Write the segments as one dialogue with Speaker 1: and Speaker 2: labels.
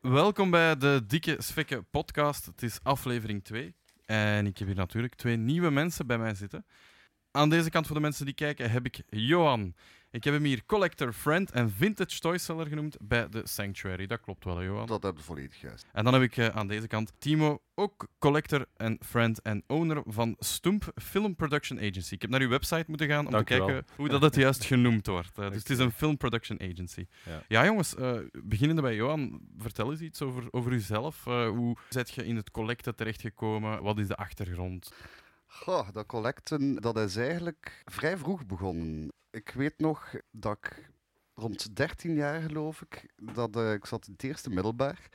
Speaker 1: Welkom bij de Dikke Sfikke podcast. Het is aflevering 2. En ik heb hier natuurlijk twee nieuwe mensen bij mij zitten. Aan deze kant voor de mensen die kijken heb ik Johan. Ik heb hem hier collector, friend en vintage toyseller genoemd bij de Sanctuary. Dat klopt wel, hè, Johan.
Speaker 2: Dat heb je volledig juist.
Speaker 1: En dan heb ik eh, aan deze kant Timo, ook collector en friend en owner van Stump Film Production Agency. Ik heb naar uw website moeten gaan om
Speaker 3: Dank
Speaker 1: te
Speaker 3: u wel.
Speaker 1: kijken hoe dat het juist genoemd wordt. Eh, dus het is een film production agency. Ja,
Speaker 3: Ja.
Speaker 1: jongens, eh, beginnende bij Johan, vertel eens iets over, over uzelf. Eh, hoe zet je in het collecten terechtgekomen? Wat is de achtergrond?
Speaker 2: Goh, dat collecten, dat is eigenlijk vrij vroeg begonnen. Ik weet nog dat ik rond 13 jaar geloof ik, dat eh, ik zat in het eerste middelbaar.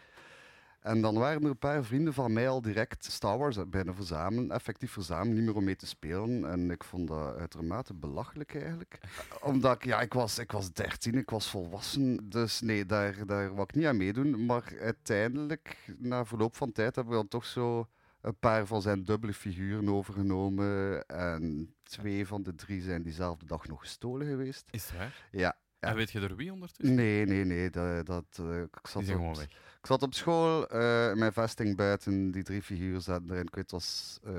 Speaker 2: En dan waren er een paar vrienden van mij al direct Star Wars bijna verzamelen, effectief verzamelen, niet meer om mee te spelen. En ik vond dat uitermate belachelijk eigenlijk. Eh, Omdat ik, ja, ik was, ik was 13, ik was volwassen, dus nee, daar, daar wou ik niet aan meedoen. Maar uiteindelijk, na verloop van tijd, hebben we dan toch zo een paar van zijn dubbele figuren overgenomen. En twee van de drie zijn diezelfde dag nog gestolen geweest.
Speaker 1: Is het waar?
Speaker 2: Ja.
Speaker 1: En weet je er wie ondertussen?
Speaker 2: Nee, nee, nee. Dat, dat, eh, ik,
Speaker 1: Die zijn
Speaker 2: zat
Speaker 1: gewoon
Speaker 2: op,
Speaker 1: weg.
Speaker 2: ik zat op school, eh, mijn vesting buiten, die drie figuren zaten erin. Ik weet, het was eh,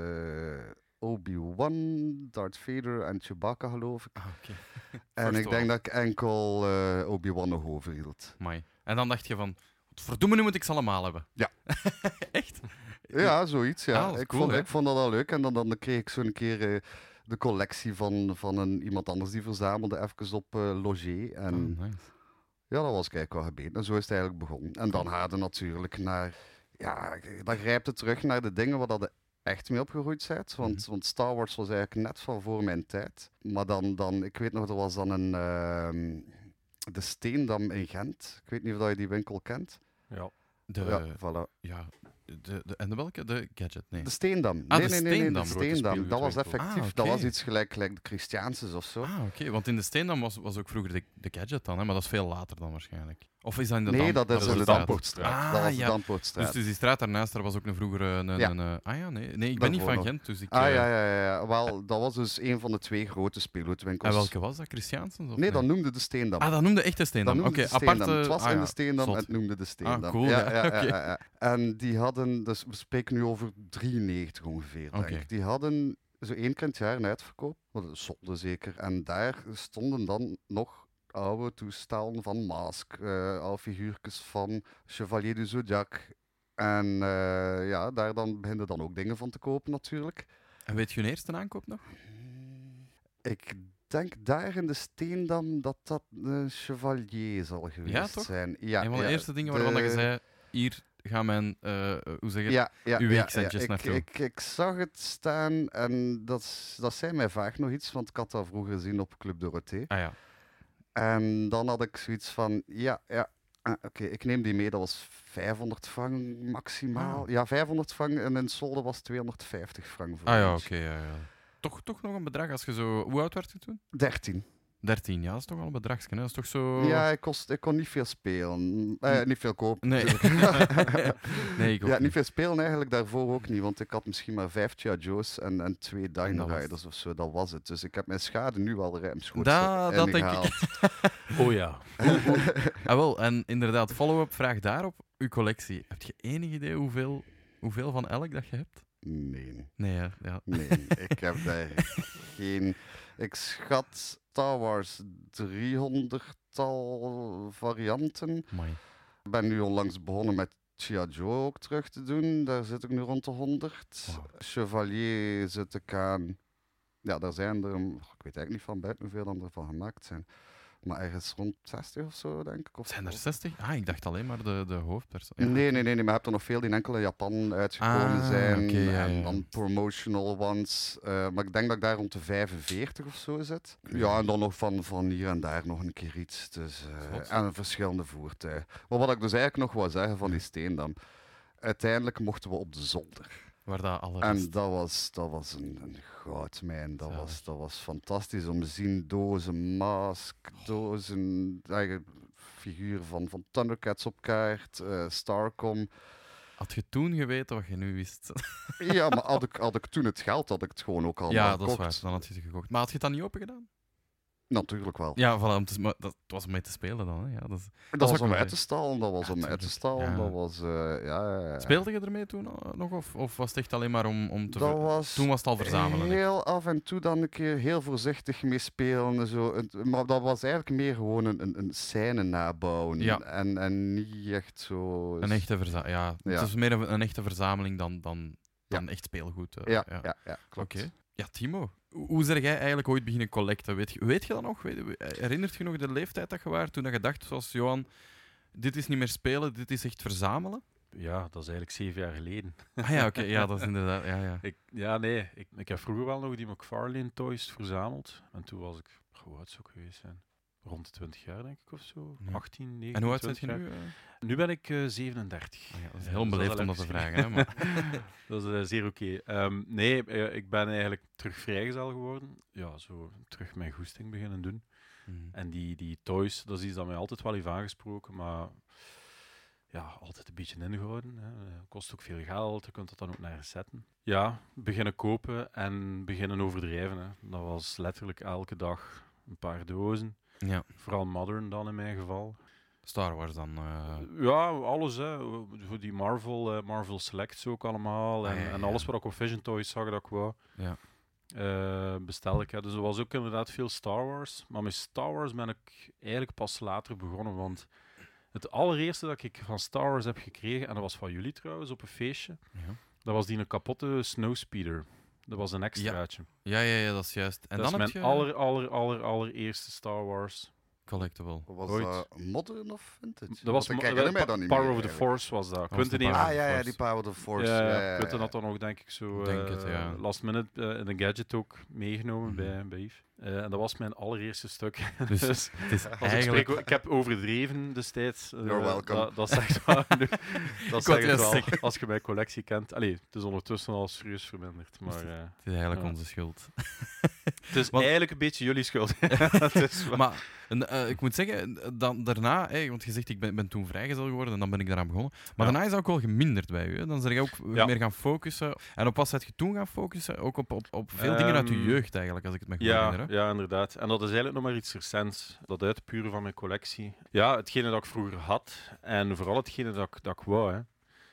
Speaker 2: Obi-Wan, Darth Vader en Chewbacca, geloof ik.
Speaker 1: Ah, oké.
Speaker 2: En ik
Speaker 1: First
Speaker 2: denk
Speaker 1: of
Speaker 2: dat ik enkel eh, Obi-Wan nog overhield.
Speaker 1: Amai. En dan dacht je van, wat verdomme nu moet ik ze allemaal hebben.
Speaker 2: Ja.
Speaker 1: Echt?
Speaker 2: Ja, zoiets. Ja.
Speaker 1: Ah, dat is
Speaker 2: ik,
Speaker 1: cool,
Speaker 2: vond,
Speaker 1: hè?
Speaker 2: ik vond dat al leuk. En dan, dan kreeg ik zo'n keer eh, de collectie van, van een, iemand anders die verzamelde even op eh Loger. En
Speaker 1: Oh, nice.
Speaker 2: ja, dat was kijk wel gebeten. En zo is het eigenlijk begonnen. En dan hadden natuurlijk naar. Ja, dan grijpt het terug naar de dingen waar dat je echt mee opgegroeid bent. Want,
Speaker 1: Mhm.
Speaker 2: want Star Wars was eigenlijk net van voor mijn tijd. Maar dan, dan ik weet nog, er was dan een. ehm, de Steendam in Gent. Ik weet niet of dat je die winkel kent.
Speaker 3: Ja.
Speaker 1: De,
Speaker 2: ja, voilà.
Speaker 1: Ja, de, de, en de welke? De gadget, nee.
Speaker 2: De Steendam.
Speaker 1: Ah,
Speaker 2: nee,
Speaker 1: de
Speaker 2: nee, nee, nee,
Speaker 1: Steendam.
Speaker 2: de Steendam. Dat was
Speaker 3: Grote
Speaker 2: effectief.
Speaker 1: speelgoedwinkel.
Speaker 2: Dat
Speaker 1: Ah,
Speaker 2: was
Speaker 1: oké.
Speaker 2: iets gelijk, gelijk de Christiaanses of zo.
Speaker 1: Ah, oké. Want in de Steendam was, was ook vroeger de, de gadget dan, hè? maar dat is veel later dan waarschijnlijk. Of is dat in de
Speaker 2: nee,
Speaker 1: Dam-
Speaker 2: dat is
Speaker 3: was
Speaker 2: in de
Speaker 3: de
Speaker 1: straat.
Speaker 2: Dampoortstraat.
Speaker 1: Ah,
Speaker 2: dat was
Speaker 1: ja.
Speaker 2: de Dampoortstraat.
Speaker 1: Dus het is die straat daarnaast, daar was ook een vroeger... eh, Een, een,
Speaker 2: Ja.
Speaker 1: eh, ah ja, nee. Nee, ik ben
Speaker 2: Daarvoor
Speaker 1: niet van
Speaker 2: nog.
Speaker 1: Gent, dus ik...
Speaker 2: Ah
Speaker 1: eh,
Speaker 2: ja, ja, ja, ja. Wel, dat was dus een van de twee grote speelgoedwinkels.
Speaker 1: En welke was dat? Christiansens? of
Speaker 2: Nee, dat noemde de Steendam.
Speaker 1: Ah, dat noemde echt de Steendam.
Speaker 2: Dat
Speaker 1: Oké,
Speaker 2: noemde de
Speaker 1: apart...
Speaker 2: Steendam. Het
Speaker 1: eh,
Speaker 2: was
Speaker 1: ah,
Speaker 2: in
Speaker 1: ja,
Speaker 2: de Steendam
Speaker 1: zot. Ah,
Speaker 2: en het noemde de Steendam.
Speaker 1: cool,
Speaker 2: Ja,
Speaker 1: ja,
Speaker 2: ja, ja,
Speaker 1: oké.
Speaker 2: ja, ja. En die hadden, dus we spreken nu over 93 ongeveer, denk
Speaker 1: Oké.
Speaker 2: ik. Die hadden zo één keer in het jaar een uitverkoop, wat een zonde zeker. En daar stonden dan nog oude toestellen van Mask, eh oude figuurtjes van Chevalier du Zodiac. En eh, ja, daar dan beginnen dan ook dingen van te kopen natuurlijk.
Speaker 1: En weet je hun eerste aankoop nog?
Speaker 2: Ik denk daar in de Steendam dat dat een chevalier zal geweest
Speaker 1: toch?
Speaker 2: zijn. Ja,
Speaker 1: een van de
Speaker 2: ja,
Speaker 1: eerste dingen waarvan
Speaker 2: de-
Speaker 1: je zei... Hier gaan mijn... eh, hoe zeg je het?
Speaker 2: ja, ja,
Speaker 1: uw
Speaker 2: ja,
Speaker 1: weekcentjes
Speaker 2: ja. Ik,
Speaker 1: naartoe.
Speaker 2: ik, ik zag het staan en dat, s- dat zei mij vaak nog iets, want ik had dat vroeger gezien op Club Dorothée.
Speaker 1: Ah ja.
Speaker 2: En dan had ik zoiets van, ja, ja, ah, oké, ik neem die mee. Dat was 500 frank maximaal.
Speaker 1: Ah.
Speaker 2: Ja, 500 frank en in solden was 250 frank voor
Speaker 1: Ah ja,
Speaker 2: ons.
Speaker 1: oké. ja, ja. Toch, toch nog een bedrag als je zo... Hoe oud werd je toen?
Speaker 2: 13.
Speaker 1: 13, ja, dat is toch wel een bedragje. hè? Dat is toch zo...
Speaker 2: Ja, ik, kost, ik kon niet veel spelen. Eh,
Speaker 1: Hm.
Speaker 2: niet veel kopen.
Speaker 1: Nee. nee, ik ook
Speaker 2: Ja, niet
Speaker 1: niet.
Speaker 2: veel spelen eigenlijk daarvoor ook niet, want ik had misschien maar vijf Chia Joe's en, en twee Dino
Speaker 1: dat was
Speaker 2: Riders of zo, dat was het. Dus ik heb mijn schade nu al ruimschoots
Speaker 1: Da- dat denk ik.
Speaker 2: ingehaald.
Speaker 3: Oh ja.
Speaker 1: Ah, wel, en inderdaad, follow-up vraag daarop. Uw collectie. Heb je enig idee hoeveel, hoeveel van elk dat je hebt?
Speaker 2: Nee,
Speaker 1: Nee, hè? ja.
Speaker 2: nee, ik heb daar geen... Ik schat Star Wars 300-tal varianten.
Speaker 1: Amai.
Speaker 2: Ik ben nu onlangs begonnen met Chia Joe ook terug te doen, daar zit ik nu rond de 100.
Speaker 1: Wauw.
Speaker 2: Chevalier zit ik aan... Ja, daar zijn er, een- ik weet eigenlijk niet van buiten hoeveel dan ervan gemaakt zijn. Maar ergens rond 60 of zo, denk ik. Of
Speaker 1: Zijn er
Speaker 2: of-
Speaker 1: 60? Ah, ik dacht alleen maar de, de hoofdpersoon. Ja.
Speaker 2: Nee, nee, nee, nee, maar je hebt er nog veel die enkel in Japan uitgekomen
Speaker 1: Ah,
Speaker 2: zijn.
Speaker 1: oké, ja, ja.
Speaker 2: En dan promotional ones. eh, maar ik denk dat ik daar rond de 45 of zo zit. Ja, en dan nog van, van hier en daar nog een keer iets. Dus, eh,
Speaker 1: Zot.
Speaker 2: en verschillende voertuigen. Maar wat ik dus eigenlijk nog wou zeggen van die Steendam. Uiteindelijk mochten we op de zolder.
Speaker 1: Waar dat alle
Speaker 2: En
Speaker 1: rest-
Speaker 2: dat was, dat was een, een goudmijn. Dat
Speaker 1: Zalig.
Speaker 2: was, dat was fantastisch om te zien. Dozen, mask, dozen, eigen figuur van, van Thundercats op kaart, eh, Starcom.
Speaker 1: Had je toen geweten wat je nu wist?
Speaker 2: Ja, maar had ik, had ik toen het geld, had ik het gewoon ook al
Speaker 1: ja, dat
Speaker 2: gekocht.
Speaker 1: is waar. Dan had je ze gekocht. Maar had je het dan niet open gedaan?
Speaker 2: Natuurlijk wel.
Speaker 1: Ja, voilà, om te, maar dat het was om mee te spelen dan. Hè. Ja, dat is- was
Speaker 2: dat, was
Speaker 1: ook
Speaker 2: om
Speaker 1: wel
Speaker 2: uit
Speaker 1: leuk.
Speaker 2: te stallen, dat was
Speaker 1: Ja,
Speaker 2: om uit te
Speaker 1: tuurlijk.
Speaker 2: stallen,
Speaker 1: Ja.
Speaker 2: dat was... eh, ja, ja, ja.
Speaker 1: Speelde je ermee toen eh, nog? Of, of was het echt alleen maar om, om te...
Speaker 2: Dat
Speaker 1: ver-
Speaker 2: was...
Speaker 1: Toen was het al verzamelen. hè.
Speaker 2: Heel af en toe dan een keer heel voorzichtig mee spelen. en Zo. Het- Maar dat was eigenlijk meer gewoon een, een, een scène nabouwen.
Speaker 1: Ja.
Speaker 2: En, en niet echt zo.
Speaker 1: Een echte verzameling. Ja,
Speaker 2: Ja.
Speaker 1: het is meer een, een echte verzameling dan, dan,
Speaker 2: Ja.
Speaker 1: dan echt speelgoed. eh,
Speaker 2: Ja, ja. ja, klopt.
Speaker 1: Oké. Ja, Timo, hoe hoe zeg jij eigenlijk ooit beginnen collecten? Weet, je- weet je dat nog? Weet, herinnert je nog de leeftijd dat je was toen dat je dacht, zoals Johan, dit is niet meer spelen, dit is echt verzamelen?
Speaker 3: Ja, dat is eigenlijk zeven jaar geleden.
Speaker 1: Ah ja, oké, ja, dat is inderdaad. Ja, ja.
Speaker 3: Ik, ja, nee, ik, ik heb vroeger wel nog die McFarlane toys verzameld. En toen was ik, goh, hoe oud zou ik geweest zijn? Rond de 20 jaar, denk ik, of zo.
Speaker 1: Ja.
Speaker 3: 18, 19,
Speaker 1: En hoe oud ben
Speaker 3: 20
Speaker 1: je
Speaker 3: jaar.
Speaker 1: nu? eh?
Speaker 3: Nu ben ik eh, 37.
Speaker 1: Ah ja, dat is
Speaker 3: Ja,
Speaker 1: heel
Speaker 3: dus dat is
Speaker 1: beleefd
Speaker 3: al
Speaker 1: om
Speaker 3: even
Speaker 1: dat te
Speaker 3: geschreven.
Speaker 1: vragen. Hè, maar...
Speaker 3: Dat is eh, zeer oké. Ehm, nee, eh, ik ben eigenlijk terug vrijgezel geworden. Ja, zo terug mijn goesting beginnen doen.
Speaker 1: Mhm.
Speaker 3: En die, die toys, dat is iets dat mij altijd wel heeft aangesproken, maar ja, altijd een beetje ingehouden. Hè. Eh, Kost ook veel geld, je kunt dat dan ook nergens zetten. Ja, beginnen kopen en beginnen overdrijven. Hè. Dat was letterlijk elke dag een paar dozen.
Speaker 1: Ja,
Speaker 3: Vooral Modern dan in mijn geval.
Speaker 1: Star Wars dan. eh,
Speaker 3: Ja, alles. Hè. Voor die Marvel, eh, Marvel Selects ook allemaal. En,
Speaker 1: Ah, ja, ja,
Speaker 3: en
Speaker 1: ja.
Speaker 3: alles wat ik op Vision Toys zag dat ik wou,
Speaker 1: Ja.
Speaker 3: eh, bestel ik. Hè. Dus er was ook inderdaad veel Star Wars. Maar met Star Wars ben ik eigenlijk pas later begonnen. Want het allereerste dat ik van Star Wars heb gekregen, en dat was van jullie trouwens, op een feestje,
Speaker 1: ja.
Speaker 3: dat was die een kapotte Snowspeeder. Dat was een extraatje.
Speaker 1: Ja, ja, ja, dat is juist. En
Speaker 3: dat
Speaker 1: dan
Speaker 3: is mijn
Speaker 1: heb je
Speaker 3: aller, aller, aller, allereerste Star Wars.
Speaker 1: collectible.
Speaker 2: Was
Speaker 3: Ooit.
Speaker 2: dat modern of vintage?
Speaker 3: Dat was
Speaker 2: Want ik
Speaker 3: mo-
Speaker 2: herinner
Speaker 3: eh,
Speaker 2: mij
Speaker 3: Pa-
Speaker 2: dat niet
Speaker 3: Power
Speaker 2: meer
Speaker 3: of the
Speaker 2: eigenlijk.
Speaker 3: Force was dat.
Speaker 1: was de
Speaker 3: Quinten
Speaker 1: Power
Speaker 3: heeft
Speaker 1: of
Speaker 2: Ah
Speaker 1: the
Speaker 2: ja, ja,
Speaker 1: Force.
Speaker 2: die Power of the Force.
Speaker 3: ja,
Speaker 2: ja,
Speaker 3: ja,
Speaker 2: ja,
Speaker 3: Quinten
Speaker 2: ja.
Speaker 3: had dan ook, denk ik, zo
Speaker 1: Denk
Speaker 3: eh,
Speaker 1: het, ja.
Speaker 3: last minute eh, in een gadget ook meegenomen
Speaker 1: Mhm.
Speaker 3: bij, bij Yves. Eh, en dat was mijn allereerste stuk.
Speaker 1: Dus
Speaker 3: Dus, als
Speaker 1: het is
Speaker 3: ik,
Speaker 1: eigenlijk.
Speaker 3: spreek, o- ik heb overdreven destijds. eh,
Speaker 2: You're welcome.
Speaker 3: Dat, dat zegt wel genoeg. dat
Speaker 1: wou
Speaker 3: zegt
Speaker 1: juist
Speaker 3: wel,
Speaker 1: zeggen.
Speaker 3: als je mijn collectie kent. Allee, het is ondertussen al serieus verminderd. Maar eh,
Speaker 1: Het is eigenlijk
Speaker 3: Ja.
Speaker 1: onze schuld.
Speaker 3: het is
Speaker 1: Want-
Speaker 3: eigenlijk een beetje jullie schuld. Het is wel-
Speaker 1: Maar en, eh, ik moet zeggen, dan, daarna, hè, want je zegt ik ben, ben toen vrijgezel geworden en dan ben ik daaraan begonnen. Maar
Speaker 3: Ja.
Speaker 1: daarna is dat ook wel geminderd bij u. Hè? Dan ben je ook
Speaker 3: Ja.
Speaker 1: meer gaan focussen. En op wat zet je toen gaan focussen? Ook op, op, op veel dingen uit je
Speaker 3: Ehm,
Speaker 1: jeugd eigenlijk, als ik het me goed
Speaker 3: Ja,
Speaker 1: herinner. hè.
Speaker 3: ja, inderdaad. En dat is eigenlijk nog maar iets recents. Dat uitpuren van mijn collectie. Ja, hetgene dat ik vroeger had. En vooral hetgene dat ik, dat ik wou. Hè. En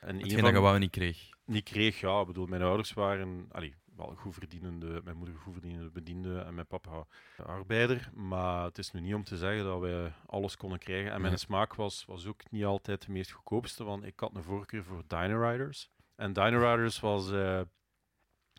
Speaker 3: een
Speaker 1: Hetgeen
Speaker 3: van-
Speaker 1: dat je wou en niet kreeg.
Speaker 3: niet kreeg, ja, ik bedoel, mijn ouders waren allee, wel goed verdienende, mijn moeder goed verdienende bediende en mijn papa arbeider. Maar het is nu niet om te zeggen dat wij alles konden krijgen. En mijn
Speaker 1: Nee.
Speaker 3: smaak was, was ook niet altijd de meest goedkoopste, want ik had een voorkeur voor Dino Riders. En Dino Riders was, eh,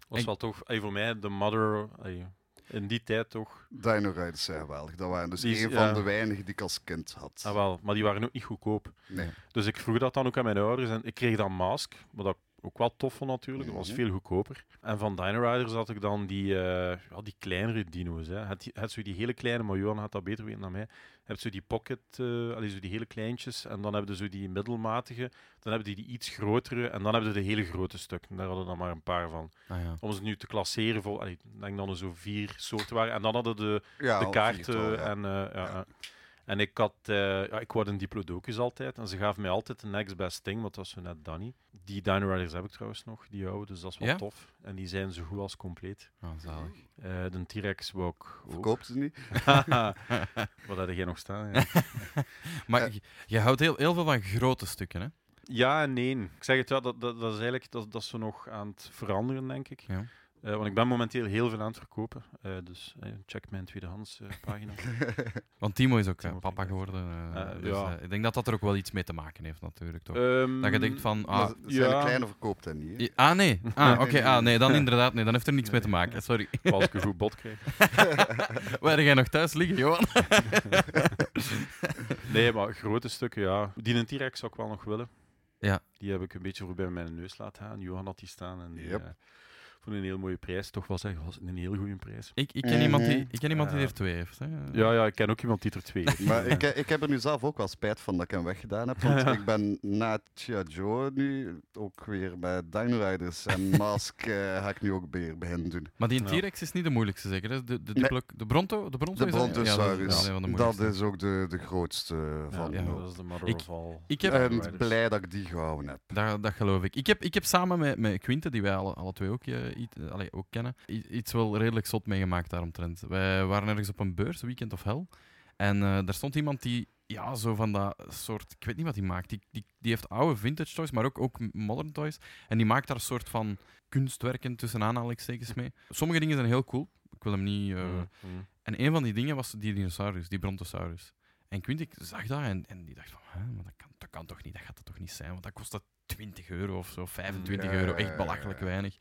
Speaker 3: was
Speaker 1: En-
Speaker 3: wel toch, allee, voor mij, de mother, allee, in die tijd toch.
Speaker 2: Dino Riders zijn geweldig. Dat waren dus
Speaker 3: Die is-
Speaker 2: een
Speaker 3: ja.
Speaker 2: van de weinigen die ik als kind had.
Speaker 3: Ah, wel, maar die waren ook niet goedkoop.
Speaker 2: Nee.
Speaker 3: Dus ik vroeg dat dan ook aan mijn ouders en ik kreeg dan Mask, wat ik ook wel tof vond natuurlijk, dat was
Speaker 2: Mhm.
Speaker 3: veel goedkoper. En van Dino Riders had ik dan die, eh, ja, die kleinere dino's. Hè. Had, die- had zo die hele kleine, maar Johan had dat beter weten dan mij. Heb zo die pocket, eh allee, zo die hele kleintjes en dan hebben ze zo die middelmatige, dan hebben die die iets grotere en dan hebben ze de hele grote stukken. Daar hadden we dan maar een paar van.
Speaker 1: Ah, ja.
Speaker 3: Om ze nu te klasseren, voor, allee, ik denk dat er zo vier soorten waren. En dan hadden de
Speaker 2: Ja,
Speaker 3: de
Speaker 2: al
Speaker 3: kaarten.
Speaker 2: viertal, ja.
Speaker 3: en, eh, ja, ja. en ik had, eh, ja, ik wou een diplodocus altijd. En ze gaven mij altijd de next best thing, want dat was zo net Danny. Die Dino Riders heb ik trouwens nog, die oude, dus dat is wel
Speaker 1: Ja?
Speaker 3: tof. En die zijn zo goed als compleet.
Speaker 1: Ah, zalig.
Speaker 3: Eh, de T-Rex wou ik ook.
Speaker 2: Verkoopt ze niet.
Speaker 3: Wat had jij nog staan? Ja,
Speaker 1: Maar
Speaker 2: Eh.
Speaker 1: je, je houdt heel, heel veel van grote stukken, hè?
Speaker 3: ja en nee. Ik zeg het wel, dat, dat, dat is eigenlijk dat, dat is zo nog aan het veranderen, denk ik.
Speaker 1: Ja.
Speaker 3: Eh, want ik ben momenteel heel veel aan het verkopen. Eh, dus eh, check mijn tweedehands eh, pagina.
Speaker 1: Want Timo is ook eh,
Speaker 3: Timo
Speaker 1: papa
Speaker 3: Pinkert.
Speaker 1: geworden. eh,
Speaker 3: Eh,
Speaker 1: dus,
Speaker 3: ja.
Speaker 1: eh, ik denk dat dat er ook wel iets mee te maken heeft, natuurlijk. Toch?
Speaker 3: Ehm,
Speaker 1: dat je denkt van,
Speaker 2: Maar
Speaker 1: ah,
Speaker 2: ze- zijn
Speaker 3: ja.
Speaker 2: de kleine verkoopt dat niet. hè.
Speaker 1: i- ah nee, ah, oké,
Speaker 2: nee, nee,
Speaker 1: ah,
Speaker 2: nee.
Speaker 1: nee, dan inderdaad, nee, dan heeft er niks mee te maken. Sorry.
Speaker 3: Als ik een goed bod krijg.
Speaker 1: Waar jij nog thuis liggen, Johan?
Speaker 3: Nee, maar grote stukken, ja. Die een T-Rex zou ik wel nog willen.
Speaker 1: Ja.
Speaker 3: Die heb ik een beetje voorbij mijn neus laten gaan. Johan had die staan en die,
Speaker 2: Yep.
Speaker 3: eh, voor een heel mooie prijs. Toch wel zeggen, was het een heel goede prijs.
Speaker 1: Ik, ik ken iemand die,
Speaker 2: Mhm.
Speaker 1: ik ken iemand die
Speaker 3: Ja.
Speaker 1: er twee heeft. Hè.
Speaker 3: Ja, ja, ik ken ook iemand die er twee heeft.
Speaker 2: Maar
Speaker 3: Eh,
Speaker 2: ik, ik heb er nu zelf ook wel spijt van dat ik hem weggedaan heb. Want ik ben na Chia Joe nu ook weer met Dino Riders en Mask eh, ga ik nu ook weer beginnen doen.
Speaker 1: Maar die
Speaker 3: Ja.
Speaker 1: T-Rex is niet de moeilijkste, zeker? hè? De, de,
Speaker 2: Nee.
Speaker 1: Diplo- de Bronto? De Bronto
Speaker 2: De
Speaker 1: is dat? Ja, dat
Speaker 2: Brontosaurus,
Speaker 1: is een van de
Speaker 2: dat
Speaker 1: moeilijkste.
Speaker 2: is ook de, de grootste
Speaker 3: ja, eh,
Speaker 2: van.
Speaker 1: ja.
Speaker 3: dat is de mother
Speaker 1: Ik-
Speaker 3: of all.
Speaker 1: ik heb-
Speaker 3: Dino
Speaker 2: En
Speaker 3: Riders.
Speaker 2: blij dat ik die gehouden heb.
Speaker 1: Dat, dat geloof ik. Ik heb, ik heb samen met, met Quinte, die wij alle, alle twee ook eh, eh, iets- eh, allee, ook kennen, i- iets wel redelijk zot meegemaakt daaromtrent. Wij waren ergens op een beurs, Weekend of Hell. En eh, daar stond iemand die, ja, zo van dat soort, ik weet niet wat hij maakt. Die, die, die heeft oude vintage toys, maar ook, ook modern toys. En die maakt daar een soort van kunstwerken tussen aanhalingstekens mee. Sommige dingen zijn heel cool. Ik wil hem niet. eh,
Speaker 3: Mm.
Speaker 1: En een van die dingen was die dinosaurus, die brontosaurus. En Quintic zag dat en, en die dacht van, Hè, maar dat, kan, dat kan toch niet, dat gaat dat toch niet zijn, want dat kostte 20 euro of zo, 25
Speaker 2: Ja,
Speaker 1: euro,
Speaker 2: ja, ja,
Speaker 1: echt
Speaker 2: ja,
Speaker 1: belachelijk
Speaker 2: ja.
Speaker 1: weinig.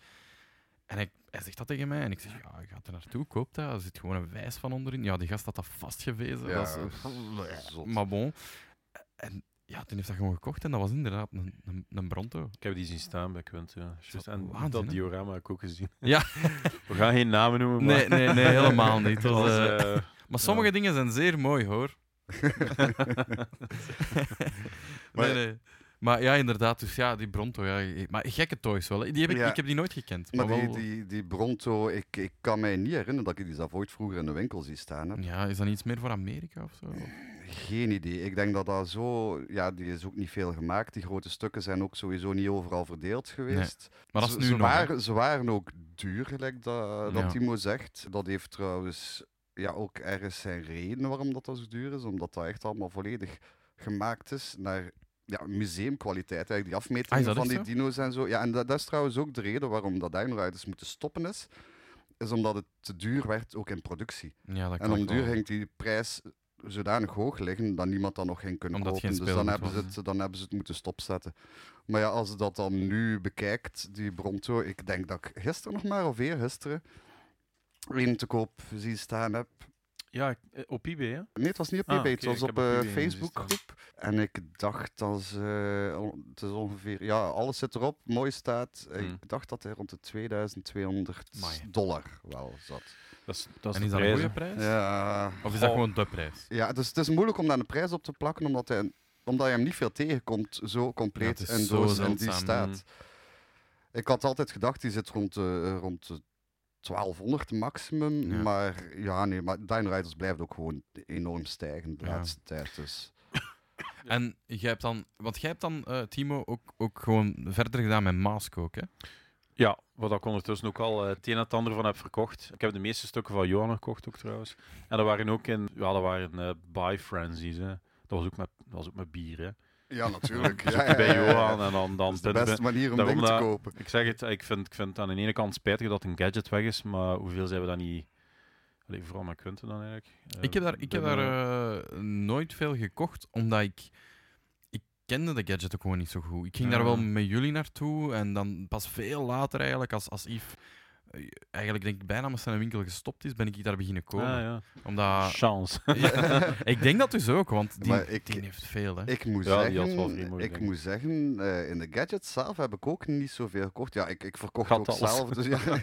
Speaker 1: En hij, hij zegt dat tegen mij en ik zeg, ja, je gaat er naartoe, koop dat, er zit gewoon een wijs van onderin. Ja, die gast had dat vastgewezen.
Speaker 2: Ja,
Speaker 1: dat is,
Speaker 2: zot.
Speaker 1: maar bon. En ja, toen heeft dat gewoon gekocht en dat was inderdaad een, een, een bronto.
Speaker 3: Ik heb die zien staan bij Quint, ja. Juist. En
Speaker 1: waanzin,
Speaker 3: dat
Speaker 1: hè?
Speaker 3: diorama heb ik ook gezien.
Speaker 1: Ja.
Speaker 3: We gaan geen namen noemen, maar...
Speaker 1: Nee, nee, nee, helemaal niet. Dat
Speaker 3: Dat
Speaker 1: was,
Speaker 3: was,
Speaker 1: eh,
Speaker 3: eh,
Speaker 1: maar sommige dingen zijn zeer mooi, hoor.
Speaker 2: Maar-
Speaker 1: nee, nee. Maar ja, inderdaad. Dus ja, die Bronto. Ja, je- maar gekke toys wel. hè. Die heb ik,
Speaker 2: Ja.
Speaker 1: ik heb die nooit gekend.
Speaker 2: Maar
Speaker 1: Maar,
Speaker 2: die,
Speaker 1: wel-
Speaker 2: die, die Bronto, ik, ik kan mij niet herinneren dat ik die zelf ooit vroeger in de winkel zie staan. Heb.
Speaker 1: Ja, is dat iets meer voor Amerika of zo?
Speaker 2: Geen idee. Ik denk dat dat zo... Ja, die is ook niet veel gemaakt. Die grote stukken zijn ook sowieso niet overal verdeeld geweest.
Speaker 1: Maar dat is
Speaker 2: Ze-
Speaker 1: nu
Speaker 2: ze,
Speaker 1: nog. hè.
Speaker 2: waren, ze waren ook duur, gelijk dat, dat
Speaker 1: Ja.
Speaker 2: Timo zegt. Dat heeft trouwens ja, ook ergens zijn reden waarom dat, dat zo duur is. Omdat dat echt allemaal volledig gemaakt is naar ja, museumkwaliteit. Eigenlijk die
Speaker 1: Ah, is
Speaker 2: afmetingen
Speaker 1: dat
Speaker 2: van die
Speaker 1: echt
Speaker 2: dino's en zo. Ja, en dat, dat is trouwens ook de reden waarom dat Dino Riders moeten stoppen is. Is omdat het te duur werd, ook in productie.
Speaker 1: Ja, dat
Speaker 2: en
Speaker 1: kan
Speaker 2: om
Speaker 1: ik wel.
Speaker 2: duur ging die prijs zodanig hoog liggen dat niemand dat nog ging kunnen
Speaker 1: Omdat het
Speaker 2: kopen.
Speaker 1: geen
Speaker 2: Dus dan
Speaker 1: speelgoed
Speaker 2: hebben, ze
Speaker 1: was,
Speaker 2: het, dan hebben ze het moeten stopzetten. Maar ja, als je dat dan nu bekijkt, die Bronto, ik denk dat ik gisteren nog maar of eergisteren één te koop zien staan heb.
Speaker 3: ja, eh, op eBay, hè?
Speaker 2: Nee, het was niet op
Speaker 3: Ah,
Speaker 2: eBay,
Speaker 3: oké,
Speaker 2: het
Speaker 3: ik
Speaker 2: was
Speaker 3: heb
Speaker 2: op
Speaker 3: op
Speaker 2: een
Speaker 3: eBay gezien
Speaker 2: Facebookgroep. En ik dacht dat ze... eh, on- Het is ongeveer... Ja, alles zit erop, mooi staat.
Speaker 3: Hmm.
Speaker 2: Ik dacht dat hij rond de 2200
Speaker 1: Amai.
Speaker 2: dollar wel zat.
Speaker 3: Dat is, dat is
Speaker 1: En is
Speaker 3: de
Speaker 1: dat een
Speaker 3: prijs,
Speaker 1: goede
Speaker 3: hè.
Speaker 1: prijs?
Speaker 2: Ja...
Speaker 1: Of is dat
Speaker 3: Oh.
Speaker 1: gewoon de prijs?
Speaker 2: Ja, dus het is moeilijk om daar een prijs op te plakken, omdat, hij, omdat je hem niet veel tegenkomt, zo
Speaker 1: Ja,
Speaker 2: compleet
Speaker 1: het is
Speaker 2: en
Speaker 1: zo
Speaker 2: doos in die
Speaker 1: zeldzaam.
Speaker 2: staat. Ik had altijd gedacht, die zit rond de, eh, rond de 1200 maximum,
Speaker 1: Ja.
Speaker 2: maar ja, nee, maar Dino Riders blijft ook gewoon enorm stijgen de
Speaker 1: Ja.
Speaker 2: laatste tijd. Dus.
Speaker 3: Ja.
Speaker 1: En jij hebt dan, want jij hebt dan, eh, Timo, ook, ook gewoon verder gedaan met Mask ook, hè?
Speaker 3: Ja, wat ik ondertussen ook al eh, het een en het ander van heb verkocht. Ik heb de meeste stukken van Johan gekocht ook trouwens. En dat waren ook in, ja, dat waren eh, buy frenzies. Hè. Dat, was ook met, dat was ook met bier. Hè.
Speaker 2: Ja, natuurlijk.
Speaker 3: Zoeken bij Johan en dan... dan
Speaker 2: Dat is de beste manier om dingen te
Speaker 3: daarom dat-
Speaker 2: kopen.
Speaker 3: Ik zeg het, ik vind, ik vind het aan de ene kant spijtig dat een gadget weg is, maar hoeveel zijn we dan niet... Allee, vooral met Quinten dan eigenlijk. Eh,
Speaker 1: Ik heb daar, ik heb daar
Speaker 3: binnen-
Speaker 1: eh, nooit veel gekocht, omdat ik... Ik kende de gadget ook gewoon niet zo goed. Ik ging daar wel
Speaker 3: Ah.
Speaker 1: met jullie naartoe en dan pas veel later eigenlijk, als, als Yves... eh, Eigenlijk denk ik bijna met zijn winkel gestopt is, ben ik daar beginnen komen.
Speaker 3: Ah, ja.
Speaker 1: Omdat...
Speaker 3: Chance.
Speaker 1: Ja, ik denk dat dus ook, want die,
Speaker 2: Maar ik-
Speaker 1: die heeft veel, hè.
Speaker 2: Ik moet
Speaker 3: Ja, die had wel vrij
Speaker 2: zeggen,
Speaker 3: moeilijk,
Speaker 2: ik
Speaker 3: denk ik.
Speaker 2: moet zeggen eh, in de gadgets zelf heb ik ook niet zoveel gekocht. Ja, ik, ik verkocht
Speaker 3: Gat
Speaker 2: ook
Speaker 3: alles.
Speaker 2: zelf. Dus ja.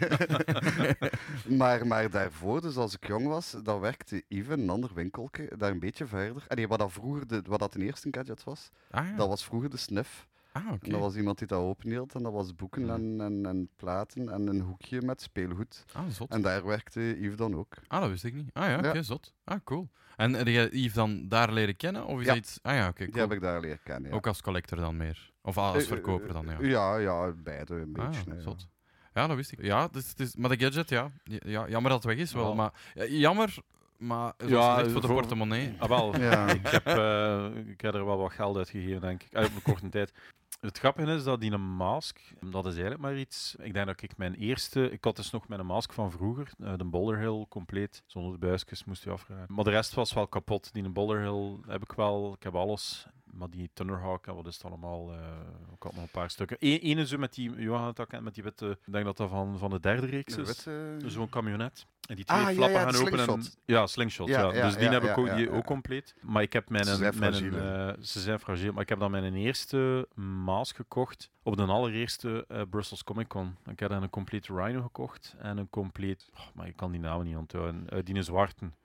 Speaker 2: maar, maar daarvoor, dus als ik jong was, dan werkte Yves in een ander winkeltje, daar een beetje verder. En wat dat vroeger de, wat dat de eerste gadget was,
Speaker 1: Ah, ja.
Speaker 2: dat was vroeger de snuff.
Speaker 1: ah oké.
Speaker 2: En dat was iemand die dat openhield en dat was boeken
Speaker 3: Ja.
Speaker 2: en, en, en platen en een hoekje met speelgoed.
Speaker 1: Ah, zot.
Speaker 2: En daar werkte Yves dan ook.
Speaker 1: Ah, dat wist ik niet. Ah ja, oké,
Speaker 2: Ja.
Speaker 1: zot. Ah, cool. En heb jij Yves dan daar leren kennen? Of is
Speaker 2: Ja.
Speaker 1: dat iets... Ah ja, oké,
Speaker 2: Die
Speaker 1: cool.
Speaker 2: heb ik daar leren kennen. Ja.
Speaker 1: Ook als collector dan meer? Of als
Speaker 2: Eh,
Speaker 1: verkoper dan, ja.
Speaker 2: eh, Ja, ja, beide een
Speaker 1: Ah,
Speaker 2: beetje. hè, ja.
Speaker 1: zot. Ja, dat wist ik. Ja, dus, het is maar de gadget, ja. ja jammer dat het weg is wel.
Speaker 3: Ja.
Speaker 1: Maar, ja, jammer, maar zoals
Speaker 3: Ja,
Speaker 1: gezegd, voor de
Speaker 3: voor-
Speaker 1: portemonnee.
Speaker 3: Ah, wel.
Speaker 2: Ja.
Speaker 3: Ik, heb, eh, ik heb er wel wat geld uitgegeven, denk ik. Uit een korte tijd. Het grappige is dat die een mask, dat is eigenlijk maar iets. Ik denk dat ik mijn eerste. Ik had dus nog mijn mask van vroeger, eh, de Boulder Hill compleet. Zonder de buisjes moest je afgaan. Maar de rest was wel kapot. Die een Boulder Hill heb ik wel, ik heb alles. Maar die Thunderhawk en wat is het allemaal? eh, ik had nog een paar stukken. Eén ene zo met die, Johan had dat kent, met die witte, ik denk dat dat van, van de derde reeks
Speaker 2: De
Speaker 3: is.
Speaker 2: witte-
Speaker 3: Zo'n camionet. En die twee
Speaker 2: Mm. Ah, ja,
Speaker 3: flappen
Speaker 2: ja,
Speaker 3: gaan
Speaker 2: de
Speaker 3: open. En,
Speaker 2: slingshot.
Speaker 3: ja, slingshot. Ja,
Speaker 2: Ja, ja,
Speaker 3: dus die
Speaker 2: ja,
Speaker 3: heb ik
Speaker 2: ja,
Speaker 3: ook,
Speaker 2: ja,
Speaker 3: die
Speaker 2: ja.
Speaker 3: ook compleet. Maar ik heb mijn.
Speaker 2: Ze zijn
Speaker 3: mijn
Speaker 2: fragiel, hè.
Speaker 3: eh, ze zijn fragiel. Maar ik heb dan mijn eerste Maas gekocht. Op de allereerste eh, Brussels Comic Con. Ik heb dan een complete Rhino gekocht. En een complete. oh, maar ik kan die namen niet onthouden. eh Dine Zwarten.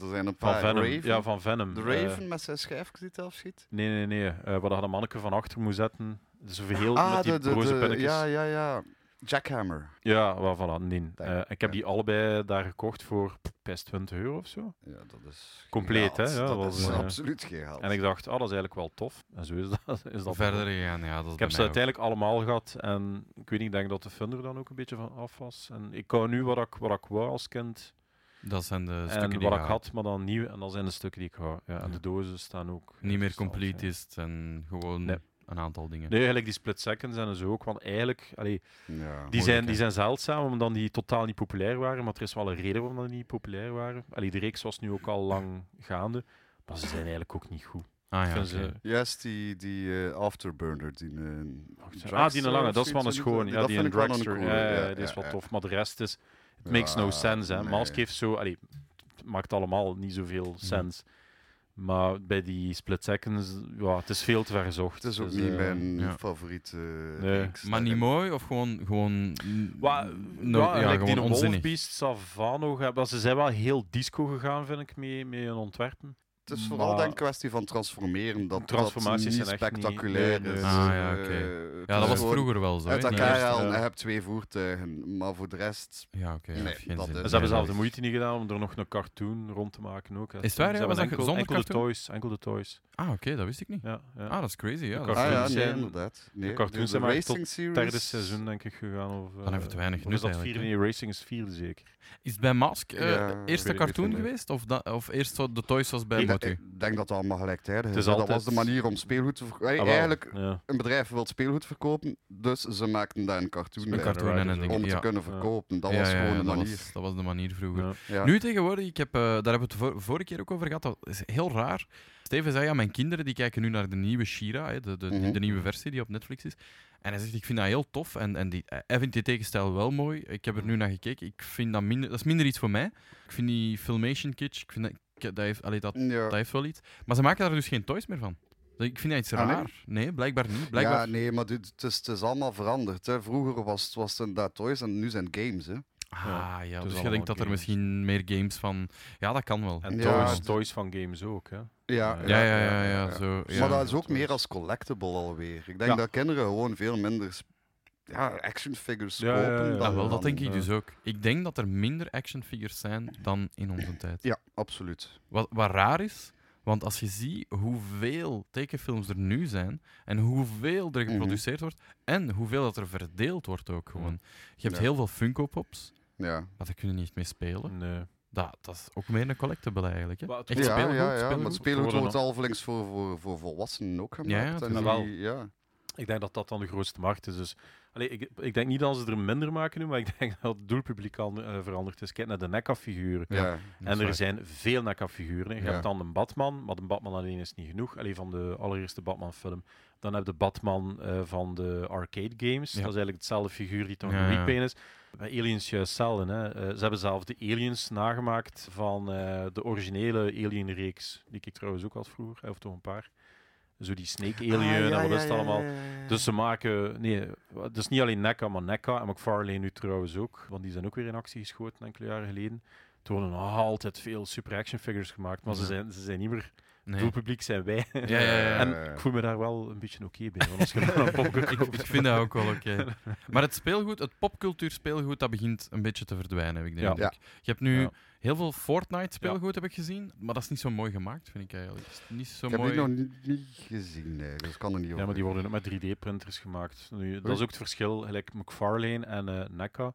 Speaker 2: Er zijn een
Speaker 3: Van
Speaker 2: paar.
Speaker 3: Venom.
Speaker 2: Ah, Raven.
Speaker 3: Ja, van Venom.
Speaker 2: De
Speaker 3: Eh,
Speaker 2: Raven met zijn schijfjes die het afschiet.
Speaker 3: nee, nee, nee. Eh, waar dat een manneke van achter moet zetten. Dus een heel
Speaker 2: ah,
Speaker 3: met die
Speaker 2: de, de,
Speaker 3: roze
Speaker 2: de,
Speaker 3: pinnetjes.
Speaker 2: ja, ja, ja. Jackhammer.
Speaker 3: Ja, wel voilà, nee.
Speaker 2: Daar,
Speaker 3: Eh, ik heb
Speaker 2: ja.
Speaker 3: die allebei daar gekocht voor pff, best 20 euro of zo.
Speaker 2: Ja, dat is
Speaker 3: Compleet, hè?
Speaker 2: gehaald.
Speaker 3: Ja,
Speaker 2: dat
Speaker 3: was,
Speaker 2: is
Speaker 3: eh,
Speaker 2: absoluut gehaald.
Speaker 3: En ik dacht, ah, dat is eigenlijk wel tof. En zo is dat. Is dat
Speaker 1: Verder gegaan, ja. Dat is
Speaker 3: Ik
Speaker 1: bij
Speaker 3: heb ze
Speaker 1: mij ook.
Speaker 3: uiteindelijk allemaal gehad. En ik weet niet, ik denk dat de funder dan ook een beetje van af was. En ik hou nu wat ik, wat ik wou als kind.
Speaker 1: Dat zijn de
Speaker 3: en
Speaker 1: stukken die
Speaker 3: wat
Speaker 1: je
Speaker 3: ik
Speaker 1: haalt.
Speaker 3: had, maar dan nieuw. En dat zijn de stukken die ik hou. Ja, en
Speaker 1: Ja.
Speaker 3: de dozen staan ook.
Speaker 1: Niet meer
Speaker 3: constant,
Speaker 1: complete
Speaker 3: ja. dus
Speaker 1: is en gewoon
Speaker 3: Nee.
Speaker 1: een aantal dingen.
Speaker 3: Nee, eigenlijk die split seconds en zo ook. Want eigenlijk, allee,
Speaker 2: Ja.
Speaker 3: die, zijn,
Speaker 1: moeilijk,
Speaker 3: die zijn zeldzaam, omdat die totaal niet populair waren. Maar er is wel een reden waarom dat niet populair waren. Allee, de reeks was nu ook al lang gaande. Maar ze zijn eigenlijk ook niet goed.
Speaker 1: Ah
Speaker 3: Ik
Speaker 1: ja,
Speaker 3: vind
Speaker 1: oké.
Speaker 3: ze-
Speaker 2: Juist, die, die eh, Afterburner. Die,
Speaker 3: Ah, die een lange, eh, dat is wel een schoon. Ja, die een dragster. Ja, ja, Ah, die is wel tof. Maar de rest is, it makes no
Speaker 2: Ja,
Speaker 3: sense. Hè.
Speaker 2: nee.
Speaker 3: Mask heeft zo, allee, het maakt allemaal niet zoveel sens. Maar bij die split seconds, ja, het is veel te ver gezocht.
Speaker 2: Het is ook
Speaker 3: Dus,
Speaker 2: niet
Speaker 3: eh,
Speaker 2: mijn
Speaker 1: ja.
Speaker 2: favoriete
Speaker 3: Nee.
Speaker 2: reeks
Speaker 1: Maar niet
Speaker 2: daarin.
Speaker 1: mooi of gewoon. gewoon
Speaker 3: Wa-
Speaker 1: no-
Speaker 3: ja, like die
Speaker 1: gewoon onzinnig.
Speaker 3: Wolfbeast, Savano, ga- maar ze zijn wel heel disco gegaan, vind ik, mee, mee hun ontwerpen.
Speaker 2: Het is vooral
Speaker 3: Maar-
Speaker 2: denk ik een kwestie van transformeren. Dat
Speaker 3: Transformaties
Speaker 2: dat
Speaker 3: zijn
Speaker 2: niet
Speaker 3: echt niet-
Speaker 2: spectaculair
Speaker 3: nee, nee.
Speaker 2: is.
Speaker 1: Ah, ja,
Speaker 2: Eh,
Speaker 1: oké.
Speaker 2: het
Speaker 1: Ja,
Speaker 2: is
Speaker 1: dat was
Speaker 2: gewoon
Speaker 1: vroeger wel zo.
Speaker 2: Uit
Speaker 1: hè, in de
Speaker 2: elkaar
Speaker 1: eerste-
Speaker 2: halen en
Speaker 3: ja.
Speaker 2: je hebt twee voertuigen. Maar voor de rest...
Speaker 1: Ja, oké.
Speaker 2: Nee,
Speaker 1: heeft geen zin.
Speaker 2: dat is-
Speaker 3: Ze
Speaker 2: Nee,
Speaker 3: hebben zelf
Speaker 2: dat
Speaker 3: de
Speaker 2: is-
Speaker 3: moeite niet gedaan om er nog een cartoon rond te maken.
Speaker 1: Is
Speaker 3: Ook.
Speaker 1: het waar,
Speaker 3: Ze
Speaker 1: ja?
Speaker 3: hebben
Speaker 1: Was dat
Speaker 3: enkel,
Speaker 1: zonder
Speaker 3: enkel de
Speaker 1: cartoon?
Speaker 3: toys, enkel de toys.
Speaker 1: Ah, oké, dat wist ik niet.
Speaker 3: Ja, ja.
Speaker 1: Ah, dat is crazy. Ja, dat
Speaker 2: Ah
Speaker 1: is-
Speaker 3: cartoons
Speaker 2: ja, nee,
Speaker 3: zijn-
Speaker 2: inderdaad. Nee,
Speaker 3: de cartoons
Speaker 2: de
Speaker 3: zijn maar
Speaker 2: racing
Speaker 3: tot
Speaker 2: series.
Speaker 3: derde seizoen, denk ik, gegaan. Of, eh,
Speaker 1: Dan heeft het weinig
Speaker 3: Of is
Speaker 1: nut
Speaker 3: dat
Speaker 1: eigenlijk.
Speaker 3: vierde?
Speaker 1: hè.
Speaker 3: Nee, Racing is vierde zeker.
Speaker 1: Is het bij Mask eh,
Speaker 2: Ja, ik weet het
Speaker 1: eerste
Speaker 2: niet,
Speaker 1: cartoon
Speaker 2: vind ik.
Speaker 1: geweest? Of, dat, of eerst zo de Toys was bij
Speaker 3: Ik-
Speaker 2: Ik
Speaker 1: Motu?
Speaker 2: ik denk dat het allemaal gelijktijdig
Speaker 3: Het
Speaker 2: is.
Speaker 3: is
Speaker 2: hè.
Speaker 3: altijd-
Speaker 2: Dat was de manier om speelgoed te verkopen.
Speaker 3: Ah, wel,
Speaker 2: Eigenlijk,
Speaker 3: ja.
Speaker 2: een bedrijf wil speelgoed verkopen, dus ze maakten daar een cartoon
Speaker 3: Een
Speaker 1: Een
Speaker 2: bij.
Speaker 1: cartoon en een
Speaker 3: Riders
Speaker 1: ding.
Speaker 2: Om
Speaker 1: ja.
Speaker 2: te kunnen
Speaker 3: Ja.
Speaker 2: verkopen. Dat
Speaker 1: Ja,
Speaker 2: was
Speaker 1: ja,
Speaker 2: gewoon
Speaker 1: ja,
Speaker 2: de
Speaker 1: dat
Speaker 2: manier.
Speaker 1: was- Dat was de manier vroeger.
Speaker 3: Ja.
Speaker 2: Ja.
Speaker 1: Nu tegenwoordig, ik heb, eh, daar hebben we het vor- vorige keer ook over gehad, dat is heel raar. Steven zei, ja, mijn kinderen die kijken nu naar de nieuwe Shira, hè, de, de,
Speaker 2: Mhm.
Speaker 1: de nieuwe versie die op Netflix is. En hij zegt, ik vind dat heel tof en, en die, eh, hij vindt die tegenstijl wel mooi. Ik heb er nu naar gekeken, ik vind dat minder, dat is minder iets voor mij. Ik vind die Filmation Kitsch, ik vind dat, ik- dat, heeft, allee, dat,
Speaker 2: Ja.
Speaker 1: dat heeft wel iets. Maar ze maken daar dus geen toys meer van. Dus Ik vind dat iets
Speaker 2: Ah, nee?
Speaker 1: raar. nee? blijkbaar niet. Blijkbaar...
Speaker 2: Ja, nee, maar dit- het is, het is allemaal veranderd. Hè. Vroeger was, het- was het inderdaad toys en nu zijn het games. Hè.
Speaker 1: Ah, ja, dus
Speaker 3: dus
Speaker 1: je
Speaker 3: allemaal
Speaker 1: denkt dat er
Speaker 3: games.
Speaker 1: misschien meer games van... Ja, dat kan wel.
Speaker 3: En
Speaker 2: Ja,
Speaker 3: toys,
Speaker 2: het-
Speaker 3: toys van games ook. Hè.
Speaker 2: Ja,
Speaker 1: Ja, ja, ja, ja, zo. ja.
Speaker 2: Maar dat is ook
Speaker 3: Toys.
Speaker 2: meer als collectible alweer. Ik denk
Speaker 3: Ja.
Speaker 2: dat kinderen gewoon veel minder sp- ja, action figures
Speaker 3: Ja,
Speaker 2: kopen.
Speaker 3: ja, ja, ja.
Speaker 2: Dan,
Speaker 1: Ah, wel, dat
Speaker 2: dan-
Speaker 1: denk ik dus ook. Ik denk dat er minder action figures zijn dan in onze tijd.
Speaker 2: Ja, absoluut.
Speaker 1: Wat, wat raar is, want als je ziet hoeveel tekenfilms er nu zijn en hoeveel
Speaker 2: Mhm.
Speaker 1: er geproduceerd wordt en hoeveel dat er verdeeld wordt ook gewoon. Je hebt
Speaker 2: Ja.
Speaker 1: heel veel Funko Pops,
Speaker 2: Ja.
Speaker 1: maar daar kun je niet mee spelen.
Speaker 3: Nee.
Speaker 1: Dat, dat is ook meer een collectible eigenlijk. Hè?
Speaker 3: Maar het
Speaker 1: Echt
Speaker 3: wordt-
Speaker 2: ja,
Speaker 1: speelgoed,
Speaker 2: ja, ja,
Speaker 1: speelgoed.
Speaker 2: maar het speelgoed
Speaker 3: Worden
Speaker 2: wordt alvelings voor, voor, voor volwassenen ook
Speaker 1: ja,
Speaker 2: gemaakt.
Speaker 1: het
Speaker 2: en
Speaker 3: is
Speaker 2: die-
Speaker 3: wel-
Speaker 2: ja.
Speaker 3: Ik denk dat dat dan de grootste markt is. Dus, allee, ik, ik denk niet dat ze er minder maken nu, maar ik denk dat het doelpubliek al eh, veranderd is. Kijk naar de NECA-figuren.
Speaker 2: Ja.
Speaker 1: Dat is
Speaker 3: En er
Speaker 1: waar.
Speaker 3: zijn veel NECA-figuren. Je
Speaker 2: Ja.
Speaker 3: hebt dan een Batman, maar de Batman alleen is niet genoeg. Alleen van de allereerste Batman-film. Dan heb je de Batman eh, van de arcade games.
Speaker 1: Ja.
Speaker 3: Dat is eigenlijk hetzelfde figuur die toch
Speaker 1: Ja,
Speaker 3: een
Speaker 1: ja.
Speaker 3: repaint is. Bij Aliens juist zelden. Hè. Eh, ze hebben zelf de Aliens nagemaakt van eh, de originele Alien-reeks. Die ik trouwens ook had vroeger, eh, of toch een paar. Zo die Snake Alien en wat is het allemaal. Dus ze maken, nee, het is niet alleen NECA, maar NECA en McFarlane nu trouwens ook, want die zijn ook weer in actie geschoten enkele jaren geleden. Toen worden nog altijd veel super action figures gemaakt, maar ze,
Speaker 1: Ja.
Speaker 3: zijn, ze zijn niet meer,
Speaker 1: Nee.
Speaker 3: doelpubliek zijn wij.
Speaker 1: Ja, ja, ja.
Speaker 3: En ik voel me daar wel een beetje oké bij, want als je dan een popcorn
Speaker 1: ik,
Speaker 3: koopt-
Speaker 1: ik vind dat ook wel oké. Maar het speelgoed, het popcultuur speelgoed, dat begint een beetje te verdwijnen, heb ik denk
Speaker 2: Ja.
Speaker 1: ik. Je hebt nu
Speaker 3: Ja.
Speaker 1: heel veel Fortnite speelgoed, heb ik gezien. Maar dat is niet zo mooi gemaakt, vind ik eigenlijk. Het is niet zo
Speaker 2: Ik heb
Speaker 1: mooi.
Speaker 2: die nog niet, niet gezien, nee, dus ik kan er niet over.
Speaker 3: Ja, maar die worden ook met 3D-printers gemaakt. Nu, dat is ook het verschil, gelijk McFarlane en eh, NECA.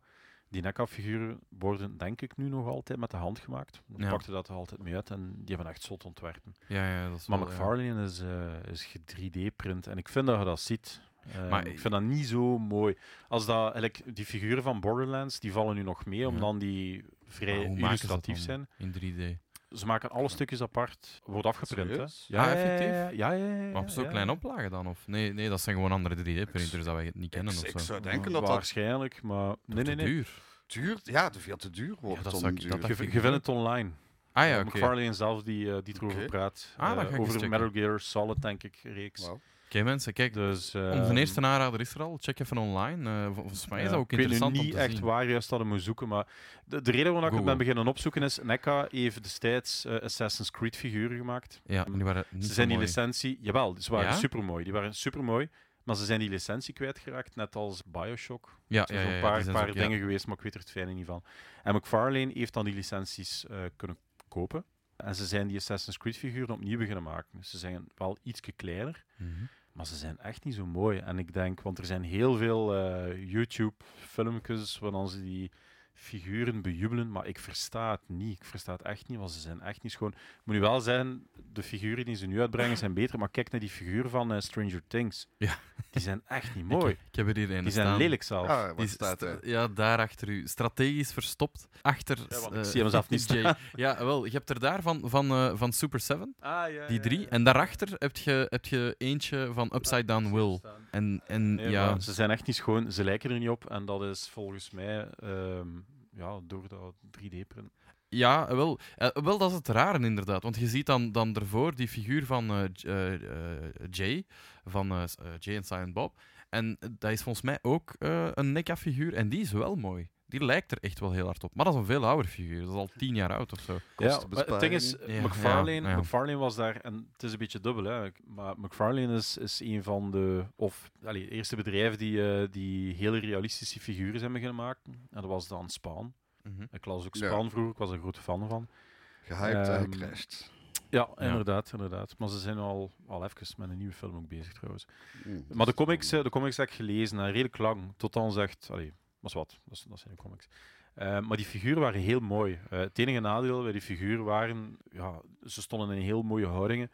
Speaker 3: Die NECA-figuren worden denk ik nu nog altijd met de hand gemaakt. Dan
Speaker 1: Ja.
Speaker 3: pakte dat er altijd mee uit en die hebben echt zot ontwerpen.
Speaker 1: Ja, ja, dat is
Speaker 3: Maar
Speaker 1: wel, ja.
Speaker 3: McFarlane is, eh is 3D-print en ik vind dat je dat ziet. Eh,
Speaker 1: Maar-
Speaker 3: ik vind dat niet zo mooi. Als dat, eigenlijk, die figuren van Borderlands die vallen nu nog mee,
Speaker 1: Ja.
Speaker 3: omdat die
Speaker 1: Maar
Speaker 3: vrij
Speaker 1: hoe maken ze dat
Speaker 3: illustratief
Speaker 1: dan In
Speaker 3: zijn.
Speaker 1: 3D.
Speaker 3: Ze maken alle stukjes apart, wordt afgeprint. Hè?
Speaker 2: Serieus?
Speaker 1: Ah, effectief?
Speaker 3: Ja, ja, ja, ja,
Speaker 1: Maar op zo'n
Speaker 3: ja.
Speaker 1: klein oplagen dan? Of? Nee, nee, dat zijn gewoon andere 3D-printers dat wij niet kennen.
Speaker 2: Ik
Speaker 1: of zo.
Speaker 2: zou denken dat dat
Speaker 3: Waarschijnlijk, maar nee,
Speaker 1: Wordt
Speaker 3: nee,
Speaker 1: te
Speaker 3: nee.
Speaker 1: duur.
Speaker 2: duur, ja, te veel te duur wordt
Speaker 1: dat
Speaker 2: om
Speaker 1: zou ik-
Speaker 2: duur.
Speaker 1: dat dacht
Speaker 3: Je,
Speaker 1: vind
Speaker 3: je
Speaker 1: ik
Speaker 3: vindt
Speaker 1: ook.
Speaker 3: het online.
Speaker 1: Ah
Speaker 3: Eh,
Speaker 1: ja, oké. Oké
Speaker 3: McFarlane zelf die, eh, die erover
Speaker 2: Oké.
Speaker 3: praat.
Speaker 1: Ah, dat
Speaker 3: eh,
Speaker 1: ga ik eens
Speaker 3: over
Speaker 1: checken.
Speaker 3: Metal Gear Solid, denk ik, reeks.
Speaker 2: Wauw.
Speaker 1: mensen, kijk,
Speaker 3: Dus, eh,
Speaker 1: onze eerste aanrader is er al. Check even online. Eh, vol- volgens mij is
Speaker 3: Ja,
Speaker 1: dat ook
Speaker 3: ik weet nu
Speaker 1: interessant om
Speaker 3: niet
Speaker 1: te
Speaker 3: echt
Speaker 1: zien.
Speaker 3: waar juist dat ik moet zoeken, maar de, de reden waarom ik het
Speaker 1: Google.
Speaker 3: ben beginnen opzoeken is, NECA heeft destijds eh, Assassin's Creed figuren gemaakt.
Speaker 1: Ja, maar die waren niet
Speaker 3: Ze
Speaker 1: zo
Speaker 3: zijn die
Speaker 1: mooi.
Speaker 3: licentie, jawel, ze waren
Speaker 1: Ja?
Speaker 3: supermooi. Die waren supermooi, Maar ze zijn die licentie kwijtgeraakt, net als Bioshock.
Speaker 1: Ja,
Speaker 3: Er
Speaker 1: Ah, ja,
Speaker 3: zijn
Speaker 1: ja,
Speaker 3: een
Speaker 1: ja,
Speaker 3: paar,
Speaker 1: die zijn
Speaker 3: paar
Speaker 1: ze ook, ja.
Speaker 3: dingen geweest, maar ik weet er het fijne niet van. En McFarlane heeft dan die licenties eh, kunnen kopen. En ze zijn die Assassin's Creed figuren opnieuw beginnen maken. Dus ze zijn wel iets kleiner.
Speaker 1: Mhm.
Speaker 3: Maar ze zijn echt niet zo mooi. En ik denk, want er zijn heel veel eh, YouTube-filmpjes waarvan ze die figuren bejubelen, maar ik versta het niet. Ik versta het echt niet, want ze zijn echt niet schoon. Ik moet nu wel zeggen, de figuren die ze nu uitbrengen zijn beter, maar kijk naar die figuur van eh, Stranger Things.
Speaker 1: Ja.
Speaker 3: Die zijn echt niet
Speaker 1: Ik-
Speaker 3: mooi.
Speaker 1: Ik, heb er hier een
Speaker 3: Die zijn
Speaker 1: staan.
Speaker 3: lelijk zelf.
Speaker 2: Ah, wat
Speaker 1: Die
Speaker 2: staat
Speaker 1: sta-
Speaker 2: er?
Speaker 1: ja, daar achter u. Strategisch verstopt. Achter.
Speaker 3: Ja, want ik
Speaker 1: eh,
Speaker 3: zie hem zelf niet
Speaker 1: Jay. Ja, wel. Je hebt er daar van, van, eh, van Super 7, die drie. En daarachter heb je, heb je eentje van Upside Down Will. En, en
Speaker 3: Nee,
Speaker 1: ja,
Speaker 3: maar ze zijn echt niet schoon, ze lijken er niet op. En dat is volgens mij ehm, ja, door dat 3D-print.
Speaker 1: ja wel, eh, wel, dat is het rare inderdaad. Want je ziet dan, dan ervoor die figuur van eh, J- eh, eh, Jay, van eh, s- eh, Jay en Silent Bob. En eh, dat is volgens mij ook eh, een NECA-figuur. En die is wel mooi. Die lijkt er echt wel heel hard op. Maar dat is een veel ouder figuur. Dat is al tien jaar oud of zo.
Speaker 3: Ja, maar het ding is,
Speaker 1: Ja,
Speaker 3: McFarlane,
Speaker 1: ja, ja.
Speaker 3: McFarlane was daar, en het is een beetje dubbel, hè, maar McFarlane is, is een van de, of allee, eerste bedrijven die, eh, die hele realistische figuren zijn beginnen maken. En dat was dan Spaan.
Speaker 1: Mhm.
Speaker 3: Ik las ook
Speaker 2: Ja.
Speaker 3: Spaan vroeger, ik was er grote fan van.
Speaker 2: Gehyped en
Speaker 3: Ehm,
Speaker 2: gecrashed.
Speaker 3: Ja,
Speaker 1: Ja.
Speaker 3: inderdaad, inderdaad. Maar ze zijn al, al even met een nieuwe film ook bezig trouwens.
Speaker 2: Mm.
Speaker 3: Maar de comics, eh, de comics heb ik gelezen, en redelijk lang, tot dan zegt, allee, was wat, dat, is- dat zijn de comics. Eh, maar die figuren waren heel mooi. Eh, het enige nadeel bij die figuren waren, ja, ze stonden in heel mooie houdingen.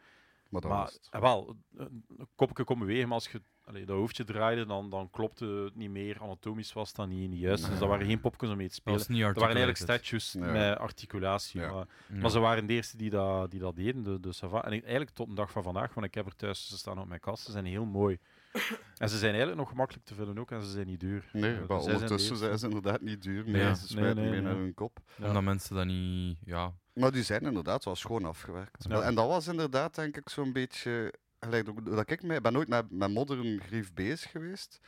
Speaker 2: Maar dat
Speaker 3: Maar
Speaker 2: was het.
Speaker 3: eh, wel, een een kopje kon bewegen, maar als je allee, dat hoofdje draaide, dan, dan klopte het niet meer. Anatomisch was dat niet, niet juist. Dus dat waren geen popjes om mee te
Speaker 1: Dat
Speaker 3: spelen.
Speaker 1: was niet
Speaker 3: Dat waren eigenlijk
Speaker 1: articulated.
Speaker 3: statues
Speaker 2: Ja.
Speaker 3: met articulatie.
Speaker 2: Ja.
Speaker 3: Maar,
Speaker 1: Ja.
Speaker 3: maar ze waren de eerste die dat, die dat deden, de, de savant. En ik- eigenlijk tot de dag van vandaag, want ik heb er thuis, ze staan op mijn kast, ze zijn heel mooi. En ze zijn eigenlijk nog gemakkelijk te vullen ook, en ze zijn niet duur.
Speaker 2: Nee,
Speaker 3: Eh,
Speaker 2: maar
Speaker 3: dus zij zijn de
Speaker 2: ondertussen
Speaker 3: eerste.
Speaker 2: zijn ze inderdaad niet duur meer.
Speaker 1: Ja.
Speaker 2: Ze smijten
Speaker 3: Nee, nee,
Speaker 2: meer
Speaker 3: nee.
Speaker 2: naar hun kop.
Speaker 3: Ja.
Speaker 1: Omdat mensen dat niet. Ja.
Speaker 2: Maar die zijn inderdaad wel schoon afgewerkt.
Speaker 3: Ja.
Speaker 2: En dat was inderdaad, denk ik, zo'n beetje. Gelijk, ook dat ik, mij, ik ben nooit met, met modern grief bezig geweest.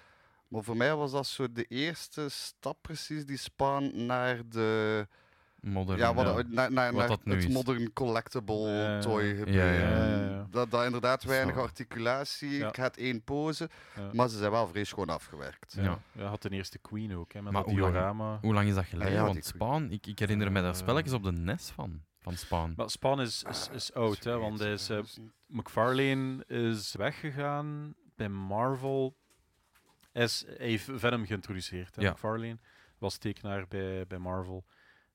Speaker 2: Maar voor mij was dat zo de eerste stap, precies, die span naar, de,
Speaker 1: Modern.
Speaker 2: ja, wat,
Speaker 3: ja.
Speaker 2: naar, naar, naar
Speaker 1: Wat dat nu
Speaker 2: het
Speaker 1: is.
Speaker 2: modern collectible
Speaker 3: Ja,
Speaker 2: toy
Speaker 3: ja,
Speaker 2: gebeuren.
Speaker 3: ja, ja.
Speaker 2: Dat, dat inderdaad weinig
Speaker 1: Snap.
Speaker 2: articulatie,
Speaker 3: Ja.
Speaker 2: ik had één pose,
Speaker 3: Ja.
Speaker 2: maar ze zijn wel vrees schoon afgewerkt.
Speaker 3: Ja.
Speaker 1: Ja.
Speaker 3: Ja, had de eerste Queen ook, hè, met
Speaker 1: Maar
Speaker 3: dat
Speaker 1: hoe lang-
Speaker 3: diorama.
Speaker 1: Hoe lang is dat geleden?
Speaker 2: Ah, ja,
Speaker 1: Want
Speaker 2: die-
Speaker 1: Spaan, ik, ik herinner me dat
Speaker 3: Eh.
Speaker 1: spelletjes op de NES van, van Spaan.
Speaker 3: Maar Spaan is, is, is oud, hè, want hij is eh, McFarlane is weggegaan bij Marvel. Hij, is, hij heeft Venom geïntroduceerd. Hè?
Speaker 1: Ja.
Speaker 3: McFarlane was tekenaar bij, bij Marvel.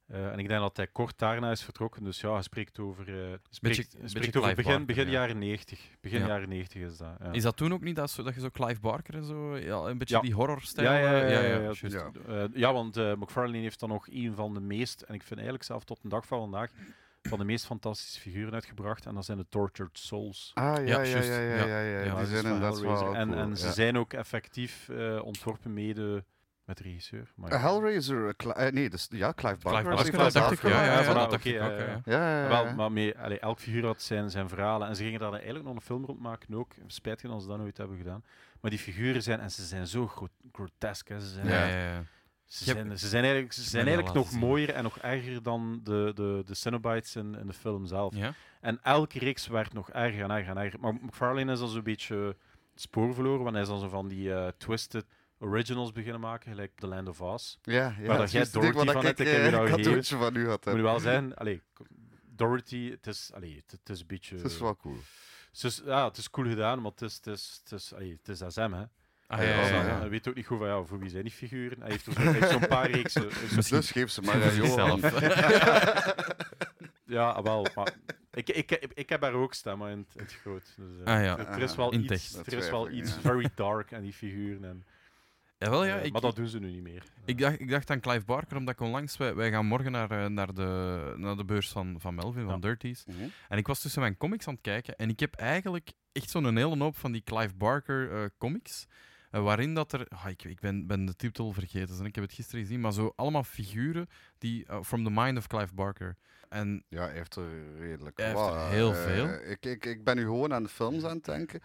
Speaker 3: Eh, en ik denk dat hij kort daarna is vertrokken. Dus ja, hij spreekt over, eh, hij spreekt,
Speaker 1: Beetje-
Speaker 3: hij spreekt
Speaker 1: beetje
Speaker 3: over
Speaker 1: Clive
Speaker 3: begin,
Speaker 1: Barker,
Speaker 3: begin
Speaker 1: ja.
Speaker 3: jaren 90. Begin
Speaker 1: Ja.
Speaker 3: jaren 90 is dat. Ja.
Speaker 1: Is dat toen ook niet dat, zo, dat je zo Clive Barker en zo, ja, een beetje
Speaker 3: Ja.
Speaker 1: die horrorstijl?
Speaker 3: ja, ja, ja,
Speaker 1: eh,
Speaker 3: ja, ja,
Speaker 1: juist.
Speaker 3: juist. Eh, ja, want eh, McFarlane heeft dan nog een van de meest, en ik vind eigenlijk zelf tot de dag van vandaag, van de meest fantastische figuren uitgebracht. En dat zijn de Tortured Souls.
Speaker 2: Ah, ja, ja, ja,
Speaker 1: juist,
Speaker 2: ja,
Speaker 1: ja.
Speaker 2: ja, ja, ja,
Speaker 1: Ja,
Speaker 2: die
Speaker 3: dat is
Speaker 2: zijn
Speaker 3: van
Speaker 2: inderdaad
Speaker 3: Hellraiser.
Speaker 2: wel
Speaker 3: En,
Speaker 2: cool,
Speaker 3: en ze
Speaker 2: ja.
Speaker 3: zijn ook effectief eh, ontworpen mede met de regisseur. Maar ja.
Speaker 2: Eh, Hellraiser, eh, Cli- eh, nee, dus, ja, Clive
Speaker 1: Clive
Speaker 2: Barker.
Speaker 1: Barker,
Speaker 2: heeft
Speaker 1: dat
Speaker 2: dat
Speaker 1: dacht ik ja, ja, ja,
Speaker 2: afgemaakt.
Speaker 3: voilà,
Speaker 1: dat dacht
Speaker 3: oké,
Speaker 1: ik ook.
Speaker 3: ja,
Speaker 1: ja,
Speaker 3: ja.
Speaker 1: ja.
Speaker 2: Ja, ja,
Speaker 3: Wel,
Speaker 2: ja.
Speaker 3: maar mee, allee, elk figuur had zijn, zijn verhalen. En ze gingen daar eigenlijk nog een filmrond maken ook. Spijtig dat ze dat nooit hebben gedaan. Maar die figuren zijn, en ze zijn zo gro- grotesk. Hè. Ze, zijn,
Speaker 1: Ja, ja, ja.
Speaker 3: ze,
Speaker 1: Je hebt-
Speaker 3: zijn, ze zijn eigenlijk, ze
Speaker 1: hebt
Speaker 3: zijn
Speaker 1: mij dat
Speaker 3: eigenlijk nog
Speaker 1: laten zien.
Speaker 3: mooier en nog erger dan de, de, de Cenobites in, in de film zelf.
Speaker 1: Ja.
Speaker 3: En elke reeks werd nog erger en erger en erger. Maar McFarlane is dan zo'n beetje het spoor verloren, want hij is dan zo van die eh, twisted originals beginnen maken, gelijk The Land of Oz.
Speaker 2: Ja, ja.
Speaker 3: dat
Speaker 2: dat
Speaker 3: jij
Speaker 2: is het ding
Speaker 3: Dorothy
Speaker 2: wat
Speaker 3: van
Speaker 2: ik
Speaker 3: het, ik heb je
Speaker 2: eh,
Speaker 3: nou gegeven.
Speaker 2: cadeautje van u had.
Speaker 3: Moet
Speaker 2: hè.
Speaker 3: je wel zeggen, allee, k- Dorothy, het is, allee, het, het is een beetje...
Speaker 2: Het is wel cool.
Speaker 3: het is- ja, het is cool gedaan, maar het is, het is, het is, allee, het is SM, hè.
Speaker 1: Ah, ja, ja,
Speaker 3: Dus
Speaker 1: ja,
Speaker 3: dan,
Speaker 1: ja.
Speaker 3: Hij weet ook niet goed van, ja, voor wie zijn die figuren. Hij heeft er zo- hij heeft zo'n paar reeksen. eh, hij heeft zo'n-
Speaker 2: Dus geef ze maar aan
Speaker 1: Voor
Speaker 2: Johan.
Speaker 3: Ja, wel, maar... Ik, ik, ik, ik heb haar ook stemmen in het, in het groot. Dus, eh,
Speaker 1: Ah, ja.
Speaker 3: er- Er is wel
Speaker 1: In
Speaker 3: iets,
Speaker 1: tekst.
Speaker 3: er
Speaker 2: Dat
Speaker 3: is wel
Speaker 2: twijfel ik,
Speaker 3: iets
Speaker 2: ja.
Speaker 3: very dark aan die figuren. En,
Speaker 1: Jawel, ja,
Speaker 3: eh,
Speaker 1: ik,
Speaker 3: maar dat doen ze nu niet meer.
Speaker 1: ik, dacht, ik dacht aan Clive Barker, omdat ik onlangs... Wij, wij gaan morgen naar, eh, naar, de, naar de beurs van, van Melvin, van
Speaker 3: Ja.
Speaker 1: Dirties.
Speaker 2: Mhm.
Speaker 1: En ik was tussen mijn comics aan het kijken en ik heb eigenlijk echt zo'n hele hoop van die Clive Barker eh, comics. eh, waarin dat er, ah, ik, ik ben, ben de titel vergeten, en ik heb het gisteren gezien, maar zo allemaal figuren die eh, from the mind of Clive Barker. En
Speaker 2: Ja, hij heeft er redelijk
Speaker 1: Hij heeft
Speaker 2: wat,
Speaker 1: er
Speaker 2: eh,
Speaker 1: heel veel.
Speaker 2: Ik, ik, ik ben nu gewoon aan de films aan het denken.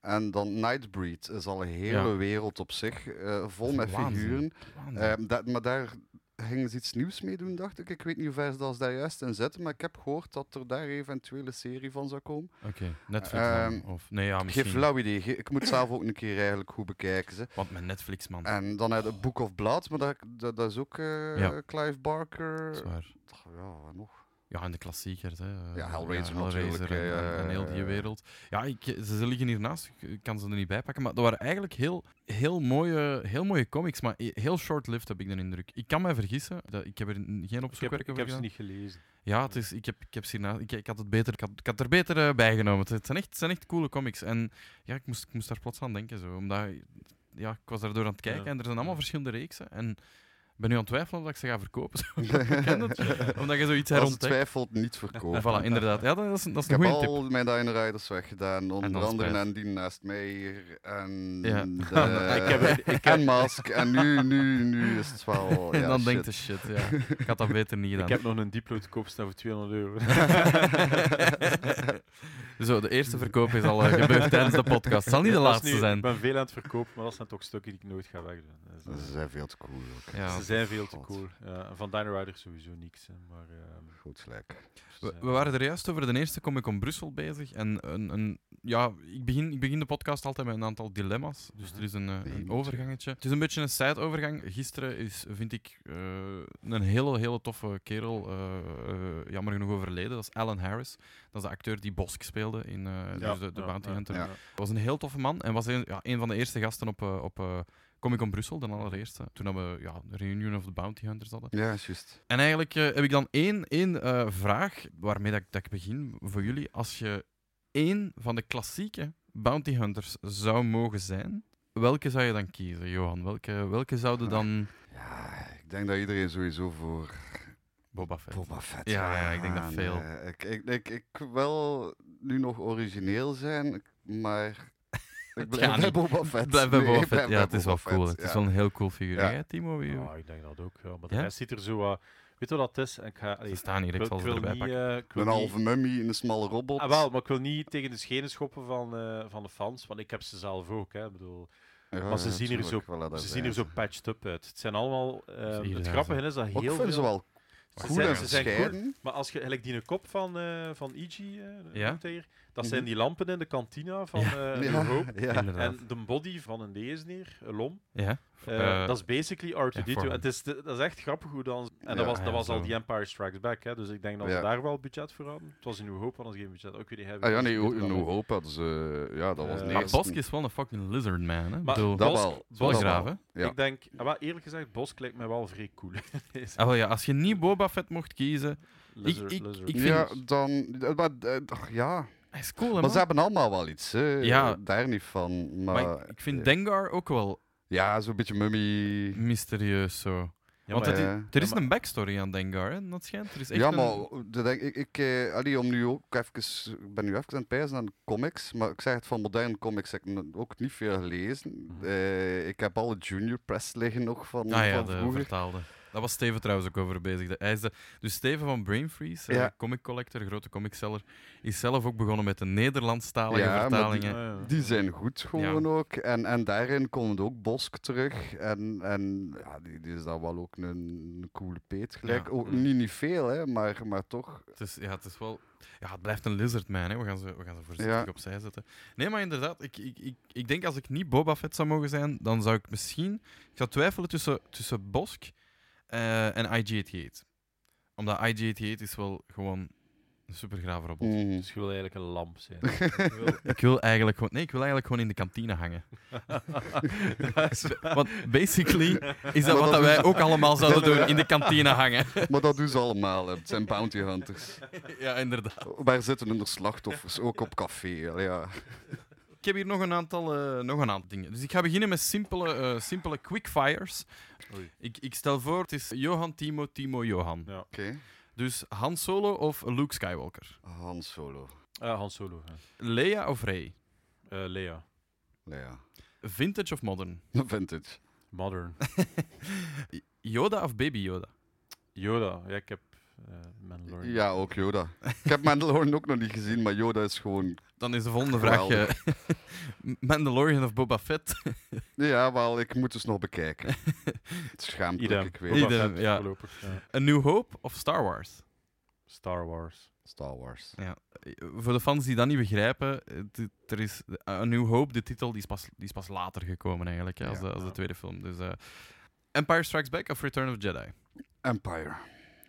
Speaker 2: En dan Nightbreed is al een hele
Speaker 1: Ja.
Speaker 2: wereld op zich, eh, vol
Speaker 1: is
Speaker 2: met
Speaker 1: waanzin.
Speaker 2: figuren.
Speaker 1: waanzin.
Speaker 2: Ehm, dat, maar daar gingen ze iets nieuws mee doen, dacht ik. Ik weet niet hoe ver ze dat daar juist in zitten, maar ik heb gehoord dat er daar eventueel een serie van zou komen.
Speaker 1: Oké, Netflix dan,
Speaker 2: Ehm,
Speaker 1: of... Nee, ja,
Speaker 2: Geen
Speaker 1: misschien.
Speaker 2: flauw idee. Ge- Ik moet zelf ook een keer eigenlijk goed bekijken. Ze.
Speaker 1: Want met Netflix, man.
Speaker 2: En dan uit het Book of Blood, maar dat, dat, dat is ook eh,
Speaker 1: Ja.
Speaker 2: Clive Barker.
Speaker 1: Zwaar.
Speaker 2: Ach, ja, wat nog?
Speaker 1: Ja, en de klassiekers. Hè. Eh,
Speaker 2: Ja, Hellraiser natuurlijk,
Speaker 1: En,
Speaker 2: eh,
Speaker 1: en- en heel die wereld. Ja, ik, ze, ze liggen hiernaast. Ik- Ik kan ze er niet bij pakken. Maar dat waren eigenlijk heel, heel, mooie, heel mooie comics. Maar e- heel short-lived, heb ik de indruk. Ik kan mij vergissen. Dat, ik heb er n- geen
Speaker 3: Ik heb,
Speaker 1: opzoekwerk
Speaker 3: ik
Speaker 1: over
Speaker 3: heb ze
Speaker 1: gedaan.
Speaker 3: niet gelezen.
Speaker 1: Ja, het is, ik, heb, ik, heb ze hierna, ik, ik, had het beter, ik, had, ik had er beter eh, bij genomen. Het- Het zijn echt, het zijn echt coole comics. En ja, ik moest, ik moest daar plots aan denken. Zo, omdat, ja, ik was daardoor aan het kijken.
Speaker 3: Ja.
Speaker 1: En er zijn allemaal verschillende reeksen. En ik ben nu aan het twijfelen of ik ze ga verkopen. Zo, ik ken het. Omdat je zoiets
Speaker 2: Als het
Speaker 1: herontdekt.
Speaker 2: twijfelt, niet verkopen.
Speaker 1: Voilà, inderdaad. Ja, dat is, een- dat is
Speaker 2: Oh, Ik
Speaker 1: een
Speaker 2: heb
Speaker 1: goede tip.
Speaker 2: al mijn Dine Riders weggedaan, onder
Speaker 1: dan
Speaker 2: andere
Speaker 1: spijt.
Speaker 2: en die naast mij hier, en,
Speaker 1: Ja.
Speaker 2: de-
Speaker 3: Ik heb- ik heb-
Speaker 2: en Mask. En nu, nu, nu is het wel.
Speaker 1: en
Speaker 2: ja,
Speaker 1: dan
Speaker 2: shit.
Speaker 1: denkt de shit, ja. Ik had dat beter niet gedaan.
Speaker 3: Ik heb nog een Diplo te koop staan voor 200 euro.
Speaker 1: Zo, de eerste verkoop is al eh, gebeurd tijdens de podcast. Het zal niet de
Speaker 3: Ja, dat is
Speaker 1: laatste
Speaker 3: nu-
Speaker 1: zijn.
Speaker 3: Ik ben veel aan het verkopen, maar dat zijn toch stukken die ik nooit ga wegdoen. Dus, eh,
Speaker 2: Ze zijn veel te cool. Ook.
Speaker 1: Ja.
Speaker 3: ze zijn veel te
Speaker 2: God.
Speaker 3: cool. Ja, en van Dino Rider sowieso niks. hè, Maar, ehm,
Speaker 2: Goed gelijk.
Speaker 3: ze
Speaker 1: We,
Speaker 3: zijn-
Speaker 1: we waren er juist over de eerste Comic Con Brussel bezig. En een, een, ja, ik, begin, ik begin de podcast altijd met een aantal dilemma's. Dus
Speaker 3: Mhm.
Speaker 1: er is een, eh,
Speaker 2: Die
Speaker 1: een
Speaker 2: moet-
Speaker 1: overgangetje. Het is een beetje een side-overgang. Gisteren is, vind ik, eh, een hele, hele toffe kerel, eh, eh, jammer genoeg overleden. Dat is Alan Harris. Dat is de acteur die Bosk speelde in eh,
Speaker 3: Ja,
Speaker 1: dus de, de
Speaker 3: ja,
Speaker 1: Bounty
Speaker 3: ja,
Speaker 1: Hunter.
Speaker 3: ja.
Speaker 1: was een heel toffe man en was een, ja, een van de eerste gasten op, eh, op eh, Comic Con Brussel, de allereerste. Toen dat we ja, de reunion of the Bounty Hunters hadden.
Speaker 2: Ja, is juist.
Speaker 1: En eigenlijk eh, heb ik dan één, één eh, vraag waarmee dat, ik- dat ik begin voor jullie. Als je één van de klassieke Bounty Hunters zou mogen zijn, welke zou je dan kiezen, Johan? Welke, welke zouden dan
Speaker 2: Ja, ik denk dat iedereen sowieso voor
Speaker 1: Boba Fett?
Speaker 2: Boba Fett
Speaker 1: Ja,
Speaker 2: gaat
Speaker 1: ja, ik denk dat
Speaker 2: gaan.
Speaker 1: veel.
Speaker 2: Eh, ik, ik, ik, ik wil nu nog origineel zijn, maar ik
Speaker 1: gaat
Speaker 2: blijf bij
Speaker 1: niet.
Speaker 2: Boba Fett.
Speaker 1: Blijf bij
Speaker 2: Nee,
Speaker 1: Boba
Speaker 2: ik
Speaker 1: Fett. Ja,
Speaker 2: blijf bij
Speaker 1: het is wel
Speaker 2: Boba
Speaker 1: cool.
Speaker 2: Fett,
Speaker 1: Het is
Speaker 2: ja.
Speaker 1: wel een heel cool figuur.
Speaker 2: Ja. Oh,
Speaker 1: Jij, Timo? Wie-
Speaker 3: Ja, Ah, ik denk dat ook. Ja. Maar de
Speaker 1: Ja?
Speaker 3: rest ziet er zo wat... Weet je wat dat is? Ik ga... allee,
Speaker 1: Ze staan hier, ik zal ze
Speaker 3: wil
Speaker 1: erbij
Speaker 3: niet...
Speaker 1: pakken.
Speaker 3: eh, ik wil
Speaker 2: Een
Speaker 3: niet-
Speaker 2: halve mummy in een smalle robot.
Speaker 3: Ah, wel, maar ik wil niet tegen de schenen schoppen van, eh, van de fans, want ik heb ze zelf ook. Hè. Ik bedoel,
Speaker 2: Ja,
Speaker 3: maar ze
Speaker 2: ja,
Speaker 3: zien er
Speaker 2: tuurlijk,
Speaker 3: zo-
Speaker 2: voilà, daar
Speaker 3: ze zien
Speaker 2: zijn
Speaker 3: er dus zo
Speaker 2: ze.
Speaker 3: patched up uit. Het zijn allemaal... eh,
Speaker 1: Dus hier
Speaker 3: het
Speaker 1: zijn
Speaker 3: grappige is dat heel
Speaker 2: Maar Ik
Speaker 3: veel...
Speaker 2: vind ze wel
Speaker 3: ze
Speaker 2: cool
Speaker 3: zijn-
Speaker 2: en
Speaker 3: ze zijn cool.
Speaker 2: verscheiden.
Speaker 3: Maar als je eigenlijk die kop van, eh van IG, eh,
Speaker 1: Ja?
Speaker 3: noemt hij hier, dat
Speaker 2: Mhm.
Speaker 3: zijn die lampen in de kantina van eh New Hope.
Speaker 2: ja.
Speaker 1: Inderdaad.
Speaker 3: En de body van een Deesneer, een Lom,
Speaker 1: Ja?
Speaker 3: eh,
Speaker 1: Eh,
Speaker 3: dat is basically R2-D2.
Speaker 1: ja, voor-
Speaker 3: En het is, de- dat is echt grappig hoe dan... En
Speaker 2: Ja,
Speaker 3: dat was, dat
Speaker 1: ja,
Speaker 3: was al
Speaker 1: zo.
Speaker 3: die Empire Strikes Back, hè, dus ik denk dat ze
Speaker 2: Ja.
Speaker 3: daar wel budget voor hadden. Het was in New Hope, anders geen budget. Oh, Ook weer die hebben.
Speaker 2: Ah ja, nee, hoe- in New Hope hadden ze... Ja, dat was
Speaker 3: Eh,
Speaker 2: de
Speaker 3: maar
Speaker 1: maar
Speaker 2: eerste.
Speaker 1: Bosk is wel een fucking lizard man. Hè? Ik
Speaker 3: Maar
Speaker 1: bedoel,
Speaker 2: Dat
Speaker 3: Bosk-
Speaker 2: wel.
Speaker 1: wel
Speaker 2: dat
Speaker 1: graaf,
Speaker 2: wel.
Speaker 1: hè?
Speaker 2: Ja.
Speaker 3: Ik denk, ah, wel, eerlijk gezegd, Bosk lijkt mij wel vrij cool. Deze
Speaker 1: Ah, wel, ja, als je niet Boba Fett mocht kiezen,
Speaker 3: lizard,
Speaker 1: ik-
Speaker 3: lizard.
Speaker 1: ik vind-
Speaker 2: Ja, dan... eh, Maar, eh, ach, ja.
Speaker 1: hij is cool, hè,
Speaker 2: maar
Speaker 1: man?
Speaker 2: ze hebben allemaal wel iets, hè.
Speaker 1: Ja.
Speaker 2: Daar niet van, maar... eh,
Speaker 1: Maar ik, ik vind Dengar ook wel
Speaker 2: Ja, zo'n beetje mummy...
Speaker 1: mysterieus zo.
Speaker 3: Ja,
Speaker 1: Want
Speaker 3: maar,
Speaker 1: het is-
Speaker 2: eh,
Speaker 1: Er is
Speaker 3: Ja, maar-
Speaker 1: een backstory aan Dengar, hè? dat schijnt. Er is echt
Speaker 2: ja,
Speaker 1: een- Ah,
Speaker 2: maar dat denk ik, ik eh, allee, om nu ook even, ik ben nu even aan het pijzen aan comics, maar ik zeg het van moderne comics heb ik n- ook niet veel gelezen. Eh, ik heb alle junior press liggen nog van,
Speaker 1: Mhm. Ah ja,
Speaker 2: van
Speaker 1: de
Speaker 2: vroeger.
Speaker 1: vertaalde. Daar was Steven trouwens ook over bezig. De, hij is de- dus Steven van Brain Freeze, eh,
Speaker 2: Ja.
Speaker 1: comic collector, grote comicseller, is zelf ook begonnen met de Nederlandstalige
Speaker 2: Ja, maar die-
Speaker 1: vertalingen.
Speaker 3: Ah, ja.
Speaker 2: Die zijn goed gewoon ook. En, en daarin komt ook Bosk terug. En, en ja, die, die is dan wel ook een, een coole peet gelijk.
Speaker 1: Ja.
Speaker 2: Ook
Speaker 3: Mm.
Speaker 2: niet, niet veel, hè, maar, maar toch.
Speaker 1: Het is, ja, het is wel... Ja, het blijft een lizard man, hè. We, gaan ze, we gaan ze voorzichtig
Speaker 2: Ja.
Speaker 1: opzij zetten. Nee, maar inderdaad, ik, ik, ik, ik denk als ik niet Boba Fett zou mogen zijn, dan zou ik misschien... Ik zou twijfelen tussen, tussen Bosk eh, en IG-88. Omdat IG-88 is wel gewoon een supergrave robot.
Speaker 2: Mm.
Speaker 3: Dus je wil eigenlijk een lamp zijn. Ik wil-
Speaker 1: Ik wil eigenlijk gewoon, nee, ik wil eigenlijk gewoon in de kantine hangen. Want basically is dat
Speaker 2: Maar
Speaker 1: wat
Speaker 2: dat
Speaker 1: dat wij
Speaker 2: is-
Speaker 1: ook allemaal zouden
Speaker 2: dat is-
Speaker 1: doen: in de kantine hangen.
Speaker 2: Maar dat doen ze allemaal. hè. Het zijn bounty hunters.
Speaker 1: ja, inderdaad.
Speaker 2: Waar zitten hun slachtoffers? Ook op café. allee, Ja.
Speaker 1: Ik heb hier nog een aantal, eh, nog een aantal dingen. Dus ik ga beginnen met simpele, eh, simpele quickfires.
Speaker 3: Oei.
Speaker 1: Ik, ik stel voor: het is Johan, Timo, Timo, Johan.
Speaker 3: ja.
Speaker 2: Oké.
Speaker 1: Dus Han Solo of Luke Skywalker?
Speaker 2: Han Solo.
Speaker 3: Ah, Han Solo. ja.
Speaker 1: Leia of Rey?
Speaker 3: Eh, Lea.
Speaker 2: Nou ja,
Speaker 1: Vintage of modern?
Speaker 2: vintage.
Speaker 3: Modern.
Speaker 1: Yoda of Baby Yoda?
Speaker 3: Yoda. Ja, ik heb eh Mandalorian.
Speaker 2: Ja, ook Yoda. Ik heb Mandalorian ook nog niet gezien, maar Yoda is gewoon
Speaker 1: dan is de volgende vraag eh, Mandalorian of Boba Fett.
Speaker 2: Ja, wel, ik moet dus nog bekijken. Het is Schaamtelijk,
Speaker 3: Idem.
Speaker 2: ik weet
Speaker 3: Boba
Speaker 2: het.
Speaker 1: Idem,
Speaker 3: Fett
Speaker 1: ja.
Speaker 3: voorlopig, ja.
Speaker 1: A New Hope of Star Wars?
Speaker 3: Star Wars.
Speaker 2: Star Wars.
Speaker 1: Eh, Voor de fans die dat niet begrijpen, het- het- er is eh, A New Hope, de titel, die is pas, die is pas later gekomen eigenlijk, hè, als,
Speaker 2: Ja.
Speaker 1: de, als de tweede film. Dus, eh, Empire Strikes Back of Return of Jedi?
Speaker 2: Empire.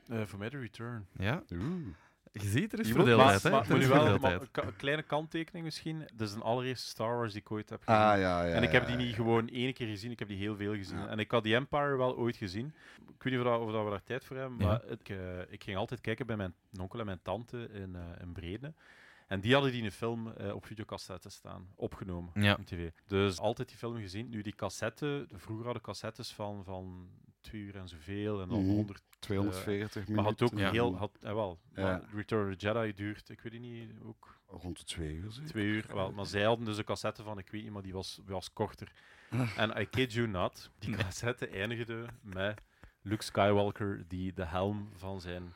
Speaker 3: Eh, voor mij de Return.
Speaker 1: Ja,
Speaker 2: Oeh.
Speaker 1: je ziet, er is
Speaker 2: Je wilt-
Speaker 1: verdeeldheid. hè?
Speaker 3: maar,
Speaker 1: Er
Speaker 3: maar
Speaker 1: is
Speaker 3: nu wel
Speaker 1: verdeeldheid.
Speaker 3: maar ka- een kleine kanttekening misschien. Dat is de allereerste Star Wars die ik ooit heb gezien.
Speaker 2: Ah, ja, ja.
Speaker 3: en ik heb
Speaker 2: ja,
Speaker 3: die niet
Speaker 2: ja.
Speaker 3: gewoon één keer gezien, ik heb die heel veel gezien.
Speaker 2: Ja.
Speaker 3: En ik had die Empire wel ooit gezien. Ik weet niet of, dat- of dat we daar tijd voor hebben,
Speaker 1: Ja.
Speaker 3: maar ik, eh, ik ging altijd kijken bij mijn onkel en mijn tante in, eh, in Brede. En die hadden die een film eh, op videocassette staan, opgenomen
Speaker 1: Ja.
Speaker 3: op tv. Dus altijd die film gezien. Nu die cassette, vroeger hadden cassettes van, van twee uur en zoveel en dan
Speaker 2: Mhm.
Speaker 3: 100
Speaker 2: 240 minuten.
Speaker 3: eh, Maar had ook
Speaker 1: Ja.
Speaker 3: heel, had, eh, wel,
Speaker 2: Ja.
Speaker 3: maar Return of the Jedi duurt, ik weet het niet, ook
Speaker 2: Rond de twee uur, zeker?
Speaker 3: twee uur. Wel, maar zij hadden dus een cassette van, ik weet niet, maar die was, was korter.
Speaker 1: Ah.
Speaker 3: En I kid you not, die
Speaker 1: Nee.
Speaker 3: cassette eindigde met Luke Skywalker die de helm van zijn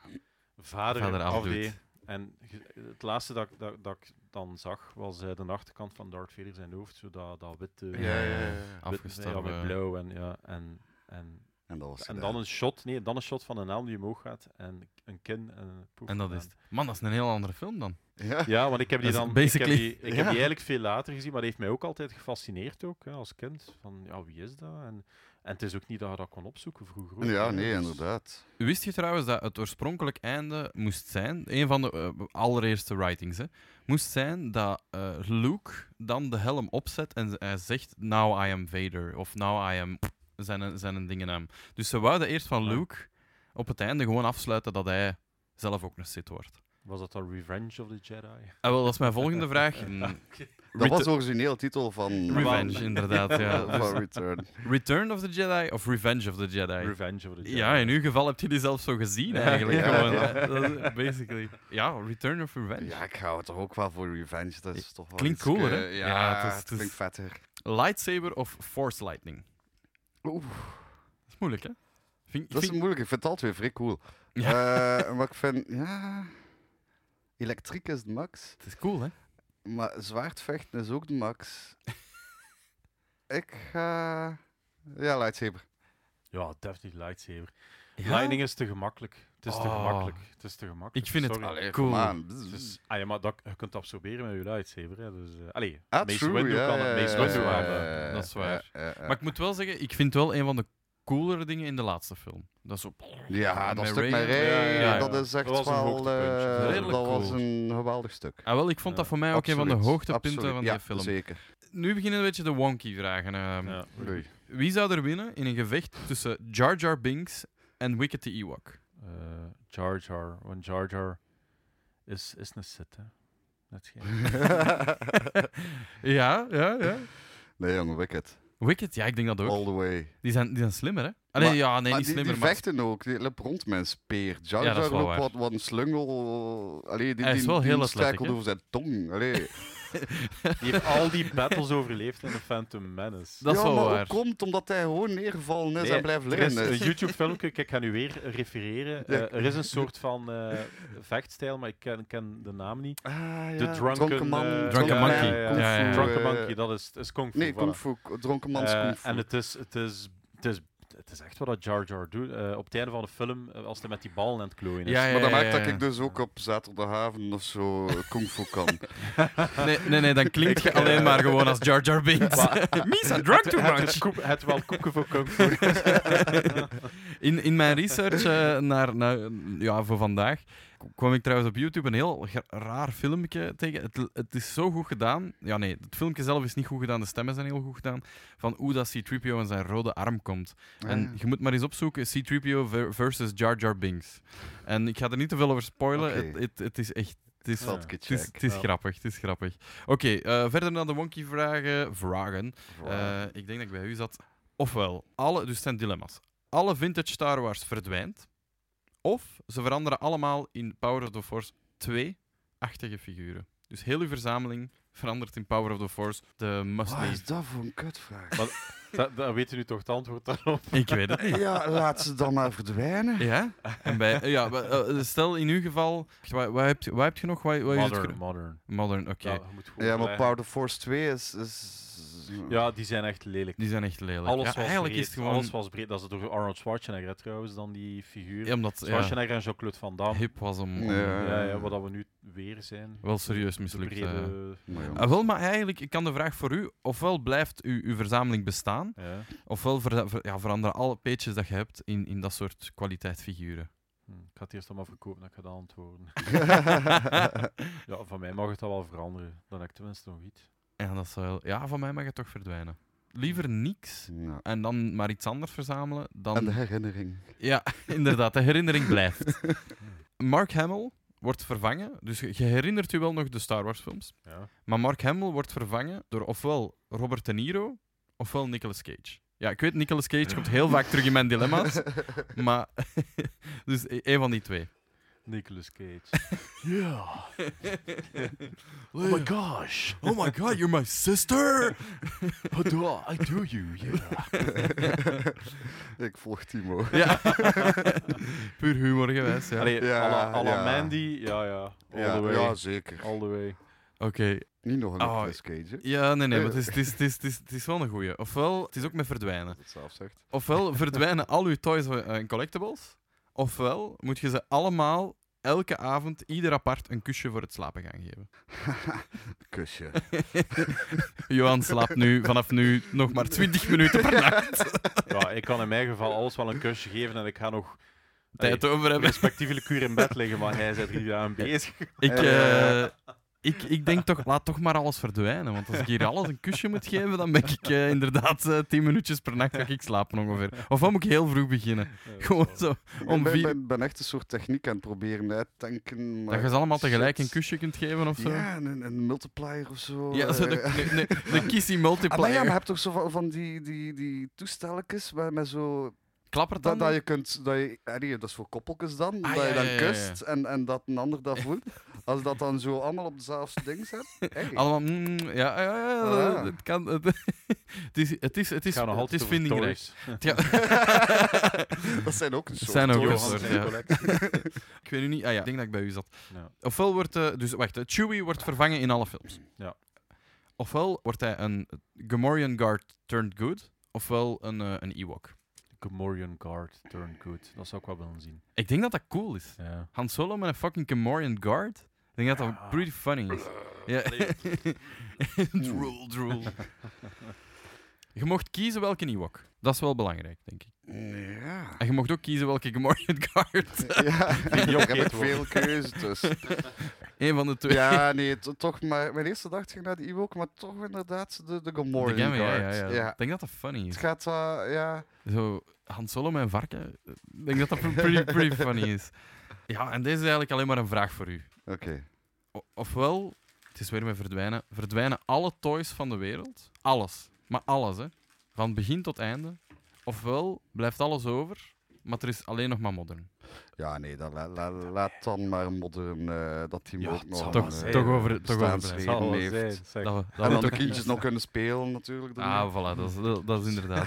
Speaker 3: vader,
Speaker 1: Vader afdoet.
Speaker 3: afdeed. En ge- het laatste dat, ik- dat, dat ik dan zag, was eh, de achterkant van Darth Vader zijn hoofd, zo dat, dat witte...
Speaker 2: Ja,
Speaker 3: wit-
Speaker 2: ja, ja. ja.
Speaker 3: Ja,
Speaker 1: Afgestorven.
Speaker 3: met blauw en... Ja, en, en
Speaker 2: En dat was
Speaker 3: en
Speaker 2: gedaan.
Speaker 3: dan een shot, nee, dan een shot van een naam die omhoog gaat en een kin en een poef.
Speaker 1: en dat is het. Man, dat is een heel andere film dan.
Speaker 2: Ja.
Speaker 3: Ja, want ik heb die
Speaker 1: Dat is
Speaker 3: dan. Ik heb
Speaker 1: basically-
Speaker 3: die, ik heb die
Speaker 2: Ja.
Speaker 3: eigenlijk veel later gezien, maar die heeft mij ook altijd gefascineerd ook hè, als kind. Van ja, wie is dat? En, en het is ook niet dat je dat kon opzoeken vroeger. ook,
Speaker 2: Ja,
Speaker 3: hè,
Speaker 2: nee,
Speaker 3: dus-
Speaker 2: inderdaad.
Speaker 1: Wist je trouwens dat het oorspronkelijk einde moest zijn, een van de eh, allereerste writings, hè, moest zijn dat eh, Luke dan de helm opzet en hij zegt, now I am Vader, of now I am zijn, zijn dingennaam. Dus ze wouden eerst van
Speaker 3: Ja.
Speaker 1: Luke op het einde gewoon afsluiten dat hij zelf ook een Sith wordt.
Speaker 3: Was dat dan Revenge of the Jedi?
Speaker 1: En wel, dat is mijn volgende vraag. Mm.
Speaker 2: Dat was
Speaker 1: Retu-
Speaker 2: de origineel titel van...
Speaker 1: Revenge, inderdaad. Ja.
Speaker 2: van
Speaker 1: Dus
Speaker 2: Return.
Speaker 1: Return of the Jedi of Revenge of the Jedi?
Speaker 3: Revenge of the Jedi.
Speaker 1: Ja, in uw geval heb je die zelf zo gezien
Speaker 3: Ja,
Speaker 1: eigenlijk.
Speaker 2: ja,
Speaker 1: gewoon.
Speaker 2: ja.
Speaker 1: Dat is basically. Ja, Return of Revenge.
Speaker 2: Ja, ik hou het toch ook wel voor Revenge. Dat is toch wel
Speaker 1: Klinkt
Speaker 2: iets,
Speaker 1: cooler,
Speaker 2: eh,
Speaker 1: hè?
Speaker 2: Ja,
Speaker 1: Ja, het
Speaker 2: het,
Speaker 1: is- het is-
Speaker 2: klinkt vetter.
Speaker 1: Lightsaber of Force Lightning?
Speaker 2: Oeh,
Speaker 1: Dat is moeilijk, hè? Vind,
Speaker 2: dat is
Speaker 1: vind-
Speaker 2: moeilijk. Ik vind het al twee vrij cool. Eh, maar ik vind... Ja... Elektriek is de max.
Speaker 1: Het is cool, hè?
Speaker 2: Maar zwaardvechten is ook de max. ik ga... Ja, lightsaber.
Speaker 3: Ja, definitely lightsaber. Lightning is te gemakkelijk. Het is te
Speaker 1: Oh.
Speaker 3: gemakkelijk. Het is te gemakkelijk.
Speaker 1: Ik vind het
Speaker 3: sorry.
Speaker 1: Allee,
Speaker 2: Kom
Speaker 1: Cool.
Speaker 2: aan.
Speaker 3: Dus, ah ja, maar dat, je kunt het absorberen met je lightsaber. Hè, dus, eh allee,
Speaker 2: Ah,
Speaker 3: Mace
Speaker 2: true,
Speaker 3: Windu
Speaker 2: ja,
Speaker 3: kan
Speaker 2: ja,
Speaker 3: het. Mace
Speaker 2: ja,
Speaker 3: Windu
Speaker 2: ja,
Speaker 3: kan dat.
Speaker 2: ja, ja,
Speaker 1: Dat is
Speaker 2: ja,
Speaker 1: waar.
Speaker 2: ja, ja, ja.
Speaker 1: Maar ik moet wel zeggen, ik vind het wel een van de coolere dingen in de laatste film. Dat is op...
Speaker 2: Ja, dat
Speaker 1: Met Ray-
Speaker 2: stuk met Ray,
Speaker 3: Ja, ja, ja.
Speaker 2: dat is echt
Speaker 3: Dat was een
Speaker 2: wel...
Speaker 3: hoogtepuntje.
Speaker 2: eh,
Speaker 1: Redelijk
Speaker 2: dat was
Speaker 1: cool.
Speaker 2: een geweldig stuk.
Speaker 1: Ah, wel, ik vond dat
Speaker 3: Ja,
Speaker 1: voor mij ook een van de
Speaker 2: Absoluut,
Speaker 1: hoogtepunten
Speaker 2: absoluut.
Speaker 1: van die
Speaker 2: ja,
Speaker 1: film.
Speaker 2: zeker.
Speaker 1: Nu beginnen een beetje de wonky vragen. ehm.
Speaker 3: Ja.
Speaker 2: Oei.
Speaker 1: Wie zou er winnen in een gevecht tussen Jar Jar Binks en Wicked the Ewok?
Speaker 3: eh Jar Jar. Want Jar Jar is, is een Sith, hè. Net geen...
Speaker 1: ja, ja, ja.
Speaker 2: nee, jongen, Wicked.
Speaker 1: Wicked, ja, ik denk dat ook.
Speaker 2: All the way.
Speaker 1: Die zijn, die zijn slimmer, hè? Allee,
Speaker 2: Maar-
Speaker 1: ja, nee,
Speaker 2: Maar
Speaker 1: niet
Speaker 2: die,
Speaker 1: slimmer,
Speaker 2: die
Speaker 1: maar...
Speaker 2: vechten ook. Die loopt rond met een speer. Jar
Speaker 1: Ja, dat is
Speaker 2: Jar
Speaker 1: wel
Speaker 2: loopt
Speaker 1: waar.
Speaker 2: wat, wat een slungel. Allee, die,
Speaker 1: Hij is
Speaker 2: die,
Speaker 1: wel
Speaker 2: die
Speaker 1: heel
Speaker 2: stakelt
Speaker 1: atletiek, hè?
Speaker 2: over zijn tong. Allee.
Speaker 3: Die heeft al die battles overleefd in de Phantom Menace.
Speaker 1: Dat is
Speaker 2: ja,
Speaker 1: wel
Speaker 2: maar
Speaker 1: waar.
Speaker 2: ook komt omdat hij gewoon neergevallen is
Speaker 3: Nee,
Speaker 2: en blijft
Speaker 3: er is eh,
Speaker 2: liggen. Dus-
Speaker 3: een
Speaker 2: is.
Speaker 3: YouTube-filmpje, ik ga nu weer refereren.
Speaker 2: Ja.
Speaker 3: Eh, er is een soort van eh, vechtstijl, maar ik ken, ken de naam niet.
Speaker 2: Ah, ja.
Speaker 3: De Drunken,
Speaker 2: man.
Speaker 3: eh,
Speaker 1: Drunken
Speaker 3: ja,
Speaker 1: Monkey.
Speaker 3: Ja,
Speaker 1: Ja,
Speaker 3: ja,
Speaker 1: ja, ja.
Speaker 2: eh,
Speaker 3: Drunken Monkey, dat is, is Kung Fu.
Speaker 2: Nee,
Speaker 3: voilà.
Speaker 2: Kung Fu. Drunken Man's
Speaker 3: Eh,
Speaker 2: Kung Fu.
Speaker 3: En het is, het, is, het, is, het is echt wat dat Jar Jar doet. Eh, op het einde van de film, eh, als hij met die ballen aan het klooien is.
Speaker 1: Ja, ja,
Speaker 2: maar dat
Speaker 1: ja,
Speaker 2: maakt
Speaker 1: ja,
Speaker 2: dat
Speaker 1: ja.
Speaker 2: ik dus ook op zaterdagavond of zo eh, Kung Fu kan.
Speaker 1: Nee, nee, nee, dan klink je alleen maar gewoon als Jar Jar Binks. Misa, drunk too
Speaker 3: het,
Speaker 1: much!
Speaker 3: is koep- het wel koeken voor Kung Fu.
Speaker 1: In, in mijn research eh, naar, naar, ja, voor vandaag k- kwam ik trouwens op YouTube een heel gra- raar filmpje tegen. Het, het is zo goed gedaan. Ja, nee, het filmpje zelf is niet goed gedaan, de stemmen zijn heel goed gedaan. Van hoe dat C-3PO en zijn rode arm komt.
Speaker 2: Ah.
Speaker 1: En
Speaker 2: Eh,
Speaker 1: je moet maar eens opzoeken: C-3PO ver- versus Jar Jar Binks. En ik ga er niet te veel over spoilen.
Speaker 2: Oké.
Speaker 1: Het, het, het is echt. Het is,
Speaker 3: Ja.
Speaker 2: zal ik
Speaker 1: het is, het
Speaker 2: checken.
Speaker 1: is
Speaker 3: Ja.
Speaker 1: grappig, het is grappig. Oké, eh, verder naar de wonky vragen. Vragen. Eh, ik denk dat ik bij u zat. Ofwel, alle, dus het zijn dilemma's. Alle vintage Star Wars verdwijnt. Of ze veranderen allemaal in Power of the Force 2-achtige figuren. Dus heel uw verzameling verandert in Power of the Force. De must
Speaker 2: Wat is
Speaker 1: leave.
Speaker 2: dat voor een kutvraag?
Speaker 3: Dat, dat weet u nu toch het antwoord daarop.
Speaker 1: Ik weet het.
Speaker 2: Ja, laat ze dan maar verdwijnen.
Speaker 1: Ja? En bij, ja maar, eh, stel in uw geval, wat, wat, heb, je, wat heb je nog? Wat, wat is het
Speaker 3: Modern,
Speaker 1: gro-
Speaker 3: modern.
Speaker 1: Modern, oké.
Speaker 3: Ja, je moet goed
Speaker 2: Ja, maar
Speaker 3: leggen.
Speaker 2: Power of the Force 2 is... is...
Speaker 3: Ja, die zijn echt lelijk.
Speaker 1: Die zijn echt lelijk.
Speaker 3: Alles
Speaker 1: Ja,
Speaker 3: was
Speaker 1: eigenlijk
Speaker 3: breed.
Speaker 1: is het gewoon...
Speaker 3: Alles was breed. Dat is door Arnold Schwarzenegger hè, trouwens, dan die figuur.
Speaker 1: ja, omdat ja,
Speaker 3: Schwarzenegger en Jean-Claude Van Damme.
Speaker 1: hip was om, om
Speaker 2: Ja.
Speaker 3: Ja, ja, wat dat we nu weer zijn.
Speaker 1: wel serieus
Speaker 3: De
Speaker 1: mislukt. eh.
Speaker 3: brede-
Speaker 2: Maar ja.
Speaker 1: Ah, wel, maar eigenlijk, ik kan de vraag voor u. Ofwel blijft uw, uw verzameling bestaan,
Speaker 3: Ja.
Speaker 1: ofwel verza- ver- ja, veranderen alle peetjes dat je hebt in, in dat soort kwaliteit figuren.
Speaker 3: Hm, Ik had het eerst allemaal verkopen dat ik ga dat antwoorden. ja, van mij mag het al wel veranderen. Dan heb ik tenminste nog iets.
Speaker 1: En dat is wel... Ja, van mij mag het toch verdwijnen. Liever niks
Speaker 2: Ja.
Speaker 1: en dan maar iets anders verzamelen dan...
Speaker 2: En de herinnering.
Speaker 1: Ja, inderdaad. De herinnering blijft. Mark Hamill wordt vervangen. Dus je je herinnert u wel nog de Star Wars films.
Speaker 3: Ja.
Speaker 1: Maar Mark Hamill wordt vervangen door ofwel Robert De Niro, ofwel Nicolas Cage. Ja, ik weet, Nicolas Cage komt heel vaak terug in mijn dilemma's. Maar... dus e- één van die twee.
Speaker 3: Nicolas Cage.
Speaker 4: Yeah. Oh my gosh.
Speaker 1: Oh my god, you're my sister!
Speaker 4: How do I, I do you? Yeah.
Speaker 2: Ik volg Timo.
Speaker 1: Ja. Puur humor geweest, ja. Oké,
Speaker 3: Allee,
Speaker 2: Ja,
Speaker 3: à la- à la
Speaker 2: ja.
Speaker 3: Mandy. Ja, ja. All
Speaker 2: Ja,
Speaker 3: the way.
Speaker 2: ja, zeker.
Speaker 3: All the way.
Speaker 2: Niet nog een
Speaker 1: Oh,
Speaker 2: Nicolas Cage, hè?
Speaker 1: Ja, nee, nee, maar het is, het, is, het, is, het, is, het is wel een goeie. Ofwel, het is ook met verdwijnen.
Speaker 2: Dat het zelf zegt.
Speaker 1: Ofwel verdwijnen al uw toys en collectibles, ofwel moet je ze allemaal elke avond, ieder apart, een kusje voor het slapen gaan geven.
Speaker 2: Kusje.
Speaker 1: Johan slaapt nu, vanaf nu, nog maar 20 minuten per nacht.
Speaker 3: Ja, ik kan in mijn geval alles wel een kusje geven en ik ga nog
Speaker 1: Tijd over hebben.
Speaker 3: respectievelijk uur in bed liggen, maar hij is er drie dagen bezig.
Speaker 1: Ik,
Speaker 2: Eh.
Speaker 1: eh, ik, ik denk toch, laat toch maar alles verdwijnen. Want als ik hier alles een kusje moet geven, dan ben ik eh, inderdaad eh, 10 minuutjes per nacht ga ik slapen ongeveer. Of dan moet ik heel vroeg beginnen. Gewoon zo, om
Speaker 2: ik ben,
Speaker 1: vier...
Speaker 2: ben, ben echt een soort techniek aan het proberen uit te tanken. Maar
Speaker 1: Dat je ze allemaal tegelijk
Speaker 2: shit.
Speaker 1: een kusje kunt geven of zo.
Speaker 2: Ja, een, een multiplier of zo.
Speaker 1: Ja, zo de,
Speaker 2: eh.
Speaker 1: de, de, de Kissy
Speaker 2: Ah, maar ja, maar je
Speaker 1: Multiplier.
Speaker 2: hebt toch zo van, van die, die, die toestelletjes waar met zo...
Speaker 1: Klappert
Speaker 2: Dat,
Speaker 1: dan?
Speaker 2: dat je kunt... Dat, je, ah, nee, dat is voor koppeltjes dan.
Speaker 1: Ah,
Speaker 2: dat
Speaker 1: ja,
Speaker 2: je dan
Speaker 1: ja, ja, ja.
Speaker 2: kust en, en dat een ander dat voelt. Als dat dan zo allemaal op dezelfde ding zet. hey.
Speaker 1: Allemaal, mm, ja, ja, ja, ja,
Speaker 2: Ah.
Speaker 1: het kan. Het, het is, het is, het is,
Speaker 3: ga nog
Speaker 1: het
Speaker 3: altijd
Speaker 1: is
Speaker 3: over
Speaker 1: vindingrijk.
Speaker 3: toys.
Speaker 1: Het gaat-
Speaker 2: dat zijn ook een soort
Speaker 1: zijn ook een
Speaker 2: toys.
Speaker 1: soort,
Speaker 2: Dat zijn
Speaker 1: ja.
Speaker 2: collecties.
Speaker 1: ik weet nu niet, ah ja, ik denk dat ik bij u zat.
Speaker 3: Ja.
Speaker 1: Ofwel wordt, eh, dus wacht, eh, Chewie wordt vervangen in alle films.
Speaker 3: Ja.
Speaker 1: Ofwel wordt hij een Gamorrean Guard turned good, ofwel een, eh, een Ewok.
Speaker 3: Gamorrean Guard, turn good. Dat zou ik wel willen zien.
Speaker 1: Ik denk dat dat cool is.
Speaker 3: Ja.
Speaker 1: Han Solo met een fucking Gamorrean Guard. Ik denk dat dat
Speaker 3: Ja.
Speaker 1: pretty funny is. Ja. drool, drool. Je mocht kiezen welke Ewok. Dat is wel belangrijk, denk ik.
Speaker 2: Ja.
Speaker 1: En je mocht ook kiezen welke Gamorrean Guard.
Speaker 2: Ja,
Speaker 3: je ook
Speaker 2: daar heb ik
Speaker 3: eten worden.
Speaker 2: veel keuze tussen.
Speaker 1: Eén van de twee.
Speaker 2: Ja, nee, to- toch maar. Mijn eerste dag ging naar de Ewok, maar toch inderdaad de, de Gamorrean
Speaker 1: De gamer, ja,
Speaker 2: Guard.
Speaker 1: ja, ja. Ik denk dat dat funny
Speaker 2: Het
Speaker 1: is.
Speaker 2: gaat, eh, ja.
Speaker 1: Zo, Han Solo met een varken. Ik denk dat dat pretty, pretty funny is. Ja, en deze is eigenlijk alleen maar een vraag voor u.
Speaker 2: Oké.
Speaker 1: O- ofwel, het is weer met verdwijnen. Verdwijnen alle toys van de wereld. Alles. Maar alles, hè. Van begin tot einde. Ofwel, blijft alles over, maar er is alleen nog maar modern.
Speaker 2: Ja, nee, dan la- la- laat dan maar modern eh, dat team
Speaker 3: Ja,
Speaker 2: ook
Speaker 3: het
Speaker 2: nog.
Speaker 3: zal
Speaker 1: Toch,
Speaker 3: wel zijn.
Speaker 2: eh,
Speaker 1: toch over, toch over
Speaker 2: Bestaan
Speaker 1: blijven.
Speaker 2: ze
Speaker 3: Zal wel
Speaker 2: leeft.
Speaker 3: zijn, zeg.
Speaker 1: Dat we,
Speaker 2: En
Speaker 1: dat we
Speaker 2: dan
Speaker 1: toch
Speaker 2: toch eentjes nog kunnen spelen, natuurlijk.
Speaker 1: Ah, voilà, dat is, dat- dat is inderdaad.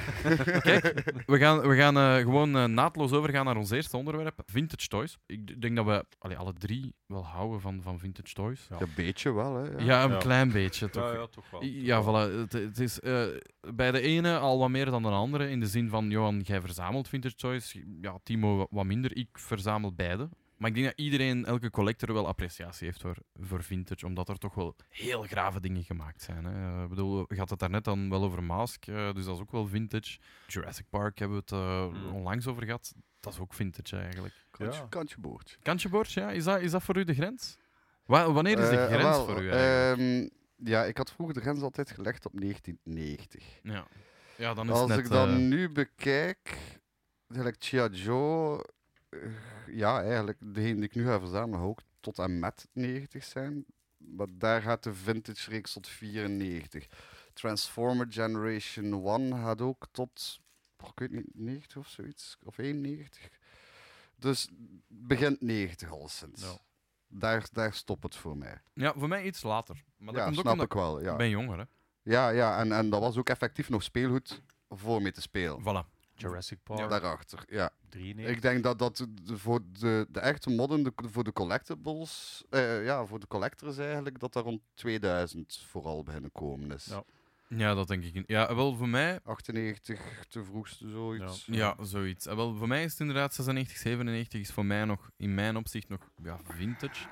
Speaker 1: Kijk, we gaan, we gaan eh, gewoon eh, naadloos overgaan naar ons eerste onderwerp: vintage toys. Ik d- denk dat we allee, alle drie wel houden van, van vintage toys. Ja,
Speaker 2: Een beetje wel, hè. Ja.
Speaker 1: een
Speaker 3: Ja.
Speaker 1: klein beetje toch.
Speaker 3: Ja, ja, toch wel.
Speaker 1: I-
Speaker 3: toch
Speaker 1: Ja,
Speaker 3: wel.
Speaker 1: voilà. Het, het is eh, bij de ene al wat meer dan de andere. In de zin van, Johan, jij verzamelt vintage toys. Ja, Timo wa- wat minder. Ik verzamel beide. Maar ik denk dat iedereen, elke collector, wel appreciatie heeft voor, voor vintage. Omdat er toch wel heel grave dingen gemaakt zijn. Hè. Eh, Ik bedoel, je had het daarnet dan wel over Mask. eh, dus dat is ook wel vintage. Jurassic Park hebben we het eh,
Speaker 3: Mm.
Speaker 1: onlangs over gehad. Dat is ook vintage eigenlijk.
Speaker 2: Kantje,
Speaker 3: Ja.
Speaker 2: kantje boordje.
Speaker 1: Kantjeboord, ja? Is dat, is dat voor u de grens? Wa- wanneer is de
Speaker 2: Eh,
Speaker 1: grens
Speaker 2: wel,
Speaker 1: voor u eigenlijk?
Speaker 2: ehm, ja, ik had vroeger de grens altijd gelegd op 1990.
Speaker 1: ja. ja, dan is het
Speaker 2: Als
Speaker 1: net...
Speaker 2: ik dan
Speaker 1: eh,
Speaker 2: nu bekijk, gelijk Chia Joe, eh, ja, eigenlijk, degene die ik nu ga verzamelen, hou ik tot en met 90 zijn. Maar daar gaat de vintage reeks tot 94. Transformer Generation 1 gaat ook tot, oh, ik weet niet, 90 of zoiets, of 91. Dus begint 90 al sinds.
Speaker 1: Ja.
Speaker 2: Daar, daar stopt het voor mij.
Speaker 1: Ja, voor mij iets later. Maar dat
Speaker 2: ja,
Speaker 1: komt ook
Speaker 2: snap
Speaker 1: omdat
Speaker 2: ik wel.
Speaker 1: ik
Speaker 2: Ja,
Speaker 1: ben jonger, hè.
Speaker 2: ja, ja en, en dat was ook effectief nog speelgoed voor mee te spelen.
Speaker 1: Voilà.
Speaker 3: Jurassic Park,
Speaker 2: Daarachter, ja.
Speaker 3: 93.
Speaker 2: Ik denk dat dat de- voor de, de echte modden, de, voor de collectibles, eh, ja, voor de collectors eigenlijk, dat daar rond 2000 vooral beginnen komen is.
Speaker 3: Ja.
Speaker 1: Ja, dat denk ik. niet. Ja, wel, voor mij...
Speaker 2: 98, de vroegste, zoiets.
Speaker 1: Ja, zoiets. Eh, Wel, voor mij is het inderdaad 96, 97 is voor mij nog, in mijn opzicht, nog ja, vintage.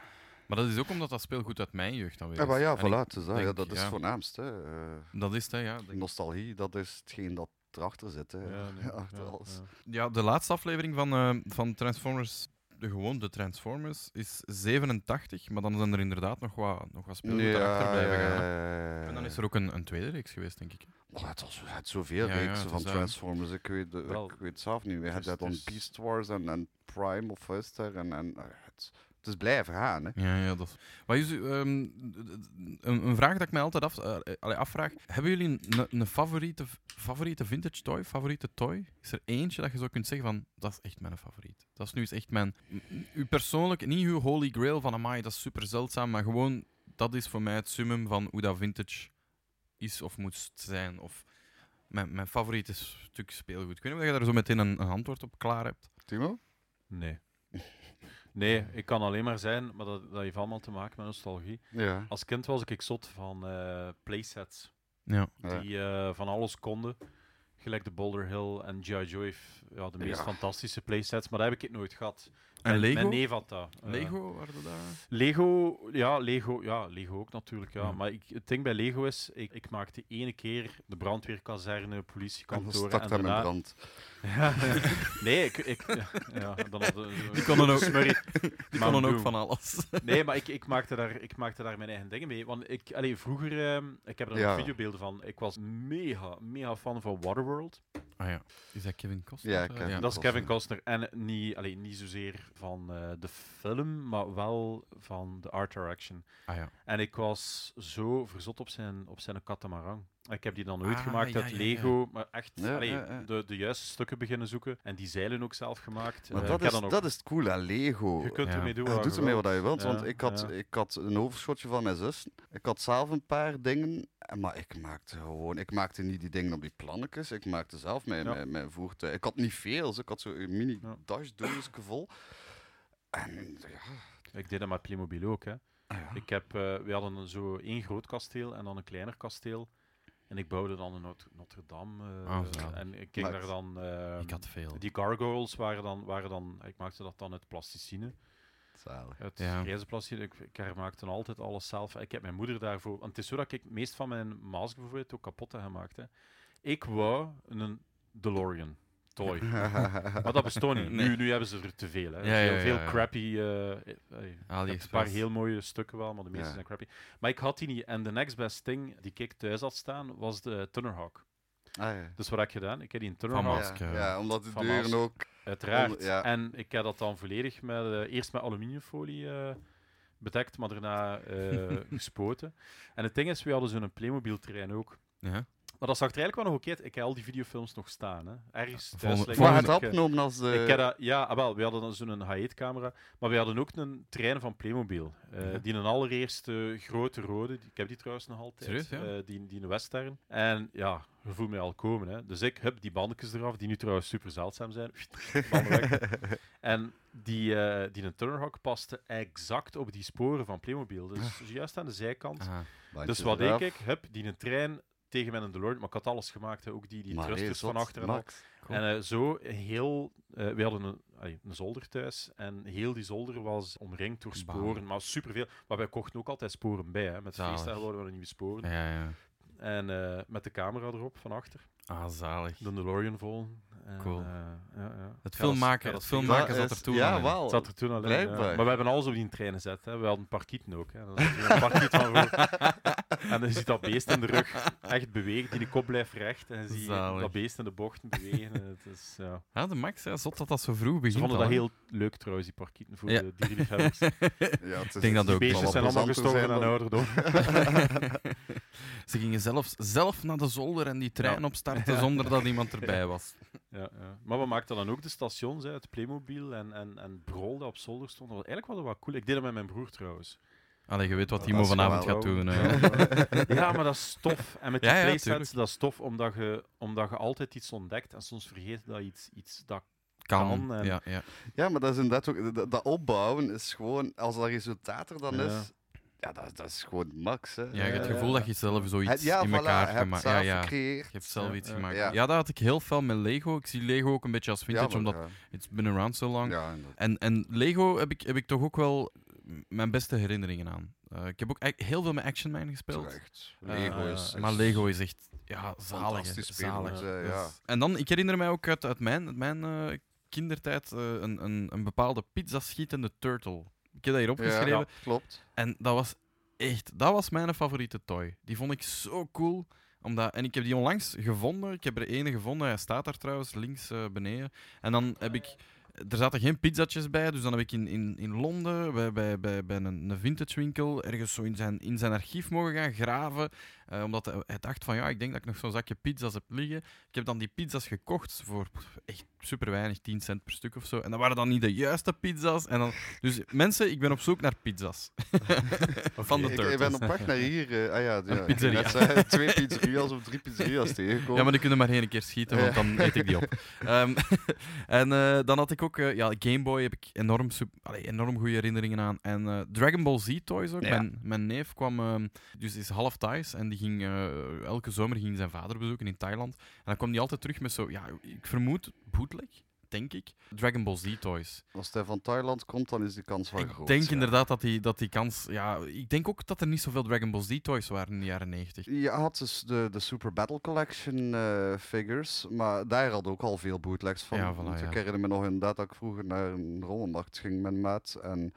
Speaker 1: Maar dat is ook omdat dat speelgoed uit mijn jeugd dan weer
Speaker 2: Ah, Ja, maar
Speaker 1: is.
Speaker 2: ja,
Speaker 1: En ik-
Speaker 2: voilà, het is dat, ja,
Speaker 1: denk,
Speaker 2: dat is
Speaker 1: ja.
Speaker 2: het voornaamste. hè. Eh,
Speaker 1: dat is het, hè, ja. Ik denk-
Speaker 2: nostalgie, dat is hetgeen dat erachter zit. Hè.
Speaker 3: Ja, nee,
Speaker 2: achter
Speaker 3: ja,
Speaker 2: alles.
Speaker 3: ja.
Speaker 1: Ja, de laatste aflevering van, eh, van Transformers, de gewoon de Transformers, is 87. Maar dan zijn er inderdaad nog wat, nog wat speelgoed erachter blijven gaan. hè. En dan is er ook een, een tweede reeks geweest, denk ik.
Speaker 2: Oh, het was het zoveel
Speaker 1: Ja, ja,
Speaker 2: reeksen
Speaker 1: het
Speaker 2: van
Speaker 1: is, eh,
Speaker 2: Transformers. Ik weet, de-
Speaker 3: wel,
Speaker 2: ik weet zelf niet meer. Het
Speaker 3: het is- dus
Speaker 2: dat dan
Speaker 3: het is-
Speaker 2: Beast Wars en, en Prime of Huster. En, en, eh, het, het is blijven gaan. Hè.
Speaker 1: Ja, ja, dat is... Wat is u- ehm, d- d- een, een vraag dat ik mij altijd af, eh, eh, allee, afvraag. Hebben jullie een- een, een favoriete, favoriete vintage toy? Favoriete toy? Is er eentje dat je zo kunt zeggen van, dat is echt mijn favoriet. Dat is nu eens echt mijn... Uw persoonlijk, niet uw holy grail van, amai, dat is super zeldzaam, maar gewoon, dat is voor mij het summum van hoe dat vintage is of moet zijn. Of mijn, mijn favoriete stuk speelgoed. Ik weet niet of je daar zo meteen een, een antwoord op klaar hebt.
Speaker 2: Timo?
Speaker 3: Nee. Nee, ik kan alleen maar zijn, maar dat, dat heeft allemaal te maken met nostalgie.
Speaker 2: Ja.
Speaker 3: Als kind was ik zot van eh, playsets.
Speaker 1: Ja.
Speaker 2: Ja.
Speaker 3: die eh, van alles konden. Gelijk de Boulder Hill en G.I. Joe heeft ja, de meest
Speaker 2: Ja.
Speaker 3: fantastische playsets, maar dat heb ik het nooit gehad.
Speaker 1: En
Speaker 3: Mijn-
Speaker 1: Lego?
Speaker 3: Mijn neef had dat. Eh,
Speaker 1: Lego, waren dat daar?
Speaker 3: Lego, ja, Lego, ja, Lego ook natuurlijk, ja.
Speaker 1: Ja.
Speaker 3: Maar ik, het ding bij Lego is, ik, ik maakte ene keer de brandweerkazerne,
Speaker 2: En dan
Speaker 3: politiekantoren
Speaker 2: stak dat in
Speaker 3: daarna-
Speaker 2: brand.
Speaker 3: Ja, nee, ik... ik ja, ja, dan had,
Speaker 1: Die konden ook-
Speaker 3: die
Speaker 1: Ik kon dan ook van alles.
Speaker 3: Nee, maar ik, ik, maakte daar, ik maakte daar mijn eigen dingen mee. Want ik, allee, vroeger, ehm, ik heb er nog
Speaker 2: Ja.
Speaker 3: videobeelden van. Ik was mega, mega fan van Waterworld.
Speaker 1: Ah ja. Is dat Kevin Costner?
Speaker 2: Ja,
Speaker 1: Eh,
Speaker 2: Kevin
Speaker 3: dat is
Speaker 2: Costner.
Speaker 3: Kevin Costner. En niet, allee, niet zozeer van eh, de film, maar wel van de art direction.
Speaker 1: Ah ja.
Speaker 3: En ik was zo verzot op zijn, op zijn katamaran. Ik heb die dan ooit
Speaker 1: Ah,
Speaker 3: gemaakt
Speaker 1: ja,
Speaker 3: uit
Speaker 1: ja, ja.
Speaker 3: Lego, maar echt
Speaker 2: Ja,
Speaker 3: allee,
Speaker 2: ja, ja.
Speaker 3: De, de juiste stukken beginnen zoeken. En die zeilen ook zelf gemaakt.
Speaker 2: Maar
Speaker 3: Eh,
Speaker 2: dat,
Speaker 3: ik heb
Speaker 2: is,
Speaker 3: dan ook-
Speaker 2: dat is het coole aan Lego.
Speaker 3: Je kunt
Speaker 1: Ja.
Speaker 3: ermee doen
Speaker 2: Ja,
Speaker 3: wat
Speaker 2: doet
Speaker 3: je
Speaker 2: ermee
Speaker 3: wilt.
Speaker 2: wat je wilt, want
Speaker 3: Ja,
Speaker 2: ik had,
Speaker 3: ja.
Speaker 2: ik had een overschotje van mijn zus. Ik had zelf een paar dingen, eh, maar ik maakte gewoon... Ik maakte niet die dingen op die plannetjes, ik maakte zelf mijn,
Speaker 3: Ja.
Speaker 2: mijn, mijn voertuig. Ik had niet veel, zo. ik had zo'n mini
Speaker 3: Ja.
Speaker 2: dashdoosje vol. En ja,
Speaker 3: Ik deed dat met Playmobil ook, hè.
Speaker 1: Ah,
Speaker 3: Ik heb, eh, we hadden een- zo één groot kasteel en dan een kleiner kasteel. En ik bouwde dan een Not- Notre Dame. eh,
Speaker 1: Ah, zalig.
Speaker 3: en ik keek
Speaker 2: Maar
Speaker 3: daar
Speaker 2: het-
Speaker 3: dan... eh,
Speaker 1: ik had veel.
Speaker 3: Die gargoyles waren dan, waren dan... Ik maakte dat dan uit plasticine.
Speaker 2: zalig.
Speaker 3: Uit
Speaker 1: Ja.
Speaker 3: grijze plasticine. Ik, ik hermaakte altijd alles zelf. Ik heb mijn moeder daarvoor... Want het is zo dat ik meest van mijn maas bijvoorbeeld ook kapot heb gemaakt. Hè. Ik wou een DeLorean toy.
Speaker 2: Ah,
Speaker 3: Maar dat bestond niet.
Speaker 1: Nee.
Speaker 3: Nu, nu hebben ze er te veel. Hè.
Speaker 1: Ja, ja,
Speaker 3: veel,
Speaker 1: ja,
Speaker 3: veel
Speaker 1: ja.
Speaker 3: crappy. eh, eh, eh,
Speaker 1: Ah,
Speaker 3: ik heb een paar
Speaker 1: AliExpress.
Speaker 3: heel mooie stukken wel, maar de meeste
Speaker 2: Ja.
Speaker 3: zijn crappy. Maar ik had die niet. En de next best thing die ik thuis had staan, was de Tunnerhawk.
Speaker 2: Ah, ja.
Speaker 3: Dus wat heb ik gedaan? Ik heb die in
Speaker 1: Van
Speaker 3: Tunnerhawk,
Speaker 1: Maas.
Speaker 2: Ja,
Speaker 1: Mask, eh,
Speaker 2: ja, omdat de
Speaker 3: van
Speaker 2: deuren
Speaker 3: Mask.
Speaker 2: ook...
Speaker 3: uiteraard.
Speaker 2: Onder- ja.
Speaker 3: En ik heb dat dan volledig met, eh, eerst met aluminiumfolie eh, bedekt, maar daarna eh, gespoten. En het ding is, we hadden zo'n Playmobil-terrein ook.
Speaker 1: Ja. Ah.
Speaker 3: Maar dat zag er eigenlijk wel nog oké uit. Ik heb al die videofilms nog staan. Hè. Ergens
Speaker 1: Ja,
Speaker 3: thuis
Speaker 1: volgende-
Speaker 3: lijkt
Speaker 2: Maar
Speaker 3: me
Speaker 2: het
Speaker 3: dat ik, eh,
Speaker 2: opgenomen als... eh,
Speaker 3: Ik heb dat, ja, ah, wel, we hadden dan zo'n Hayet-camera, maar we hadden ook een trein van Playmobil. eh,
Speaker 1: Ja.
Speaker 3: Die een allereerste grote rode, die- ik heb die trouwens nog altijd,
Speaker 1: Serieus, ja?
Speaker 3: eh, die, die een Western. En ja, je voelt mij al komen. Hè. Dus ik heb die bandjes eraf, die nu trouwens super zeldzaam zijn. Banden weg. en die, eh die een Turnerhawk paste exact op die sporen van Playmobil. Dus juist aan de zijkant.
Speaker 1: Ah,
Speaker 2: Ah. bandjes
Speaker 3: Dus wat
Speaker 2: eraf.
Speaker 3: deed ik? Heb die een trein tegen mijn DeLorean, maar ik had alles gemaakt. Hè. Ook die, die
Speaker 2: Maar nee,
Speaker 3: thrusters van
Speaker 2: zot,
Speaker 3: achter en al.
Speaker 2: Max.
Speaker 1: Cool.
Speaker 3: En eh, zo heel... eh, we hadden een, allee, een zolder thuis en heel die zolder was omringd door
Speaker 1: Balen.
Speaker 3: sporen, maar superveel. Maar wij kochten ook altijd sporen bij. Hè. Met
Speaker 1: Zalig.
Speaker 3: feestdagen hadden we nieuwe sporen.
Speaker 1: ja, ja.
Speaker 3: En eh, met de camera erop, van achter.
Speaker 1: Ah, zalig.
Speaker 3: De DeLorean vol. En,
Speaker 1: Cool.
Speaker 3: eh, ja, ja.
Speaker 1: Het
Speaker 3: Ja,
Speaker 1: film
Speaker 3: dat is-
Speaker 1: maken,
Speaker 3: ja,
Speaker 1: het
Speaker 3: is-
Speaker 1: film
Speaker 2: Dat
Speaker 1: maken zat
Speaker 2: is-
Speaker 1: er toen al
Speaker 2: Ja,
Speaker 1: in.
Speaker 2: wel.
Speaker 3: Het zat er toen alleen. ja.
Speaker 2: blijkbaar.
Speaker 3: Maar we hebben alles op die trein gezet. Hè. We hadden een parkieten ook. Hè. Dat is natuurlijk een parkiet van voor. En dan ziet dat beest in de rug echt bewegen. Die kop blijft recht. En zie je
Speaker 1: Zalig.
Speaker 3: dat beest in de bochten bewegen. En Het is, ja.
Speaker 1: Ja, Ah, de Max, ja, zot dat dat zo vroeg begint.
Speaker 3: Ze vonden
Speaker 1: al,
Speaker 3: dat
Speaker 1: hè.
Speaker 3: heel leuk trouwens, die parkieten voor
Speaker 1: Ja.
Speaker 3: de dierenliefhebbers. Die
Speaker 2: Ja, het is-
Speaker 1: denk dat
Speaker 2: die
Speaker 1: ook.
Speaker 2: beestjes
Speaker 1: Zal wel
Speaker 3: beestjes zijn allemaal
Speaker 2: plezanter
Speaker 3: gestorven
Speaker 2: zijn
Speaker 3: aan
Speaker 2: dan-
Speaker 3: ouderdom.
Speaker 1: Ze gingen zelfs zelf naar de zolder en die trein
Speaker 3: Ja.
Speaker 1: opstarten zonder dat iemand erbij was.
Speaker 3: Ja, ja. Maar we maakten dan ook de stations, hè, het Playmobil en, en, en Brol dat op zolder stond. Dat was- Eigenlijk was dat wel cool. Ik deed dat met mijn broer trouwens.
Speaker 1: Allee, je weet wat
Speaker 2: Dat
Speaker 1: Timo
Speaker 2: is
Speaker 1: vanavond
Speaker 2: wel
Speaker 1: gaat
Speaker 3: wauw.
Speaker 1: doen. hè.
Speaker 3: Ja, maar dat is tof. En met die
Speaker 1: Ja, ja,
Speaker 3: playsets,
Speaker 1: tuurlijk.
Speaker 3: dat is tof, omdat je, omdat je altijd iets ontdekt. En soms vergeet dat iets, iets dat...
Speaker 1: Kan.
Speaker 3: Kan en-
Speaker 1: Ja, ja.
Speaker 2: Ja, maar dat is inderdaad ook... Dat, dat opbouwen is gewoon... Als dat resultaat er dan
Speaker 3: Ja.
Speaker 2: is... Ja, dat, dat is gewoon max, hè. Eh,
Speaker 1: ja, je hebt
Speaker 3: Ja,
Speaker 1: het gevoel
Speaker 3: ja.
Speaker 1: dat je zelf zoiets
Speaker 2: Het- ja,
Speaker 1: in
Speaker 2: voilà,
Speaker 1: elkaar
Speaker 2: heb
Speaker 1: gemaakt
Speaker 2: zelf
Speaker 1: Ja, ja. Je
Speaker 2: gecreëerd.
Speaker 1: hebt zelf
Speaker 3: Ja,
Speaker 1: iets
Speaker 3: ja.
Speaker 1: gemaakt. Ja.
Speaker 2: Ja.
Speaker 1: dat had ik heel veel met Lego. Ik zie Lego ook een beetje als vintage,
Speaker 2: ja,
Speaker 1: omdat
Speaker 2: maar,
Speaker 1: it's been around so
Speaker 2: ja.
Speaker 1: long.
Speaker 2: Ja, inderdaad.
Speaker 1: En, en Lego heb ik, heb ik toch ook wel mijn beste herinneringen aan. Eh, ik heb ook eigenlijk heel veel met Action Man gespeeld.
Speaker 2: Terecht. Lego
Speaker 3: Eh,
Speaker 2: is...
Speaker 1: Maar
Speaker 2: is-
Speaker 1: Lego is echt ja, zalig. hè.
Speaker 2: Fantastisch spelen,
Speaker 1: Zalig.
Speaker 2: moet ik zeggen,
Speaker 1: Dat
Speaker 2: ja.
Speaker 1: is- En dan, ik herinner mij ook uit, uit mijn, uit mijn eh, kindertijd eh, een, een, een bepaalde pizza-schietende turtle. Ik heb dat hier opgeschreven.
Speaker 2: Ja, klopt.
Speaker 1: En dat was echt, dat was mijn favoriete toy. Die vond ik zo cool. Omdat, en ik heb die onlangs gevonden. Ik heb er ene gevonden. Hij staat daar trouwens, links eh, beneden. En dan heb ik. Er zaten geen pizzatjes bij, dus dan heb ik in, in, in Londen, bij, bij, bij, bij een, een vintage winkel, ergens zo in zijn, in zijn archief mogen gaan graven. Eh, omdat hij, hij dacht van, ja, ik denk dat ik nog zo'n zakje pizza's heb liggen. Ik heb dan die pizza's gekocht voor pff, echt super weinig, 10 cent per stuk of zo. En dat waren dan niet de juiste pizza's. En dan, dus mensen, ik ben op zoek naar pizza's. Van de
Speaker 2: Ik, ik ben
Speaker 1: Turtles.
Speaker 2: op weg naar hier. eh, ah ja, ja, ik
Speaker 1: pizzeria.
Speaker 2: net zeggen, twee pizzeria's of drie pizzeria's tegenkomen.
Speaker 1: Ja, maar die kunnen maar één keer schieten, want dan eet ik die op. Ehm, en eh, dan had ik ook, eh, ja, Game Boy heb ik enorm, sup- allee, enorm goede herinneringen aan. En eh, Dragon Ball Z toys ook.
Speaker 2: Ja.
Speaker 1: Mijn, mijn neef kwam, ehm, dus is half Thais en die ging eh, elke zomer ging hij zijn vader bezoeken in Thailand. En dan kwam hij altijd terug met zo, ja, ik vermoed bootleg, denk ik, Dragon Ball Z toys.
Speaker 2: Als hij van Thailand komt, dan is de kans wel
Speaker 1: Ik
Speaker 2: groot.
Speaker 1: denk
Speaker 2: Oh, ja.
Speaker 1: inderdaad dat die, dat die kans. Ja, ik denk ook dat er niet zoveel Dragon Ball Z-toys waren in de jaren 90.
Speaker 2: Je had dus de, de Super Battle Collection eh, figures, maar daar had ook al veel bootlegs van.
Speaker 1: Ja, voilà,
Speaker 2: Want
Speaker 1: ja.
Speaker 2: Ik herinner me nog inderdaad dat ik vroeger naar een rommelmarkt ging met mijn maat en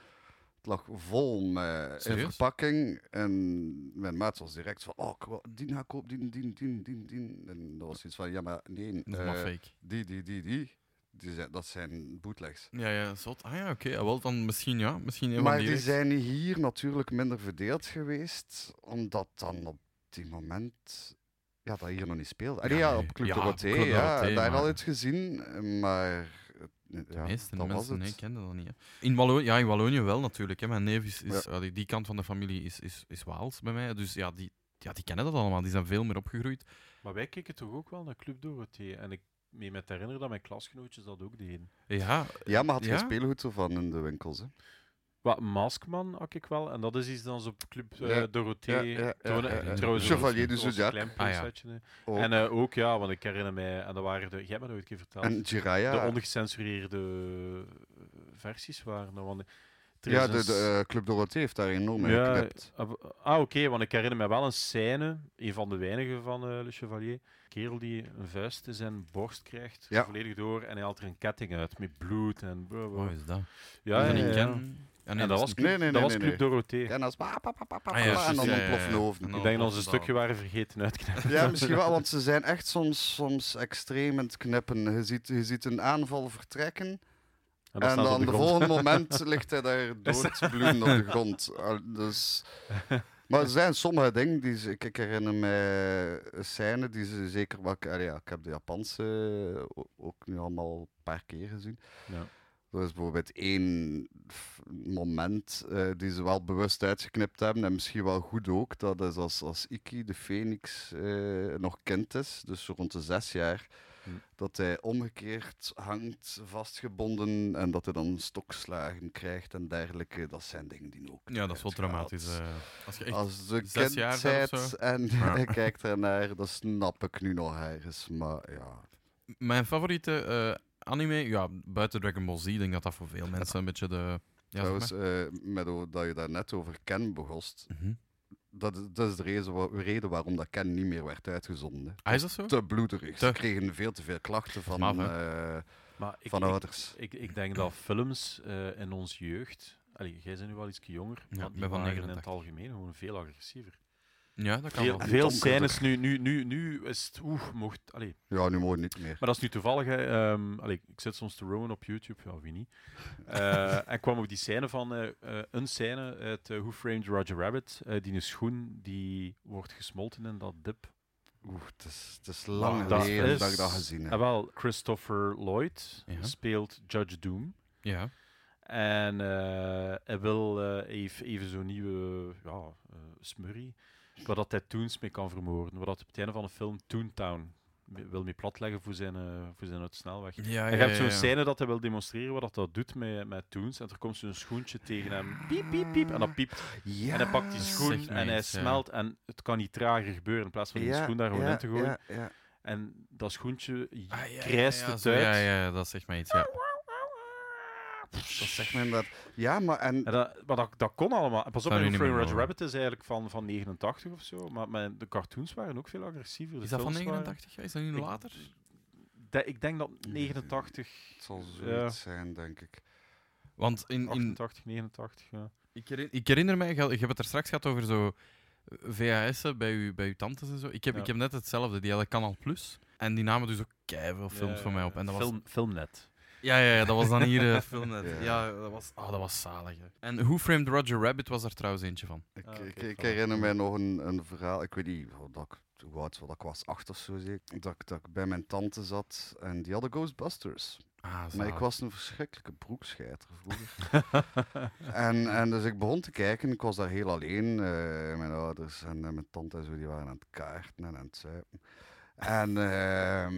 Speaker 2: het lag vol met in
Speaker 1: Serieus?
Speaker 2: verpakking. En mijn maat was direct van, oh, ik wil die nou koop, die, die, die, die, die. En dat was iets van, ja, maar nee,
Speaker 1: Dat is
Speaker 2: eh,
Speaker 1: maar fake.
Speaker 2: die, die, die, die, die zijn, dat zijn bootlegs.
Speaker 1: Ja, ja, zot. Ah ja, oké. ah, wel, dan misschien ja. Misschien een van
Speaker 2: Maar
Speaker 1: die
Speaker 2: die
Speaker 1: reeks.
Speaker 2: zijn hier natuurlijk minder verdeeld geweest, omdat dan op die moment ja, dat hier nog niet speelde. Allee,
Speaker 1: Ja,
Speaker 2: ja,
Speaker 1: nee.
Speaker 2: op Club
Speaker 1: Ja, op
Speaker 2: Dorothée,
Speaker 1: Club
Speaker 2: ja,
Speaker 1: Dorothée,
Speaker 2: daar
Speaker 1: maar-
Speaker 2: al iets gezien, maar eh,
Speaker 1: De
Speaker 2: ja,
Speaker 1: meeste
Speaker 2: dat was
Speaker 1: mensen
Speaker 2: het.
Speaker 1: nee, kenden dat niet. hè. In Wallonië, ja, in Wallonië wel natuurlijk. Hè. Mijn neef is, is ah, die, die kant van de familie is, is, is Waals bij mij. Dus ja die, ja, die kennen dat allemaal. Die zijn veel meer opgegroeid.
Speaker 3: Maar wij keken toch ook wel naar Club Dorothée. En ik meen me te herinneren dat mijn klasgenootjes dat ook deden.
Speaker 1: Ja,
Speaker 2: Ja, maar had
Speaker 1: Ja?
Speaker 2: geen speelgoed ervan in de winkels. Hè.
Speaker 3: Wat, Maskman had ik wel. En dat is iets dan ze op Club eh,
Speaker 2: Ja,
Speaker 3: Dorothée...
Speaker 2: ja, ja, ja,
Speaker 3: tonen.
Speaker 1: ja, ja.
Speaker 3: Trouwens,
Speaker 1: Chevalier
Speaker 3: dat was-
Speaker 2: du
Speaker 3: dat was een
Speaker 2: Zodiac.
Speaker 3: klein
Speaker 1: Ah, ja.
Speaker 3: pincetje, hè.
Speaker 2: Ook.
Speaker 3: En
Speaker 2: En,
Speaker 3: eh, ook, ja, want ik herinner mij... En dat waren de... Jij hebt me dat ooit een keer verteld.
Speaker 2: Jiraya.
Speaker 3: De ongecensureerde eh, versies waren. dat, Want er
Speaker 2: ja,
Speaker 3: is een
Speaker 2: de, de, eh, Club Dorothée heeft daar enorm in
Speaker 3: Ja,
Speaker 2: geknipt.
Speaker 3: Ah, w- ah, oké, want ik herinner me wel een scène, een van de weinigen van eh Le Chevalier. Een kerel die een vuist in zijn borst krijgt,
Speaker 2: Ja.
Speaker 3: volledig door, en hij haalt er een ketting uit met bloed en... blah, blah.
Speaker 1: wat is dat?
Speaker 3: Ja,
Speaker 1: Die
Speaker 3: ja,
Speaker 1: van
Speaker 3: ja,
Speaker 1: ik
Speaker 3: ja.
Speaker 1: ken. Ah, nee,
Speaker 3: En dat was
Speaker 1: is
Speaker 3: Club,
Speaker 2: Nee, nee,
Speaker 3: dat
Speaker 2: nee,
Speaker 3: was
Speaker 2: nee,
Speaker 3: Club
Speaker 2: nee.
Speaker 3: Dorothée.
Speaker 2: En als pa, pa, pa, pa, pa,
Speaker 1: Ah, ja,
Speaker 2: pa, en
Speaker 1: juist,
Speaker 2: dan
Speaker 1: ja, ja, ja.
Speaker 2: ontploffende hoofden.
Speaker 1: En dan
Speaker 3: Ik denk dat ze een
Speaker 1: was dat.
Speaker 3: stukje waren vergeten uitknippen.
Speaker 2: Ja, misschien wel, want ze zijn echt soms, soms extreem aan het knippen. Je ziet, je ziet een aanval vertrekken
Speaker 3: En, dat
Speaker 2: en
Speaker 3: staat op
Speaker 2: dan
Speaker 3: de
Speaker 2: de
Speaker 3: grond.
Speaker 2: volgende moment ligt hij daar doodbloedend op de grond. Al- Dus... Maar er zijn sommige dingen die ze, ik ik herinner me een scène die ze zeker wel. allee, ja, ik heb de Japanse eh, o- ook nu allemaal een paar keer gezien.
Speaker 3: Ja.
Speaker 2: Er is bijvoorbeeld één f- moment eh, die ze wel bewust uitgeknipt hebben, en misschien wel goed ook, dat is als, als Iki, de Phoenix, eh, nog kind is, dus zo rond de zes jaar,
Speaker 3: Hm.
Speaker 2: dat hij omgekeerd hangt, vastgebonden, en dat hij dan stokslagen krijgt en dergelijke. Dat zijn dingen die ook.
Speaker 1: Ja, dat is wel
Speaker 2: uitgehaald.
Speaker 1: dramatisch. eh. als je echt
Speaker 2: Als de
Speaker 1: zes
Speaker 2: kind
Speaker 1: jaar zijn of
Speaker 2: bent
Speaker 1: zo?
Speaker 2: en
Speaker 1: Ja.
Speaker 2: hij kijkt ernaar, dat snap ik nu nog ergens, maar ja.
Speaker 1: M- Mijn favoriete eh, anime, ja, buiten Dragon Ball Z, denk ik dat dat voor veel mensen een beetje de. Ja, zeg
Speaker 2: Trouwens, eh, met o- dat je daar net over Ken begost,
Speaker 1: maar. Mhm.
Speaker 2: dat, is- dat is de reden, wa- reden waarom dat Ken niet meer werd uitgezonden. hè.
Speaker 1: Ah, is dat zo?
Speaker 2: Te bloederig.
Speaker 1: Te-
Speaker 2: Ze kregen veel te veel klachten van,
Speaker 1: Maf,
Speaker 2: eh,
Speaker 3: Maar ik,
Speaker 2: van
Speaker 3: ik-
Speaker 2: ouders.
Speaker 3: Ik, ik denk dat films eh, in onze jeugd. Allee, jij bent nu wel iets jonger.
Speaker 1: Ja,
Speaker 3: maar
Speaker 1: ik
Speaker 3: die
Speaker 1: ben van
Speaker 3: waren in het
Speaker 1: 89.
Speaker 3: algemeen gewoon veel agressiever.
Speaker 1: Ja, dat kan wel.
Speaker 3: Veel,
Speaker 2: die
Speaker 3: veel
Speaker 2: donkere.
Speaker 3: scènes nu, nu, nu, nu is het, oeh, mocht, allee.
Speaker 2: Ja, nu mooi niet meer.
Speaker 3: Maar dat is nu toevallig, hè, ehm, allee, ik zit soms te rowen op YouTube, ja, wie niet. Eh, en kwam ook die scène van, eh, eh, een scène uit eh, Who Framed Roger Rabbit, eh, die een schoen die wordt gesmolten in dat dip.
Speaker 2: Oeh, het is, het is lang
Speaker 3: Dat
Speaker 2: geleden
Speaker 3: is-
Speaker 2: dat ik dat gezien
Speaker 3: En
Speaker 2: heb.
Speaker 3: Ah, wel, Christopher Lloyd
Speaker 1: Ja.
Speaker 3: speelt Judge Doom.
Speaker 1: Ja.
Speaker 3: En eh, hij wil eh, heeft even zo'n nieuwe ja, eh, smurrie, waar dat hij Toons mee kan vermoorden. Waar dat op het einde van de film Toontown me- wil mee platleggen voor zijn, eh, voor zijn uit snelweg.
Speaker 1: Ja, ja,
Speaker 3: Hij heeft zo'n
Speaker 1: ja, ja.
Speaker 3: scène dat hij wil demonstreren wat dat, dat doet met, met Toons. En er komt zo'n schoentje tegen hem. Piep, piep, piep. En dat piept.
Speaker 2: Ja.
Speaker 3: En hij pakt die
Speaker 1: Zeg
Speaker 3: schoen
Speaker 1: mij
Speaker 3: en hij
Speaker 1: iets, ja.
Speaker 3: smelt. En het kan niet trager gebeuren in plaats van die
Speaker 2: Ja,
Speaker 3: schoen daar gewoon
Speaker 2: ja,
Speaker 3: in te gooien.
Speaker 2: Ja, ja.
Speaker 3: En dat schoentje
Speaker 1: Ah, ja, ja,
Speaker 3: krijst
Speaker 1: ja,
Speaker 3: het
Speaker 1: zo,
Speaker 3: uit.
Speaker 1: Ja, ja, dat zegt mij iets. Ja.
Speaker 2: Dat zegt men dat. Ja, maar en
Speaker 3: En dat, maar dat, dat kon allemaal. En Pas op,
Speaker 1: Zou je
Speaker 3: Frame
Speaker 1: niet meer
Speaker 3: Roger
Speaker 1: mogen.
Speaker 3: Rabbit is eigenlijk van, van 89 of zo. Maar, maar de cartoons waren ook veel agressiever. de
Speaker 1: Is dat van
Speaker 3: films waren-
Speaker 1: 89? Is dat nu
Speaker 3: Ik-
Speaker 1: later?
Speaker 3: De- ik denk dat 89,
Speaker 2: het zal zoiets zijn, denk ik.
Speaker 1: Want in, in,
Speaker 3: 88, 89. Ja.
Speaker 1: ik, herin- ik herinner mij, je hebt het er straks gehad over zo eh, VHS'en bij, uw- bij uw tantes en zo. Ik heb,
Speaker 3: Ja.
Speaker 1: ik heb net hetzelfde, die hadden Kanal Plus. En die namen dus ook keiveel films
Speaker 3: Ja,
Speaker 1: voor mij op. En dat was,
Speaker 3: Film, Filmnet.
Speaker 1: ja, ja, ja, dat was dan hier eh, Filmnet.
Speaker 2: Ja.
Speaker 1: Ja, dat, was, oh, dat was zalig. hè. En Who Framed Roger Rabbit was er trouwens eentje van.
Speaker 2: Ik,
Speaker 3: Ah,
Speaker 2: ik,
Speaker 3: oké,
Speaker 2: ik
Speaker 3: voilà.
Speaker 2: herinner mij nog een, een verhaal. Ik weet niet hoe dat ik, hoe oud was, dat ik was, acht of zo zeker. Dat, ik- dat ik bij mijn tante zat en die hadden Ghostbusters.
Speaker 1: Ah,
Speaker 2: Maar ik
Speaker 1: zalig.
Speaker 2: was een verschrikkelijke broekscheiter vroeger. en, en dus ik begon te kijken. Ik was daar heel alleen. eh, mijn ouders en eh, mijn tante en zo, die waren aan het kaarten en aan het zuipen. En ehm,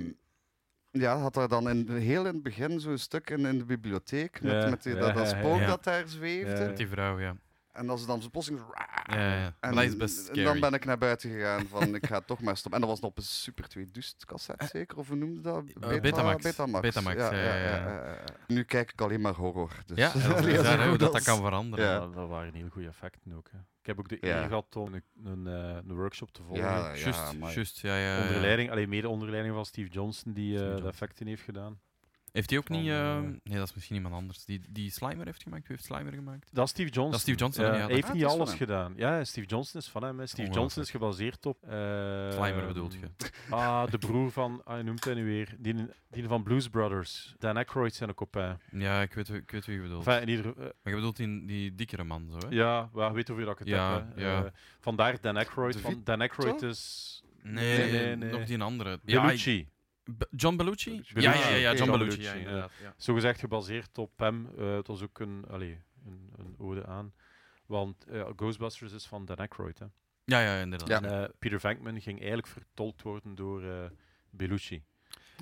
Speaker 2: ja, had daar dan in, heel in het begin zo'n stuk in, in de bibliotheek. Met,
Speaker 3: Ja,
Speaker 2: met die,
Speaker 3: ja,
Speaker 2: dat, dat
Speaker 3: ja, ja,
Speaker 2: spook
Speaker 1: ja.
Speaker 2: dat daar zweefde.
Speaker 3: Ja, ja.
Speaker 1: Die vrouw, ja.
Speaker 2: En als ze dan zo plotseling...
Speaker 1: Ja, ja, ja.
Speaker 2: Ah, En,
Speaker 1: Maar dat is best
Speaker 2: en dan
Speaker 1: scary.
Speaker 2: ben ik naar buiten gegaan van ik ga toch maar stoppen. En dat was op een Super 2 Dust cassette zeker, of hoe noemde dat?
Speaker 1: Eh, Betamax. Betamax, ja, ja, ja.
Speaker 2: Nu kijk ik alleen maar horror. Dus.
Speaker 1: Ja, dat is
Speaker 2: Ja,
Speaker 1: bizar, hè, hoe dat,
Speaker 2: dat
Speaker 1: dat
Speaker 2: is-
Speaker 1: kan veranderen.
Speaker 2: Ja.
Speaker 3: Dat, dat waren heel goede effecten ook. Hè. Ik heb ook de
Speaker 2: Ja.
Speaker 3: eer gehad om een, een, eh, een workshop te volgen.
Speaker 2: Ja, ja,
Speaker 1: Juist,
Speaker 2: maar-
Speaker 1: juist, ja, ja, ja.
Speaker 3: Onder leiding, alleen mede onder leiding van Steve Johnson, die eh,
Speaker 1: Eh, Johnson.
Speaker 3: de effecten heeft gedaan.
Speaker 1: Heeft hij ook
Speaker 3: Van,
Speaker 1: niet... eh,
Speaker 3: eh,
Speaker 1: nee, dat is misschien iemand anders. Die, die Slimer heeft gemaakt. Wie heeft Slimer gemaakt?
Speaker 3: Dat is Steve Johnson.
Speaker 1: Dat is Steve Johnson, hè? Ja,
Speaker 3: hij
Speaker 1: dat-
Speaker 3: heeft
Speaker 2: Ah,
Speaker 3: niet
Speaker 2: het is van
Speaker 3: alles
Speaker 2: hem.
Speaker 3: gedaan. Ja, Steve Johnson is van hem. hè. Steve Johnson is gebaseerd op... eh
Speaker 1: Slimer bedoelt je.
Speaker 3: Ah, de broer van... Ah, je noemt hij nu weer. Die, die van Blues Brothers. Dan Aykroyd zijn ook op...
Speaker 1: Ja, ik weet, wie- ik weet wie je bedoelt.
Speaker 3: Enfin, in ieder, eh,
Speaker 1: Maar je bedoelt die, die dikkere man, zo, hè?
Speaker 3: ja, wel, je weet over wie dat ik het
Speaker 1: Ja,
Speaker 3: heb. hè.
Speaker 1: ja.
Speaker 3: Eh, vandaar Dan Aykroyd.
Speaker 2: De
Speaker 3: Van, Dan Aykroyd is...
Speaker 1: Nee,
Speaker 3: Nee,
Speaker 1: nee,
Speaker 3: nee, nee.
Speaker 1: nog die andere. Ja,
Speaker 3: Bellucci.
Speaker 1: ik- Be- John Bellucci?
Speaker 3: Bellucci.
Speaker 1: Ja, ja, ja, ja,
Speaker 2: Oké,
Speaker 1: John
Speaker 3: John
Speaker 1: Bellucci, ja,
Speaker 3: Bellucci, ja.
Speaker 1: inderdaad. Ja.
Speaker 3: Zogezegd gebaseerd op hem. Eh, het was ook een, allee, een, een ode aan. Want eh, Ghostbusters is van Dan Aykroyd. Hè.
Speaker 1: Ja, ja, inderdaad.
Speaker 2: Ja.
Speaker 3: En eh, Peter Venkman ging eigenlijk vertolkt worden door eh, Bellucci.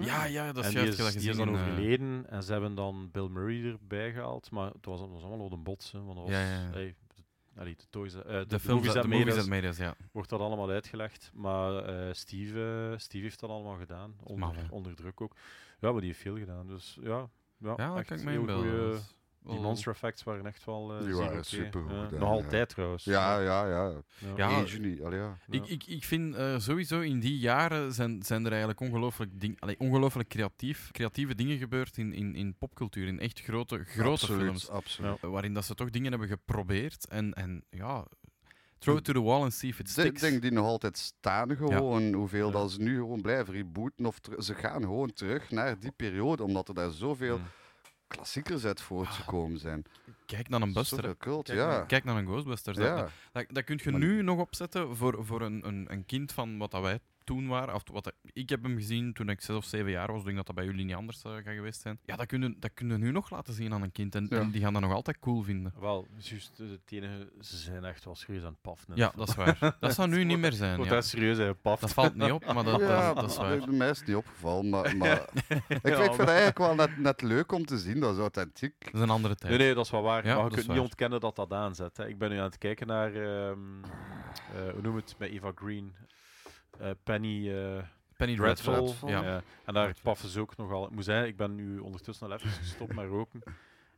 Speaker 1: ja, ja, dat is
Speaker 3: en die
Speaker 1: juist. ik
Speaker 3: is,
Speaker 1: heb dat
Speaker 3: die
Speaker 1: gezien
Speaker 3: is dan
Speaker 1: in, eh,
Speaker 3: overleden en ze hebben dan Bill Murray erbij gehaald. Maar het was, het was allemaal wat een bots. Hè, want dat was,
Speaker 1: Ja, ja, ja.
Speaker 3: hey, de, allee, de, toys, eh, de,
Speaker 1: De films,
Speaker 3: movies
Speaker 1: dat-
Speaker 3: dat
Speaker 1: de
Speaker 3: made
Speaker 1: movies
Speaker 3: us,
Speaker 1: dat made us, ja.
Speaker 3: wordt dat allemaal uitgelegd. Maar eh, Steve, eh, Steve heeft dat allemaal gedaan.
Speaker 1: maf,
Speaker 3: Onder,
Speaker 1: hè.
Speaker 3: onder druk ook. Ja, maar die heeft veel gedaan. Dus ja, ja,
Speaker 1: Ja, dat
Speaker 3: echt
Speaker 1: kan ik me
Speaker 3: heel
Speaker 1: inbeelden.
Speaker 3: goeie-
Speaker 1: Dat is Oh.
Speaker 3: Die
Speaker 1: wel-
Speaker 3: monster effects waren echt wel eh
Speaker 2: Die
Speaker 3: zeer
Speaker 2: waren
Speaker 3: oké.
Speaker 2: supergoed
Speaker 3: Ja,
Speaker 2: gedaan,
Speaker 3: Nog
Speaker 2: ja.
Speaker 3: altijd trouwens.
Speaker 2: Ja, ja, ja.
Speaker 1: Ja,
Speaker 2: 1 juni, allee, ja.
Speaker 1: Ik, ik, ik vind eh, sowieso in die jaren zijn, zijn er eigenlijk ongelooflijk, ding, allee, ongelooflijk creatief, creatieve dingen gebeurd in, in, in popcultuur. In echt grote, grote
Speaker 2: absoluut,
Speaker 1: films.
Speaker 2: Absoluut.
Speaker 3: Ja.
Speaker 1: Waarin dat ze toch dingen hebben geprobeerd. En, en ja, throw it to the wall and see if it
Speaker 2: Ik
Speaker 1: sticks.
Speaker 2: denk die nog altijd staan gewoon, hoeveel dat ze nu gewoon blijven rebooten. Of ter- ze gaan gewoon terug naar die periode, omdat er daar zoveel
Speaker 1: Mm.
Speaker 2: klassiekers uit voortgekomen zijn.
Speaker 1: Kijk naar Ah. een Buster. hè.
Speaker 2: Zoveel cult,
Speaker 1: Kijk,
Speaker 2: ja.
Speaker 1: naar, kijk naar een Ghostbusters. Dat-
Speaker 2: ja.
Speaker 1: Dat, dat kun je
Speaker 2: Maar-
Speaker 1: nu nog opzetten voor, voor een, een, een kind van wat dat wij toen waren. Of wat dat- ik heb hem gezien toen ik zes of zeven jaar was. Ik denk dat dat bij jullie niet anders eh, gaat geweest zijn. Ja, dat kunnen dat kunnen nu nog laten zien aan een kind. En,
Speaker 2: Ja.
Speaker 1: en die gaan dat nog altijd cool vinden.
Speaker 3: Wel, juist eh, het enige, ze zijn echt wel serieus aan het paffen.
Speaker 1: Ja, dat is waar. Dat zou nu niet meer zijn.
Speaker 3: Wordt
Speaker 1: Ja.
Speaker 3: echt serieus aan het paffen.
Speaker 1: Dat valt niet op, maar Ah, dat,
Speaker 2: ja,
Speaker 1: dat, dat is
Speaker 2: de-
Speaker 1: waar.
Speaker 2: De mij is het niet opgevallen, maar, maar ik
Speaker 3: Ja,
Speaker 2: vind
Speaker 3: maar-
Speaker 2: het eigenlijk wel net, net leuk om te zien, dat is authentiek.
Speaker 1: Dat is een andere tijd.
Speaker 3: Nee, nee, dat is wel waar.
Speaker 1: Ja,
Speaker 3: maar
Speaker 1: dat
Speaker 3: je
Speaker 1: is
Speaker 3: kunt niet
Speaker 1: waar.
Speaker 3: ontkennen dat dat aanzet. Hè. Ik ben nu aan het kijken naar, ehm, eh, hoe noem het, met Eva Green. Eh, Penny eh
Speaker 1: Penny Dreadful.
Speaker 2: Dreadful.
Speaker 3: Dreadful.
Speaker 1: Ja.
Speaker 3: eh, en daar paffen ze ook nogal. Ik moet zeggen, ik ben nu ondertussen al even gestopt met roken.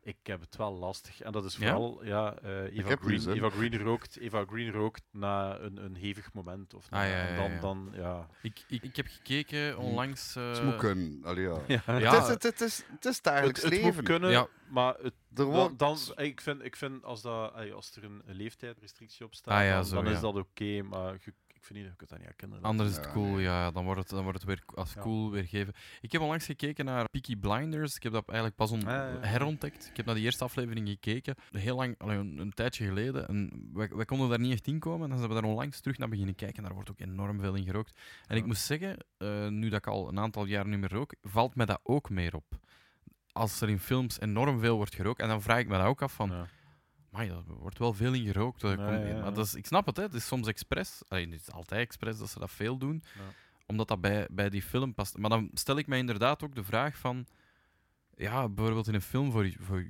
Speaker 3: Ik heb het wel lastig. En dat is
Speaker 1: Ja?
Speaker 3: vooral, ja, eh,
Speaker 2: heb nu
Speaker 3: Eva,
Speaker 1: dus,
Speaker 3: Green,
Speaker 2: zin.
Speaker 3: Eva, Green rookt, Eva Green rookt na een, een hevig moment. Of na-
Speaker 1: Ah, ja,
Speaker 3: en
Speaker 1: ja,
Speaker 3: dan,
Speaker 1: ja.
Speaker 3: dan, ja.
Speaker 1: Ik, ik, ik heb gekeken onlangs... eh,
Speaker 2: Smoeken, allee, ja.
Speaker 1: Ja,
Speaker 2: Het, is, het, het is, het is
Speaker 3: Het,
Speaker 2: dagelijks
Speaker 3: het moet
Speaker 2: leven.
Speaker 3: kunnen,
Speaker 1: Ja.
Speaker 3: maar het,
Speaker 2: Er
Speaker 3: dan,
Speaker 2: wordt,
Speaker 3: dan- ik, vind, ik vind als, dat, ey, als er een een leeftijdrestrictie op staat,
Speaker 1: Ah ja,
Speaker 3: dan,
Speaker 1: zo,
Speaker 3: dan is
Speaker 1: ja.
Speaker 3: dat oké. maar je- vind niet, je kunt dat niet herkennen. Dat-
Speaker 1: Anders is het
Speaker 2: Ja,
Speaker 1: cool,
Speaker 2: nee.
Speaker 1: ja. Dan wordt het, dan wordt het weer als
Speaker 3: Ja.
Speaker 1: cool weergegeven. Ik heb onlangs gekeken naar Peaky Blinders. Ik heb dat eigenlijk pas on-
Speaker 3: Ah, ja, ja.
Speaker 1: herontdekt. Ik heb naar die eerste aflevering gekeken. Heel lang, allee, een, een tijdje geleden. En wij, wij konden daar niet echt in komen. En dan zijn we daar onlangs terug naar beginnen kijken. Daar wordt ook enorm veel in gerookt. En ik
Speaker 3: Ja.
Speaker 1: moet zeggen, eh, nu dat ik al een aantal jaar niet meer rook, valt me dat ook meer op. Als er in films enorm veel wordt gerookt. En dan vraag ik me dat ook af van...
Speaker 3: Ja.
Speaker 1: Maar er wordt wel veel in gerookt. dat
Speaker 3: Ja,
Speaker 1: komt niet.
Speaker 3: ja, ja.
Speaker 1: Maar dat is, ik snap het, hè. het is soms expres. Allee, het is altijd expres dat ze dat veel doen.
Speaker 3: Ja.
Speaker 1: Omdat dat bij, bij die film past. Maar dan stel ik mij inderdaad ook de vraag van... Ja, bijvoorbeeld in een film voor, voor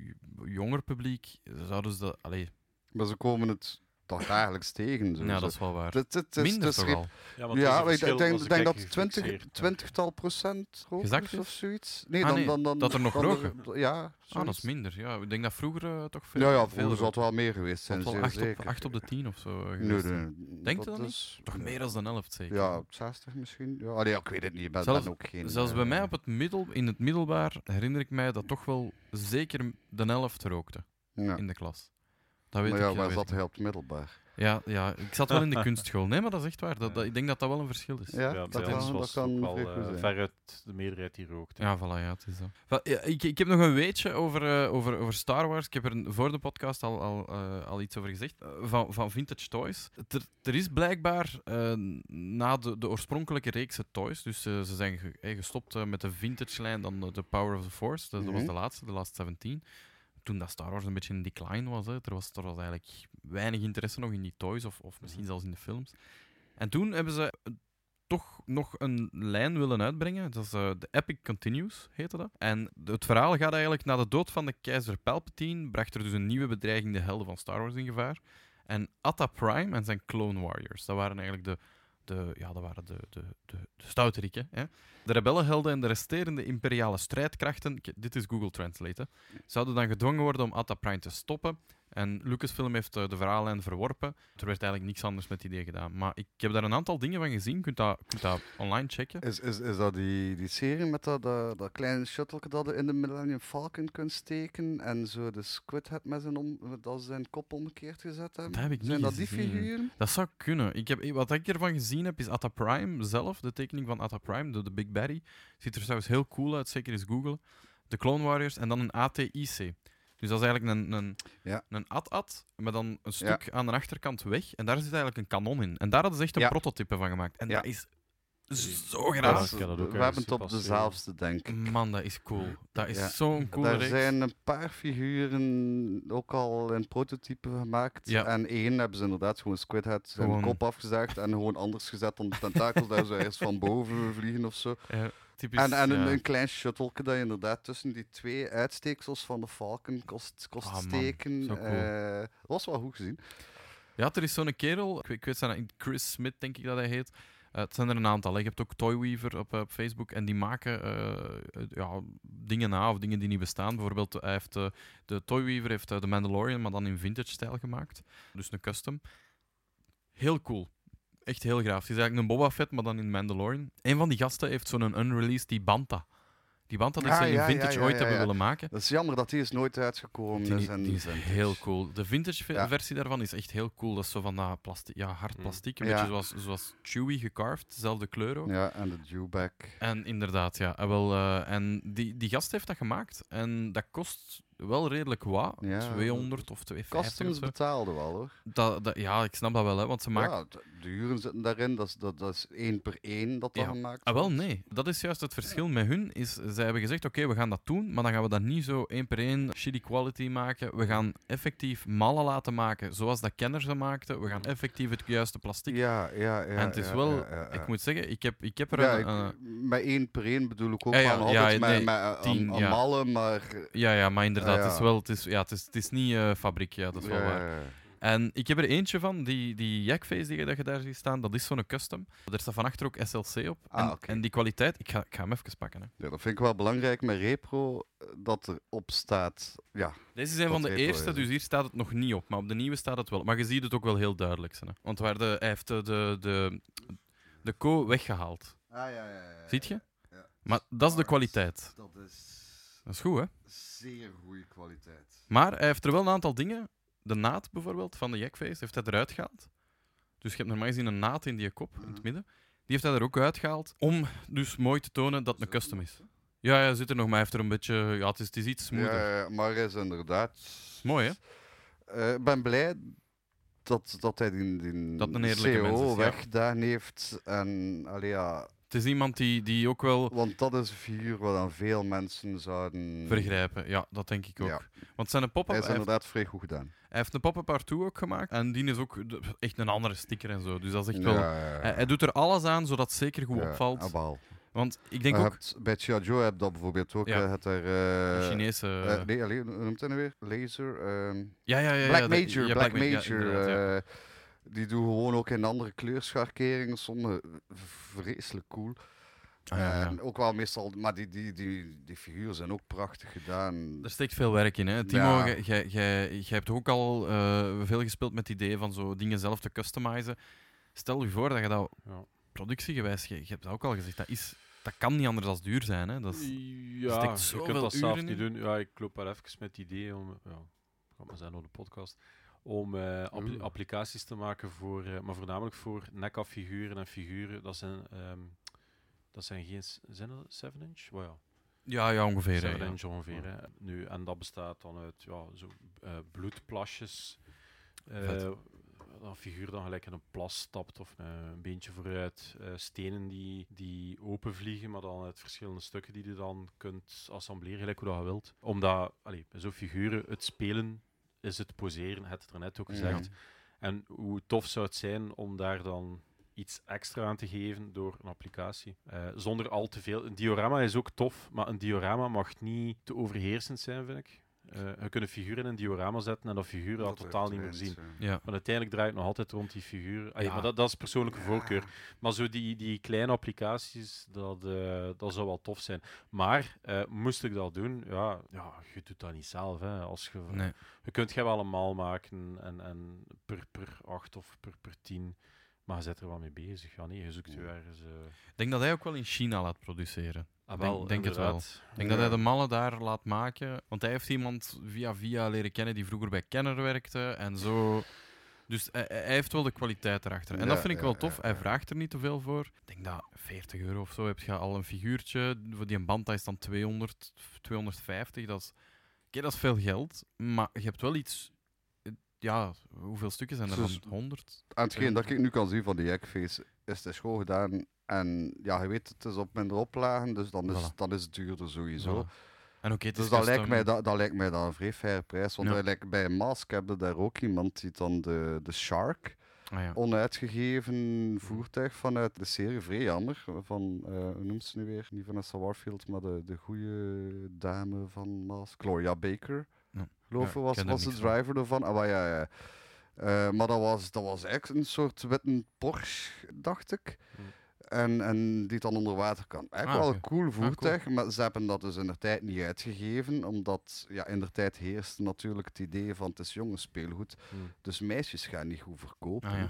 Speaker 1: jonger publiek zouden ze dat... Allee,
Speaker 2: Maar ze komen het toch dagelijks tegen. Zo.
Speaker 1: ja,
Speaker 2: Zo.
Speaker 1: dat is wel waar.
Speaker 2: Het- het is-
Speaker 1: Minder
Speaker 2: het is
Speaker 1: toch
Speaker 2: geen-
Speaker 1: al. Ah,
Speaker 3: Ja, want het is
Speaker 2: Ja,
Speaker 3: een
Speaker 2: maar ik denk,
Speaker 3: verschil
Speaker 2: denk,
Speaker 3: als
Speaker 2: dat
Speaker 3: de kijker
Speaker 2: twintig,
Speaker 3: gefixeerd, ja.
Speaker 2: twintigtal procent
Speaker 1: Gezakt
Speaker 2: rokers
Speaker 1: is?
Speaker 2: of zoiets. Nee,
Speaker 1: Ah,
Speaker 2: dan,
Speaker 1: nee,
Speaker 2: dan, dan,
Speaker 1: dat er nog
Speaker 2: dan
Speaker 1: roken.
Speaker 2: ja,
Speaker 1: Ah, dat
Speaker 2: zoiets.
Speaker 1: is minder. Ja, ik denk dat vroeger eh, toch veel
Speaker 2: Ja, ja,
Speaker 1: veel
Speaker 2: vroeger
Speaker 1: rook-
Speaker 2: zal het wel meer geweest zijn.
Speaker 1: want wel
Speaker 2: zeer
Speaker 1: acht op,
Speaker 2: zeker.
Speaker 1: acht op de tien of zo. eh,
Speaker 2: Nee,
Speaker 1: geweest, hè.
Speaker 2: nee.
Speaker 1: Denkt u dat niet?
Speaker 2: is,
Speaker 1: Toch meer dan de helft, zeker?
Speaker 2: Ja, 60 misschien. Ja, nee, ik weet het niet. Ik ben,
Speaker 1: Zelfs-
Speaker 2: ben ook geen...
Speaker 1: Zelfs bij
Speaker 2: eh,
Speaker 1: mij op het middel, in het middelbaar herinner ik mij dat toch wel zeker de helft rookte
Speaker 2: ja.
Speaker 1: in de klas. Dat weet
Speaker 2: Maar
Speaker 1: ik
Speaker 2: ja,
Speaker 1: dat
Speaker 2: waar
Speaker 1: weet
Speaker 2: zat
Speaker 1: ik.
Speaker 2: hij op het middelbaar?
Speaker 1: Ja, ja, ik zat wel in de kunstschool. Nee, maar dat is echt waar. Dat, dat- ik denk dat dat wel een verschil is. Ja,
Speaker 2: Ja,
Speaker 3: Ja,
Speaker 2: dat,
Speaker 3: bij ons
Speaker 2: kan, dat
Speaker 3: was
Speaker 2: kan
Speaker 3: het ook
Speaker 2: vrij
Speaker 3: wel
Speaker 2: goed
Speaker 3: eh,
Speaker 2: zijn.
Speaker 3: veruit de meerderheid die rookt.
Speaker 1: voilà, ja, het is dat. Wel, ja, ik, ik heb nog een weetje over, eh, over, over Star Wars. Ik heb er een- voor de podcast al, al, eh, al iets over gezegd. eh, van, van vintage toys. Er, er is blijkbaar eh, na de, de oorspronkelijke reekse toys, dus eh, ze zijn ge- eh, gestopt eh, met de vintage lijn, dan de, de Power of the Force. Dat, dat was
Speaker 2: Mhm.
Speaker 1: de laatste, de Last 17. Toen dat Star Wars een beetje in decline was, hè, er was, er was eigenlijk weinig interesse nog in die toys of, of misschien zelfs in de films. En toen hebben ze eh, toch nog een lijn willen uitbrengen. Dat is eh, de Epic Continues, heette dat. En de- het verhaal gaat eigenlijk na de dood van de keizer Palpatine, bracht er dus een nieuwe bedreiging de helden van Star Wars in gevaar. En Atta Prime en zijn Clone Warriors, dat waren eigenlijk de, de, ja, dat waren de, de, de, de stouterikken. Hè? De rebellenhelden en de resterende imperiale strijdkrachten, k- dit is Google Translate, hè, zouden dan gedwongen worden om Atta Prime te stoppen. En Lucasfilm heeft eh, de verhaallijn verworpen. Er werd eigenlijk niks anders met het idee gedaan. Maar ik heb daar een aantal dingen van gezien. Je kunt dat, kunt dat online checken.
Speaker 2: Is, is, is dat die, die serie met dat, dat, dat kleine shuttle dat je in de Millennium Falcon kunt steken en zo de Squid Head met zijn, om, dat zijn kop omgekeerd gezet hebben?
Speaker 1: Dat heb ik niet
Speaker 2: Zijn dat die
Speaker 1: gezien.
Speaker 2: figuren?
Speaker 1: Dat zou kunnen. Ik heb, wat ik ervan gezien heb, is Atta Prime zelf. De tekening van Atta Prime, de, de Big Baddy. Ziet er trouwens heel cool uit, zeker eens googlen. De Clone Warriors en dan een ATIC. Dus dat is eigenlijk een, een,
Speaker 2: Ja.
Speaker 1: een at-at, maar dan een stuk aan de achterkant weg. En daar zit eigenlijk een kanon in. En daar hadden ze echt een
Speaker 2: Ja.
Speaker 1: prototype van gemaakt. En
Speaker 2: Ja.
Speaker 1: dat is zo
Speaker 3: Ja,
Speaker 1: graag.
Speaker 2: Dat is-
Speaker 3: ik ken dat ook
Speaker 2: we
Speaker 3: ergens
Speaker 2: hebben het
Speaker 3: zien
Speaker 2: op
Speaker 3: passeren.
Speaker 2: dezelfde, denk ik.
Speaker 1: Man, dat is cool. Dat is
Speaker 2: Ja.
Speaker 1: zo'n coole
Speaker 2: Daar
Speaker 1: reeks.
Speaker 2: zijn een paar figuren ook al in prototype gemaakt.
Speaker 1: Ja.
Speaker 2: En één hebben ze inderdaad gewoon Squid Head zijn
Speaker 1: Gewoon-
Speaker 2: kop afgezaagd en gewoon anders gezet om de tentakels daar zo eerst van boven vliegen of zo.
Speaker 1: Ja, typisch,
Speaker 2: En, en een,
Speaker 1: ja.
Speaker 2: een klein shuttleke dat je inderdaad tussen die twee uitsteeksels van de Falcon kost, kost
Speaker 1: Ah, man,
Speaker 2: steken.
Speaker 1: zo cool.
Speaker 2: Eh, was wel goed gezien.
Speaker 1: Ja, er is zo'n kerel, ik, weet- ik weet zijn naam- Chris Smith denk ik dat hij heet. Eh, het zijn er een aantal. hè. Je hebt ook Toyweaver op, eh, op Facebook en die maken eh, eh, ja, dingen na of dingen die niet bestaan. Bijvoorbeeld, hij heeft, eh, de Toyweaver heeft eh, de Mandalorian, maar dan in vintage-stijl gemaakt. Dus een custom. Heel cool. Echt heel graaf. Het is eigenlijk een Boba Fett, maar dan in Mandalorian. Een van die gasten heeft zo'n unreleased, die Banta. Die Banta die
Speaker 2: Ah,
Speaker 1: ze in
Speaker 2: ja, ja,
Speaker 1: vintage
Speaker 2: ja,
Speaker 1: ooit
Speaker 2: ja,
Speaker 1: hebben
Speaker 2: ja.
Speaker 1: willen maken.
Speaker 2: Dat is jammer dat die is nooit uitgekomen.
Speaker 1: Die,
Speaker 2: is en-
Speaker 1: die is
Speaker 2: vintage.
Speaker 1: heel cool. De vintage ve-
Speaker 2: Ja.
Speaker 1: versie daarvan is echt heel cool. Dat is zo van dat plasti- ja, hard
Speaker 3: Mm.
Speaker 1: plastic, een
Speaker 2: Ja.
Speaker 1: beetje zoals, zoals Chewy gecarved, dezelfde kleur ook.
Speaker 2: Ja, en de Dewback.
Speaker 1: En inderdaad, ja. En, wel, eh, en die, die gast heeft dat gemaakt en dat kost wel redelijk wat,
Speaker 2: Ja,
Speaker 1: 200 of 250 of
Speaker 2: Customs
Speaker 1: zo.
Speaker 2: betaalde wel hoor.
Speaker 1: Dat, dat- ja, ik snap dat wel, hè, want ze maken...
Speaker 2: Ja, de de huren zitten daarin. Dat is, dat, dat is één per één dat dat
Speaker 1: Ja.
Speaker 2: gemaakt
Speaker 1: Ah, wel,
Speaker 2: wordt.
Speaker 1: nee. Dat is juist het verschil met hun. Is, zij hebben gezegd, oké, we gaan dat doen, maar dan gaan we dat niet zo één per één shitty quality maken. We gaan effectief mallen laten maken zoals dat kenners ze maakten. We gaan effectief het juiste plastic
Speaker 2: Ja, ja, ja.
Speaker 1: en het is
Speaker 2: ja,
Speaker 1: wel,
Speaker 2: ja, ja, ja.
Speaker 1: ik moet zeggen, ik heb, ik heb er
Speaker 2: Ja,
Speaker 1: een.
Speaker 2: ik-
Speaker 1: eh,
Speaker 2: met één per één bedoel ik ook
Speaker 1: Ja, ja,
Speaker 2: aan
Speaker 1: ja,
Speaker 2: altijd met,
Speaker 1: nee,
Speaker 2: met eh,
Speaker 1: tien,
Speaker 2: aan- aan
Speaker 1: ja.
Speaker 2: mallen, maar... eh,
Speaker 1: ja, ja, maar inderdaad,
Speaker 2: Ah,
Speaker 1: Het, is
Speaker 2: ja.
Speaker 1: wel, het, is, ja, het, is, het is niet eh, fabriek, ja, dat is wel
Speaker 2: ja,
Speaker 1: waar.
Speaker 2: ja, ja.
Speaker 1: En ik heb er eentje van, die, die jackface die je, dat je daar ziet staan, dat is zo'n custom. Daar staat van achter ook SLC op.
Speaker 2: Ah,
Speaker 1: en,
Speaker 2: oké.
Speaker 1: en die kwaliteit, ik ga, ik ga hem even pakken. Hè.
Speaker 2: Ja, dat vind ik wel belangrijk met repro, eh, dat erop staat... Ja,
Speaker 1: Deze is een
Speaker 2: Dat
Speaker 1: van de
Speaker 2: weet wel,
Speaker 1: eerste,
Speaker 2: ja.
Speaker 1: dus hier staat het nog niet op. Maar op de nieuwe staat het wel. Maar je ziet het ook wel heel duidelijk. Hè. Want waar de, hij heeft de, de, de, de co weggehaald.
Speaker 2: Ah, ja, ja, ja.
Speaker 1: Ziet je?
Speaker 2: Ja.
Speaker 1: Maar dat is de
Speaker 2: Smart.
Speaker 1: kwaliteit.
Speaker 2: Dat is
Speaker 1: Dat is goed, hè?
Speaker 2: zeer goede kwaliteit.
Speaker 1: Maar hij heeft er wel een aantal dingen. De naad bijvoorbeeld van de jackface heeft hij eruit gehaald. Dus Dus je hebt normaal gezien een naad in die kop, in het midden. Die heeft hij er ook uitgehaald, om dus mooi te tonen dat het een custom is. Ja, ja, zit er nog, maar hij heeft er een beetje... Ja, het is, het is iets smoother.
Speaker 2: Ja, ja, maar hij is inderdaad.
Speaker 1: Mooi, hè?
Speaker 2: Eh, Ik ben blij dat, dat hij die, die E
Speaker 1: Dat een eerlijke mens is, ja.
Speaker 2: weggedaan heeft. En, allee, ja,
Speaker 1: Het is iemand die, die ook wel
Speaker 2: want dat is een figuur wat aan veel mensen zouden.
Speaker 1: vergrijpen. Ja, dat denk ik ook.
Speaker 2: Ja.
Speaker 1: Want zijn pop-up...
Speaker 2: Hij
Speaker 1: Hij
Speaker 2: is
Speaker 1: heeft,
Speaker 2: inderdaad vrij goed gedaan.
Speaker 1: hij heeft een pop-up Artoo ook gemaakt. En die is ook de- echt een andere sticker en zo. Dus dat is echt wel... Hij, hij doet er alles aan, zodat het zeker goed opvalt.
Speaker 2: ah,
Speaker 1: Want ik denk
Speaker 2: Maar
Speaker 1: ook...
Speaker 2: hebt- bij Chia Joe heb je dat bijvoorbeeld ook.
Speaker 1: Ja.
Speaker 2: hè, Het er, eh,
Speaker 1: de Chinese...
Speaker 2: eh, nee, allee, hoe noemt hij nou weer? Laser. ehm,
Speaker 1: ja, ja, ja, ja.
Speaker 2: Black
Speaker 1: de-
Speaker 2: Major.
Speaker 1: ja,
Speaker 2: Black
Speaker 1: Ma- ja,
Speaker 2: Major.
Speaker 1: inderdaad, ja.
Speaker 2: eh, die doen gewoon ook in andere kleurscharkeringen. Sommige vreselijk cool.
Speaker 1: Ah, ja, ja.
Speaker 2: En ook wel meestal, maar die, die, die, die figuren zijn ook prachtig gedaan.
Speaker 1: Er steekt veel werk in, hè. Timo,
Speaker 2: Ja.
Speaker 1: jij- jij jij- jij hebt ook al eh, veel gespeeld met het idee van zo dingen zelf te customizen. Stel je voor dat je dat
Speaker 3: Ja.
Speaker 1: productiegewijs, je, je hebt dat ook al gezegd, dat, is, dat kan niet anders dan duur zijn, hè. Dat is,
Speaker 3: ja,
Speaker 1: steekt
Speaker 3: je
Speaker 1: zoveel
Speaker 3: kunt dat
Speaker 1: uren
Speaker 3: zelf
Speaker 1: in.
Speaker 3: niet doen. Ja, ik loop daar even met het idee om, ja, ik ga maar zijn op de podcast, om eh, app-
Speaker 2: Oeh.
Speaker 3: applicaties te maken voor, eh, maar voornamelijk voor nekafiguren en figuren. Dat zijn, ehm, dat zijn geen, s- zijn dat 7 inch? Well, ja,
Speaker 1: ja, ja, ongeveer. hè,
Speaker 3: 7
Speaker 1: ja.
Speaker 3: inch ongeveer. hè. Nu, en dat bestaat dan uit ja, zo, eh, bloedplasjes. eh,
Speaker 1: Vet.
Speaker 3: een figuur dan gelijk in een plas stapt of een, een beentje vooruit. eh, stenen die, die openvliegen, maar dan uit verschillende stukken die je dan kunt assembleren, gelijk hoe dat je wilt. Omdat, allee, bij zo'n figuren, het spelen is het poseren, het er net ook
Speaker 2: Ja.
Speaker 3: gezegd. En hoe tof zou het zijn om daar dan iets extra aan te geven door een applicatie. Eh, zonder al te veel. Een diorama is ook tof, maar een diorama mag niet te overheersend zijn, vind ik. Eh je kunt een figuur in een diorama zetten en dat figuur dat, totaal niet meer zien.
Speaker 2: eh,
Speaker 1: Ja.
Speaker 3: Maar uiteindelijk draait het nog altijd rond die figuur. Ah, ja,
Speaker 1: Ja.
Speaker 3: Maar dat, dat is persoonlijke voorkeur. Maar zo die, die kleine applicaties, dat, eh, dat zou wel tof zijn. Maar eh, moest ik dat doen, ja, ja, je doet dat niet zelf. Hè. Als je,
Speaker 1: Nee.
Speaker 3: je kunt je wel een maal maken en, en per, per acht of per, per tien. Maar je zit er wel mee bezig. Ja, nee, je zoekt je ergens. eh
Speaker 1: Ik denk dat hij ook wel in China laat produceren.
Speaker 3: ah,
Speaker 1: denk- denk het wel.
Speaker 3: inderdaad.
Speaker 1: Ik denk dat hij de mallen daar laat maken. Want hij heeft iemand via via leren kennen die vroeger bij Kenner werkte en zo. Dus hij, hij heeft wel de kwaliteit erachter. En dat
Speaker 2: Ja,
Speaker 1: vind ik
Speaker 2: ja,
Speaker 1: wel tof.
Speaker 2: ja,
Speaker 1: Hij
Speaker 2: ja.
Speaker 1: vraagt er niet te veel voor. Ik denk dat 40 euro of zo heb je al een figuurtje. Voor die een band dat is dan 200, 250. Dat is, oké, dat is veel geld. Maar je hebt wel iets. Ja, hoeveel stukken zijn er
Speaker 2: Dus-
Speaker 1: dan? 100?
Speaker 2: Aan hetgeen dat ik nu kan zien van die Jackface, is het schoon gedaan. En ja, je weet, het is op minder oplagen, dus dan is,
Speaker 1: Voilà.
Speaker 2: dan is het duurder sowieso.
Speaker 1: Voilà. En oké, het is
Speaker 2: Dus dat lijkt,
Speaker 1: custom.
Speaker 2: mij, dat, dat lijkt mij dan een vrij faire prijs. Want
Speaker 1: Ja.
Speaker 2: wij lijken- bij Mask hebben daar ook iemand die dan de, de Shark,
Speaker 1: Ah, ja.
Speaker 2: onuitgegeven voertuig vanuit de serie, vrij jammer. Van, eh hoe noemt ze nu weer? Niet Vanessa Warfield, maar de, de goede dame van Mask, Gloria Baker.
Speaker 1: Ja.
Speaker 2: Geloof
Speaker 1: Ja,
Speaker 2: ik
Speaker 1: ik
Speaker 2: was,
Speaker 1: ken daar
Speaker 2: was de
Speaker 1: niks van.
Speaker 2: driver ervan. Ah, maar ja, ja. Eh, maar dat was, dat was echt een soort witte Porsche, dacht ik.
Speaker 3: Hmm.
Speaker 2: En, en die dan onder water kan. Eigenlijk
Speaker 1: Ah,
Speaker 2: wel
Speaker 1: oké.
Speaker 2: een cool voertuig, maar ze hebben dat dus in de tijd niet uitgegeven. Omdat ja, in de tijd heerste natuurlijk het idee van het is jongens speelgoed.
Speaker 3: Hmm.
Speaker 2: Dus meisjes gaan niet goed verkopen.
Speaker 1: Ah, ja.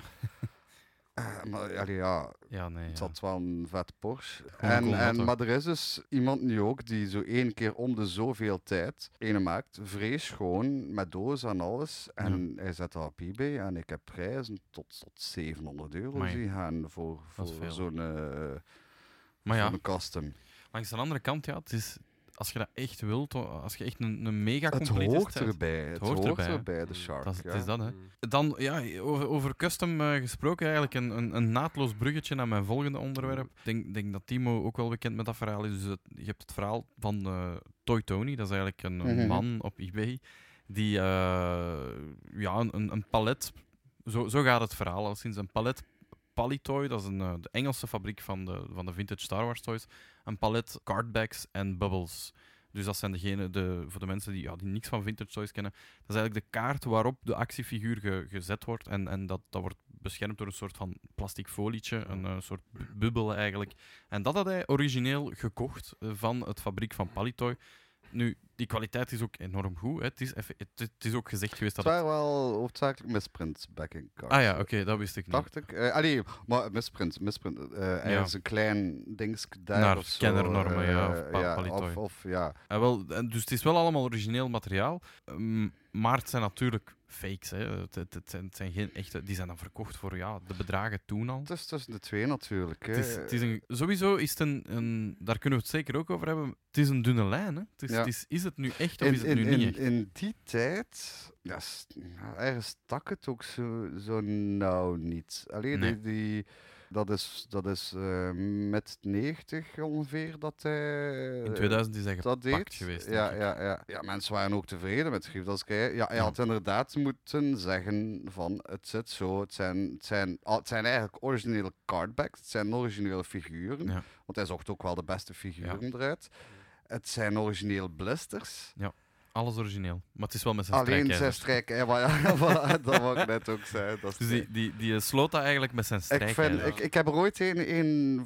Speaker 2: Eh, maar allee, ja,
Speaker 1: ja, nee. Mm.
Speaker 2: het
Speaker 1: ja.
Speaker 2: had wel een vet Porsche.
Speaker 1: Gewoon een
Speaker 2: En,
Speaker 1: cool
Speaker 2: en,
Speaker 1: auto.
Speaker 2: maar er is dus iemand nu ook die zo één keer om de zoveel tijd ene maakt. Vrees schoon, met doos en alles. En hij zet dat op eBay. En ik heb prijzen tot, tot 700 euro
Speaker 1: Amai.
Speaker 2: zien gaan voor,
Speaker 1: Dat is
Speaker 2: voor
Speaker 1: veel.
Speaker 2: zo'n eh,
Speaker 1: Maar ja,
Speaker 2: zo'n custom.
Speaker 1: Langs de andere kant, ja, het is, als je dat echt wilt, o- als je echt een, een mega
Speaker 2: Het
Speaker 1: completist
Speaker 2: hoort
Speaker 1: bent,
Speaker 2: erbij. Het,
Speaker 1: hoort
Speaker 2: hoort,
Speaker 1: erbij, hè.
Speaker 2: erbij, de
Speaker 3: Mm,
Speaker 2: Shark.
Speaker 1: dat is- het
Speaker 2: ja.
Speaker 1: is dat, hè.
Speaker 3: Mm.
Speaker 1: Dan, ja, over, over custom eh, gesproken, eigenlijk een, een, een naadloos bruggetje naar mijn volgende onderwerp. Ik denk, denk dat Timo ook wel bekend met dat verhaal is. Dus het- je hebt het verhaal van eh, Toy Tony, dat is eigenlijk een, een
Speaker 2: Mhm.
Speaker 1: man op eBay, die eh, ja, een, een, een palet, zo, zo gaat het verhaal al sinds, een palet Palitoy, dat is een, eh, de Engelse fabriek van de, van de vintage Star Wars toys, een palet cardbacks en bubbles. Dus dat zijn degene, de, voor de mensen die, ja, die niks van vintage toys kennen, dat is eigenlijk de kaart waarop de actiefiguur ge- gezet wordt. En, en dat, dat wordt beschermd door een soort van plastic folietje, een eh, soort bu- bubbel eigenlijk. En dat had hij origineel gekocht eh, van het fabriek van Palitoy. Nu, die kwaliteit is ook enorm goed. Hè. Het, is effe- het, het is ook gezegd geweest
Speaker 2: Het
Speaker 1: dat...
Speaker 2: waren wel hoofdzakelijk misprints back in cards.
Speaker 1: Ah ja, oké, dat wist ik niet.
Speaker 2: Dacht ik. Eh, allee, maar misprint, misprint. eh hij
Speaker 1: Ja.
Speaker 2: is een klein dingsk daar
Speaker 1: Naar
Speaker 2: of zo.
Speaker 1: kennernormen, ja, of
Speaker 2: eh,
Speaker 1: pa-
Speaker 2: ja,
Speaker 1: palitooi.
Speaker 2: of, of ja.
Speaker 1: Eh, Ah, wel, en dus het is wel allemaal origineel materiaal. Ehm, Maar het zijn natuurlijk fakes. Hè. Het, het, het zijn, het zijn geen echte, die zijn dan verkocht voor ja, de bedragen toen al.
Speaker 2: Het is tussen de twee natuurlijk. Hè.
Speaker 1: Het is, het is een, sowieso is het een, een, daar kunnen we het zeker ook over hebben, het is een dunne lijn. Hè. Het is,
Speaker 2: Ja.
Speaker 1: het is, is het nu echt of
Speaker 2: in,
Speaker 1: is het nu
Speaker 2: in,
Speaker 1: niet
Speaker 2: in,
Speaker 1: echt?
Speaker 2: in die tijd, ja, s- ja, ergens stak het ook zo, zo nauw niet. Alleen
Speaker 1: Nee.
Speaker 2: die, die, dat is, dat is eh, met 90 ongeveer dat hij. eh,
Speaker 1: In 2000 is hij
Speaker 2: dat
Speaker 1: gepakt
Speaker 2: deed.
Speaker 1: geweest. denk
Speaker 2: ja,
Speaker 1: ik.
Speaker 2: ja, ja. ja, mensen waren ook tevreden met Grief. Dat is kei- ja, hij
Speaker 1: Ja.
Speaker 2: had inderdaad moeten zeggen van het zit zo. Het zijn, het zijn, ah, het zijn eigenlijk originele cardbacks. Het zijn originele figuren.
Speaker 1: Ja.
Speaker 2: Want hij zocht ook wel de beste figuren eruit. Het zijn originele blisters.
Speaker 1: Alles origineel. Maar het is wel met zijn
Speaker 2: Alleen zijn
Speaker 1: strijkijzers.
Speaker 2: strijk. Ja, maar ja, voilà, dat wou ik net ook zeggen. Dat is
Speaker 1: Dus die, die, die eh, sloot dat eigenlijk met zijn
Speaker 2: ik, vind,
Speaker 1: strijkijzers.
Speaker 2: ik, ik heb er ooit een, een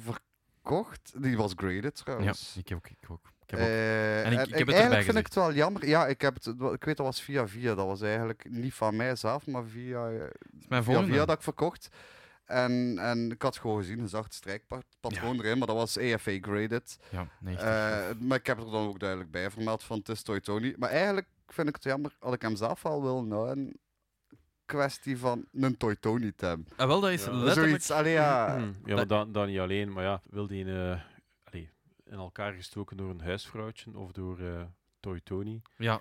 Speaker 2: verkocht. Die was graded
Speaker 1: Ja,
Speaker 2: trouwens.
Speaker 1: ik heb ook. Ik ook. Ik heb ook.
Speaker 2: Eh,
Speaker 1: En ik- ik heb het erbij
Speaker 2: eigenlijk vind ik
Speaker 1: gezet.
Speaker 2: het wel jammer. Ja, ik, heb het, ik weet dat was via via. Dat was eigenlijk niet van mijzelf, maar via, eh,
Speaker 1: Dat is mijn
Speaker 2: via,
Speaker 1: volgende.
Speaker 2: via dat ik verkocht. En, en ik had gewoon gezien, een zacht strijkpatroon erin, maar dat was EFA graded.
Speaker 1: Ja, nee. echt.
Speaker 2: Eh, maar ik heb er dan ook duidelijk bij vermeld van het is Toy Tony. Maar eigenlijk vind ik het jammer, had ik hem zelf al willen houden. Kwestie van een Toy Tony te hebben.
Speaker 1: En Ah, wel, dat is
Speaker 3: Ja.
Speaker 1: letterlijk...
Speaker 2: eh, Zoiets, allee, ja.
Speaker 3: Mm. ja, maar dan, dan niet alleen. Maar ja, wil die een, eh, allee, in elkaar gestoken door een huisvrouwtje of door eh, Toy Tony.
Speaker 1: Ja,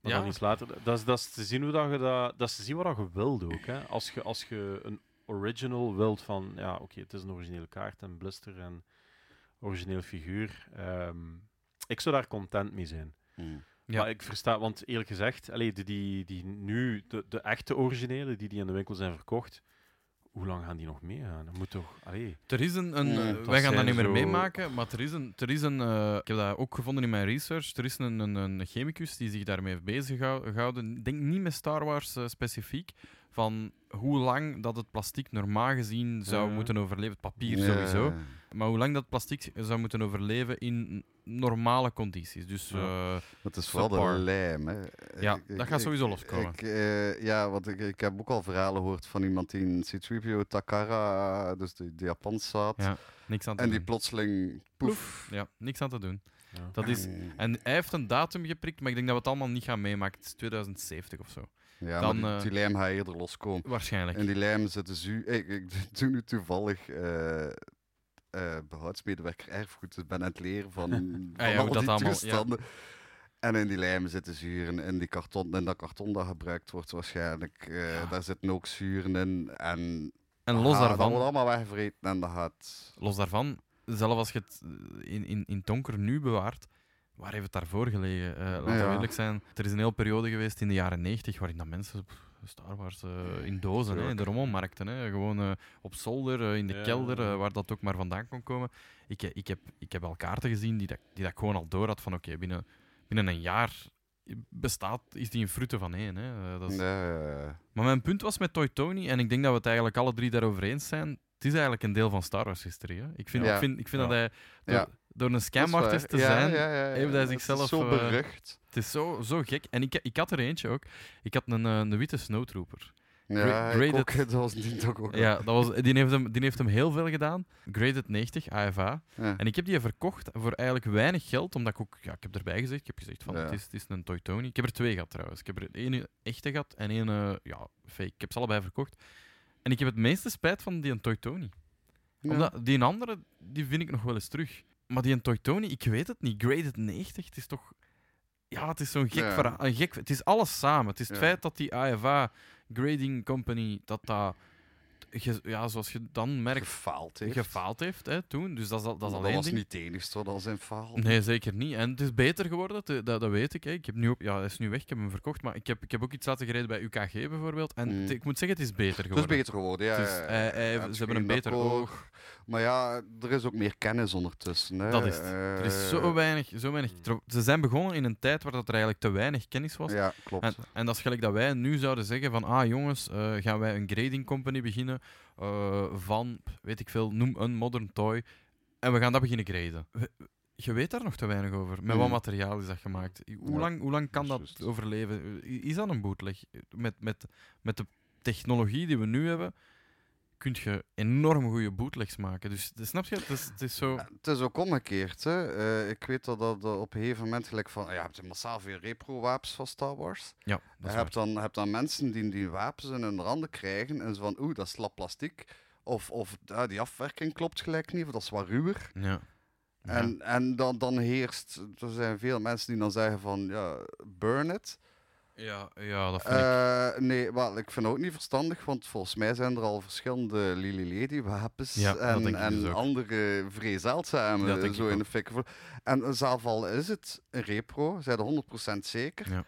Speaker 3: Maar
Speaker 1: Ja.
Speaker 3: dan iets later. Dat is, dat is te zien hoe dat je dat, dat is te zien wat dat je wilt ook. Hè. Als je als je een original wilt van ja, oké, het is een originele kaart en blister en origineel figuur. ehm, ik zou daar content mee zijn.
Speaker 1: Ja.
Speaker 3: Maar ik versta, want eerlijk gezegd, allee, die, die, die nu, de, de echte originele, die die in de winkel zijn verkocht, hoe lang gaan die nog meegaan? Dat moet toch, allee.
Speaker 1: er is een... een
Speaker 2: Nee,
Speaker 1: eh,
Speaker 2: dat
Speaker 1: wij gaan dat
Speaker 3: zijn
Speaker 1: niet meer
Speaker 3: zo-
Speaker 1: meemaken, maar er is een... Er is een eh, ik heb dat ook gevonden in mijn research. Er is een, een, een chemicus die zich daarmee heeft bezig gehou- gehouden. Ik denk niet met Star Wars eh, specifiek. Van hoe lang dat het plastic normaal gezien zou
Speaker 3: Ja.
Speaker 1: moeten overleven. Het papier
Speaker 2: Mm. Ja.
Speaker 1: sowieso. Maar hoe lang dat plastic zou moeten overleven in normale condities. Dus
Speaker 3: Ja.
Speaker 1: eh,
Speaker 2: Dat is vooral de
Speaker 1: Subpar.
Speaker 2: lijm, hè.
Speaker 1: Ja,
Speaker 2: Ik-
Speaker 1: dat
Speaker 2: ik-
Speaker 1: gaat
Speaker 2: ik-
Speaker 1: sowieso loskomen.
Speaker 2: Ik, eh, ja, want ik, ik heb ook al verhalen gehoord van iemand die in C-3PO Takara, dus de, de Japans zat,
Speaker 1: Ja, niks aan te
Speaker 2: en die
Speaker 1: doen.
Speaker 2: plotseling poef.
Speaker 1: ja, niks aan te doen.
Speaker 3: Ja.
Speaker 1: Dat is,
Speaker 2: Mm.
Speaker 1: en hij heeft een datum geprikt, maar ik denk dat we het allemaal niet gaan meemaken. Het is 2070 of zo.
Speaker 2: Ja,
Speaker 1: dan,
Speaker 2: maar
Speaker 1: eh,
Speaker 2: die, die lijm gaat eerder loskomen.
Speaker 1: Waarschijnlijk.
Speaker 2: En die lijm zit dus... u- Ik, ik doe nu toevallig... eh, eh, behoudsmedewerker erfgoed, dus ben aan het leren van, van
Speaker 1: Ah ja,
Speaker 2: al
Speaker 1: hoe dat
Speaker 2: die
Speaker 1: allemaal- ja.
Speaker 2: toestanden. En in die lijmen zitten zuren, in die karton, en dat karton dat gebruikt wordt waarschijnlijk, eh,
Speaker 1: Ja.
Speaker 2: daar zitten ook zuren in. En
Speaker 1: En los
Speaker 2: Ah, Dat wordt
Speaker 1: daarvan,
Speaker 2: allemaal weggevreten en dat gaat.
Speaker 1: los daarvan, zelfs als je het eh, in, in, in het donker nu bewaart, waar heeft het daarvoor gelegen? Eh, laten we
Speaker 2: Ja.
Speaker 1: eerlijk zijn, er is een hele periode geweest in de jaren 90 waarin dat mensen... pff, Star Wars eh, in dozen, hè, in de rommelmarkten. Hè. Gewoon eh, op zolder, eh, in de
Speaker 3: Ja.
Speaker 1: kelder, eh, waar dat ook maar vandaan kon komen. Ik, he- ik, heb, ik heb al kaarten gezien die dat, die dat ik gewoon al door had van oké, binnen, binnen een jaar bestaat, is die een frutte van één. Hè. Eh, dat is,
Speaker 2: Nee.
Speaker 1: Maar mijn punt was met Toy Tony, en ik denk dat we het eigenlijk alle drie daarover eens zijn. Het is eigenlijk een deel van Star Wars history. Hè? Ik vind,
Speaker 2: Ja.
Speaker 1: ik vind, ik vind
Speaker 3: Ja.
Speaker 1: dat hij door,
Speaker 2: Ja.
Speaker 1: door een scamartist te
Speaker 2: Dat is waar. Ja,
Speaker 1: zijn.
Speaker 2: ja, ja, ja.
Speaker 1: heeft hij
Speaker 2: Het is
Speaker 1: zichzelf,
Speaker 2: Zo
Speaker 1: eh,
Speaker 2: berucht.
Speaker 1: Het is zo, zo gek. En ik, ik had er eentje ook. Ik had een, eh, een witte snowtrooper.
Speaker 2: Ja, ik
Speaker 1: graded-
Speaker 2: ook, dat was niet toch ook.
Speaker 1: Ja, dat was, die, heeft hem, die heeft hem heel veel gedaan. Graded 90, AFA.
Speaker 2: Ja.
Speaker 1: En ik heb die verkocht voor eigenlijk weinig geld, omdat ik ook... Ja, ik heb erbij gezegd, ik heb gezegd van,
Speaker 2: Ja.
Speaker 1: het, is, het is een Toy Tony. Ik heb er twee gehad trouwens. Ik heb er één echte gehad en één eh, ja, fake. Ik heb ze allebei verkocht. En ik heb het meeste spijt van die een Toy Tony.
Speaker 2: Ja.
Speaker 1: Omdat die een andere, die vind ik nog wel eens terug. Maar die een Toy Tony, ik weet het niet. Graded 90, het is toch... Ja, het is zo'n gek
Speaker 2: Ja.
Speaker 1: verhaal. een gek- Het is alles samen. Het is het
Speaker 2: Ja.
Speaker 1: feit dat die AFA Grading Company, dat dat... ge- Ja, zoals je dan merkt,
Speaker 2: gefaald heeft.
Speaker 1: gefaald heeft hè, toen. Dus dat is, al- dat is
Speaker 2: dat
Speaker 1: alleen
Speaker 2: was
Speaker 1: ding.
Speaker 2: niet het enigste wat al zijn faal.
Speaker 1: Nee, zeker niet. En het is beter geworden, te- dat, dat weet ik. Hè. Ik heb nu ook, ja, hij is nu weg, ik heb hem verkocht. Maar ik heb, ik heb ook iets laten gereden bij UKG bijvoorbeeld. En
Speaker 2: Mm.
Speaker 1: het- ik moet zeggen, het is beter
Speaker 2: Het is
Speaker 1: geworden.
Speaker 2: beter geworden, ja.
Speaker 1: Het is-
Speaker 2: ja, ja.
Speaker 1: hij- hij-
Speaker 2: Ja,
Speaker 1: ze
Speaker 2: het
Speaker 1: hebben een
Speaker 2: groene
Speaker 1: beter
Speaker 2: koor.
Speaker 1: oog.
Speaker 2: Maar ja, er is ook meer kennis ondertussen. Hè.
Speaker 1: Dat is het. Er is zo
Speaker 2: Eh,
Speaker 1: weinig, zo weinig. tro- Ze zijn begonnen in een tijd waar dat er eigenlijk te weinig kennis was.
Speaker 2: Ja, klopt.
Speaker 1: En, en dat is gelijk dat wij nu zouden zeggen van, ah jongens, eh, gaan wij een grading company beginnen eh, van, weet ik veel, noem een modern toy. En we gaan dat beginnen graden. We- je weet daar nog te weinig over. Met wat
Speaker 2: Mm.
Speaker 1: materiaal is dat gemaakt? Hoe
Speaker 2: Ja,
Speaker 1: lang, hoe lang kan
Speaker 2: dat
Speaker 1: dat
Speaker 2: is juist.
Speaker 1: overleven? I- Is dat een bootleg? Met, met, met de technologie die we nu hebben, kun je enorm goede bootlegs maken. Dus dat- snap je? Het is, het is zo...
Speaker 2: Ja, Het is ook omgekeerd. Hè. Eh, ik weet dat, dat eh, op een gegeven moment gelijk van... Ja, je hebt massaal veel repro-wapens van Star Wars.
Speaker 1: Ja, dat
Speaker 2: Je
Speaker 1: is waar.
Speaker 2: hebt dan, je hebt dan mensen die die wapens in hun randen krijgen en zo van... Oeh, dat is slap plastiek. Of, of ah, die afwerking klopt gelijk niet, of dat is wat ruwer.
Speaker 1: Ja. Ja.
Speaker 2: En, en dan, dan heerst... Er zijn veel mensen die dan zeggen van... Ja, burn it.
Speaker 1: Ja, ja, dat vind ik...
Speaker 2: Eh, nee, wel, ik vind het ook niet verstandig, want volgens mij zijn er al verschillende Lily Lady wapens
Speaker 1: Ja, dat
Speaker 2: en,
Speaker 1: denk ik
Speaker 2: en
Speaker 1: dus ook.
Speaker 2: andere vrij zeldzame
Speaker 1: Ja, dat denk
Speaker 2: zo
Speaker 1: ik
Speaker 2: in
Speaker 1: ook.
Speaker 2: de fik. En zelf al is het een repro, zijn er 100% zeker.
Speaker 1: Ja.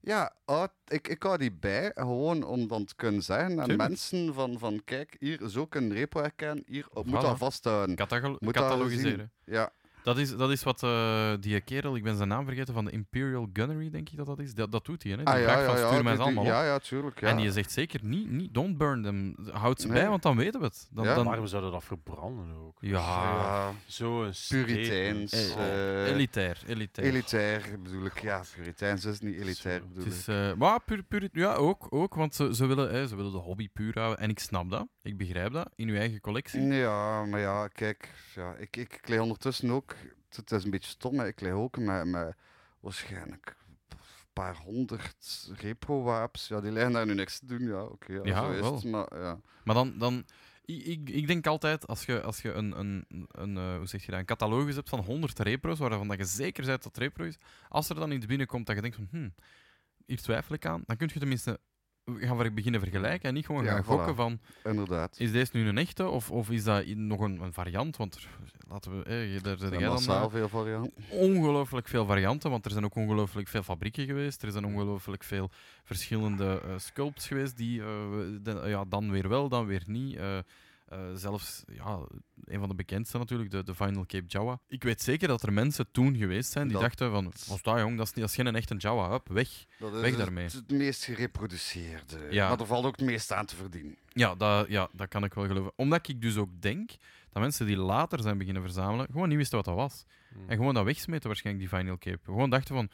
Speaker 2: Ja, houd- ik, ik hou die bij, gewoon om dan te kunnen zeggen aan
Speaker 1: Tuurlijk.
Speaker 2: mensen van, van kijk, hier zo kun je een repro herkennen, hier op, moet
Speaker 1: Voilà.
Speaker 2: dat vasthouden.
Speaker 1: Catalogiseren.
Speaker 2: Moet dat
Speaker 1: catalogiseren.
Speaker 2: zien. Ja,
Speaker 1: Dat is, dat is wat eh, die kerel, ik ben zijn naam vergeten, van de Imperial Gunnery, denk ik dat dat is. Dat, dat doet hij, hè? Die
Speaker 2: ah, ja,
Speaker 1: vraagt
Speaker 2: ja,
Speaker 1: van,
Speaker 2: ja,
Speaker 1: stuur mij
Speaker 2: die-
Speaker 1: eens
Speaker 2: die-
Speaker 1: allemaal op.
Speaker 2: ja, ja, tuurlijk. Ja.
Speaker 1: En je zegt zeker niet, niet don't burn them. Houd ze
Speaker 2: Nee.
Speaker 1: bij, want dan weten we het. Dan,
Speaker 2: Ja.
Speaker 1: dan...
Speaker 3: Waarom zouden dat verbranden ook?
Speaker 1: Ah, ja.
Speaker 2: Ja,
Speaker 3: Zo'n
Speaker 2: puriteins.
Speaker 3: statement.
Speaker 1: Eh,
Speaker 2: eh,
Speaker 1: elitair, elitair.
Speaker 2: Elitair bedoel ik, ja, puriteins is niet elitair
Speaker 3: Zo, het
Speaker 2: bedoel
Speaker 1: Het
Speaker 2: ik.
Speaker 1: is, eh, maar puur, puur, ja, ook, ook want ze, ze, willen, hè, ze willen de hobby puur houden. En ik snap dat, ik begrijp dat, in uw eigen collectie.
Speaker 2: Ja, maar ja, kijk, ja, ik, ik klei ondertussen ook, t- het is een beetje stom, hè, ik klei ook met, met waarschijnlijk een paar honderd repro-wapens. Ja, die liggen daar nu niks te doen, ja, oké, ja,
Speaker 1: Ja,
Speaker 2: zo is
Speaker 1: wel.
Speaker 2: het, maar ja.
Speaker 1: Maar dan, dan ik, ik, ik denk altijd, als je, als je een, een, een, eh, hoe zeg je dat, een catalogus hebt van 100 repro's, waarvan dat je zeker bent dat het repro is, als er dan iets binnenkomt dat je denkt van, hm, hier twijfel ik aan, dan kun je tenminste gaan ver- beginnen vergelijken en niet gewoon
Speaker 2: Ja,
Speaker 1: gaan
Speaker 2: voilà.
Speaker 1: gokken van,
Speaker 2: inderdaad.
Speaker 1: is deze nu een echte of, of is dat i- nog een, een variant? Want er- laten we, eh, daar zit
Speaker 2: Er
Speaker 1: jij dan...
Speaker 2: zijn
Speaker 1: eh,
Speaker 2: massaal veel varianten.
Speaker 1: ongelooflijk veel varianten, want er zijn ook ongelooflijk veel fabrieken geweest. Er zijn ongelooflijk veel verschillende eh, sculpts geweest die eh, we- de- ja, dan weer wel, dan weer niet. eh, eh, zelfs ja, een van de bekendste natuurlijk, de, de Final Cape Jawa. Ik weet zeker dat er mensen toen geweest zijn die
Speaker 2: Dat-
Speaker 1: dachten van, was dat jong, dat is, niet, dat is geen echte Jawa, hup, weg.
Speaker 2: Dat is
Speaker 1: Weg
Speaker 2: het-
Speaker 1: daarmee.
Speaker 2: Het, meest gereproduceerde,
Speaker 1: Ja.
Speaker 2: maar er valt ook het meest aan te verdienen.
Speaker 1: Ja dat, ja, dat kan ik wel geloven. Omdat ik dus ook denk dat mensen die later zijn beginnen verzamelen, gewoon niet wisten wat dat was. En gewoon dat wegsmeten waarschijnlijk, die Final Cape. Gewoon dachten van,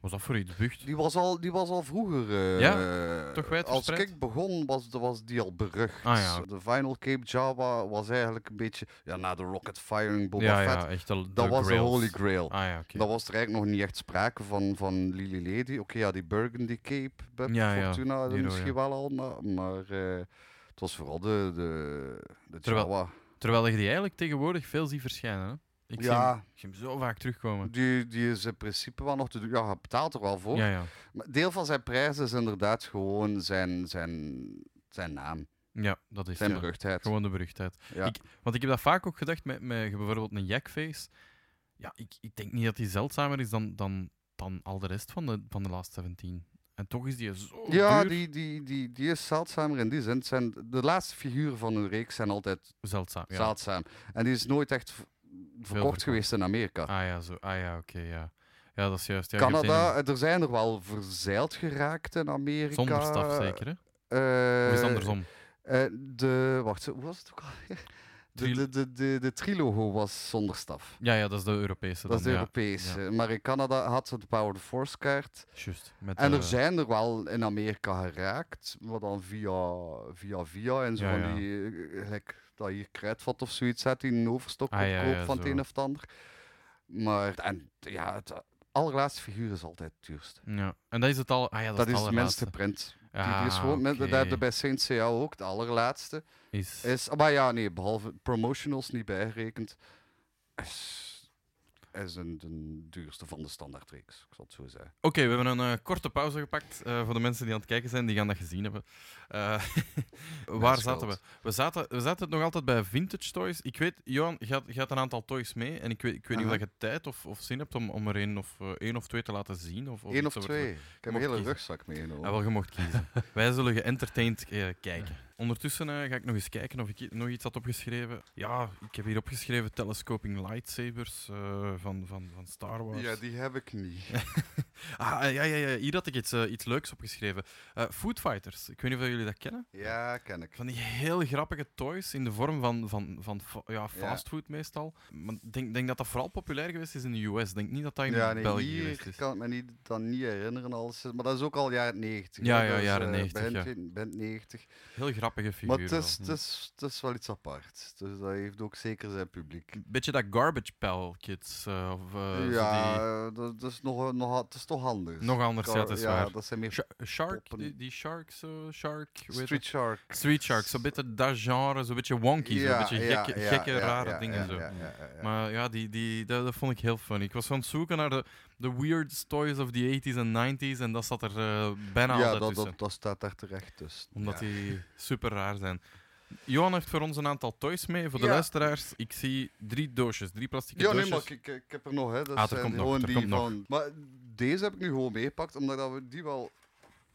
Speaker 1: was dat voor iets bucht?
Speaker 2: Die was al, die was al vroeger. eh,
Speaker 1: toch wijdverspreid?
Speaker 2: Als ik begon, was, was die al berucht.
Speaker 1: Ah, ja.
Speaker 2: De Final Cape Java was eigenlijk een beetje. Ja, na de Rocket Firing Boba
Speaker 1: ja,
Speaker 2: Fett.
Speaker 1: ja, echt al.
Speaker 2: dat was de Holy Grail.
Speaker 1: Ah ja, oké.
Speaker 2: Dat was er eigenlijk nog niet echt sprake van, van Lily Lady. Oké, ja, die Burgundy Cape, Beb
Speaker 1: Ja, ja,
Speaker 2: Fortuna
Speaker 1: die
Speaker 2: misschien
Speaker 1: rode.
Speaker 2: wel al, maar, maar eh, het was vooral de, de, de
Speaker 1: Terwijl-
Speaker 2: Jawa.
Speaker 1: Terwijl je die eigenlijk tegenwoordig veel ziet verschijnen. Hè? Ik zie, hem,
Speaker 2: Ja.
Speaker 1: ik zie hem zo vaak terugkomen.
Speaker 2: Die, die is in principe wel nog te doen. Ja, hij betaalt er wel voor.
Speaker 1: Ja, ja.
Speaker 2: Maar deel van zijn prijs is inderdaad gewoon zijn, zijn, zijn naam.
Speaker 1: ja, dat is
Speaker 2: Zijn
Speaker 1: ja.
Speaker 2: beruchtheid.
Speaker 1: gewoon de beruchtheid.
Speaker 2: Ja.
Speaker 1: Ik- Want ik heb dat vaak ook gedacht met, met bijvoorbeeld een jackface. Ja, ik, ik denk niet dat die zeldzamer is dan, dan, dan al de rest van de, van de Last 17. En toch is die zo
Speaker 2: ja,
Speaker 1: duur
Speaker 2: die, die, die, die is zeldzamer in die zin. Het Zijn, de laatste figuren van hun reeks zijn altijd
Speaker 1: zeldzaam. Ja.
Speaker 2: zeldzaam. En die is nooit echt v- verkocht
Speaker 1: verkocht.
Speaker 2: geweest in Amerika.
Speaker 1: Ah ja, zo. Ah ja, oké, ja. Ja, dat is juist. Ja, je hebt
Speaker 2: Canada, eh, er zijn er wel verzeild geraakt in
Speaker 1: één
Speaker 2: Amerika.
Speaker 1: Zonder staf zeker, hè?
Speaker 2: Eh,
Speaker 1: Of is het andersom?
Speaker 2: eh, de, wacht, hoe was het ook alweer? De,
Speaker 1: Tril-
Speaker 2: de, de, de, de trilogo was zonder staf.
Speaker 1: Ja, ja, dat is de Europese
Speaker 2: Dat is de
Speaker 1: dan, ja.
Speaker 2: Europese. Maar in Canada had ze de Power the Force kaart.
Speaker 1: Juist. met
Speaker 2: En er
Speaker 1: de-
Speaker 2: zijn er wel in Amerika geraakt, maar dan via via, via en zo
Speaker 1: Ja,
Speaker 2: van
Speaker 1: ja.
Speaker 2: die, eh, gelijk dat hier kruidvat of zoiets zet, die een overstok
Speaker 1: Ah, ja,
Speaker 2: opkoopt
Speaker 1: ja,
Speaker 2: van het
Speaker 1: zo.
Speaker 2: een of het ander. Maar, en ja, het allerlaatste figuur is altijd het duurst.
Speaker 1: Ja, en dat is het al. Ah ja, dat,
Speaker 2: Dat
Speaker 1: is
Speaker 2: is
Speaker 1: het
Speaker 2: de
Speaker 1: allerlaatste.
Speaker 2: minste print. Die, die is
Speaker 1: Ah,
Speaker 2: gewoon, met- dat
Speaker 1: oké.
Speaker 2: hebben bij Saint CA ook, de allerlaatste.
Speaker 1: Is...
Speaker 2: Is, ah, maar ja, nee, behalve promotionals niet bijgerekend, is, is een, de duurste van de standaardreeks, ik zal het zo zeggen.
Speaker 1: Oké, we hebben een eh, korte pauze gepakt. eh, voor de mensen die aan het kijken zijn, die gaan dat gezien hebben. Eh, waar
Speaker 2: is
Speaker 1: zaten we?
Speaker 2: goud.
Speaker 1: We zaten, we zaten nog altijd bij vintage toys. Ik weet, Johan, je had, je had een aantal toys mee. En ik weet, ik weet niet of
Speaker 2: Aha.
Speaker 1: dat je tijd of, of zin hebt om, om er één of, eh, één of twee te laten zien. Of, of
Speaker 2: Eén
Speaker 1: iets
Speaker 2: of
Speaker 1: over te-
Speaker 2: twee. Ik heb
Speaker 1: mocht
Speaker 2: een hele
Speaker 1: kiezen.
Speaker 2: rugzak meegenomen.
Speaker 1: Ah, wel, je mocht kiezen. Wij zullen geëntertained eh, kijken. Ondertussen eh, ga ik nog eens kijken of ik i- nog iets had opgeschreven. Ja, ik heb hier opgeschreven telescoping lightsabers eh, van, van, van Star Wars.
Speaker 2: Ja, die heb ik niet.
Speaker 1: Ah, eh, ja, ja, ja, hier had ik iets, eh, iets leuks opgeschreven. Eh Food Fighters. Ik weet niet of jullie dat kennen.
Speaker 2: Ja, ken ik.
Speaker 1: Van die heel grappige toys in de vorm van, van, van fa- ja, fastfood meestal. Maar ik denk, denk dat dat vooral populair geweest is in de US. Ik denk niet dat dat in
Speaker 2: Ja, nee,
Speaker 1: België
Speaker 2: hier
Speaker 1: geweest is.
Speaker 2: kan ik me niet, dan niet herinneren. Als, maar dat is ook al jaren 90.
Speaker 1: Ja,
Speaker 2: hè,
Speaker 1: ja,
Speaker 2: dus,
Speaker 1: jaren
Speaker 2: eh,
Speaker 1: 90,
Speaker 2: Begin,
Speaker 1: ja.
Speaker 2: begin- begin 90.
Speaker 1: Heel grappige
Speaker 2: Maar
Speaker 1: figuren.
Speaker 2: het is,
Speaker 1: wel. Hm.
Speaker 2: het, is, het is wel iets apart. Dus dat heeft ook zeker zijn publiek.
Speaker 1: Een beetje dat garbage pal kids. eh, of, eh, zo
Speaker 2: ja,
Speaker 1: die-
Speaker 2: eh, dat, dat is nog, nog, het is toch anders.
Speaker 1: Nog anders, ja, dat is
Speaker 2: ja,
Speaker 1: waar.
Speaker 2: dat zijn meer
Speaker 1: Sha- shark,
Speaker 2: poppen.
Speaker 1: die, die shark, zo, shark. weet het?
Speaker 2: Street Shark.
Speaker 1: Street Shark, zo'n beetje dat genre, zo'n beetje wonky, zo'n beetje
Speaker 2: ja,
Speaker 1: gekke,
Speaker 2: ja,
Speaker 1: gekke
Speaker 2: ja,
Speaker 1: rare
Speaker 2: ja,
Speaker 1: dingen.
Speaker 2: ja,
Speaker 1: zo.
Speaker 2: ja, ja, ja, ja.
Speaker 1: Maar ja, die, die, dat, dat vond ik heel funny. Ik was aan het zoeken naar de, de weird toys of the 80s en 90s en dat zat er eh, bijna
Speaker 2: ja,
Speaker 1: altijd
Speaker 2: dat,
Speaker 1: tussen.
Speaker 2: dat, dat staat daar terecht dus.
Speaker 1: Omdat
Speaker 2: ja.
Speaker 1: die super raar zijn. Johan heeft voor ons een aantal toys mee. Voor de
Speaker 2: Ja.
Speaker 1: luisteraars, ik zie drie doosjes, drie plastic
Speaker 2: Ja, nee,
Speaker 1: doosjes.
Speaker 2: maar ik, ik- ik heb er nog, hè. Dat
Speaker 1: Ah, er
Speaker 2: zijn
Speaker 1: komt nog,
Speaker 2: gewoon
Speaker 1: er
Speaker 2: die
Speaker 1: komt nog.
Speaker 2: van... Maar deze heb ik nu gewoon meegepakt, omdat dat we die wel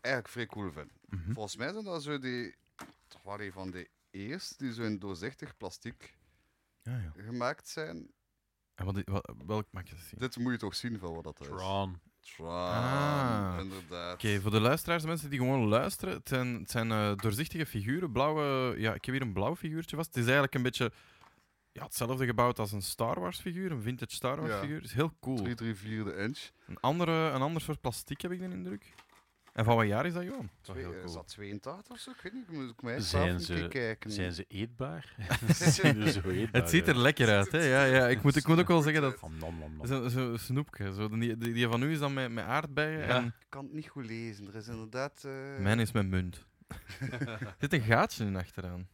Speaker 2: eigenlijk vrij cool vinden.
Speaker 1: Mhm.
Speaker 2: Volgens mij zijn dat zo die... Toch wel een van de eerste die zo in doorzichtig plastic
Speaker 1: Ja, ja.
Speaker 2: gemaakt zijn.
Speaker 1: En wat, wat, welk mag je zien?
Speaker 2: Dit moet je toch zien van wat dat is.
Speaker 3: Tron.
Speaker 2: Tron,
Speaker 1: Ah.
Speaker 2: inderdaad.
Speaker 1: Oké, voor de luisteraars, de mensen die gewoon luisteren, het zijn, het zijn eh, doorzichtige figuren. Blauwe, ja, ik heb hier een blauw figuurtje vast. Het is eigenlijk een beetje ja, hetzelfde gebouwd als een Star Wars figuur, een vintage Star Wars
Speaker 2: Ja.
Speaker 1: figuur. is heel cool.
Speaker 2: 3, 3, 4 de inch.
Speaker 1: Een, andere, een ander soort plastic heb ik de indruk. En van wat jaar is dat, Johan? Dat is
Speaker 2: Twee,
Speaker 1: wel
Speaker 2: eh,
Speaker 1: heel
Speaker 2: Is
Speaker 1: cool.
Speaker 2: dat 82 of zo? Ik weet niet, moet ik mij
Speaker 3: Zijn
Speaker 2: zelf
Speaker 3: ze-
Speaker 2: een keer kijken.
Speaker 3: Zijn ze eetbaar? Zijn ze zo eetbaar?
Speaker 1: Het ziet er lekker uit, hè? Ja, ja. Ik, moet, ik moet ook wel zeggen dat.
Speaker 3: Om nom, nom, nom.
Speaker 1: Zo'n zo, snoepje. Zo, die, die, die van u is dan met, met aardbeien.
Speaker 3: Ja.
Speaker 1: En
Speaker 2: Ik kan het niet goed lezen. Er is inderdaad... eh,
Speaker 1: mijn is met munt. er zit een gaatje in achteraan.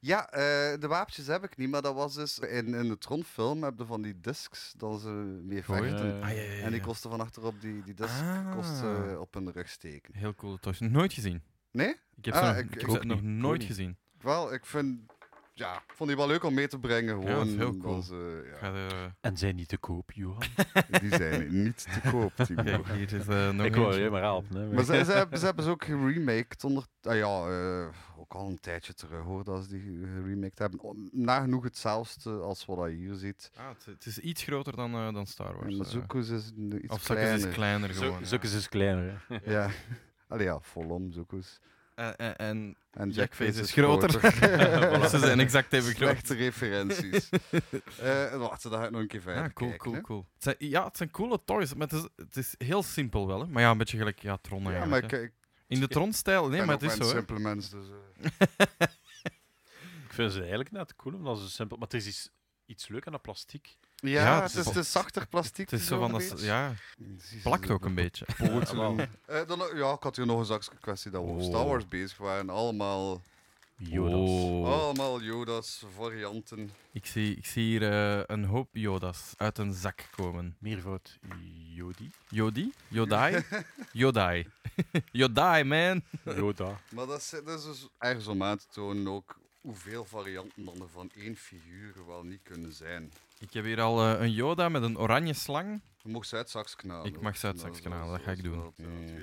Speaker 2: Ja, eh, de wapentjes heb ik niet, maar dat was dus in, in de Tron-film heb je van die discs dat ze mee
Speaker 1: Goeie.
Speaker 2: vechten.
Speaker 3: Eh,
Speaker 1: Ah, ja, ja, ja,
Speaker 2: En die
Speaker 1: ja.
Speaker 2: kosten van achterop die, die disc
Speaker 1: Ah.
Speaker 2: kost, eh, op hun rug steken.
Speaker 1: Heel coole toys. Nooit gezien.
Speaker 2: Nee?
Speaker 1: Ik heb
Speaker 2: Ah,
Speaker 1: ze nog,
Speaker 2: ik-
Speaker 1: ik
Speaker 2: ik
Speaker 1: heb
Speaker 2: ook
Speaker 1: ze nog
Speaker 3: niet. Ik ook
Speaker 1: nooit
Speaker 3: niet.
Speaker 1: gezien.
Speaker 2: Wel, ik vind, ja, ik vond die wel leuk om mee te brengen.
Speaker 1: Ja,
Speaker 2: Gewoon,
Speaker 1: dat is heel cool.
Speaker 2: was, eh,
Speaker 1: Ik
Speaker 2: ja.
Speaker 1: ga de-
Speaker 3: En zijn die te koop, Johan?
Speaker 2: Die zijn niet te koop, Timo.
Speaker 1: Kijk, hier is eh, nog
Speaker 3: ik wou
Speaker 1: eentje.
Speaker 3: je maar helpen. Hè.
Speaker 2: Maar ze, ze hebben, ze hebben ze ook geremaked onder... Ah ja, eh, ook al een tijdje terug hoor, dat ze die geremaked hebben. Om- Nagenoeg hetzelfde als wat je hier ziet.
Speaker 1: Ah, het, het is iets groter dan, eh, dan Star Wars.
Speaker 2: En
Speaker 1: eh.
Speaker 2: de Zuko's is een- iets
Speaker 1: of Zakkes
Speaker 2: kleiner.
Speaker 1: is kleiner
Speaker 3: Zo-
Speaker 1: gewoon.
Speaker 3: Zulke is dus kleiner. hè.
Speaker 2: Ja. Allee, ja, volom zoekers.
Speaker 1: En,
Speaker 3: eh,
Speaker 1: en, en
Speaker 2: En
Speaker 1: Jackface
Speaker 2: Jackface
Speaker 1: is groter.
Speaker 2: groter.
Speaker 1: ze zijn exact even groot.
Speaker 2: Slechte referenties. Eh wacht, daar ga ik nog een keer verder
Speaker 1: Ja, Ah, cool,
Speaker 2: kijken,
Speaker 1: cool,
Speaker 2: hè.
Speaker 1: cool. Het zijn, ja, het zijn coole toys, maar het is, het is heel simpel wel. Hè? Maar ja, een beetje gelijk ja, Tron
Speaker 2: Ja,
Speaker 1: eigenlijk.
Speaker 2: maar
Speaker 1: hè.
Speaker 2: ik, ik
Speaker 1: In de Tron-stijl, nee,
Speaker 2: ben
Speaker 1: maar
Speaker 2: ook
Speaker 1: het is
Speaker 2: maar een
Speaker 1: zo. hè.
Speaker 2: simpele mens, dus... eh.
Speaker 3: Ik vind ze eigenlijk net cool, omdat ze simpel... Maar het is iets, iets leuk aan dat plastic.
Speaker 2: Ja,
Speaker 1: Ja, het
Speaker 2: het,
Speaker 1: is
Speaker 2: is,
Speaker 1: wel-
Speaker 2: het is zachter plastiek.
Speaker 1: Het is zo van, dat, ze- ja, plakt ook een beetje.
Speaker 3: Ja, wel.
Speaker 2: Eh, dan, ja, ik had hier nog een zakje kwestie dat we over
Speaker 3: Oh.
Speaker 2: Star Wars bezig waren. Allemaal,
Speaker 3: Jodas.
Speaker 1: Oh.
Speaker 2: allemaal Yoda's, varianten.
Speaker 1: Ik zie, ik zie hier eh, een hoop Yoda's uit een zak komen.
Speaker 3: Meervoud Jodi.
Speaker 1: Jodi? Jodai? Jodai. Jodai, man.
Speaker 3: Joda.
Speaker 2: Maar dat is, dat is dus ergens om aan te tonen ook hoeveel varianten dan er van één figuur wel niet kunnen zijn.
Speaker 1: Ik heb hier al eh, een Yoda met een oranje slang.
Speaker 2: Je mag ze uit het zakje knalen.
Speaker 1: Ik mag ze uit het
Speaker 2: Dat
Speaker 1: zakje
Speaker 2: is-
Speaker 1: knalen, dat ga ik
Speaker 2: is
Speaker 1: doen. Ah,
Speaker 2: wel het, eh, het
Speaker 3: Mm.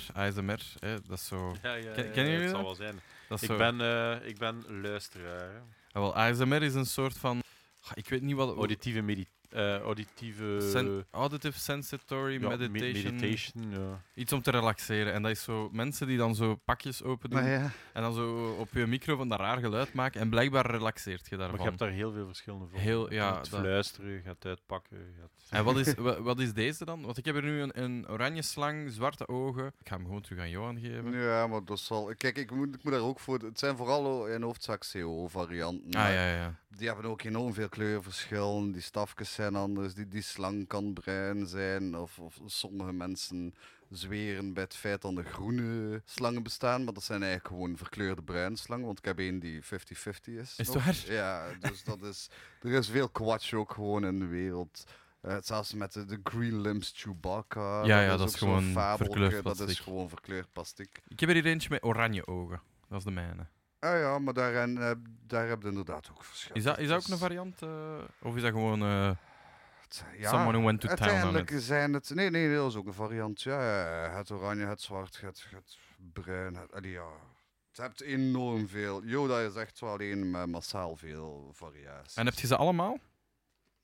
Speaker 1: ASMR, ASMR, hè, dat is zo.
Speaker 3: Ja, ja,
Speaker 1: Ken-
Speaker 3: ja,
Speaker 1: kennen
Speaker 3: ja,
Speaker 1: jullie
Speaker 3: het zal
Speaker 1: dat?
Speaker 3: wel zijn.
Speaker 1: Dat is
Speaker 3: Ik
Speaker 1: zo.
Speaker 3: ben, eh, ik ben luisteraar. hè.
Speaker 1: Ah, wel, ASMR is een soort van. Ah, Ik weet niet wat. hoe-
Speaker 3: Auditieve medi... Oh, eh, auditieve...
Speaker 1: Sen- auditive Sensitory
Speaker 3: ja, me-
Speaker 1: meditation,
Speaker 3: meditation, ja.
Speaker 1: Iets om te relaxeren. En dat is zo mensen die dan zo pakjes open doen.
Speaker 2: Maar Ah, ja.
Speaker 1: En dan zo op je micro van dat raar geluid maken. En blijkbaar relaxeert je
Speaker 3: Maar
Speaker 1: daarvan.
Speaker 3: je hebt daar heel veel verschillende van.
Speaker 1: Heel-
Speaker 3: Je
Speaker 1: ja,
Speaker 3: gaat
Speaker 1: dat-
Speaker 3: fluisteren, je gaat uitpakken. je gaat-
Speaker 1: En wat is, wa- wat is deze dan? Want ik heb er nu een, een oranje slang, zwarte ogen. Ik ga hem gewoon terug aan Johan geven.
Speaker 2: ja, maar dat zal. Kijk, ik moet, ik moet daar ook voor. Het zijn vooral eh, in hoofdzak CO-varianten.
Speaker 1: Ah ja, ja, ja.
Speaker 2: Die hebben ook enorm veel kleurverschillen. Die stafjes zijn anders. Die, die slang kan bruin zijn. Of, of sommige mensen zweren bij het feit dat de groene slangen bestaan. Maar dat zijn eigenlijk gewoon verkleurde bruinslangen. Want ik heb één die 50-50 is.
Speaker 1: Is het
Speaker 2: nog.
Speaker 1: waar?
Speaker 2: Ja, dus dat is. Er is veel kwatsch ook gewoon in de wereld. Eh, zelfs met de, de Green Limbs Chewbacca.
Speaker 1: Ja, ja, dat is
Speaker 2: ook zo'n
Speaker 1: gewoon
Speaker 2: fabelke,
Speaker 1: verkleurd
Speaker 2: Dat is
Speaker 1: plastic.
Speaker 2: gewoon verkleurd plastic.
Speaker 1: Ik heb er hier eentje met oranje ogen. Dat is de mijne.
Speaker 2: Ah ja, maar daarin, eh, daar hebben we inderdaad ook verschillen.
Speaker 1: Is dat, is dat ook
Speaker 2: Dus-
Speaker 1: een variant? eh, of is dat gewoon eh,
Speaker 2: Het- ja,
Speaker 1: someone who went to town on
Speaker 2: uiteindelijk
Speaker 1: it?
Speaker 2: zijn het... Nee, nee, dat is ook een variant. Ja, het oranje, het zwart, het, het bruin. Het, allee, ja. Het hebt enorm veel. Yoda is echt wel één met massaal veel variaties.
Speaker 1: En heb je ze allemaal?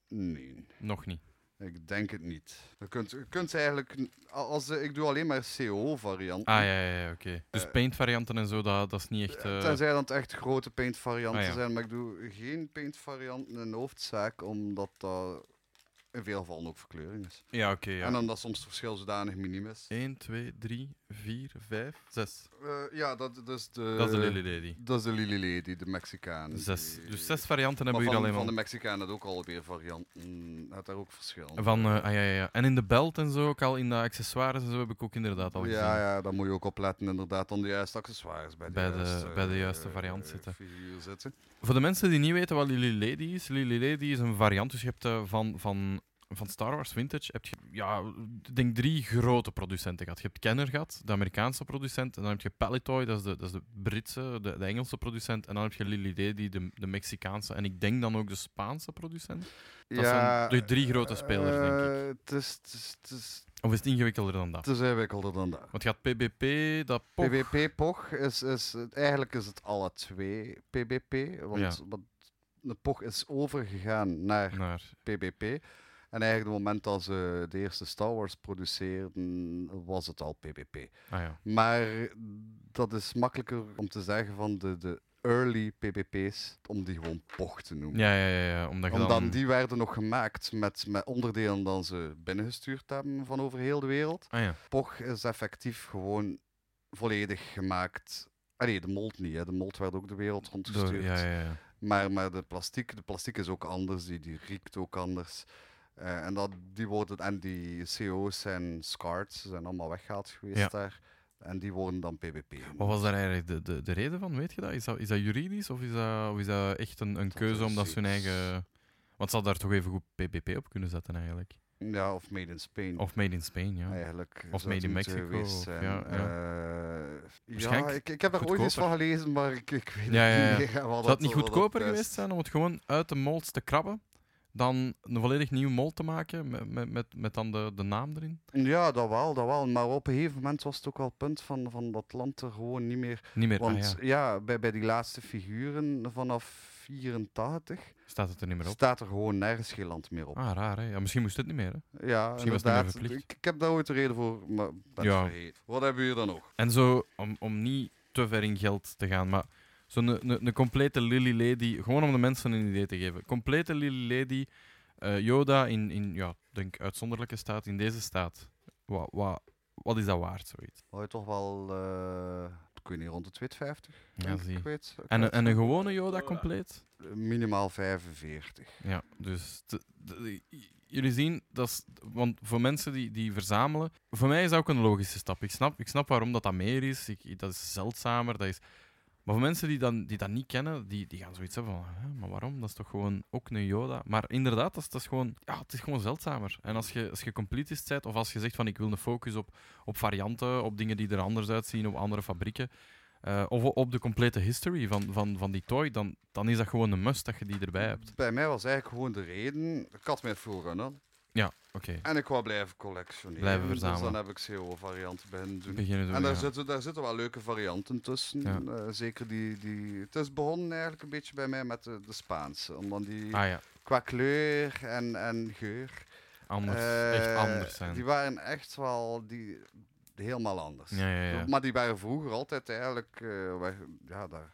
Speaker 2: Nee.
Speaker 1: Nog niet.
Speaker 2: Ik denk het niet. Je kunt, je kunt eigenlijk... Als, eh, ik doe alleen maar CO-varianten.
Speaker 1: Ah ja, ja, ja oké. Dus
Speaker 2: Eh.
Speaker 1: paint-varianten en zo, dat, dat is niet echt. eh,
Speaker 2: Tenzij dat het echt grote paintvarianten
Speaker 1: Ah, ja.
Speaker 2: zijn, maar ik doe geen paintvarianten in de hoofdzaak, omdat dat in veel gevallen ook verkleuring is.
Speaker 1: Ja, oké. ja.
Speaker 2: En omdat soms het verschil zodanig minim is.
Speaker 1: 1, 2, 3, 4, 5, 6.
Speaker 2: Eh, ja, dat, dat is de...
Speaker 1: Dat is de Lily Lady.
Speaker 2: Dat is de Lily Lady, de Mexicaan.
Speaker 1: 6.
Speaker 2: Die-
Speaker 1: Dus zes varianten hebben
Speaker 2: Maar
Speaker 1: we hier
Speaker 2: van,
Speaker 1: alleen
Speaker 2: van de
Speaker 1: maar.
Speaker 2: Mexicaan had ook alweer varianten. Had daar ook verschillen.
Speaker 1: Van, eh, ah ja, ja, ja. En in de belt en zo, ook al in de accessoires en zo, heb ik ook inderdaad al gezien.
Speaker 2: ja, ja, daar moet je ook op letten inderdaad, om de juiste accessoires bij de,
Speaker 1: Bij de-
Speaker 2: juiste,
Speaker 1: bij de juiste
Speaker 2: eh,
Speaker 1: variant zitten.
Speaker 2: figuur zitten.
Speaker 1: Voor de mensen die niet weten wat Lily Lady is, Lily Lady is een variant. Dus je hebt eh, van, van, van Star Wars Vintage, heb je, ja, ik denk drie grote producenten gehad. Je hebt Kenner gehad, de Amerikaanse producent. En dan heb je Palitoy, dat is de, dat is de Britse, de, de Engelse producent. En dan heb je Lily Lady, de, de Mexicaanse. En ik denk dan ook de Spaanse producent. Dat zijn de drie grote spelers, denk ik.
Speaker 2: eh, Het is, het, is, het, is,
Speaker 1: Of is het ingewikkelder dan dat?
Speaker 2: het is ingewikkelder dan dat.
Speaker 1: Want je had PBP, dat POG.
Speaker 2: PBP POG is, is eigenlijk is het alle twee PBP, want
Speaker 1: Ja.
Speaker 2: wat- de POG is overgegaan naar
Speaker 1: Naar,
Speaker 2: PBP. En eigenlijk het moment dat ze de eerste Star Wars produceerden, was het al PBP.
Speaker 1: ah ja.
Speaker 2: Maar dat is makkelijker om te zeggen van de, de early PBP's, om die gewoon POG te noemen.
Speaker 1: Ja, ja, ja, ja. Omdat je
Speaker 2: Want dan,
Speaker 1: dan...
Speaker 2: die werden nog gemaakt met, met onderdelen dan ze binnengestuurd hebben van over heel de wereld.
Speaker 1: Ah ja.
Speaker 2: Poch is effectief gewoon volledig gemaakt. Ah nee, de mold niet. Hè. De mold werd ook de wereld
Speaker 1: Door-
Speaker 2: rondgestuurd.
Speaker 1: ja, ja, ja.
Speaker 2: Maar, maar de, plastic, de plastic is ook anders, die, die riekt ook anders. Eh, en, dat, die worden, en die CO's zijn scarred, ze zijn allemaal weggehaald geweest
Speaker 1: Ja.
Speaker 2: daar. En die worden dan PBP.
Speaker 1: Wat was daar eigenlijk de, de, de reden van? Weet je dat? Is dat, is dat juridisch of is dat, of is dat echt een, een
Speaker 2: Dat
Speaker 1: keuze
Speaker 2: is
Speaker 1: omdat ze hun
Speaker 2: iets.
Speaker 1: eigen. Want ze hadden daar toch even goed PPP op kunnen zetten eigenlijk.
Speaker 2: Ja, of made in Spain.
Speaker 1: Of Made in Spain,
Speaker 2: Ah,
Speaker 1: ja.
Speaker 2: Eigenlijk
Speaker 1: Of
Speaker 2: zou
Speaker 1: made
Speaker 2: het
Speaker 1: in
Speaker 2: moeten
Speaker 1: Mexico,
Speaker 2: geweest
Speaker 1: of-
Speaker 2: zijn.
Speaker 1: ja, ja.
Speaker 2: Eh, ja,
Speaker 1: Waarschijnlijk
Speaker 2: ik, ik heb daar ooit iets van
Speaker 1: goedkoper.
Speaker 2: gelezen, maar ik, ik weet
Speaker 1: Ja, ja, ja.
Speaker 2: niet meer. wat
Speaker 1: Zou het niet
Speaker 2: wat
Speaker 1: goedkoper
Speaker 2: juist-
Speaker 1: geweest zijn om het gewoon uit de molds te krabben? Dan een volledig nieuw mold te maken met, met, met, met dan de, de naam erin?
Speaker 2: Ja, dat wel, dat wel. Maar op een gegeven moment was het ook wel het punt van, van dat land er gewoon niet meer.
Speaker 1: Niet meer. ah
Speaker 2: Want
Speaker 1: ja,
Speaker 2: ja, bij, bij die laatste figuren vanaf 84
Speaker 1: staat het er niet meer op.
Speaker 2: staat er gewoon nergens geen land meer op.
Speaker 1: Ah, raar hè. Ja, misschien moest het niet meer. Hè.
Speaker 2: ja,
Speaker 1: misschien was het niet meer
Speaker 2: inderdaad.
Speaker 1: verplicht.
Speaker 2: Ik, ik heb daar ooit de reden voor, maar ben
Speaker 1: Ja.
Speaker 2: het vergeten. Wat hebben we hier dan nog?
Speaker 1: En zo, om, om niet te ver in geld te gaan, maar zo'n een, een complete Lily Lady, gewoon om de mensen een idee te geven. Complete Lily Lady, eh, Yoda in, in ja, denk uitzonderlijke staat, in deze staat. Wat, wat, wat is dat waard, zoiets?
Speaker 2: Wou je toch wel, eh ik weet niet, rond de 250?
Speaker 1: Ja,
Speaker 2: denk ik,
Speaker 1: zie.
Speaker 2: ik weet- ik
Speaker 1: En, eh, een-
Speaker 2: weet-
Speaker 1: en een gewone Yoda compleet?
Speaker 2: Minimaal 45.
Speaker 1: Ja, dus t- t- j- jullie zien, dat is, want voor mensen die, die verzamelen, voor mij is dat ook een logische stap. Ik snap, ik snap waarom dat, dat meer is, ik, dat is zeldzamer. Dat is, maar voor mensen die, dan, die dat niet kennen, die, die gaan zoiets hebben van, "Hè, maar waarom? Dat is toch gewoon ook een Yoda? Maar inderdaad, dat is, dat is gewoon, ja, het is gewoon zeldzamer. En als je, als je completist bent, of als je zegt van ik wil een focus op, op varianten, op dingen die er anders uitzien, op andere fabrieken, eh, of o- op de complete history van, van, van die toy, dan, dan is dat gewoon een must dat je die erbij hebt.
Speaker 2: Bij mij was eigenlijk gewoon de reden, ik had mijn voorrunner
Speaker 1: Ja, oké.
Speaker 2: en ik wou blijven collectioneren.
Speaker 1: Blijven
Speaker 2: Dus
Speaker 1: verzamelen.
Speaker 2: dan heb ik CO-varianten beginnen doen.
Speaker 1: beginnen doen.
Speaker 2: en daar,
Speaker 1: ja.
Speaker 2: zitten, daar zitten wel leuke varianten tussen.
Speaker 1: Ja.
Speaker 2: Eh, zeker die, die... Het is begonnen eigenlijk een beetje bij mij met de, de Spaanse. Omdat die
Speaker 1: Ah ja,
Speaker 2: qua kleur en, en geur...
Speaker 1: anders.
Speaker 2: eh,
Speaker 1: echt anders zijn.
Speaker 2: Die waren echt wel die, helemaal anders.
Speaker 1: Ja, ja, ja.
Speaker 2: Maar die waren vroeger altijd eigenlijk... eh, waar- ja, daar,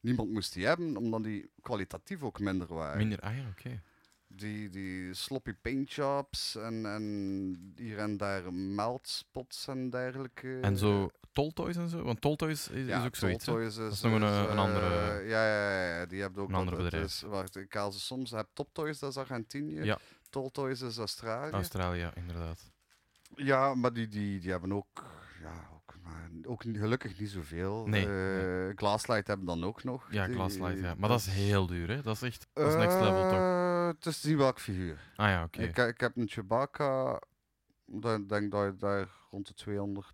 Speaker 2: niemand moest die hebben, omdat die kwalitatief ook minder waren.
Speaker 1: Minder, ah ja, oké.
Speaker 2: Die, die sloppy paintjobs en, en hier en daar meldspots en dergelijke.
Speaker 1: En zo Toltoys en zo? Want Toltoys is, is ook zoiets. hè?
Speaker 2: Toltoys
Speaker 1: is nog een, eh, een andere-
Speaker 2: eh, ja, ja, ja, ja, die hebben ook...
Speaker 1: een ander
Speaker 2: dat- dat
Speaker 1: bedrijf.
Speaker 2: is- wacht, ik haal ze soms... Heb Toptoys, dat is Argentinië.
Speaker 1: Ja.
Speaker 2: Toltoys is Australië.
Speaker 1: Australië, inderdaad.
Speaker 2: ja, maar die, die, die hebben ook... Ja, ook, maar ook niet- gelukkig niet zoveel.
Speaker 1: Nee,
Speaker 2: Eh, Glasslight hebben dan ook nog.
Speaker 1: Ja,
Speaker 2: Die-
Speaker 1: Glasslight, ja. Maar dat is heel duur, hè? Dat is echt. Dat is next level toch?
Speaker 2: Eh, Het is niet welk figuur.
Speaker 1: Ah ja, oké.
Speaker 2: Ik, ik heb een Chewbacca. Dan denk dat je daar rond de 200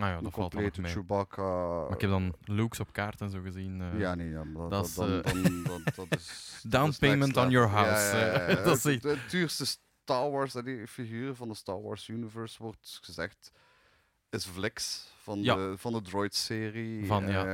Speaker 1: Ah ja, dat valt dan
Speaker 2: een
Speaker 1: nog
Speaker 2: complete
Speaker 1: mee.
Speaker 2: Chewbacca.
Speaker 1: Maar ik heb dan Luke's op kaart en zo gezien. eh.
Speaker 2: eh, ja, nee, ja, maar
Speaker 1: dat
Speaker 2: dat,
Speaker 1: is,
Speaker 2: dat, dan,
Speaker 1: eh,
Speaker 2: dan, dat, dat is. dat
Speaker 1: Down
Speaker 2: is next
Speaker 1: payment on
Speaker 2: level.
Speaker 1: your house,
Speaker 2: Ja, ja, ja,
Speaker 1: eh.
Speaker 2: ja.
Speaker 1: Dat is
Speaker 2: Het-
Speaker 1: echt-
Speaker 2: Het duurste Star Wars, eh, die figuren van de Star Wars universe wordt gezegd, is Vlix van,
Speaker 1: Ja.
Speaker 2: de, van de Droid-serie.
Speaker 1: Van, ja.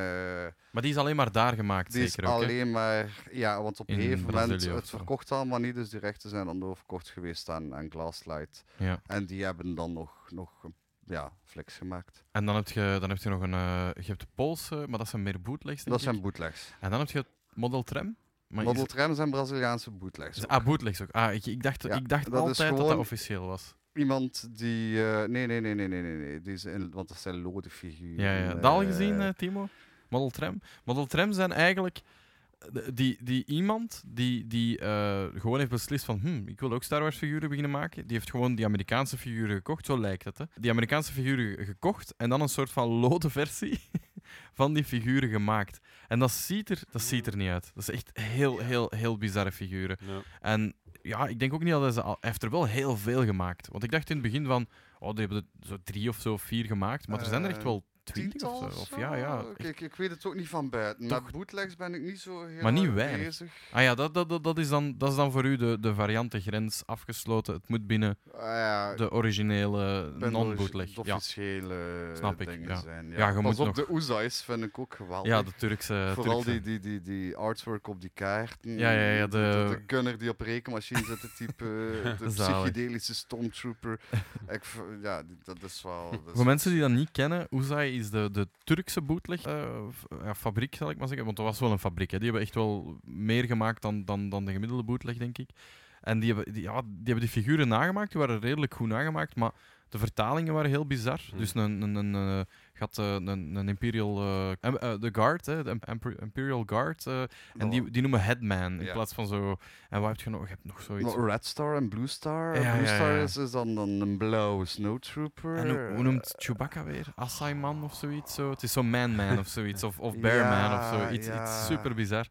Speaker 2: Eh,
Speaker 1: Maar die is alleen maar daar gemaakt,
Speaker 2: die is
Speaker 1: zeker ook. hè?
Speaker 2: alleen maar... Ja, want op een
Speaker 1: In
Speaker 2: gegeven moment,
Speaker 1: Brazilië of
Speaker 2: het
Speaker 1: zo.
Speaker 2: verkocht allemaal niet, dus die rechten zijn dan doorverkocht geweest aan, aan Glasslight.
Speaker 1: Ja.
Speaker 2: En die hebben dan nog, nog een- ja, Vlix gemaakt.
Speaker 1: En dan heb, je, dan heb je nog een... eh, je hebt de Poolse, maar dat zijn meer bootlegs, denk
Speaker 2: Dat
Speaker 1: ik.
Speaker 2: zijn bootlegs.
Speaker 1: En dan heb je het Model Tram. Maar
Speaker 2: Model
Speaker 1: is-
Speaker 2: Tram zijn Braziliaanse bootlegs.
Speaker 1: is-
Speaker 2: ook.
Speaker 1: ah, bootlegs ook. Ah, ik, ik dacht,
Speaker 2: Ja,
Speaker 1: ik dacht
Speaker 2: dat is
Speaker 1: altijd dat dat
Speaker 2: gewoon-
Speaker 1: officieel was.
Speaker 2: Iemand die... eh, nee, nee, nee, nee, nee, nee, nee. Die is in, want dat zijn lode figuren.
Speaker 1: Ja, ja. Dat al gezien,
Speaker 2: eh,
Speaker 1: eh, Timo? Model Tram? Model Tram zijn eigenlijk eh, de- die, die iemand die, die eh, gewoon heeft beslist van hm, ik wil ook Star Wars figuren beginnen maken. Die heeft gewoon die Amerikaanse figuren gekocht, zo lijkt het. Hè. Die Amerikaanse figuren gekocht en dan een soort van lode versie van die figuren gemaakt. En dat ziet er, dat ziet er niet uit. Dat is echt heel, heel, heel bizarre figuren.
Speaker 3: Ja.
Speaker 1: En ja, ik denk ook niet dat hij ze al... Hij heeft er wel heel veel gemaakt. Want ik dacht in het begin van... Oh, die hebben er zo drie of zo, vier gemaakt. Maar er zijn er echt
Speaker 2: Eh,
Speaker 1: wel twintig of zo.
Speaker 2: Tiental
Speaker 1: Of ja, ja.
Speaker 2: Ik,
Speaker 1: echt.
Speaker 2: ik, ik weet het ook niet van buiten.
Speaker 1: Toch-
Speaker 2: Met bootlegs ben ik niet zo heel
Speaker 1: Maar niet
Speaker 2: erg
Speaker 1: weinig.
Speaker 2: bezig.
Speaker 1: Ah ja, dat, dat, dat, dat is dan, dat is dan voor u de, de variantengrens afgesloten. Het moet binnen
Speaker 2: Ah ja,
Speaker 1: de originele
Speaker 2: ik ben nog eens
Speaker 1: non-bootleg.
Speaker 2: de
Speaker 1: Ja.
Speaker 2: officiële
Speaker 1: Snap ik,
Speaker 2: dingen
Speaker 1: ja.
Speaker 2: zijn. Ja.
Speaker 1: Ja, je
Speaker 2: Pas
Speaker 1: moet
Speaker 2: op,
Speaker 1: nog-
Speaker 2: de Oezais vind ik ook geweldig.
Speaker 1: ja, eh, de Turkse...
Speaker 2: Vooral
Speaker 1: Turkse.
Speaker 2: die, die, die, die artwork op die kaarten.
Speaker 1: Ja, ja, ja,
Speaker 2: De,
Speaker 1: de-
Speaker 2: de gunner die op rekenmachine zit te typen. De
Speaker 1: Zalig.
Speaker 2: psychedelische stormtrooper. ik, v- ja, die- dat is wel... dat is-
Speaker 1: Voor mensen die dat niet kennen, Oezai is de, de Turkse bootleg eh, f- ja, fabriek, zal ik maar zeggen. Want dat was wel een fabriek. Hè. Die hebben echt wel meer gemaakt dan, dan, dan de gemiddelde bootleg, denk ik. En die hebben die, ja, die hebben die figuren nagemaakt. Die waren redelijk goed nagemaakt, maar de vertalingen waren heel bizar.
Speaker 2: Hm.
Speaker 3: Hmm.
Speaker 1: Dus een, een, een, eh, gaat eh, een, een Imperial... eh, em- eh, de Guard, hè, de Emper- Imperial Guard. eh, en
Speaker 2: dat-
Speaker 1: die, die noemen Headman, in
Speaker 2: Ja.
Speaker 1: plaats van zo... En wat heb je nog? Je hebt nog zoiets...
Speaker 2: Nou, Red Star en Blue Star.
Speaker 1: Ja,
Speaker 2: Blue
Speaker 1: ja,
Speaker 2: Star
Speaker 1: ja.
Speaker 2: Is, is dan, dan een blauwe snowtrooper.
Speaker 1: En hoe, hoe noemt Chewbacca weer? Assai-man of zoiets? Zo? Het is zo Man-Man of zoiets. Of, of Bear-Man of zo.
Speaker 2: Ja,
Speaker 1: Iets,
Speaker 2: ja.
Speaker 1: iets super bizar.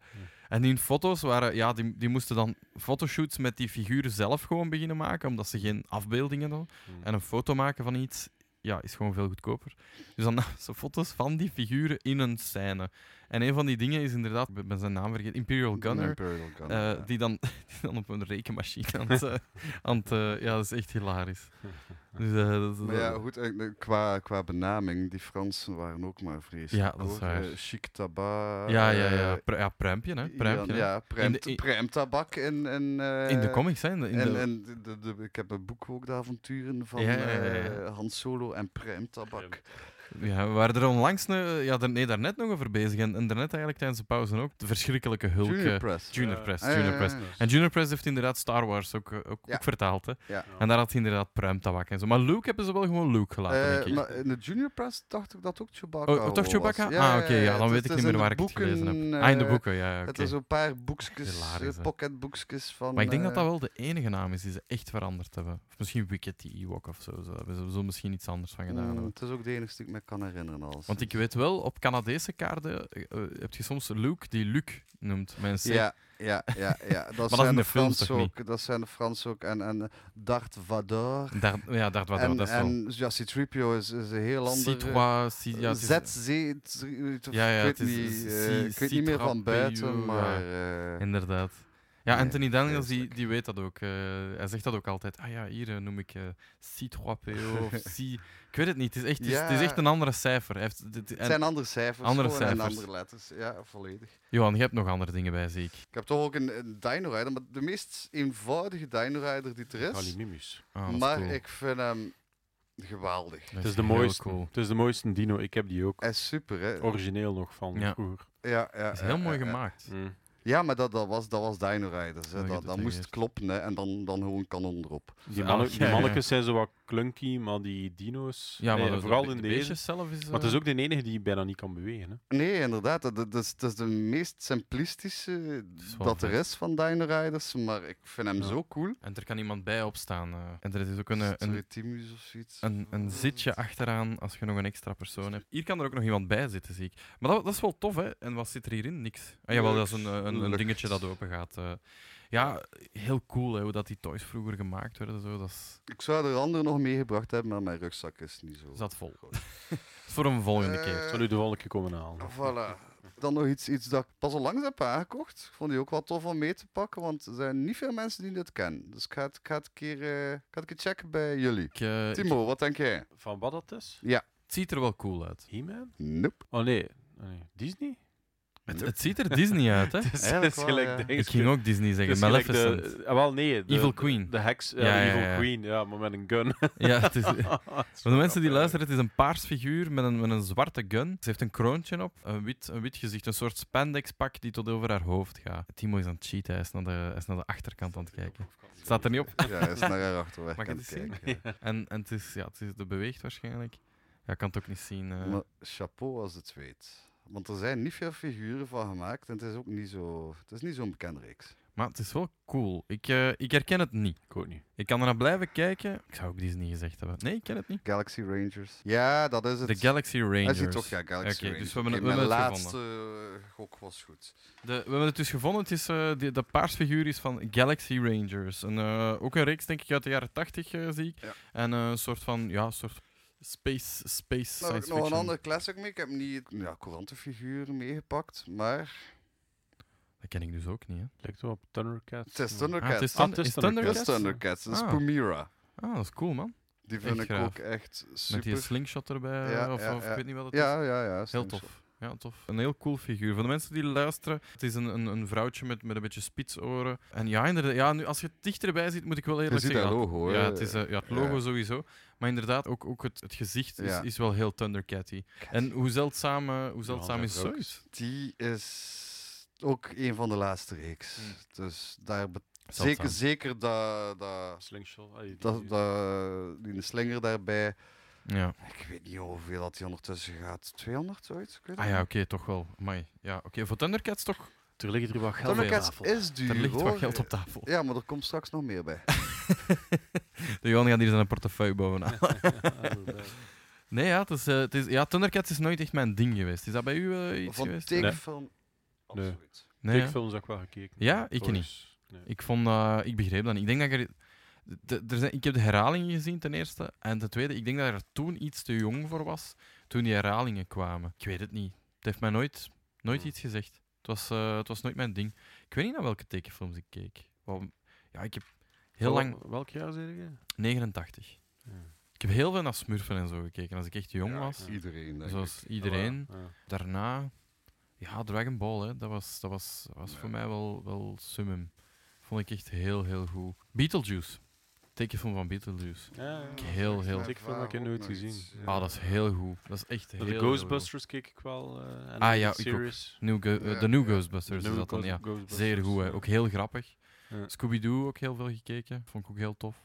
Speaker 1: En die foto's waren, ja, die, die moesten dan fotoshoots met die figuren zelf gewoon beginnen maken, omdat ze geen afbeeldingen hadden.
Speaker 3: Hmm.
Speaker 1: En een foto maken van iets ja, is gewoon veel goedkoper. Dus dan namen ze foto's van die figuren in een scène. En een van die dingen is inderdaad, ik ben zijn naam vergeten, Imperial
Speaker 2: Een
Speaker 1: Gunner.
Speaker 2: Imperial Eh, Gunner,
Speaker 1: eh,
Speaker 2: ja.
Speaker 1: die, dan, die dan op een rekenmachine aan het... eh, aan het, eh, ja, dat is echt hilarisch. Dus, eh, dat,
Speaker 2: Maar ja, goed, eh, eh, qua, qua benaming, die Fransen waren ook maar vreselijk.
Speaker 1: Ja, dat is
Speaker 2: hoor.
Speaker 1: waar.
Speaker 2: Eh, chic tabac.
Speaker 1: Ja, ja, ja.
Speaker 2: eh,
Speaker 1: Pru- ja pruimpje, hè?
Speaker 2: Iran-
Speaker 1: Pruimpje, hè.
Speaker 2: ja, pruimt,
Speaker 1: in-
Speaker 2: pruimtabak in, in, eh,
Speaker 1: In de comics, hè? In de, in
Speaker 2: en,
Speaker 1: de-
Speaker 2: en de, de, de- ik heb een boek ook, de avonturen van
Speaker 1: Ja, ja, ja, ja.
Speaker 2: eh, Han Solo en pruimtabak.
Speaker 1: ja, we waren er onlangs... eh, Ja, daar, nee, daarnet nog over bezig. En, en daarnet eigenlijk tijdens de pauze ook. De verschrikkelijke Hulk. eh,
Speaker 2: Junior Press.
Speaker 1: Junior
Speaker 3: Ja.
Speaker 1: Press.
Speaker 2: Ah, ja,
Speaker 1: Junior
Speaker 2: ja,
Speaker 1: Press.
Speaker 2: ja.
Speaker 1: En Junior Press heeft inderdaad Star Wars ook, eh, ook,
Speaker 2: Ja.
Speaker 1: ook vertaald, hè?
Speaker 2: Ja.
Speaker 1: En daar had hij inderdaad pruimtabak en zo. Maar Luke hebben ze wel gewoon Luke gelaten,
Speaker 2: Eh,
Speaker 1: denk ik.
Speaker 2: maar in de Junior Press dacht ik dat ook Chewbacca
Speaker 1: Oh, oh, toch
Speaker 2: was.
Speaker 1: Chewbacca?
Speaker 2: Ja, ja,
Speaker 1: ah, oké, ja, dan
Speaker 2: het-
Speaker 1: weet ik
Speaker 2: is
Speaker 1: niet
Speaker 2: in
Speaker 1: meer
Speaker 2: de
Speaker 1: waar ik het gelezen heb.
Speaker 2: boeken,
Speaker 1: ah, in de
Speaker 2: eh,
Speaker 1: boeken, ja, ja,
Speaker 2: Het
Speaker 1: oké.
Speaker 2: is een paar boekjes,
Speaker 1: Hilarisch,
Speaker 2: eh,
Speaker 1: hè.
Speaker 2: pocketboekjes van...
Speaker 1: Maar ik denk dat
Speaker 2: eh,
Speaker 1: dat wel de enige naam is die ze echt veranderd hebben. Of misschien Wicked the Ewok of zo. Zo hebben ze zo misschien iets anders van gedaan.
Speaker 2: Mm,
Speaker 1: hebben.
Speaker 2: het is ook de enige die ik me kan herinneren. Als.
Speaker 1: Want ik weet wel, op Canadese kaarten eh, eh, heb je soms Luke die Luc noemt. Mensen.
Speaker 2: Ja, ja, ja, ja. Dat,
Speaker 1: dat is
Speaker 2: zijn
Speaker 1: in
Speaker 2: de
Speaker 1: de films
Speaker 2: Fransen
Speaker 1: toch
Speaker 2: ook. Dat zijn de Fransen ook. En, en Dart Vador.
Speaker 1: Daar, ja, daar, daar,
Speaker 2: en
Speaker 1: dat is wel.
Speaker 2: en ja, C-3PO is, is een heel ander. eh,
Speaker 1: Citois, si- ja, het is-
Speaker 2: ZZ,
Speaker 1: Ja, ja,
Speaker 2: ik weet
Speaker 1: het is-
Speaker 2: niet,
Speaker 1: is-
Speaker 2: eh, ik
Speaker 1: C-
Speaker 2: weet niet meer van
Speaker 1: C-3PO,
Speaker 2: buiten,
Speaker 1: ja.
Speaker 2: maar... eh,
Speaker 1: Inderdaad. Ja,
Speaker 2: Nee,
Speaker 1: Anthony Daniels die,
Speaker 2: vreselijk.
Speaker 1: die weet dat ook. eh, hij zegt dat ook altijd. Ah ja, hier eh, noem ik eh C3PO of C... Ik weet het niet. Het is echt, het is, het is
Speaker 2: Ja.
Speaker 1: echt een andere cijfer. Hij heeft, dit-
Speaker 2: het
Speaker 1: en-
Speaker 2: zijn andere cijfers,
Speaker 1: andere
Speaker 2: gewoon, en
Speaker 1: cijfers.
Speaker 2: andere letters. Ja, volledig.
Speaker 1: Johan, je hebt nog andere dingen bij, zie ik.
Speaker 2: Ik heb toch ook een, een Dino Rider, maar de meest eenvoudige Dino Rider die er is.
Speaker 3: Kalimimus.
Speaker 1: Ah, dat is
Speaker 2: maar
Speaker 1: cool.
Speaker 2: ik vind hem geweldig.
Speaker 1: Dat
Speaker 3: Het is de
Speaker 1: heel
Speaker 3: mooiste.
Speaker 1: cool.
Speaker 3: Het is de mooiste dino. Ik heb die ook.
Speaker 2: Hij is super, hè?
Speaker 3: Origineel nog van
Speaker 1: Ja.
Speaker 3: vroeger.
Speaker 2: Ja, ja,
Speaker 1: Dat is
Speaker 2: ja,
Speaker 1: heel
Speaker 2: ja,
Speaker 1: mooi
Speaker 2: ja.
Speaker 1: gemaakt.
Speaker 3: Mm.
Speaker 2: Ja, maar dat, dat was, dat was Dino Riders. Hè.
Speaker 1: Oh, je
Speaker 2: dat
Speaker 1: doet
Speaker 2: dat
Speaker 1: dat
Speaker 2: moest
Speaker 1: juist.
Speaker 2: kloppen hè. en dan, dan gewoon kanon erop.
Speaker 3: Die,
Speaker 1: Ah,
Speaker 3: mannen,
Speaker 1: ja,
Speaker 3: die
Speaker 1: ja.
Speaker 3: mannetjes zijn zo wat clunky, maar die dino's...
Speaker 1: Ja, maar
Speaker 3: nee,
Speaker 1: dat-
Speaker 3: vooral
Speaker 1: de,
Speaker 3: in
Speaker 1: de
Speaker 3: deze.
Speaker 1: beestjes zelf is...
Speaker 3: Maar het
Speaker 1: eh,
Speaker 3: is ook de enige die bijna niet kan bewegen. Hè?
Speaker 2: Nee, inderdaad. Dat, dat, dat is, dat is de meest simplistische
Speaker 1: is wel
Speaker 2: dat er
Speaker 1: vet.
Speaker 2: is van Dino Riders. Maar ik vind hem
Speaker 3: Ja.
Speaker 2: zo cool.
Speaker 1: En er kan iemand bij opstaan. eh. en er is ook
Speaker 2: Is
Speaker 1: een,
Speaker 2: het
Speaker 1: een,
Speaker 2: Retimus of zoiets.
Speaker 1: een, een zitje achteraan als je nog een extra persoon hebt. Hier kan er ook nog iemand bij zitten, zie ik. Maar dat, dat is wel tof, hè? En wat zit er hierin? Niks. Ah, jawel, dat is een, eh, een, een
Speaker 2: Lucht.
Speaker 1: dingetje dat open gaat. eh. Ja, heel cool hè, hoe dat die toys vroeger gemaakt werden. Zo. Dat is,
Speaker 2: Ik zou er anderen nog meegebracht hebben, maar mijn rugzak is niet zo.
Speaker 1: zat vol. Voor een volgende keer.
Speaker 3: Ik zal u de volgende keer komen halen.
Speaker 2: Voilà. Dan nog iets, iets dat ik pas al langs heb aangekocht. Ik vond die ook wel tof om mee te pakken, want er zijn niet veel mensen die dit kennen. Dus ik ga het, ik ga het, een keer, eh, ik ga het een keer checken bij jullie.
Speaker 1: Ik, eh, ik-
Speaker 2: Timo, wat denk jij?
Speaker 3: Van wat dat is?
Speaker 2: Ja.
Speaker 1: Het ziet er wel cool uit.
Speaker 3: He-Man?
Speaker 2: Nope.
Speaker 3: Oh nee. Oh, nee. Disney?
Speaker 1: Het, het ziet er Disney uit, hè?
Speaker 3: Het
Speaker 2: Eigenlijk wel, ja.
Speaker 3: dingen
Speaker 1: Ik ging ook Disney
Speaker 3: Het is
Speaker 1: zeggen.
Speaker 3: gelijk
Speaker 1: Maleficent.
Speaker 3: De, eh, wel, nee. De,
Speaker 1: Evil
Speaker 3: de-
Speaker 1: Queen.
Speaker 3: De heks. Ja,
Speaker 1: Ja, ja,
Speaker 3: Evil
Speaker 1: ja, ja.
Speaker 3: Queen. Ja, maar met een gun.
Speaker 1: Ja, het is, voor de mensen die
Speaker 3: Ja.
Speaker 1: luisteren, het is een paars figuur met een, met een zwarte gun. Ze heeft een kroontje op, een wit, een wit gezicht, een soort spandexpak die tot over haar hoofd gaat. Timo is aan het cheaten, hij is naar de, hij is naar de achterkant aan het kijken. Het staat er niet op.
Speaker 2: Ja, hij is naar haar achterweg
Speaker 1: Mag ik
Speaker 2: aan
Speaker 1: het
Speaker 2: het
Speaker 1: eens zien?
Speaker 2: kijken. ja.
Speaker 1: En, en het, is, ja, het, is, het beweegt waarschijnlijk. Ja, ik kan het ook niet zien. eh.
Speaker 2: Maar chapeau als het weet. Want er zijn niet veel figuren van gemaakt en het is ook niet zo... Het is niet zo'n bekende reeks.
Speaker 1: Maar het is wel cool. Ik, eh, ik herken het niet.
Speaker 3: Ik ook niet.
Speaker 1: Ik kan ernaar blijven kijken. Ik zou ook Disney gezegd hebben. Nee, ik ken het niet.
Speaker 2: Galaxy Rangers. Ja, dat is het.
Speaker 1: De Galaxy Rangers.
Speaker 2: Hij ziet toch, ja, Galaxy
Speaker 1: Oké, dus
Speaker 2: Rangers.
Speaker 1: we hebben het-
Speaker 2: Oké,
Speaker 1: we
Speaker 2: mijn
Speaker 1: hebben het
Speaker 2: laatste eh, gok was goed.
Speaker 1: De- we hebben het dus gevonden. Het is, eh, die, de paars figuur is van Galaxy Rangers. Een, eh, ook een reeks, denk ik, uit de jaren 80 eh, zie ik.
Speaker 2: Ja.
Speaker 1: En eh, een soort van, ja, een soort space, space
Speaker 2: Nou, heb
Speaker 1: science
Speaker 2: ik nog een
Speaker 1: fiction.
Speaker 2: andere classic mee. Ik heb niet ja, courante figuren meegepakt, maar
Speaker 1: Dat ken ik dus ook niet, hè.
Speaker 3: Lijkt wel op Thundercats.
Speaker 2: het is
Speaker 3: maar-
Speaker 1: Ah, het is,
Speaker 2: Thundercats.
Speaker 1: Thun-
Speaker 3: Ah, het is
Speaker 1: is Thundercats.
Speaker 2: Het is Thundercats, het is
Speaker 1: Ah.
Speaker 2: Pumira.
Speaker 1: Ah, dat is cool, man.
Speaker 2: Die
Speaker 1: Echt
Speaker 2: vind ik
Speaker 1: graaf.
Speaker 2: ook echt
Speaker 1: Met die
Speaker 2: super.
Speaker 1: slingshot erbij,
Speaker 2: Ja,
Speaker 1: eh, of,
Speaker 2: ja,
Speaker 1: of ik
Speaker 2: ja.
Speaker 1: weet niet wat het is.
Speaker 2: Ja, ja, ja.
Speaker 1: Heel
Speaker 2: slim zo.
Speaker 1: tof. Ja, tof. Een heel cool figuur. Voor de mensen die luisteren, het is een, een, een vrouwtje met, met een beetje spitsoren. En ja, inderdaad, ja, nu, als je het dichterbij ziet, moet ik wel
Speaker 2: Je
Speaker 1: eerlijk
Speaker 2: ziet
Speaker 1: zeggen...
Speaker 2: dat
Speaker 1: dat-
Speaker 2: logo, hè.
Speaker 1: Ja, het, is, eh, ja, het logo
Speaker 2: Ja.
Speaker 1: sowieso. Maar inderdaad, ook, ook het, het gezicht is,
Speaker 2: Ja.
Speaker 1: is wel heel Thundercatty. En hoe zeldzaam, eh, hoe zeldzaam
Speaker 3: dat
Speaker 1: is
Speaker 3: is ook
Speaker 1: zoiets?
Speaker 2: Die is ook een van de laatste reeks.
Speaker 1: Hmm.
Speaker 2: Dus daar bet-
Speaker 1: Zeldzaam.
Speaker 2: zeker, zeker dat, dat,
Speaker 3: Slingshot. ah, die-
Speaker 2: dat,
Speaker 3: die-
Speaker 2: dat- die slinger daarbij.
Speaker 1: Ja.
Speaker 2: Ik weet niet hoeveel dat hij ondertussen gaat. 200 zoiets? Ik weet het
Speaker 1: Ah ja, oké,
Speaker 2: niet.
Speaker 1: toch wel. Amai. Ja, oké, voor Thundercats toch?
Speaker 3: Er liggen er wat geld op
Speaker 2: Thundercats
Speaker 3: tafel.
Speaker 2: is duur.
Speaker 1: Er ligt
Speaker 2: hoor.
Speaker 1: wat geld op tafel.
Speaker 2: Ja, maar er komt straks nog meer bij.
Speaker 1: De Johan gaat hier zijn portefeuille bovenaan. Nee, ja, het is, eh, het is, ja, Thundercats is nooit echt mijn ding geweest. Is dat bij u eh, iets
Speaker 2: Van Oh,
Speaker 1: geweest?
Speaker 2: tekenfilm.
Speaker 3: Nee.
Speaker 2: Absoluut.
Speaker 1: Nee,
Speaker 3: ik
Speaker 1: hè?
Speaker 3: films ook wel gekeken.
Speaker 1: Ja, ik
Speaker 3: Toys. Nee.
Speaker 1: Ik, vond, eh, ik begreep dat niet. Ik denk dat ik er... de- er zijn, ik heb de herhalingen gezien, ten eerste. En ten tweede, ik denk dat ik er toen iets te jong voor was, toen die herhalingen kwamen. Ik weet het niet. Het heeft mij nooit, nooit
Speaker 3: Hmm.
Speaker 1: iets gezegd. Het was, eh, het was nooit mijn ding. Ik weet niet naar welke tekenfilms ik keek. Wel, ja, ik heb heel
Speaker 3: Wel-
Speaker 1: lang...
Speaker 3: Welk jaar zei je?
Speaker 1: 89.
Speaker 3: Ja.
Speaker 1: Ik heb heel veel naar Smurfen en zo gekeken, als ik echt jong
Speaker 2: Ja,
Speaker 1: was.
Speaker 2: Iedereen. denk ik.
Speaker 1: Zoals iedereen.
Speaker 3: Ja, ja.
Speaker 1: Daarna... Ja, Dragon Ball, hè. dat was, dat was, was voor mij wel, wel summum. Vond ik echt heel, heel goed. Beetlejuice. Tekenfilm van Beetlejuice.
Speaker 3: Ja, ja.
Speaker 1: Ik heel, heel...
Speaker 2: Ja,
Speaker 3: Ik film heb ik
Speaker 2: ook
Speaker 3: nooit
Speaker 2: nog
Speaker 3: gezien.
Speaker 2: iets, ja.
Speaker 1: Ah, dat is heel goed. Dat is echt heel
Speaker 3: De
Speaker 1: heel
Speaker 3: Ghostbusters keek ik wel. eh, en
Speaker 1: Ah,
Speaker 3: de
Speaker 1: ja, ik ook.
Speaker 3: series.
Speaker 1: goed. New Go- eh,
Speaker 2: Ja,
Speaker 1: de New
Speaker 2: ja.
Speaker 1: Ghostbusters
Speaker 3: Nieuwe
Speaker 1: is dat dan, ja.
Speaker 3: Ghost- Ghostbusters.
Speaker 1: Zeer goed, hè. ook heel grappig.
Speaker 3: Ja.
Speaker 1: Scooby-Doo ook heel veel gekeken, vond ik ook heel tof.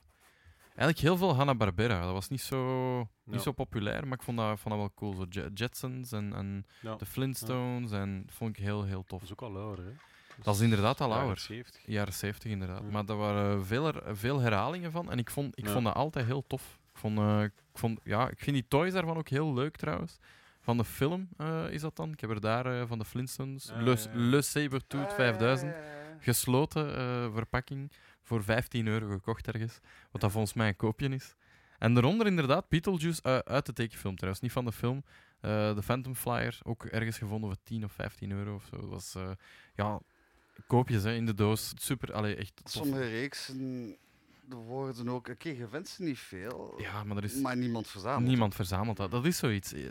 Speaker 1: Eigenlijk heel veel Hanna-Barbera, dat was niet zo, niet
Speaker 3: Ja.
Speaker 1: zo populair, maar ik vond dat, vond dat wel cool. Zo Je- Jetsons en, en
Speaker 3: Ja.
Speaker 1: de Flintstones, en dat vond ik heel, heel tof.
Speaker 3: Dat is ook al ouder, hè?
Speaker 1: Dat is inderdaad al
Speaker 3: jaren
Speaker 1: ouder.
Speaker 3: 70.
Speaker 1: Jaren 70 inderdaad.
Speaker 3: Ja.
Speaker 1: Maar daar waren veel, her- veel herhalingen van. En ik vond, ik
Speaker 3: Ja.
Speaker 1: vond dat altijd heel tof. Ik, vond, eh, ik, vond, ja, ik vind die toys daarvan ook heel leuk trouwens. Van de film eh, is dat dan. Ik heb er daar eh, van de Flintstones.
Speaker 3: Ah,
Speaker 1: Le,
Speaker 3: ja, ja.
Speaker 1: Le Sabertooth 5000.
Speaker 2: Ah, ja, ja.
Speaker 1: Gesloten eh, verpakking. Voor 15 euro gekocht ergens. Wat dat volgens mij een koopje is. En daaronder inderdaad Beetlejuice eh, uit de tekenfilm trouwens. Niet van de film. Eh, de Phantom Flyer. Ook ergens gevonden voor 10 of 15 euro of zo. Dat was... eh, ja, koopjes hè, in de doos. Super, allee, echt tof.
Speaker 2: Sommige reeksen worden ook... Oké, je vindt ze niet veel,
Speaker 1: Ja, maar er is
Speaker 2: maar niemand verzamelt.
Speaker 1: niemand verzameld dat. Dat is zoiets. Eh,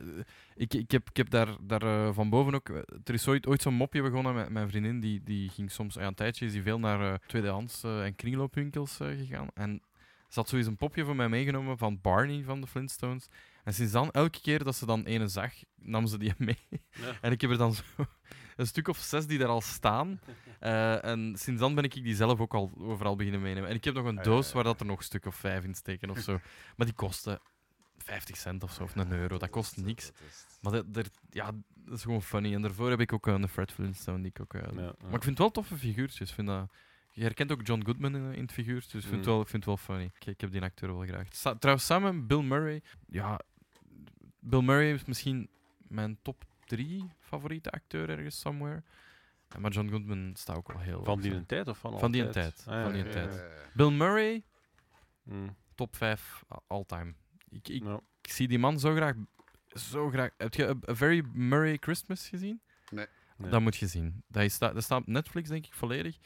Speaker 1: Ik, ik heb, ik heb daar, daar eh, van boven ook... eh, Er is ooit, ooit zo'n mopje begonnen met mijn vriendin. Die, die ging soms... Ja, een tijdje is die veel naar eh, tweedehands eh, en kringloopwinkels eh, gegaan. En ze had zoiets een popje voor mij meegenomen van Barney van de Flintstones. En sinds dan, elke keer dat ze dan ene zag, nam ze die mee.
Speaker 3: Ja.
Speaker 1: En ik heb er dan zo een stuk of zes die daar al staan. Eh, en sinds dan ben ik die zelf ook al overal beginnen meenemen. En ik heb nog een
Speaker 3: Ah, ja,
Speaker 1: doos
Speaker 3: ja.
Speaker 1: waar dat er nog een stuk of vijf in steken of zo. maar die kosten 50 cent of zo, of een euro. Dat kost niks. Maar dat, dat- ja, dat is gewoon funny. En daarvoor heb ik ook eh, een Fred Flintstone die ik ook... eh,
Speaker 3: Ja, ja.
Speaker 1: Maar ik vind het wel toffe figuurtjes. Ik Vind dat... Je herkent ook John Goodman in, in het figuurtje, dus ik vind, het
Speaker 3: Mm.
Speaker 1: wel, ik vind het wel funny. Ik, ik heb die acteur wel graag. Sa- trouwens, samen met Bill Murray... Ja, Bill Murray is misschien mijn top drie favoriete acteur ergens somewhere. Ja, Maar John Goodman staat ook wel heel...
Speaker 3: Van
Speaker 1: hoog,
Speaker 3: die
Speaker 1: hè.
Speaker 3: een tijd of van
Speaker 1: Van die een
Speaker 3: altijd?
Speaker 1: tijd,
Speaker 3: Ah, ja,
Speaker 2: Eh,
Speaker 1: van die
Speaker 3: ja,
Speaker 1: een
Speaker 3: ja,
Speaker 1: tijd.
Speaker 3: ja.
Speaker 1: Bill Murray,
Speaker 3: Mm,
Speaker 1: top 5 all-time. Ik, ik,
Speaker 3: ja.
Speaker 1: ik zie die man zo graag... Zo graag... Heb je A- A Very Murray Christmas gezien?
Speaker 3: Nee.
Speaker 1: Dat moet je zien. Dat, is, dat, dat staat op Netflix, denk ik, volledig.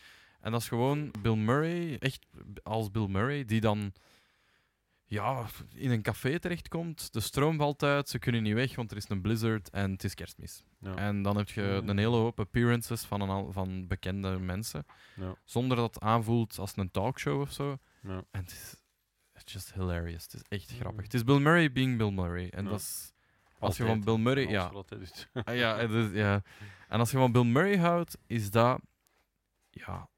Speaker 1: En dat is gewoon Bill Murray, echt als Bill Murray, die dan ja, in een café terechtkomt. De stroom valt uit, ze kunnen niet weg, want er is een blizzard en het is kerstmis.
Speaker 3: Ja. Mm.
Speaker 1: En dan heb je een hele hoop appearances van, een, al- van bekende mensen.
Speaker 3: Ja.
Speaker 1: Zonder dat het aanvoelt als een talkshow of zo.
Speaker 3: Ja.
Speaker 1: En het is it's just hilarious. Het is echt grappig.
Speaker 3: Mm.
Speaker 1: Het is Bill Murray being Bill Murray. En
Speaker 3: Ja.
Speaker 1: dat is... Als je
Speaker 3: Altijd.
Speaker 1: van Bill Murray...
Speaker 3: Als
Speaker 1: Ja,
Speaker 3: je dat doet.
Speaker 1: Ah, ja, het is- ja. En als je van Bill Murray houdt, is dat... Ja...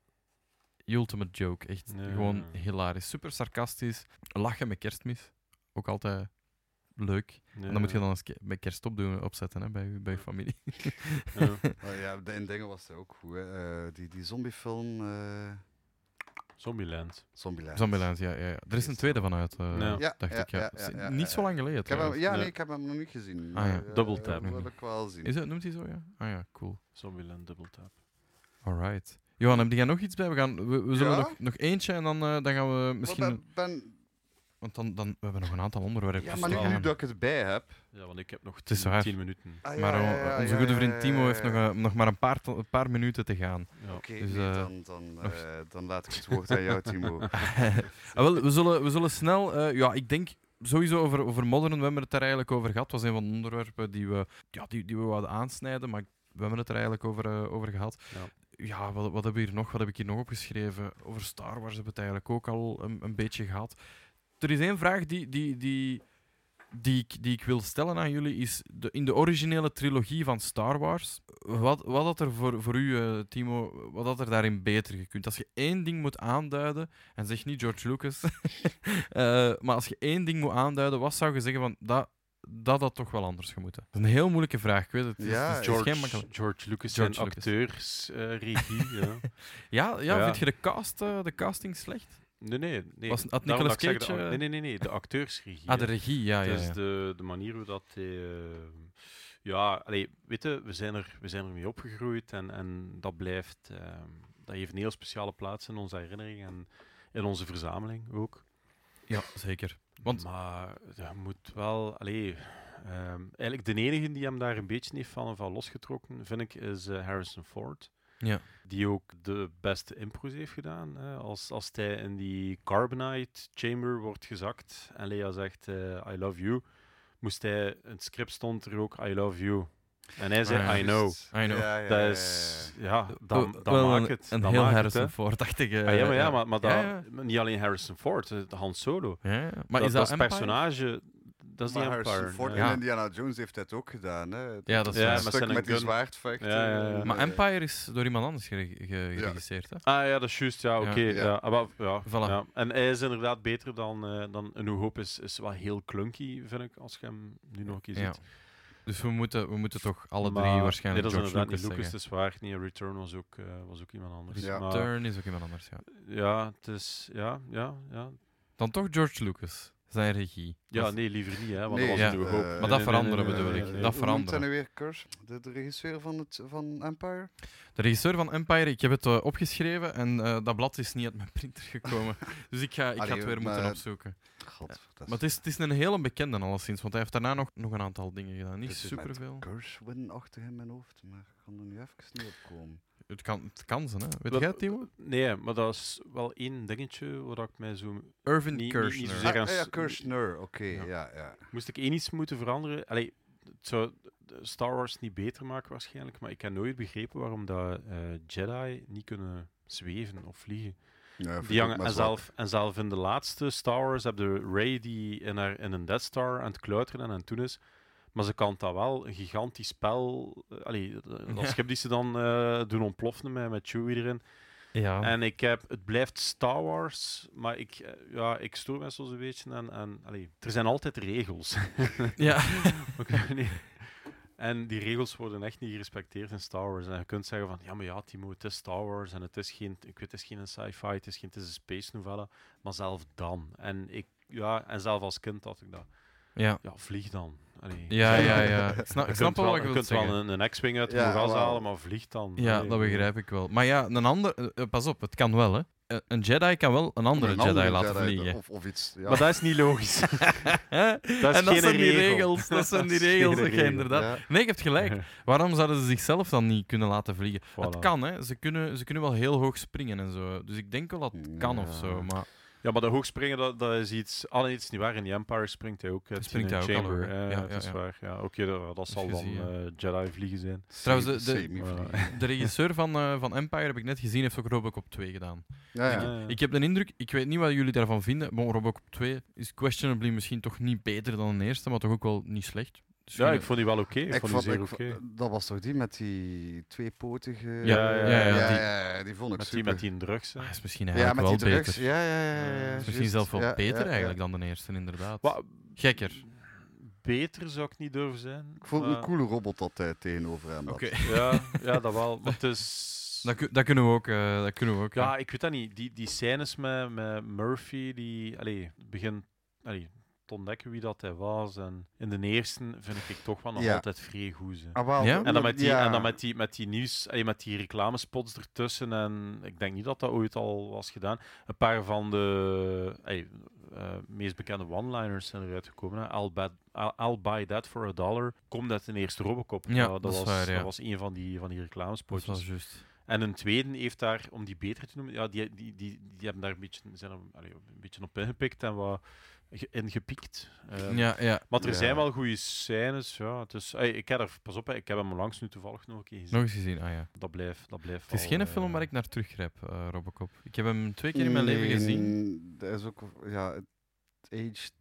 Speaker 1: Ultimate joke. Echt
Speaker 3: Ja.
Speaker 1: gewoon hilarisch. Super sarcastisch. Lachen met kerstmis. Ook altijd leuk. En dan moet je dan eens ke- met kerst opdoen, opzetten hè, bij, je, bij je familie.
Speaker 3: Ja.
Speaker 2: Oh ja, de- in dingen was dat ook goed. Hè. Eh, die, die zombiefilm, eh
Speaker 3: Zombieland.
Speaker 2: Zombieland.
Speaker 1: Zombieland, ja, ja, ja. Er is een tweede van uit, eh,
Speaker 3: Ja.
Speaker 2: Ja,
Speaker 1: dacht
Speaker 2: ja,
Speaker 1: ik. Ja.
Speaker 2: ja, ja, ja,
Speaker 1: Niet zo
Speaker 2: ja.
Speaker 1: lang geleden.
Speaker 2: Ik heb hem,
Speaker 1: trouwens.
Speaker 2: ja,
Speaker 3: Nee.
Speaker 2: nee, ik heb hem nog niet gezien.
Speaker 1: Ah ja,
Speaker 2: eh,
Speaker 3: Double Tap.
Speaker 2: Dat wil ik wel zien.
Speaker 1: Is het, noemt hij zo? Ja? Ah ja, cool.
Speaker 3: Zombieland Double Tap.
Speaker 1: Alright. Johan, heb jij nog iets bij? We, gaan, we, we zullen
Speaker 2: Ja?
Speaker 1: nog, nog eentje en dan, eh, dan gaan we misschien...
Speaker 2: Maar ben, ben,
Speaker 1: Want dan, dan we hebben nog een aantal onderwerpen.
Speaker 2: ja, maar nu,
Speaker 1: staan.
Speaker 2: nu dat ik het bij heb.
Speaker 3: Ja, want ik heb nog
Speaker 1: is
Speaker 3: tien,
Speaker 1: waar.
Speaker 3: tien minuten.
Speaker 2: Ah, ja,
Speaker 1: Maar
Speaker 2: ja,
Speaker 1: eh,
Speaker 2: ja,
Speaker 1: onze
Speaker 2: ja,
Speaker 1: goede
Speaker 2: ja,
Speaker 1: vriend
Speaker 2: ja,
Speaker 1: Timo
Speaker 2: ja,
Speaker 1: heeft
Speaker 2: ja.
Speaker 1: nog, eh, nog maar een paar, to- een paar minuten te gaan.
Speaker 3: Ja.
Speaker 2: Oké,
Speaker 1: Dus,
Speaker 2: nee,
Speaker 1: eh,
Speaker 2: dan, dan,
Speaker 1: nog-
Speaker 2: eh, dan laat ik het woord aan jou, Timo.
Speaker 1: Ah, wel, we, zullen, we zullen snel, eh, ja, ik denk sowieso over, over modern, we hebben het daar eigenlijk over gehad. Het was een van de onderwerpen die we, ja, die, die we wouden aansnijden, maar we hebben het er eigenlijk over, eh, over gehad.
Speaker 3: Ja.
Speaker 1: Ja, wat, wat hebben we hier nog? Wat heb ik hier nog opgeschreven? Over Star Wars hebben we het eigenlijk ook al een, een beetje gehad. Er is één vraag die, die, die, die, ik, die ik wil stellen aan jullie, is de, in de originele trilogie van Star Wars, wat, wat had er voor, voor u, eh, Timo, wat had er daarin beter gekund? Als je één ding moet aanduiden, en zeg niet George Lucas. Eh, maar als je één ding moet aanduiden, wat zou je zeggen van dat dat had toch wel anders gemoeten? Dat is een heel moeilijke vraag, ik weet het. het is,
Speaker 2: Ja,
Speaker 1: het is geen
Speaker 3: George,
Speaker 1: makkelijke-
Speaker 3: George Lucas
Speaker 1: George
Speaker 3: en
Speaker 1: Lucas.
Speaker 3: acteursregie. ja.
Speaker 1: ja, ja,
Speaker 3: Ja.
Speaker 1: vind je de, cast, eh, de casting slecht?
Speaker 3: Nee, nee. nee.
Speaker 1: Was- had
Speaker 3: Daarom
Speaker 1: Nicolas
Speaker 3: dat ik zeg de
Speaker 1: Cage,
Speaker 3: ac-
Speaker 1: eh,
Speaker 3: nee, nee, nee, nee. De acteursregie.
Speaker 1: Ah, de
Speaker 3: hè.
Speaker 1: regie, ja, ja.
Speaker 3: Het is
Speaker 1: ja.
Speaker 3: de, de manier hoe dat... hij, eh, ja, allee, weet je, we zijn er, we zijn er mee opgegroeid en, en dat blijft... eh, dat heeft een heel speciale plaats in onze herinnering en in onze verzameling ook.
Speaker 1: Ja, zeker. Want-
Speaker 3: Maar je moet wel... Allee, ehm, eigenlijk de enige die hem daar een beetje heeft van, van losgetrokken, vind ik, is eh, Harrison Ford
Speaker 1: Ja.
Speaker 3: die ook de beste impro's heeft gedaan. Hè. Als, als hij in die Carbonite Chamber wordt gezakt en Lea zegt eh, I love you, moest hij, in het script stond er ook I love you. En hij zei
Speaker 1: Ah, ja,
Speaker 3: I know.
Speaker 1: I know.
Speaker 2: Ja, ja, ja,
Speaker 3: Dat
Speaker 2: ja,
Speaker 3: is,
Speaker 2: ja.
Speaker 3: ja,
Speaker 1: Wel-
Speaker 3: dat, dat
Speaker 1: wel
Speaker 3: maakt
Speaker 1: een-
Speaker 3: het.
Speaker 1: Een
Speaker 3: dat
Speaker 1: heel
Speaker 3: maakt het,
Speaker 1: Harrison
Speaker 3: hè.
Speaker 1: Ford-achtige...
Speaker 3: Ah, ja, maar, ja,
Speaker 1: eh,
Speaker 3: maar, maar dat,
Speaker 1: ja, ja.
Speaker 3: maar niet alleen Harrison Ford, eh, Han Solo.
Speaker 1: Ja, ja. Maar
Speaker 3: dat,
Speaker 1: is
Speaker 3: dat
Speaker 1: dat
Speaker 3: is
Speaker 1: Empire?
Speaker 3: personage, dat is
Speaker 2: Maar
Speaker 3: die
Speaker 2: Harrison
Speaker 3: Empire.
Speaker 2: Ford
Speaker 3: hè.
Speaker 2: en
Speaker 1: Ja.
Speaker 2: Indiana Jones heeft dat ook gedaan. Hè.
Speaker 1: Ja, dat is
Speaker 3: Ja,
Speaker 1: waar.
Speaker 3: maar
Speaker 2: stuk
Speaker 3: zijn een
Speaker 2: met die
Speaker 3: gun.
Speaker 2: zwaardvechten. eh,
Speaker 3: Ja, ja, ja.
Speaker 1: Maar Empire is door iemand anders gere- ge- geregisseerd, hè?
Speaker 3: Ah ja, dat is juist, ja, oké.
Speaker 2: Ja.
Speaker 3: ja. ah, wel, ja,
Speaker 1: Voilà.
Speaker 3: ja. En hij is inderdaad beter dan, eh dan een hoop is, is wel heel clunky, vind ik, als je hem nu nog een keer
Speaker 1: Ja.
Speaker 3: ziet.
Speaker 1: Dus we moeten, we moeten toch alle
Speaker 3: Maar-
Speaker 1: drie waarschijnlijk
Speaker 3: Nee, dat is
Speaker 1: George
Speaker 3: inderdaad
Speaker 1: Lucas
Speaker 3: niet Lucas,
Speaker 1: zeggen.
Speaker 3: het is waar. Nee, Return was ook, eh, was ook iemand anders.
Speaker 2: Ja.
Speaker 3: Maar,
Speaker 1: Turn is ook iemand anders, ja.
Speaker 3: ja, het is, ja, ja, ja.
Speaker 1: Dan toch George Lucas, zijn regie.
Speaker 3: Ja,
Speaker 1: Dat-
Speaker 3: nee, liever niet, hè, want
Speaker 2: Nee,
Speaker 3: dat was
Speaker 1: ja.
Speaker 3: een
Speaker 2: eh,
Speaker 3: hoop.
Speaker 2: Maar
Speaker 1: dat veranderen bedoel ik. Dat
Speaker 2: Hoe noemt hij
Speaker 1: veranderen.
Speaker 2: nu weer Curse? De, de regisseur van, het, van Empire?
Speaker 1: De regisseur van Empire, ik heb het eh, opgeschreven en eh, dat blad is niet uit mijn printer gekomen. dus ik ga, ik ga
Speaker 2: Allee,
Speaker 1: het
Speaker 3: eh,
Speaker 1: weer
Speaker 2: maar-
Speaker 1: moeten opzoeken.
Speaker 2: God, dat
Speaker 1: Maar het is, het is een hele bekende alleszins, want hij heeft daarna nog, nog een aantal dingen gedaan. Niet
Speaker 2: Het is met
Speaker 1: superveel.
Speaker 2: Gershwin achter in mijn hoofd, maar ik kan er nu even niet op komen.
Speaker 1: Het kan, het kan zijn, hè. Weet
Speaker 3: Wel,
Speaker 1: jij het, Timo?
Speaker 3: Nee, maar dat is wel één dingetje waar ik mij zo...
Speaker 1: Irvin
Speaker 3: niet- niet
Speaker 1: Kershner.
Speaker 3: zozeer-
Speaker 2: Ah,
Speaker 3: gaan
Speaker 2: ah ja,
Speaker 3: s-
Speaker 2: Kirshner, oké,
Speaker 1: Ja.
Speaker 2: ja, ja.
Speaker 3: Moest ik één iets moeten veranderen? Allee, het zou de Star Wars niet beter maken waarschijnlijk, maar ik heb nooit begrepen waarom dat, eh, Jedi niet kunnen zweven of vliegen.
Speaker 2: Ja, vind ik
Speaker 3: Die
Speaker 2: ook
Speaker 3: hangen,
Speaker 2: maar
Speaker 3: en,
Speaker 2: zwak.
Speaker 3: zelf, en zelf in de laatste Star Wars heb de Ray die in, haar, in een Death Star aan het kluiteren en aan het doen is. Maar ze kan dat wel, een gigantisch spel. eh, allee, dat- dat
Speaker 1: Ja.
Speaker 3: schip die ze dan eh, doen ontploffen met, met Chewie erin.
Speaker 1: Ja.
Speaker 3: En ik heb, het blijft Star Wars, maar ik, eh, ja, ik stoor me soms een beetje. En, en, allee, er zijn altijd regels.
Speaker 1: ja.
Speaker 3: Oké, nee. En die regels worden echt niet gerespecteerd in Star Wars. En je kunt zeggen van, ja, maar ja, Timo, het is Star Wars en het is geen, ik weet, het is geen sci-fi, het is, geen, het is een space novelle. Maar zelf dan. En, ik, ja, en zelf als kind had ik dat.
Speaker 1: ja.
Speaker 3: Ja, vlieg dan. Allee.
Speaker 1: Ja, ja, ja. Ik snap,
Speaker 3: Je
Speaker 1: ik snap
Speaker 3: kunt
Speaker 1: wel
Speaker 3: wel,
Speaker 1: wat je wilt
Speaker 3: je kunt wel
Speaker 1: zeggen.
Speaker 3: een, een X-Wing uit de
Speaker 2: Ja,
Speaker 3: moeras
Speaker 2: wel.
Speaker 3: halen, maar vlieg dan.
Speaker 1: Ja,
Speaker 3: Allee,
Speaker 1: dat begrijp ik wel. Maar ja, een ander... eh, eh, pas op, het kan wel, hè. Eh, Een Jedi kan wel een andere,
Speaker 2: Een
Speaker 1: Jedi laten
Speaker 2: Jedi,
Speaker 1: vliegen.
Speaker 2: Of, of iets, ja.
Speaker 3: Maar dat is niet logisch. dat
Speaker 1: Hè? en
Speaker 3: is
Speaker 1: dat
Speaker 3: geen
Speaker 1: zijn die
Speaker 3: regel.
Speaker 1: regels. Dat zijn die
Speaker 3: is
Speaker 1: regels,
Speaker 3: geen
Speaker 1: dat je
Speaker 3: regel.
Speaker 1: inderdaad... Nee, je hebt gelijk. Waarom zouden ze zichzelf dan niet kunnen laten vliegen?
Speaker 3: Voilà.
Speaker 1: Het kan, hè. Ze kunnen, ze kunnen wel heel hoog springen en zo. Dus ik denk wel dat het kan of
Speaker 3: Ja.
Speaker 1: zo. Maar
Speaker 3: Ja, maar de hoogspringen, dat, dat is iets... Ah, nee, het is niet waar. In die Empire springt hij ook. eh,
Speaker 1: Dat
Speaker 3: Teen
Speaker 1: springt hij
Speaker 3: in
Speaker 1: ook
Speaker 3: Chamber.
Speaker 1: al, hoor.
Speaker 3: eh,
Speaker 1: Ja,
Speaker 3: dat
Speaker 1: ja,
Speaker 3: is
Speaker 1: ja.
Speaker 3: waar. Ja, Oké, dat, dat zal dan
Speaker 1: gezien, ja.
Speaker 3: eh, Jedi vliegen zijn.
Speaker 1: Trouwens, de- de-
Speaker 2: Semi-vliegen.
Speaker 1: De regisseur van, eh, van Empire heb ik net gezien, heeft ook Robocop 2 gedaan.
Speaker 2: Ja, ja.
Speaker 3: Eh,
Speaker 1: Ik heb de indruk, ik weet niet wat jullie daarvan vinden, maar Robocop 2 is questionably misschien toch niet beter dan de eerste, maar toch ook wel niet slecht. Dus
Speaker 3: ja, ik
Speaker 1: vind-
Speaker 3: vond die wel oké. Ik, vond die zeer
Speaker 2: ik
Speaker 3: oké.
Speaker 2: vond- Dat was toch die met die tweepotige...
Speaker 1: Ja,
Speaker 3: ja,
Speaker 2: ja,
Speaker 3: ja,
Speaker 1: die-
Speaker 2: ja, ja, die vond ik
Speaker 3: Met die,
Speaker 2: super.
Speaker 3: met die drugs. hè.
Speaker 1: ah, is misschien
Speaker 2: ja,
Speaker 1: eigenlijk
Speaker 2: met
Speaker 1: wel
Speaker 2: die drugs.
Speaker 1: beter.
Speaker 2: Ja, ja, ja. ja,
Speaker 3: Eh,
Speaker 2: ja,
Speaker 3: is
Speaker 1: Misschien
Speaker 2: juist.
Speaker 1: zelfs wel
Speaker 2: Ja,
Speaker 1: beter
Speaker 2: ja, ja.
Speaker 1: eigenlijk dan de eerste, inderdaad.
Speaker 3: Wat-
Speaker 1: Gekker.
Speaker 3: Beter zou ik niet durven zijn.
Speaker 2: Ik vond
Speaker 3: maar-
Speaker 2: een coole robot dat hij tegenover hem had.
Speaker 1: Oké.
Speaker 3: Ja, ja, dat wel. Maar het is...
Speaker 1: Dat, ku- dat kunnen we ook. eh, dat kunnen we ook
Speaker 3: Ja, ik weet dat niet. Die, die scènes met, met Murphy, die allee, begint allee, te ontdekken wie dat hij was. En in de eerste vind ik toch wel nog
Speaker 2: Ja.
Speaker 3: altijd vrij goed. hè.
Speaker 2: Ah, wel,
Speaker 1: Ja?
Speaker 3: En dan met die,
Speaker 2: ja.
Speaker 3: en dan met die, met die nieuws, allee, met die reclamespots ertussen. En ik denk niet dat dat ooit al was gedaan. Een paar van de allee, eh, meest bekende one-liners zijn eruit gekomen. hè. I'll, bet- I'll- I'll buy that for a dollar. Komt uit de eerste Robocop. Eh,
Speaker 1: Ja,
Speaker 3: dat,
Speaker 1: dat is
Speaker 3: was,
Speaker 1: waar, ja.
Speaker 3: dat was een van die, van die
Speaker 1: Dat
Speaker 3: reclamespotjes.
Speaker 1: was juist.
Speaker 3: En een tweede heeft daar, om die beter te noemen, ja, die, die, die, die hebben daar een beetje, zijn er, allee, een beetje op ingepikt en wat ge- ingepikt. Eh,
Speaker 1: Ja, ja.
Speaker 3: Maar er
Speaker 2: Ja.
Speaker 3: zijn wel goede scènes. Ja. Dus, ey, ik heb er, pas op, hè, ik heb hem langs nu toevallig nog een keer gezien.
Speaker 1: Nog eens gezien. Ah, ja.
Speaker 3: Dat blijft. Dat blijft
Speaker 1: Het is
Speaker 3: wel,
Speaker 1: geen
Speaker 3: eh,
Speaker 1: film waar ik naar teruggrijp, eh, Robocop. Ik heb hem twee keer in mijn leven
Speaker 2: Nee,
Speaker 1: gezien.
Speaker 2: Mm, Dat is ook... Ja, het aged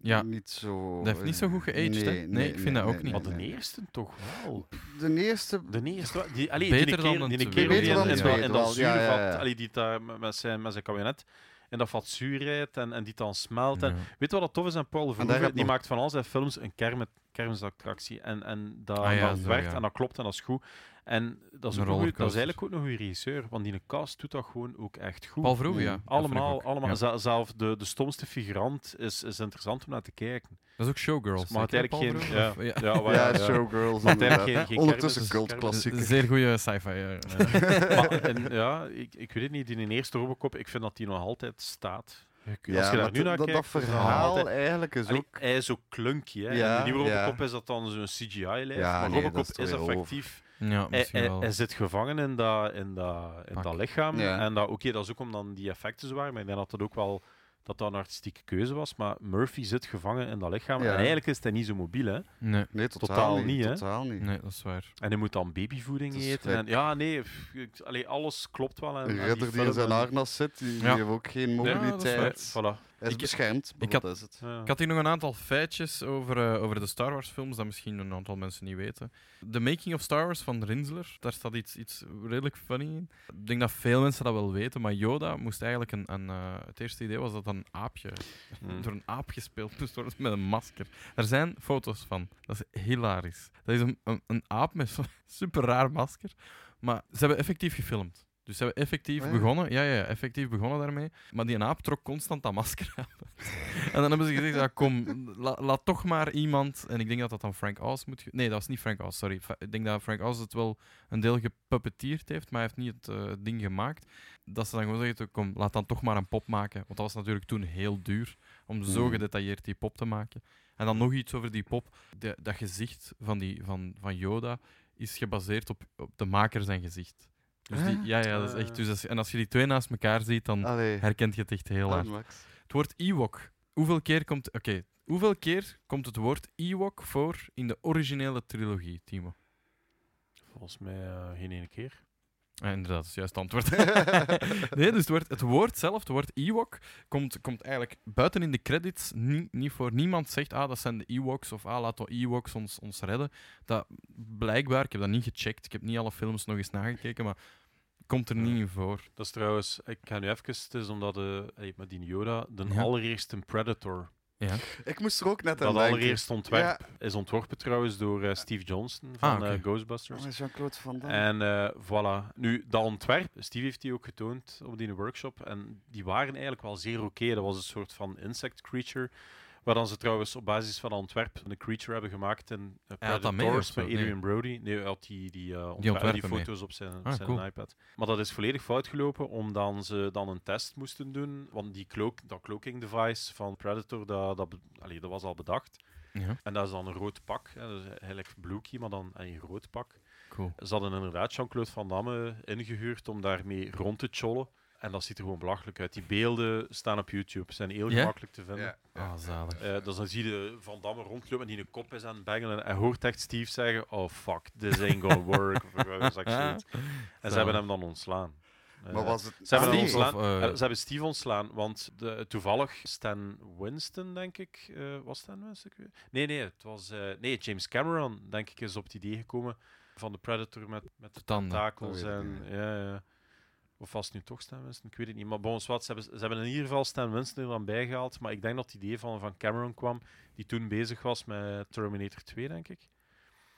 Speaker 1: Ja.
Speaker 2: niet zo... eh,
Speaker 1: Dat heeft niet zo goed geaged, hè? Nee, ik vind dat ook niet.
Speaker 3: Maar de Oh,
Speaker 2: nee.
Speaker 3: eerste toch wel.
Speaker 2: De eerste...
Speaker 3: De eerste, wel- die, allee,
Speaker 1: Beter
Speaker 3: die
Speaker 1: dan
Speaker 3: een keer,
Speaker 1: een
Speaker 3: die een
Speaker 1: tweede.
Speaker 3: keer die
Speaker 2: Beter dan
Speaker 3: in,
Speaker 2: een
Speaker 3: in, dat- in
Speaker 2: tweede
Speaker 3: dat
Speaker 2: wel, ja,
Speaker 3: zuurvat,
Speaker 2: ja, ja.
Speaker 3: allee, die daar met- met zijn, met zijn kabinet, in dat vat zuur rijdt en, en die dan smelt. En,
Speaker 1: Ja.
Speaker 3: Weet je wat dat tof is aan Paul
Speaker 2: daar
Speaker 3: Verhoeven?
Speaker 2: heb
Speaker 3: Die
Speaker 2: nog-
Speaker 3: maakt van al zijn films een kerm- kermisattractie. En, en dat,
Speaker 1: Ah ja,
Speaker 3: dat
Speaker 1: zo,
Speaker 3: werkt
Speaker 1: ja.
Speaker 3: en dat klopt en dat is goed. En dat is,
Speaker 1: Een
Speaker 3: ook een goeie- dat is
Speaker 1: rollercoaster.
Speaker 3: eigenlijk ook nog een regisseur, want die cast doet dat gewoon ook echt goed.
Speaker 1: Paul Verhoeven,
Speaker 2: Nee.
Speaker 1: ja. Dat vind ik
Speaker 3: allemaal,
Speaker 1: ook.
Speaker 3: allemaal.
Speaker 1: Ja.
Speaker 3: Ze- Zelf de, de stomste figurant is, is interessant om naar te kijken.
Speaker 1: Dat
Speaker 3: Dus
Speaker 1: is ook Showgirls.
Speaker 3: Maar
Speaker 1: zeker, Paul
Speaker 3: uiteindelijk geen-
Speaker 1: Verhoeven? Of-
Speaker 3: Ja,
Speaker 2: Ja,
Speaker 3: waar- ja.
Speaker 2: Showgirls.
Speaker 3: Maar uiteindelijk
Speaker 2: inderdaad.
Speaker 3: geen- geen
Speaker 2: Ondertussen
Speaker 3: kermis, dus
Speaker 1: Een
Speaker 2: cultklassieker.
Speaker 1: Zeer goede sci-fi. Ja.
Speaker 3: maar, en, ja, ik, ik weet het niet. Die in de eerste Robocop, ik vind dat die nog altijd staat.
Speaker 2: Ja,
Speaker 3: Als je daar
Speaker 2: maar
Speaker 3: nu naar
Speaker 2: dat, dat
Speaker 3: kijkt, is dat nog
Speaker 2: verhaal
Speaker 3: altijd-
Speaker 2: eigenlijk is
Speaker 3: Allee,
Speaker 2: ook...
Speaker 3: hij is ook klunky. Hè?
Speaker 2: Ja,
Speaker 3: in de nieuwe
Speaker 2: ja.
Speaker 3: Robocop is dat dan zo'n CGI-lijf.
Speaker 2: Ja,
Speaker 3: maar
Speaker 2: nee,
Speaker 3: Robocop
Speaker 2: dat is
Speaker 3: is,
Speaker 2: toch weer over.
Speaker 3: effectief...
Speaker 1: ja,
Speaker 3: Hij,
Speaker 1: misschien
Speaker 3: hij-
Speaker 1: wel.
Speaker 3: hij zit gevangen in dat, in dat, in
Speaker 1: Pak.
Speaker 3: dat lichaam.
Speaker 2: Ja.
Speaker 3: En dat, oké, dat is ook omdat die effecten zo waren, maar ik denk dat dat ook wel dat dat een artistieke keuze was. Maar Murphy zit gevangen in dat lichaam.
Speaker 2: Ja.
Speaker 3: En eigenlijk is hij niet zo mobiel, hè.
Speaker 1: Nee,
Speaker 2: Nee, totaal,
Speaker 3: totaal
Speaker 2: niet.
Speaker 3: niet, hè?
Speaker 2: Totaal niet.
Speaker 1: nee, dat is waar.
Speaker 3: En hij moet dan babyvoeding
Speaker 2: Het is
Speaker 3: eten.
Speaker 2: gelijk.
Speaker 3: En, ja, nee, pff, ik- allee, alles klopt wel. En,
Speaker 2: Een ridder die in zijn harnas zit, die, die
Speaker 1: Ja.
Speaker 2: heeft ook geen
Speaker 3: dat is
Speaker 2: mobiliteit.
Speaker 3: Voilà.
Speaker 2: Hij is
Speaker 1: Ik-
Speaker 2: beschermd, maar
Speaker 1: ik
Speaker 2: dat is het.
Speaker 3: Ja.
Speaker 1: Ik had hier nog een aantal feitjes over, eh, over de Star Wars films, dat misschien een aantal mensen niet weten. De Making of Star Wars van Rinsler, daar staat iets, iets redelijk funny in. Ik denk dat veel mensen dat wel weten, maar Yoda moest eigenlijk een... een eh, het eerste idee was dat een aapje,
Speaker 2: Hmm.
Speaker 3: Mm.
Speaker 1: door een aap gespeeld moest worden met een masker. Daar zijn foto's van. Dat is hilarisch. Dat is een, een, een aap met zo'n super raar masker. Maar ze hebben effectief gefilmd. Dus ze hebben effectief
Speaker 2: Ah, ja.
Speaker 1: begonnen. Ja, ja, ja, effectief begonnen daarmee. Maar die aap trok constant dat masker aan. en dan hebben ze gezegd, ja, kom, la- laat toch maar iemand... En ik denk dat dat dan Frank Oz moet... ge- Nee, dat was niet Frank Oz, sorry. Fa- Ik denk dat Frank Oz het wel een deel gepuppeteerd heeft, maar hij heeft niet het eh, ding gemaakt. Dat ze dan gewoon zeggen, kom, laat dan toch maar een pop maken. Want dat was natuurlijk toen heel duur, om zo
Speaker 2: Hmm.
Speaker 1: gedetailleerd die pop te maken. En dan nog iets over die pop. De, dat gezicht van, die, van, van Yoda is gebaseerd op, op de maker zijn gezicht. Dus die,
Speaker 2: Huh?
Speaker 1: ja, ja, dat is echt... Dus als, en als je die twee naast elkaar ziet,
Speaker 3: Hmm.
Speaker 1: dan
Speaker 2: Allee,
Speaker 1: herkent je het echt heel
Speaker 2: dan,
Speaker 1: hard.
Speaker 2: Max.
Speaker 1: Het woord Ewok. Hoeveel keer komt... Oké, hoeveel keer komt het woord Ewok voor in de originele trilogie, Timo?
Speaker 3: Volgens mij eh, geen ene keer.
Speaker 1: Ah, inderdaad, dat is het juiste antwoord. nee, dus het woord, het woord zelf, het woord Ewok, komt, komt eigenlijk buiten in de credits niet, niet voor. Niemand zegt, ah, dat zijn de Ewoks, of ah, laat de Ewoks ons, ons redden. Dat, blijkbaar, ik heb dat niet gecheckt, ik heb niet alle films nog eens nagekeken, maar komt er niet in voor.
Speaker 3: Dat is trouwens, ik ga nu even, het is omdat eh, hey, met die Yoda, de
Speaker 1: Ja.
Speaker 3: allereerste Predator
Speaker 2: Ik moest er ook net aan
Speaker 3: Dat
Speaker 2: denken.
Speaker 3: allereerste ontwerp is ontworpen trouwens door eh, Steve Johnston van
Speaker 1: Ah, oké.
Speaker 3: eh, Ghostbusters.
Speaker 2: Oh, Jean-Claude Van Damme.
Speaker 3: En eh, voilà. Nu, dat ontwerp, Steve heeft die ook getoond op die workshop. En die waren eigenlijk wel zeer oké. Dat was een soort van insect creature. Waar dan ze trouwens op basis van dat ontwerp een creature hebben gemaakt in eh,
Speaker 1: Hij had dat mee of
Speaker 3: Predators
Speaker 1: zo?
Speaker 3: met
Speaker 1: Nee.
Speaker 3: Adrian Brody. Nee, hij had die, die, eh, ontwerpen, die
Speaker 1: ontwerpen mee.
Speaker 3: foto's op zijn, op
Speaker 1: Ah,
Speaker 3: zijn
Speaker 1: cool.
Speaker 3: iPad. Maar dat is volledig fout gelopen, omdat ze dan een test moesten doen. Want die cloak, dat cloaking device van Predator, dat, dat, be- allee, dat was al bedacht.
Speaker 1: Ja,
Speaker 3: En dat is dan een rood pak. Hè. Dat is eigenlijk Blookie, maar dan een rood pak.
Speaker 1: cool.
Speaker 3: Ze hadden inderdaad Jean-Claude Van Damme ingehuurd om daarmee rond te chollen. En dat ziet er gewoon belachelijk uit. Die beelden staan op YouTube, zijn heel
Speaker 1: Ja?
Speaker 3: gemakkelijk te vinden.
Speaker 2: Ja, ja.
Speaker 1: Ah, zalig.
Speaker 3: Eh, dus dan zie je Van Damme rondlopen en die een kop is aan het bengelen. En hoort echt Steve zeggen, oh fuck, this ain't gonna work. of whatever, dat is echt zoiets. en ze hebben hem dan ontslaan. Eh,
Speaker 2: Maar was het... Ah,
Speaker 3: ze hebben, hem
Speaker 1: Steve,
Speaker 3: ontslaan,
Speaker 1: of, eh,
Speaker 3: eh, ze hebben Steve ontslaan, want de, toevallig Stan Winston, denk ik. eh, was Stan Winston? Ik weet- Nee, nee, het was, eh, nee, James Cameron, denk ik, is op het idee gekomen van de Predator met, met de
Speaker 1: Tanden.
Speaker 3: tentakels.
Speaker 2: Dat weet ik
Speaker 3: En,
Speaker 2: niet.
Speaker 3: ja, ja. Of was het nu toch Stan Winston? Ik weet het niet. Maar bij ons wat, ze hebben, ze hebben in ieder geval Stan Winston er dan bijgehaald. Maar ik denk dat het idee van, van Cameron kwam, die toen bezig was met Terminator 2, denk ik.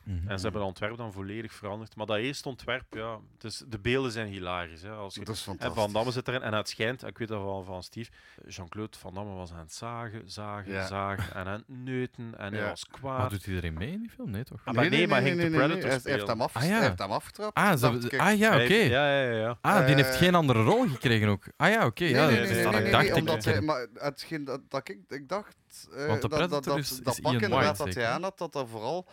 Speaker 1: Mhm.
Speaker 3: En ze hebben het ontwerp dan volledig veranderd. Maar dat eerste ontwerp, ja, het is- de beelden zijn hilarisch. Hè, als je
Speaker 2: Dat is
Speaker 3: en
Speaker 2: fantastisch.
Speaker 3: Van Damme zit erin. En het schijnt, ik weet dat van, van Steve, Jean-Claude Van Damme was aan het zagen, zagen,
Speaker 2: Ja.
Speaker 3: zagen en aan het neuten. En hij
Speaker 2: Ja.
Speaker 3: was
Speaker 1: Maar
Speaker 3: kwaad.
Speaker 1: doet iedereen mee in die film? Nee, toch?
Speaker 3: Ah, maar nee, maar hij ging de Predator
Speaker 2: Hij heeft- Hij heeft
Speaker 3: spelen.
Speaker 2: hem, af,
Speaker 1: Ah, ja.
Speaker 2: hij heeft hem afgetrapt.
Speaker 1: Ah, ze
Speaker 2: Dacht
Speaker 1: hebben-
Speaker 2: ik,
Speaker 1: ah ja, oké.
Speaker 3: Hij heeft- Ja, ja, ja. ja.
Speaker 1: Ah, die heeft
Speaker 2: Eh,
Speaker 1: geen andere rol gekregen ook. Ah ja, oké. ja,
Speaker 2: nee,
Speaker 1: dat
Speaker 2: nee,
Speaker 1: is
Speaker 2: nee,
Speaker 1: dan-
Speaker 2: nee,
Speaker 1: ik
Speaker 2: nee,
Speaker 1: dacht
Speaker 2: nee,
Speaker 1: ik
Speaker 2: omdat eh,
Speaker 1: niet.
Speaker 2: hij, maar hetgeen dat, dat ik, ik dacht,
Speaker 1: Want de
Speaker 2: eh, dat, dat,
Speaker 1: Predator
Speaker 2: dat,
Speaker 1: is-
Speaker 2: dat
Speaker 1: is
Speaker 2: pak
Speaker 1: Ian
Speaker 2: inderdaad
Speaker 1: White,
Speaker 2: dat hij
Speaker 1: zeker?
Speaker 2: aan had, dat dat vooral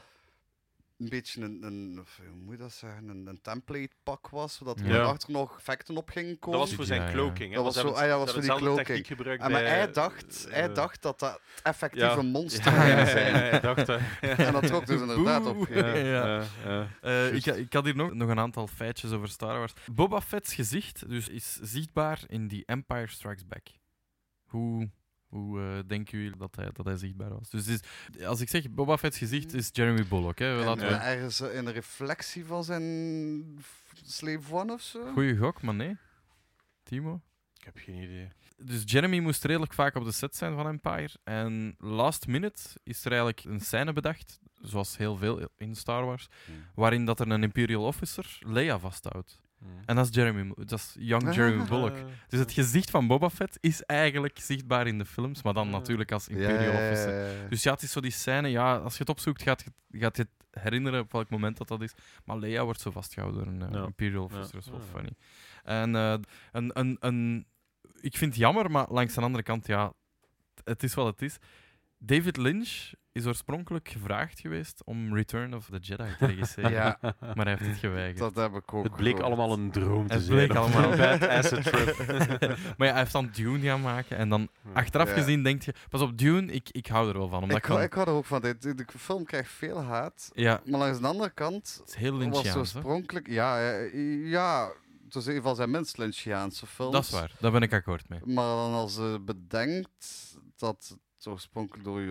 Speaker 2: een beetje een, een of hoe moet je dat zeggen, een, een template pak was, zodat er
Speaker 1: Ja.
Speaker 2: achter nog effecten op gingen
Speaker 3: Dat
Speaker 2: komen.
Speaker 3: was voor zijn
Speaker 1: Ja, ja.
Speaker 3: cloaking. Hè.
Speaker 2: Dat was
Speaker 3: want
Speaker 2: zo-
Speaker 3: ze hebben-
Speaker 2: ah ja,
Speaker 3: ze
Speaker 2: was
Speaker 3: hebben
Speaker 2: voor die
Speaker 3: dezelfde
Speaker 2: cloaking.
Speaker 3: techniek gebruikt
Speaker 2: Ah, maar
Speaker 3: bij,
Speaker 2: hij
Speaker 3: eh,
Speaker 2: dacht, hij
Speaker 3: eh,
Speaker 2: dacht dat dat effectief
Speaker 3: ja.
Speaker 2: een monster
Speaker 3: Ja,
Speaker 2: ging
Speaker 3: ja, ja,
Speaker 2: zijn.
Speaker 3: ja, hij dacht dat.
Speaker 2: En dat trok dus inderdaad op.
Speaker 1: Boe. Ja, ja.
Speaker 3: Ja, ja.
Speaker 1: Eh, ik, ik had hier nog, nog een aantal feitjes over Star Wars. Boba Fett's gezicht dus is zichtbaar in The Empire Strikes Back. Hoe, hoe eh, denken jullie dat hij, dat hij zichtbaar was? Dus het is- als ik zeg Boba Fett's gezicht is Jeremy Bullock. Hè? We
Speaker 2: En,
Speaker 1: Laten we-
Speaker 2: eh, ergens eh, in een reflectie van zijn f- Slave One of zo.
Speaker 1: Goeie gok, maar nee. Timo?
Speaker 3: Ik heb geen idee.
Speaker 1: Dus Jeremy moest redelijk vaak op de set zijn van Empire. En last minute is er eigenlijk een scène bedacht, zoals heel veel in Star Wars, waarin dat er een Imperial Officer Leia vasthoudt. En dat is Jeremy, dat is young
Speaker 2: Ah.
Speaker 1: Jeremy Bullock.
Speaker 3: Eh,
Speaker 1: Dus het gezicht van Boba Fett is eigenlijk zichtbaar in de films, maar dan
Speaker 3: Ja.
Speaker 1: natuurlijk als
Speaker 2: Ja,
Speaker 1: Imperial
Speaker 2: ja, ja,
Speaker 1: Officer.
Speaker 2: ja.
Speaker 1: Dus ja, het is zo die scène, ja, als je het opzoekt, gaat je, gaat je het herinneren op welk moment dat dat is. Maar Leia wordt zo vastgehouden door een eh,
Speaker 3: Ja.
Speaker 1: Imperial
Speaker 3: Ja.
Speaker 1: Officer, dat is wel
Speaker 3: Ja.
Speaker 1: funny. En eh, een, een, een, ik vind het jammer, maar langs de andere kant, ja, t- het is wat het is. David Lynch is oorspronkelijk gevraagd geweest om Return of the Jedi te regisseren,
Speaker 2: Ja,
Speaker 1: maar hij heeft het geweigerd.
Speaker 2: dat heb ik ook
Speaker 3: Het bleek
Speaker 2: gehoord.
Speaker 3: allemaal een droom te
Speaker 1: Het
Speaker 3: zijn.
Speaker 1: bleek allemaal
Speaker 3: een bad acid trip.
Speaker 1: maar ja, hij heeft dan Dune gaan maken en dan achteraf
Speaker 2: Ja.
Speaker 1: gezien denk je, pas op Dune, ik, ik hou er wel van. Omdat
Speaker 2: Ik,
Speaker 1: ik,
Speaker 2: hou-
Speaker 1: gewoon-
Speaker 2: ik hou er ook van. dit- De film krijgt veel haat.
Speaker 1: ja,
Speaker 2: Maar langs de andere kant
Speaker 1: het is heel
Speaker 2: was
Speaker 1: Lynchiaans. hè.
Speaker 2: oorspronkelijk... Ja, eh, ja, het is in ieder geval zijn minst Lynchiaanse films.
Speaker 1: Dat is waar, daar ben ik akkoord mee.
Speaker 2: Maar dan als je bedenkt dat het oorspronkelijk door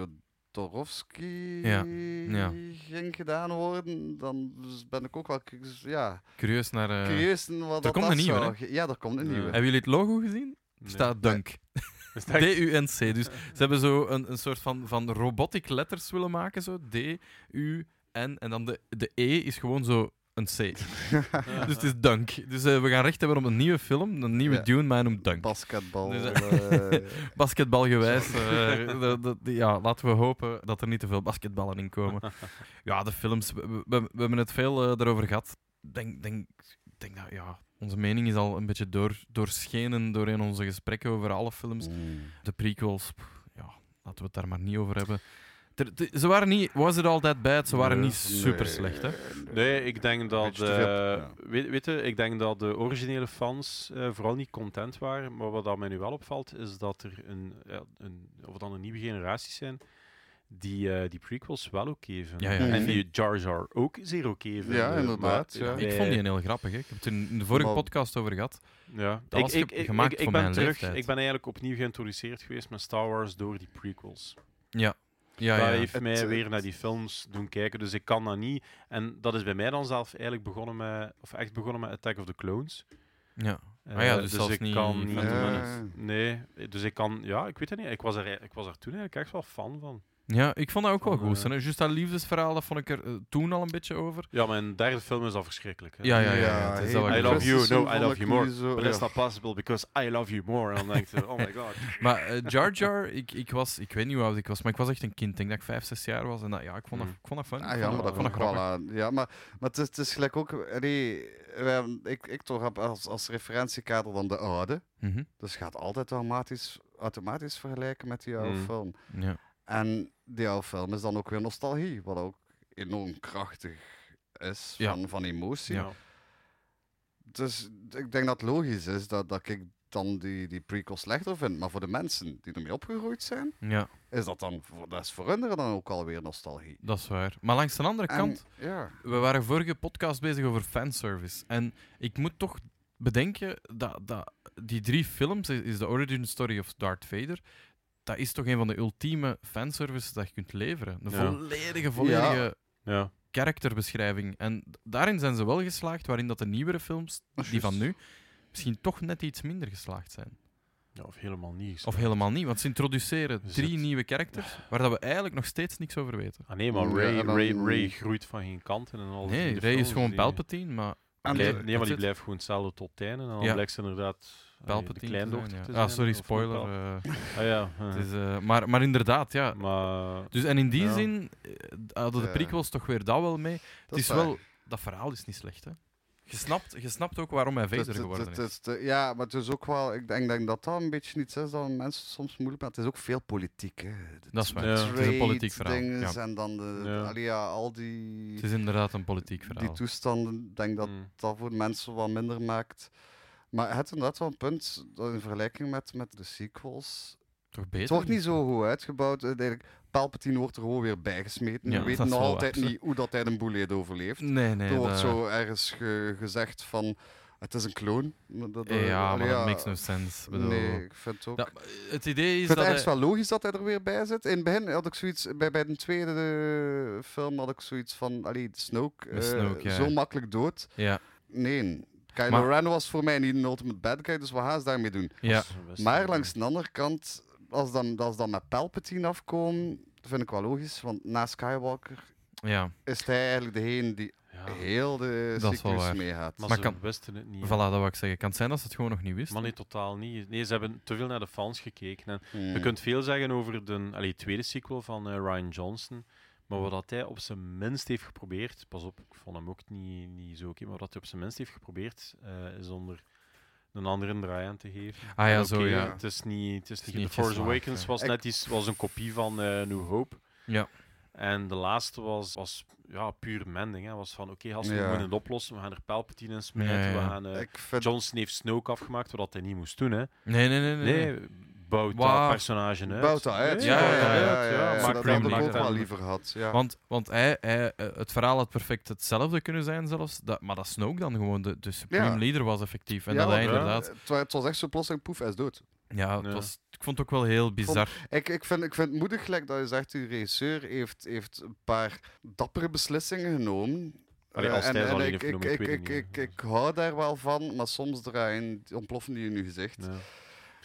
Speaker 2: Jodorowsky
Speaker 1: Ja, ja.
Speaker 2: ging gedaan worden, dan dus ben ik ook wel cu- ja,
Speaker 1: Curieus naar... eh,
Speaker 2: curieus in wat dat
Speaker 1: komt
Speaker 2: dat
Speaker 1: een nieuwe, Eh,
Speaker 2: zou ge- Ja, er komt een
Speaker 3: Ja.
Speaker 2: nieuwe.
Speaker 1: Hebben jullie het logo gezien? Er staat Dunk.
Speaker 3: Is dat-
Speaker 1: D-U-N-C. Dus ze hebben zo een, een soort van, van robotic letters willen maken. Zo. D-U-N. En dan de, de E is gewoon zo een C. Dus het is Dunk. Dus eh, we gaan recht hebben op een nieuwe film. Een nieuwe
Speaker 2: Ja.
Speaker 1: Dune, maar hij noemt Dunk.
Speaker 2: Basketbal.
Speaker 1: Dus,
Speaker 2: eh,
Speaker 1: Basketbalgewijs. eh, dat- dat- ja, laten we hopen dat er niet te veel basketballen in komen. Ja, de films. We, we- we- we hebben het veel eh, daarover gehad. Ik denk, denk, denk dat ja, onze mening is al een beetje door, doorschenen doorheen onze gesprekken over alle films.
Speaker 2: mm.
Speaker 1: De prequels, pff, ja, laten we het daar maar niet over hebben. Ter- te- ze waren niet, was it all that bad? Ze waren
Speaker 3: Nee,
Speaker 1: niet super slecht, hè?
Speaker 3: Nee, ik denk dat.
Speaker 2: Beetje te veel,
Speaker 3: eh,
Speaker 2: ja.
Speaker 3: weet, weet je, ik denk dat de originele fans eh, vooral niet content waren. Maar wat dat mij nu wel opvalt, is dat er een, ja, een, of het dan een nieuwe generatie zijn die eh, die prequels wel oké vinden.
Speaker 1: Ja, ja,
Speaker 2: ik
Speaker 3: En
Speaker 2: vind-
Speaker 3: die Jar Jar ook Eh, zeer oké vinden.
Speaker 2: Ja, inderdaad, ja.
Speaker 1: Ik vond die een heel grappig. Hè? Ik heb het in in de vorige
Speaker 2: Maar-
Speaker 1: podcast over gehad.
Speaker 3: Ja,
Speaker 1: Dat was ge- gemaakt voor
Speaker 3: ben
Speaker 1: mijn
Speaker 3: terug,
Speaker 1: leeftijd.
Speaker 3: Ik ben eigenlijk opnieuw geïntroduceerd geweest met Star Wars door die prequels.
Speaker 1: Ja, ja.
Speaker 3: dat heeft
Speaker 2: Het,
Speaker 3: mij
Speaker 2: eh,
Speaker 3: weer naar die films doen kijken, dus ik kan dat niet. En dat is bij mij dan zelf eigenlijk begonnen met, of echt begonnen met Attack of the Clones.
Speaker 1: ja.
Speaker 3: Eh,
Speaker 1: Ah ja, dus zelfs
Speaker 3: ik
Speaker 1: niet
Speaker 3: kan
Speaker 1: Phantom
Speaker 2: Menace.
Speaker 3: Nee, dus ik kan, ja, ik weet het niet. Ik was er,
Speaker 1: e-
Speaker 3: ik was er toen eigenlijk echt wel fan van.
Speaker 1: ja, ik vond dat ook wel
Speaker 3: Van,
Speaker 1: goed.
Speaker 3: eh,
Speaker 1: hè. Juist dat liefdesverhaal, dat vond ik er eh, toen al een beetje over.
Speaker 3: Ja, mijn derde film is al verschrikkelijk. Hè.
Speaker 1: Ja, ja, ja. het is dat wat
Speaker 3: I
Speaker 1: ik
Speaker 3: love
Speaker 1: bedoel.
Speaker 3: you,
Speaker 2: Christensen
Speaker 3: no, I love
Speaker 2: vond
Speaker 3: you
Speaker 2: ik
Speaker 3: more.
Speaker 2: niet zo-
Speaker 3: But that's
Speaker 2: Oh, ja.
Speaker 3: not possible because I love you more. En dan denk je, oh my god.
Speaker 1: Maar eh, Jar Jar, ik, ik was, ik weet niet hoe oud ik was, maar ik was echt een kind. Ik denk dat ik vijf, zes jaar was. En dat, ja, ik vond dat,
Speaker 3: Hmm.
Speaker 1: ik vond dat fun.
Speaker 2: Ah,
Speaker 1: Ik
Speaker 2: ja,
Speaker 1: vond
Speaker 2: maar dat
Speaker 1: ik vond
Speaker 2: vond
Speaker 1: dat
Speaker 2: ik wel
Speaker 1: grappig.
Speaker 2: aan. Ja, maar, maar het, is, het is gelijk ook... allee, wij hebben- ik, ik toch heb als, als referentiekader dan de oude.
Speaker 1: Mhm.
Speaker 2: Dus je gaat altijd automatisch, automatisch vergelijken met die oude
Speaker 3: Mm.
Speaker 2: film.
Speaker 1: Ja.
Speaker 2: En die oude film is dan ook weer nostalgie. Wat ook enorm krachtig is
Speaker 1: Ja.
Speaker 2: van, van emotie.
Speaker 1: Ja.
Speaker 3: Ja.
Speaker 2: Dus ik denk dat het logisch is dat, dat ik dan die, die prequel slechter vindt. Maar voor de mensen die ermee opgegroeid zijn,
Speaker 1: Ja,
Speaker 2: is dat dan voor, dat is voor hun er dan ook alweer nostalgie.
Speaker 1: dat is waar. Maar langs de andere
Speaker 2: En-
Speaker 1: kant,
Speaker 2: ja.
Speaker 1: we waren vorige podcast bezig over fanservice. En ik moet toch bedenken dat, dat die drie films, is is de origin story of Darth Vader, dat is toch een van de ultieme fanservices dat je kunt leveren. Een
Speaker 3: Ja.
Speaker 1: volledige, volledige
Speaker 3: Ja.
Speaker 1: karakterbeschrijving. En d- daarin zijn ze wel geslaagd, waarin dat de nieuwere films, die van nu, misschien toch net iets minder geslaagd zijn.
Speaker 3: Ja, of helemaal niet.
Speaker 1: Of helemaal niet, want ze introduceren
Speaker 3: Is
Speaker 1: drie
Speaker 3: het-
Speaker 1: nieuwe karakters waar dat we eigenlijk nog steeds niks over weten.
Speaker 3: Ah nee, maar
Speaker 2: Ja,
Speaker 3: Ray,
Speaker 2: en dan-
Speaker 3: Ray, Ray groeit van geen kanten en al.
Speaker 1: Nee, Rey is gewoon Palpatine, maar...
Speaker 2: En
Speaker 3: Nee,
Speaker 2: de-
Speaker 3: nee, maar
Speaker 1: dat
Speaker 3: die
Speaker 1: zit-
Speaker 3: blijft gewoon hetzelfde tot het einde. En dan
Speaker 1: Ja.
Speaker 3: blijkt ze inderdaad allee, de
Speaker 1: Palpatine te
Speaker 3: kleindochter
Speaker 1: zijn,
Speaker 3: te
Speaker 1: ja. Ah,
Speaker 3: zijn,
Speaker 1: sorry,
Speaker 3: of
Speaker 1: spoiler.
Speaker 3: Pal-
Speaker 1: eh,
Speaker 3: Ah ja,
Speaker 1: het
Speaker 3: eh.
Speaker 1: is, eh, maar, maar inderdaad, ja.
Speaker 3: maar...
Speaker 1: Dus, en in die
Speaker 3: Ja.
Speaker 1: zin eh, d- hadden de
Speaker 2: Ja.
Speaker 1: prequels toch weer dat wel mee.
Speaker 2: dat
Speaker 1: het is
Speaker 2: waar.
Speaker 1: wel... Dat verhaal is niet slecht, hè. Je snapt, je snapt ook waarom hij
Speaker 2: Het-
Speaker 1: Vader
Speaker 2: het-
Speaker 1: geworden
Speaker 2: het-
Speaker 1: is.
Speaker 2: het- het- ja, maar het is ook wel. Ik denk, denk dat dat een beetje iets is dat mensen soms moeilijk maar Het is ook veel politiek. Hè. De
Speaker 1: Dat is waar.
Speaker 3: Ja. Het is een
Speaker 2: trade
Speaker 1: politiek verhaal,
Speaker 2: dinges
Speaker 1: ja.
Speaker 2: En dan de,
Speaker 3: Ja.
Speaker 2: allee, ja, al die,
Speaker 1: Het is inderdaad een politiek
Speaker 2: die
Speaker 1: verhaal.
Speaker 2: toestanden. Ik denk dat
Speaker 3: mm,
Speaker 2: dat voor mensen wat minder maakt. Maar het is inderdaad wel een punt dat in vergelijking met, met de sequels.
Speaker 1: Toch beter?
Speaker 2: Het wordt niet zo goed uitgebouwd. Eh, Eigenlijk, Palpatine wordt er gewoon weer bijgesmeten.
Speaker 1: Ja,
Speaker 2: We weten
Speaker 1: dat is
Speaker 2: nog
Speaker 1: wel
Speaker 2: altijd
Speaker 1: waar.
Speaker 2: niet hoe dat hij een boeleet overleeft.
Speaker 1: Nee, nee.
Speaker 2: er wordt
Speaker 1: dat-
Speaker 2: zo ergens ge- gezegd van... Het is een kloon. Maar dat-
Speaker 1: Eh, ja,
Speaker 2: allee,
Speaker 1: maar dat makes no sense. Ik Bedoel...
Speaker 2: Nee, ik vind het ook...
Speaker 1: Dat- het idee
Speaker 2: ik
Speaker 1: is
Speaker 2: vind
Speaker 1: dat
Speaker 2: het
Speaker 1: hij...
Speaker 2: ergens wel logisch dat hij er weer bij zit. In het begin had ik zoiets... Bij, bij de tweede eh, film had ik zoiets van... Allee, Snoke,
Speaker 1: Met
Speaker 2: eh,
Speaker 1: Snoke, ja.
Speaker 2: zo makkelijk dood.
Speaker 1: Ja,
Speaker 2: Nee, Kylo
Speaker 1: Maar-
Speaker 2: Ren was voor mij niet een ultimate bad guy, dus wat gaan ze daarmee doen?
Speaker 1: ja.
Speaker 3: dat is best-
Speaker 2: Maar langs de andere kant, als dan, als dan met Palpatine afkomen, vind ik wel logisch, want na Skywalker
Speaker 1: ja.
Speaker 2: is hij eigenlijk degene die
Speaker 3: Ja,
Speaker 2: heel de
Speaker 1: Ah. Dat is wel
Speaker 2: cyclus
Speaker 1: waar.
Speaker 2: meegaat.
Speaker 3: maar
Speaker 1: Maar
Speaker 3: ze
Speaker 1: kan-
Speaker 3: wisten het niet.
Speaker 1: Voilà,
Speaker 3: hè.
Speaker 1: dat wou ik zeggen. Kan het zijn dat ze het gewoon nog niet wisten?
Speaker 3: Maar nee, totaal niet. Nee, ze hebben te veel naar de fans gekeken. En
Speaker 2: Hmm.
Speaker 3: Je kunt veel zeggen over de allee, tweede sequel van eh, Ryan Johnson. Maar wat dat hij op zijn minst heeft geprobeerd, pas op, ik vond hem ook niet, niet zo oké, maar wat hij op zijn minst heeft geprobeerd, eh, is om er een andere draai aan te geven.
Speaker 1: Ah ja,
Speaker 3: En
Speaker 1: zo
Speaker 3: oké,
Speaker 1: ja.
Speaker 3: Het is niet, het is
Speaker 1: is
Speaker 3: niet
Speaker 1: niet
Speaker 3: The Force
Speaker 1: geslaagd,
Speaker 3: Awakens
Speaker 1: ja.
Speaker 3: was
Speaker 2: Ik-
Speaker 3: net iets, was een kopie van eh, New Hope.
Speaker 1: Ja.
Speaker 3: En de laatste was, was ja, puur mending. Hè. was van, oké, als we
Speaker 2: Ja.
Speaker 3: moeten het oplossen, we gaan er Palpatine in smijten,
Speaker 1: Ja, ja,
Speaker 3: we
Speaker 1: ja.
Speaker 3: gaan... eh,
Speaker 2: Ik vind
Speaker 3: Johnson heeft Snoke afgemaakt, wat hij niet moest doen, hè.
Speaker 1: Nee, nee, nee. nee, nee.
Speaker 3: Nee, bouwt dat
Speaker 1: Waar?
Speaker 3: personage uit.
Speaker 2: bouwt dat uit.
Speaker 1: Ja, ja, ja,
Speaker 3: ja.
Speaker 2: Maar
Speaker 3: Maakt
Speaker 2: dat
Speaker 1: Cream
Speaker 2: had ik ook
Speaker 1: liever.
Speaker 2: wel liever gehad. Ja.
Speaker 1: Want, want hij, hij, eh, het verhaal had perfect hetzelfde kunnen zijn zelfs. Dat, maar dat Snoke dan gewoon de, de Supreme
Speaker 2: Ja.
Speaker 1: Leader was effectief. En
Speaker 2: Ja,
Speaker 1: dat hij
Speaker 2: want, eh,
Speaker 3: ja.
Speaker 1: inderdaad...
Speaker 2: Het, wa- het was echt zo plotseling, poef, hij is dood.
Speaker 1: Ja,
Speaker 3: Ja.
Speaker 1: het was, ik vond het ook wel heel bizar.
Speaker 2: Ik, ik, vind, ik vind het moedig gelijk dat je zegt, die regisseur heeft, heeft een paar dappere beslissingen genomen.
Speaker 3: Allee,
Speaker 2: Eh,
Speaker 3: als hij ze alleen
Speaker 2: ik,
Speaker 3: heeft
Speaker 2: ik,
Speaker 3: genomen,
Speaker 2: ik,
Speaker 3: ik weet
Speaker 2: ik,
Speaker 3: het niet,
Speaker 2: ik,
Speaker 3: hè.
Speaker 2: ik hou daar wel van, maar soms draaien, ontploffen die in je gezicht.
Speaker 3: Ja.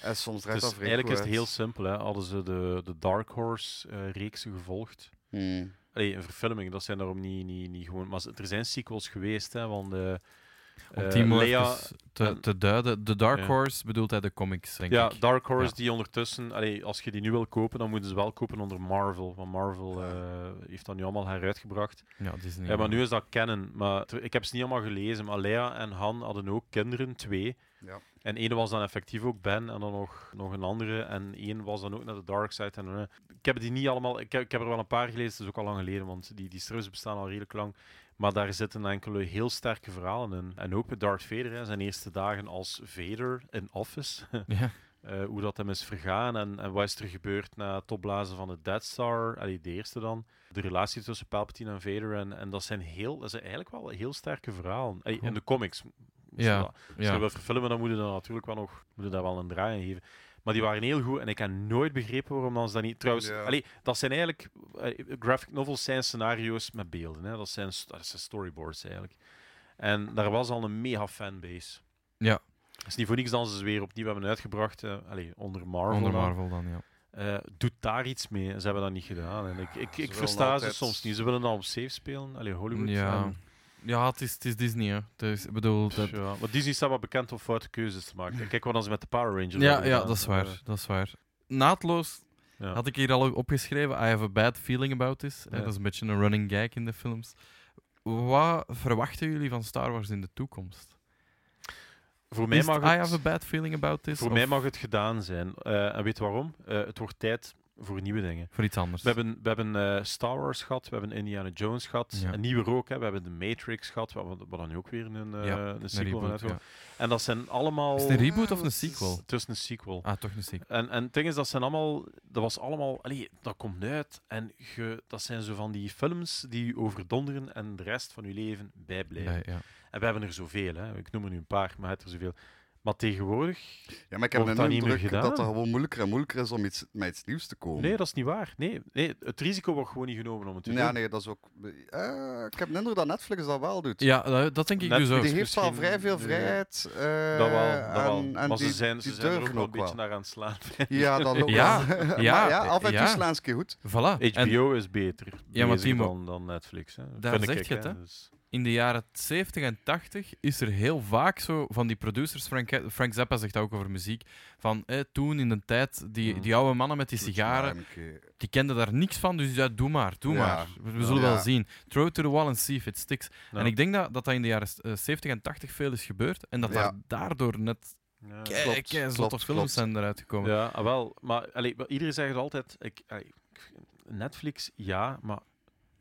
Speaker 2: En soms draait
Speaker 3: Dus
Speaker 2: dat vreemd
Speaker 3: eigenlijk is het
Speaker 2: uit.
Speaker 3: heel simpel. Hè. Hadden ze de, de Dark Horse-reeksen gevolgd.
Speaker 2: Hmm.
Speaker 3: Allee, een verfilming, dat zijn daarom niet, niet, niet gewoon... Maar ze- er zijn sequels geweest, hè, want... eh,
Speaker 1: Om
Speaker 3: eh,
Speaker 1: Timo
Speaker 3: Leia-
Speaker 1: even te,
Speaker 3: en-
Speaker 1: te duiden. De Dark
Speaker 3: Ja.
Speaker 1: Horse bedoelt hij de comics, denk
Speaker 3: ja,
Speaker 1: ik.
Speaker 3: Dark Horse
Speaker 1: Ja.
Speaker 3: die ondertussen, allee, als je die nu wil kopen, dan moeten ze wel kopen onder Marvel. Want Marvel eh, heeft dat nu allemaal heruitgebracht.
Speaker 1: Ja, Disney.
Speaker 3: Ja, maar nu is dat kennen. Maar ter- ik heb ze niet allemaal gelezen. Maar Leia en Han hadden ook kinderen, twee.
Speaker 2: Ja.
Speaker 3: En één was dan effectief ook Ben en dan nog, nog een andere. En één was dan ook naar de dark side. En, eh, ik heb die niet allemaal... Ik heb, ik heb er wel een paar gelezen, dat is ook al lang geleden, want die, die strips bestaan al redelijk lang. Maar daar zitten enkele heel sterke verhalen in. En ook met Darth Vader, hè, zijn eerste dagen als Vader in Office.
Speaker 1: Ja.
Speaker 3: Eh, hoe dat hem is vergaan en, en wat is er gebeurd na het opblazen van de Dead Star, allee, de eerste dan. De relatie tussen Palpatine en Vader. En, en dat zijn, heel, dat zijn eigenlijk wel heel sterke verhalen. Allee, in
Speaker 1: Cool.
Speaker 3: de comics. is
Speaker 1: Ja,
Speaker 3: dat. Als je
Speaker 1: Ja.
Speaker 3: dat wil verfilmen, dan moet je dat natuurlijk wel nog moet je daar wel een draai aan geven. Maar die waren heel goed en ik heb nooit begrepen waarom dan ze dat niet. Trouwens,
Speaker 2: Ja.
Speaker 3: allee, dat zijn eigenlijk. eh, graphic novels zijn scenario's met beelden. Hè. Dat, zijn, st- dat zijn storyboards eigenlijk. En daar was al een mega fanbase.
Speaker 1: Ja.
Speaker 3: Het is niet voor niks dan ze ze weer opnieuw hebben uitgebracht. eh, allee, onder Marvel.
Speaker 1: Onder
Speaker 3: dan.
Speaker 1: Marvel dan, ja.
Speaker 3: Eh, doet daar iets mee. Ze hebben dat niet gedaan. En ik ik,
Speaker 2: Ze
Speaker 3: ik
Speaker 2: willen
Speaker 3: versta ze
Speaker 2: altijd-
Speaker 3: soms niet. Ze willen dan op safe spelen. Allee, Hollywood.
Speaker 1: Ja,
Speaker 3: En,
Speaker 1: ja het, is, het is Disney, hè. Dus, ik bedoel, dat...
Speaker 3: pff, ja. Maar Disney staat wel bekend om foute keuzes te maken. Kijk wat ze met de Power Rangers
Speaker 1: Ja,
Speaker 3: hebben
Speaker 1: ja
Speaker 3: gedaan.
Speaker 1: dat, is
Speaker 3: Eh,
Speaker 1: waar, dat is waar. Naadloos
Speaker 3: ja.
Speaker 1: had ik hier al opgeschreven. I have a bad feeling about this. Eh,
Speaker 3: Ja.
Speaker 1: Dat is een beetje een running gag in de films. Wat verwachten jullie van Star Wars in de toekomst?
Speaker 3: Voor mij,
Speaker 1: Is het,
Speaker 3: mag
Speaker 1: I have a
Speaker 3: het,
Speaker 1: bad feeling about this?
Speaker 3: voor
Speaker 1: of-
Speaker 3: mij mag het gedaan zijn. Eh, en weet je waarom? Eh, het wordt tijd voor nieuwe dingen.
Speaker 1: Voor iets anders.
Speaker 3: We hebben, we hebben eh, Star Wars gehad, we hebben Indiana Jones gehad,
Speaker 1: Ja.
Speaker 3: een nieuwe rook, hè, we hebben de Matrix gehad, wat, wat dan nu ook weer een, eh
Speaker 1: Ja,
Speaker 3: een
Speaker 1: een
Speaker 3: sequel van
Speaker 1: reboot.
Speaker 3: uitgekomen.
Speaker 1: ja.
Speaker 3: En dat zijn allemaal...
Speaker 1: Is het een reboot
Speaker 2: Ah,
Speaker 1: of een
Speaker 2: wat is-
Speaker 1: sequel?
Speaker 3: Het is een sequel.
Speaker 1: Ah, toch een sequel.
Speaker 3: En, en het ding is, dat zijn allemaal, dat was allemaal, allee, dat komt uit en ge, dat zijn zo van die films die je overdonderen en de rest van je leven bijblijven.
Speaker 1: Nee, ja.
Speaker 3: En we hebben er zoveel, hè. ik noem er nu een paar, maar je hebt er zoveel. Maar tegenwoordig,
Speaker 2: Ja, maar ik
Speaker 3: Wordt
Speaker 2: heb
Speaker 3: dat
Speaker 2: een
Speaker 3: niet meer
Speaker 2: indruk
Speaker 3: gedaan?
Speaker 2: dat het gewoon moeilijker en moeilijker is om iets, met iets nieuws te komen.
Speaker 3: nee, dat is niet waar. Nee, nee, het risico wordt gewoon niet genomen om het te
Speaker 2: Ja,
Speaker 3: doen.
Speaker 2: nee, dat is ook... eh, ik heb de indruk dat Netflix dat wel doet.
Speaker 1: ja, dat- dat denk ik
Speaker 3: Net-
Speaker 1: dus
Speaker 3: dat
Speaker 1: ook.
Speaker 2: die
Speaker 3: is
Speaker 2: heeft wel
Speaker 3: misschien-
Speaker 2: vrij veel
Speaker 3: ja.
Speaker 2: vrijheid. eh,
Speaker 3: dat wel, dat wel.
Speaker 2: en- en
Speaker 3: maar ze
Speaker 2: die-
Speaker 3: zijn, ze
Speaker 2: die
Speaker 3: zijn er ook
Speaker 2: durven
Speaker 3: wel een beetje naar aan het slaan.
Speaker 2: Ja, dat ook
Speaker 1: Ja,
Speaker 2: wel. maar
Speaker 1: ja,
Speaker 2: ja, af en toe
Speaker 1: ja.
Speaker 2: slaan ze een keer goed.
Speaker 1: Voilà. En
Speaker 3: HBO is beter
Speaker 1: Ja, maar
Speaker 3: bezig
Speaker 1: Timo,
Speaker 3: dan, dan Netflix. Hè.
Speaker 1: daar
Speaker 3: Vind
Speaker 1: zeg
Speaker 3: ik,
Speaker 1: je het, hè.
Speaker 3: Dus-
Speaker 1: in de jaren 70 en 80 is er heel vaak zo van die producers, Frank, Frank Zappa zegt dat ook over muziek, van eh, toen in de tijd, die,
Speaker 3: Mm.
Speaker 1: die oude mannen met die sigaren,
Speaker 2: Ja, een keer.
Speaker 1: die kenden daar niks van, dus ja, doe maar, doe
Speaker 2: Ja.
Speaker 1: maar. We, we zullen
Speaker 2: Ja.
Speaker 1: wel zien. Throw it to the wall and see if it sticks.
Speaker 3: Ja.
Speaker 1: En ik denk dat, dat dat in de jaren eh, 70 en 80 veel is gebeurd en dat
Speaker 2: Ja.
Speaker 1: daar- daardoor net
Speaker 3: Ja.
Speaker 1: kei,
Speaker 2: klopt,
Speaker 1: kei zotte
Speaker 2: klopt,
Speaker 1: films
Speaker 2: klopt.
Speaker 1: zijn eruit gekomen.
Speaker 3: Ja, ah, wel. Maar allee, maar iedereen zegt het altijd. Ik, allee, ik- Netflix, ja, maar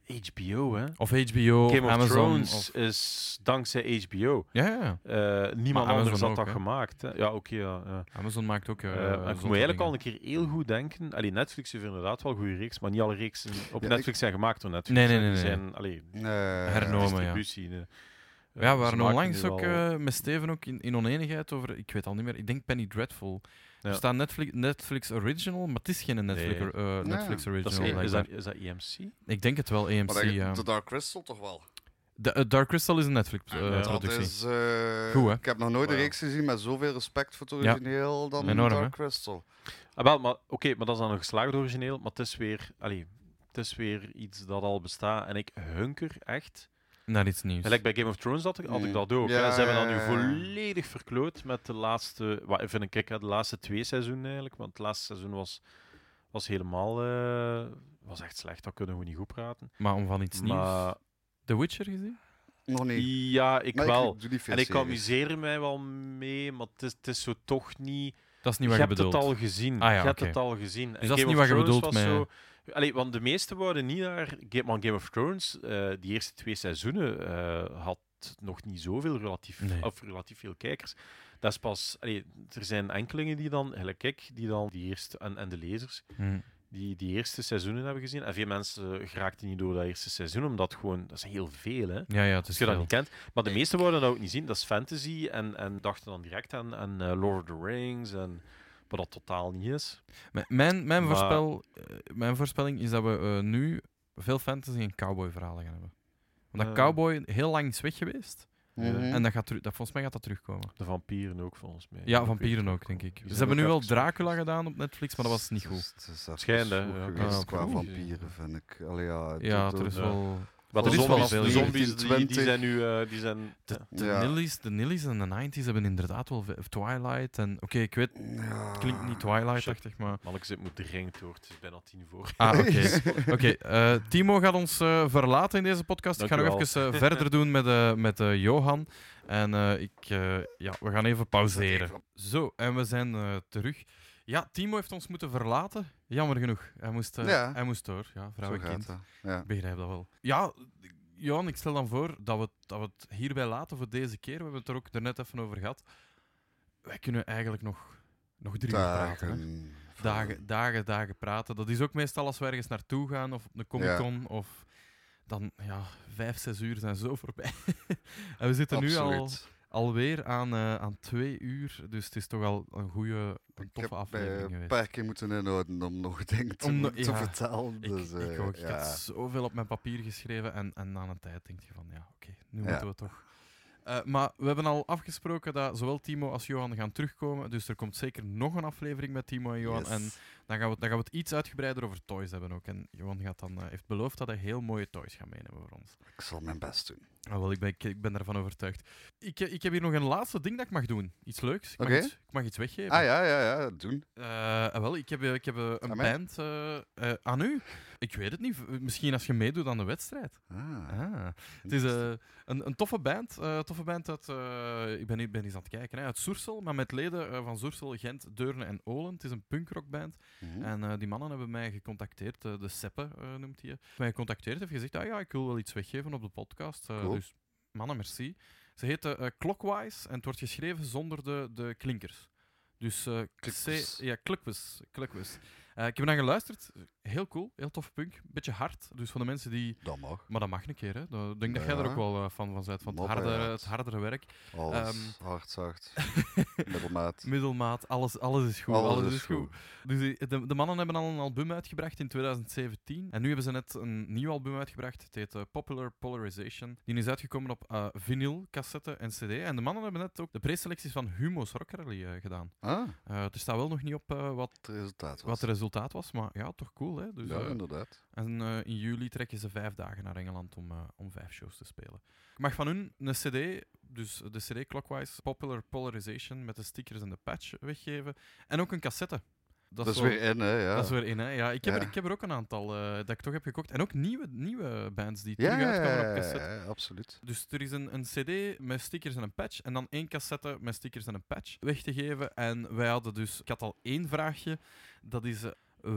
Speaker 3: HBO, hè?
Speaker 1: Of HBO,
Speaker 3: Game of
Speaker 1: Amazon.
Speaker 3: Thrones
Speaker 1: of-
Speaker 3: is dankzij HBO.
Speaker 1: Ja, ja, ja,
Speaker 3: Eh, niemand
Speaker 1: Amazon
Speaker 3: anders had
Speaker 1: ook,
Speaker 3: dat
Speaker 1: hè?
Speaker 3: gemaakt. Hè? Ja, oké. ja, ja.
Speaker 1: Amazon maakt ook. eh,
Speaker 3: Eh, en ik moet
Speaker 1: zotte
Speaker 3: eigenlijk
Speaker 1: dingen.
Speaker 3: al een keer heel goed denken. Allee, Netflix heeft inderdaad wel een goede reeks, maar niet alle reeksen op
Speaker 2: Ja,
Speaker 3: Netflix
Speaker 2: ik-
Speaker 3: zijn gemaakt door Netflix.
Speaker 1: Nee, nee,
Speaker 3: hè.
Speaker 1: nee,
Speaker 3: Die
Speaker 1: nee.
Speaker 3: zijn allee,
Speaker 2: Eh,
Speaker 1: Hernomen. Nomen, ja.
Speaker 3: distributie. de- eh,
Speaker 1: Ja,
Speaker 3: ze
Speaker 1: we waren
Speaker 3: maken
Speaker 1: onlangs
Speaker 3: nu
Speaker 1: ook
Speaker 3: wel-
Speaker 1: eh, met Steven ook in, in oneenigheid over, ik weet al niet meer, ik denk Penny Dreadful.
Speaker 3: Ja.
Speaker 1: Er staat Netflix, Netflix Original, maar het is geen Netflix,
Speaker 3: Nee.
Speaker 1: eh, Netflix
Speaker 3: Dat is,
Speaker 1: Original.
Speaker 3: is, dat,
Speaker 1: blijkbaar.
Speaker 3: is dat E EMC?
Speaker 1: Ik denk het wel, EMC.
Speaker 2: Maar dat-
Speaker 1: ja.
Speaker 2: de Dark Crystal toch wel?
Speaker 1: De- eh, Dark Crystal is een eh,
Speaker 3: Ja. Dat
Speaker 2: dat
Speaker 1: Netflix-productie.
Speaker 2: is... eh,
Speaker 1: Goed, hè?
Speaker 2: Ik heb nog nooit een
Speaker 3: Wauw.
Speaker 2: reeks gezien met zoveel respect voor het
Speaker 1: Ja.
Speaker 2: origineel dan
Speaker 1: Enorm,
Speaker 2: Dark
Speaker 1: hè?
Speaker 2: Crystal.
Speaker 3: Ah, wel, maar oké, maar dat is dan een geslaagd origineel, maar het is weer, allee, het is weer iets dat al bestaat. En ik hunker echt.
Speaker 1: Naar iets nieuws.
Speaker 3: Gelijk bij Game of Thrones had ik, had ik
Speaker 2: Mm.
Speaker 3: dat ook.
Speaker 2: Ja,
Speaker 3: hè. Ze hebben dat
Speaker 2: ja,
Speaker 3: nu
Speaker 2: ja.
Speaker 3: volledig verkloot met de laatste, wat vind ik, kijk, hè, de laatste twee seizoenen eigenlijk. Want het laatste seizoen was, was helemaal, eh, was echt slecht. Dat kunnen we niet goed praten.
Speaker 1: Maar om van iets nieuws.
Speaker 3: Maar
Speaker 1: The Witcher gezien?
Speaker 2: Nog niet.
Speaker 3: ja, ik
Speaker 2: Maar
Speaker 3: wel.
Speaker 2: doe niet veel
Speaker 3: en ik
Speaker 2: series.
Speaker 3: amuseer mij wel mee, maar het is, het is zo toch niet.
Speaker 1: Dat is niet
Speaker 3: je
Speaker 1: wat je
Speaker 3: hebt
Speaker 1: bedoelt.
Speaker 3: het al gezien.
Speaker 1: Ah ja,
Speaker 3: je hebt
Speaker 1: oké. Dus
Speaker 3: het al gezien. En
Speaker 1: dat is niet
Speaker 3: Game of
Speaker 1: wat je
Speaker 3: Thrones
Speaker 1: bedoelt
Speaker 3: was
Speaker 1: met-
Speaker 3: Zo... Allee, want de meesten worden niet naar Game, maar Game of Thrones. eh, die eerste twee seizoenen eh, had nog niet zoveel relatief,
Speaker 1: Nee.
Speaker 3: of relatief veel kijkers. Dat is pas. Allee, er zijn enkelingen die dan, eigenlijk ik, die dan die eerste en, en de lezers
Speaker 1: Hm.
Speaker 3: die die eerste seizoenen hebben gezien. En veel mensen eh, geraakten niet door dat eerste seizoen, omdat gewoon dat is heel veel, hè.
Speaker 1: Ja, ja, het is
Speaker 3: Als je dat
Speaker 1: veel.
Speaker 3: niet kent. Maar de meeste worden dat ook niet zien. Dat is fantasy. En, en dachten dan direct aan, aan eh, Lord of the Rings. En, wat dat totaal niet is.
Speaker 1: M- Mijn, mijn,
Speaker 3: Maar-
Speaker 1: voorspel, eh, mijn voorspelling is dat we eh, nu veel fantasy en cowboy verhalen gaan hebben. Omdat
Speaker 3: Eh.
Speaker 1: cowboy heel lang is weg geweest.
Speaker 2: Mhm.
Speaker 3: Hm.
Speaker 1: En dat gaat, teru- dat, volgens mij gaat dat terugkomen.
Speaker 3: De vampieren ook, volgens mij.
Speaker 1: Ja,
Speaker 3: Ik
Speaker 1: vampieren
Speaker 3: weet
Speaker 1: ook,
Speaker 3: het
Speaker 1: denk ik. Ze
Speaker 3: Die
Speaker 1: hebben
Speaker 3: zijn ook
Speaker 1: nu wel
Speaker 3: even slecht
Speaker 1: Dracula
Speaker 3: geweest.
Speaker 1: gedaan op Netflix, maar dat was niet
Speaker 2: Het is-
Speaker 1: goed.
Speaker 2: het Dus is even
Speaker 3: Schijnde,
Speaker 2: vroeg
Speaker 3: ja.
Speaker 2: geweest
Speaker 1: Ah,
Speaker 2: qua
Speaker 1: oké.
Speaker 2: vampieren, vind ik. Allee, ja, het
Speaker 1: Ja,
Speaker 2: doet
Speaker 1: er
Speaker 2: ook-
Speaker 1: is
Speaker 3: ja.
Speaker 1: wel...
Speaker 3: Maar de
Speaker 1: Er is wel
Speaker 3: zombies,
Speaker 1: veel
Speaker 3: de zombies die, die
Speaker 2: 1920.
Speaker 3: zijn nu... eh, die zijn,
Speaker 1: De, de,
Speaker 2: Ja.
Speaker 1: Nillies, de Nillies en de 90s hebben inderdaad wel ve- Twilight en... Oké, ik weet,
Speaker 2: Ja.
Speaker 1: het klinkt niet Twilight-achtig, maar...
Speaker 3: Mannekes, het moet dringend door. Het is bijna tien voor.
Speaker 1: Ah, oké. Oké, eh, Timo gaat ons eh, verlaten in deze podcast.
Speaker 3: Dank
Speaker 1: ik ga
Speaker 3: u
Speaker 1: nog
Speaker 3: wel.
Speaker 1: even eh, verder doen met, eh, met eh, Johan. En eh, ik, eh, ja, we gaan even pauzeren. Zo, en we zijn eh, terug. Ja, Timo heeft ons moeten verlaten. Jammer genoeg. Hij moest, eh,
Speaker 2: Ja.
Speaker 1: hij moest door. Ja, vrouw
Speaker 2: Zo
Speaker 1: en
Speaker 2: gaat
Speaker 1: kind.
Speaker 2: dat. Ja.
Speaker 1: Ik begrijp dat wel. Ja, Johan, ik stel dan voor dat we, het- dat we het hierbij laten voor deze keer. We hebben het er ook daarnet even over gehad. Wij kunnen eigenlijk nog, nog drie uur praten. hè.
Speaker 2: Dagen.
Speaker 1: Dagen, dagen, dagen praten. Dat is ook meestal als we ergens naartoe gaan of op een Comic-Con. Of dan, ja, vijf, zes uur zijn zo voorbij. en we zitten nu al,
Speaker 2: Absoluut.
Speaker 1: alweer aan, eh, aan twee uur. Dus het is toch al een goede, een toffe aflevering
Speaker 2: Ik heb eh, een
Speaker 1: geweest.
Speaker 2: paar keer moeten inhouden om nog dingen te,
Speaker 1: Om no-
Speaker 2: te
Speaker 1: ja.
Speaker 2: vertellen.
Speaker 1: Ik,
Speaker 2: Dus, eh,
Speaker 1: ik, ook, ik
Speaker 2: ja.
Speaker 1: had zoveel op mijn papier geschreven en, en aan een tijd denk je van, ja, oké, nu
Speaker 2: Ja.
Speaker 1: moeten we toch. Eh, maar we hebben al afgesproken dat zowel Timo als Johan gaan terugkomen. Dus er komt zeker nog een aflevering met Timo en Johan.
Speaker 2: Yes.
Speaker 1: En dan gaan, we, het- dan gaan we het iets uitgebreider over toys hebben ook. En Johan gaat dan, eh, heeft beloofd dat hij heel mooie toys gaat meenemen voor ons.
Speaker 2: Ik zal mijn best doen.
Speaker 1: Ah, wel, ik ben, ik, ik ben daarvan overtuigd. Ik, he- ik heb hier nog een laatste ding dat ik mag doen. Iets leuks. Ik,
Speaker 2: Oké.
Speaker 1: mag, iets, ik mag iets weggeven.
Speaker 2: Ah ja, ja, ja, doen.
Speaker 1: Eh, ah, wel, ik heb, eh, ik heb eh, een
Speaker 2: Aan mij?
Speaker 1: band eh, eh, aan u. Ik weet het niet. v- eh, Misschien als je meedoet aan de wedstrijd.
Speaker 2: Ah,
Speaker 1: Ah. Het is eh, een, een toffe band. eh, toffe band uit... eh, ik ben, nu- ben eens aan het kijken. Hè, uit Soersel, maar met leden eh, van Soersel, Gent, Deurne en Olen. Het is een punkrockband.
Speaker 2: Mhm.
Speaker 1: En eh, die mannen hebben mij gecontacteerd, eh, de Seppe eh, noemt hij. je. Mij gecontacteerd heeft gezegd, ah ja, ik wil wel iets weggeven op de podcast. eh,
Speaker 2: Cool.
Speaker 1: Dus mannen, merci. Ze heten eh, Clockwise en het wordt geschreven zonder de, de klinkers. Dus eh
Speaker 2: Klukwes.
Speaker 1: C, ja, Klukwes, Klukwes. Eh, ik heb naar geluisterd. Heel cool, heel tof punk. Beetje hard. Dus van de mensen die.
Speaker 2: Dat mag.
Speaker 1: Maar dat mag een keer, hè? Dat- Ik denk dat jij
Speaker 2: Ja.
Speaker 1: er ook wel eh, fan van bent. Van het
Speaker 2: Mopper,
Speaker 1: hardere,
Speaker 2: ja.
Speaker 1: het hardere werk.
Speaker 2: Alles.
Speaker 1: Ehm.
Speaker 2: Hard, zacht. Middelmaat.
Speaker 1: Middelmaat, alles, alles is goed. Alles, is goed. Dus die- de, de mannen hebben al een album uitgebracht in 2017. En nu hebben ze net een nieuw album uitgebracht. Het heet eh, Popular Polarization. Die is uitgekomen op eh, vinyl, cassette en CD. En de mannen hebben net ook de preselecties van Humo's Rock Rally eh, gedaan.
Speaker 2: Ah,
Speaker 1: Eh, er staat wel nog niet op eh, wat,
Speaker 2: het resultaat was.
Speaker 1: wat het resultaat was, maar ja, toch cool. Hè? Dus,
Speaker 2: ja,
Speaker 1: eh,
Speaker 2: inderdaad.
Speaker 1: en eh, in juli trekken ze vijf dagen naar Engeland om, eh, om vijf shows te spelen. Ik mag van hun een CD, dus de CD Clockwise Popular Polarization met de stickers en de patch weggeven. En ook een cassette.
Speaker 2: Dat, is
Speaker 1: wel-
Speaker 2: weer in, hè? Ja.
Speaker 1: dat is weer in, hè? Ja, ik heb, Er,
Speaker 2: Ja.
Speaker 1: ik heb er ook een aantal eh, dat ik toch heb gekocht. En ook nieuwe, nieuwe bands die
Speaker 2: ja,
Speaker 1: terug
Speaker 2: ja,
Speaker 1: uitkomen
Speaker 2: ja,
Speaker 1: op cassette.
Speaker 2: ja, absoluut.
Speaker 1: Dus er is een, een CD met stickers en een patch. En dan één cassette met stickers en een patch weg te geven. En wij hadden dus. Ik had al één vraagje. Dat is. eh,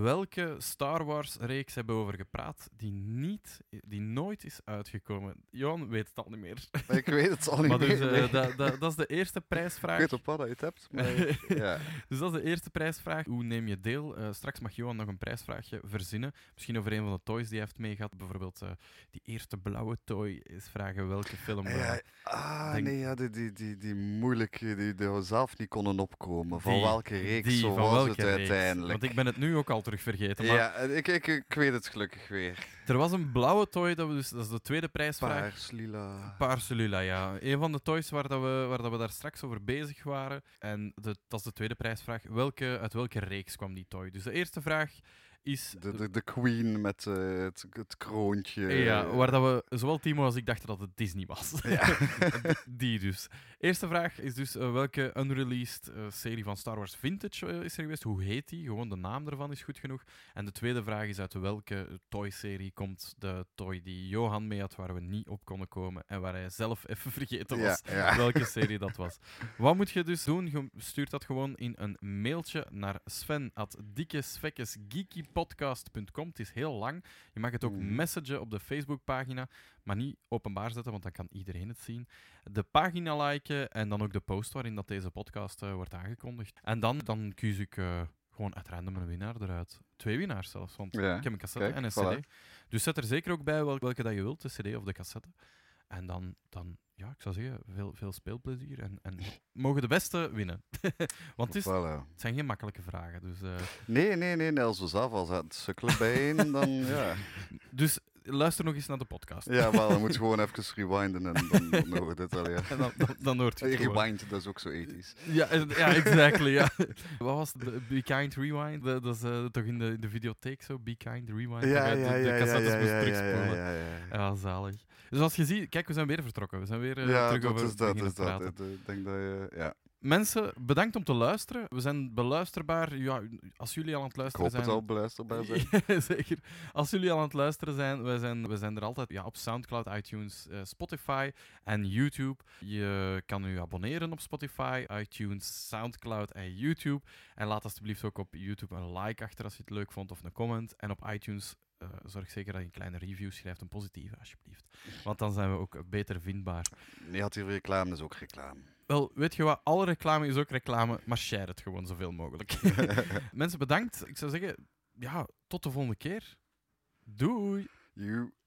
Speaker 1: Welke Star Wars-reeks hebben we over gepraat die, niet, die nooit is uitgekomen? Johan weet het al niet meer.
Speaker 2: Ik weet het al niet
Speaker 1: maar dus,
Speaker 2: meer.
Speaker 1: eh,
Speaker 2: nee.
Speaker 1: dat- dat- dat is de eerste
Speaker 2: Ik
Speaker 1: prijsvraag.
Speaker 2: weet op wat dat je het hebt, maar... ja.
Speaker 1: Dus dat is de eerste prijsvraag. Hoe neem je deel? Eh, straks mag Johan nog een prijsvraagje verzinnen. Misschien over een van de toys die hij heeft meegehad. Bijvoorbeeld eh, die eerste blauwe toy is vragen welke film. eh,
Speaker 2: Ja, ah,
Speaker 1: denk-
Speaker 2: nee, ja, die, die, die, die moeilijke, die, die we zelf niet konden opkomen. Van
Speaker 1: Die-
Speaker 2: welke reeks
Speaker 1: die,
Speaker 2: zo
Speaker 1: van
Speaker 2: was
Speaker 1: welke
Speaker 2: het
Speaker 1: reeks?
Speaker 2: uiteindelijk?
Speaker 1: Want ik ben het nu ook al terug vergeten. Maar
Speaker 2: Ja, en ik, ik, ik weet het gelukkig weer.
Speaker 1: er was een blauwe toy, dat, we dus, dat is de tweede prijsvraag.
Speaker 2: Paars, lila...
Speaker 1: Paarse Lula, ja. Een van de toys waar, dat we, waar dat we daar straks over bezig waren. En de, dat is de tweede prijsvraag. Welke, uit welke reeks kwam die toy? Dus de eerste vraag is...
Speaker 2: De, de, de queen met eh, het, het kroontje.
Speaker 1: Ja, waar dat we, zowel Timo als ik dachten dat het Disney was.
Speaker 2: eh, Ja.
Speaker 1: Die dus. Eerste vraag is dus eh, welke unreleased eh, serie van Star Wars Vintage eh, is er geweest? Hoe heet die? Gewoon de naam ervan is goed genoeg. En de tweede vraag is uit welke Toy-serie komt de Toy die Johan mee had, waar we niet op konden komen en waar hij zelf even vergeten was
Speaker 2: Ja, ja.
Speaker 1: welke serie dat was. Wat moet je dus doen? Je stuurt dat gewoon in een mailtje naar Sven at dikkesvekkesgeekypodcast.com. Het is heel lang. Je mag het ook
Speaker 2: Mhm.
Speaker 1: messagen op de Facebookpagina, maar niet openbaar zetten, want dan kan iedereen het zien. De pagina liken en dan ook de post waarin dat deze podcast eh, wordt aangekondigd. En dan, dan kies ik eh, gewoon uit random een winnaar eruit. Twee winnaars zelfs, want
Speaker 2: Ja,
Speaker 1: ik heb een cassette
Speaker 2: kijk,
Speaker 1: en een
Speaker 2: voilà.
Speaker 1: cd. Dus zet er zeker ook bij wel- welke dat je wilt, de cd of de cassette. En dan, dan ja, ik zou zeggen, veel, veel speelplezier. En, en mogen de beste winnen. Want het, is,
Speaker 2: Voilà.
Speaker 1: het zijn geen makkelijke vragen. Dus, eh,
Speaker 2: Nee, nee, nee, nee. Als we zelf al zaten te sukkelen bijeen, dan ja.
Speaker 1: dus luister nog eens naar de podcast.
Speaker 2: Ja, wel, dan moet je gewoon even rewinden en dan, dan horen we dit al, ja.
Speaker 1: En dan, dan, dan hoort je het gewoon.
Speaker 2: Rewind, dat is ook zo ethisch.
Speaker 1: Ja, en- ja, exactly. ja. Wat was het? de Be Kind Rewind? De- dat is eh, toch in de, de videotheek zo? Be Kind Rewind. Dat je de, de cassettes moest terugspoelen. Ja, zalig. Dus als je ziet, kijk, we zijn weer vertrokken. We zijn weer eh,
Speaker 2: Ja,
Speaker 1: terug
Speaker 2: dat
Speaker 1: over
Speaker 2: is dat,
Speaker 1: beginnen
Speaker 2: is dat.
Speaker 1: praten.
Speaker 2: Ik eh, denk dat je... Ja,
Speaker 1: Mensen, bedankt om te luisteren. We zijn beluisterbaar. Ja, als jullie al aan het
Speaker 2: ik hoop
Speaker 1: luisteren
Speaker 2: het
Speaker 1: zijn.
Speaker 2: al beluisterbaar zijn.
Speaker 1: Ja, Zeker. Als jullie al aan het luisteren zijn, wij zijn, wij zijn er altijd ja, op Soundcloud, iTunes, eh, Spotify en YouTube. Je kan u abonneren op Spotify, iTunes, Soundcloud en YouTube. En laat alsjeblieft ook op YouTube een like achter als je het leuk vond of een comment. En op iTunes eh, zorg zeker dat je een kleine review schrijft, een positieve alsjeblieft. Want dan zijn we ook beter vindbaar.
Speaker 2: Je had hier reclame, dus ook reclame.
Speaker 1: Wel, weet je wat? Alle reclame is ook reclame, maar share het gewoon zoveel mogelijk. Mensen, bedankt. Ik zou zeggen, ja, tot de volgende keer. Doei!
Speaker 2: You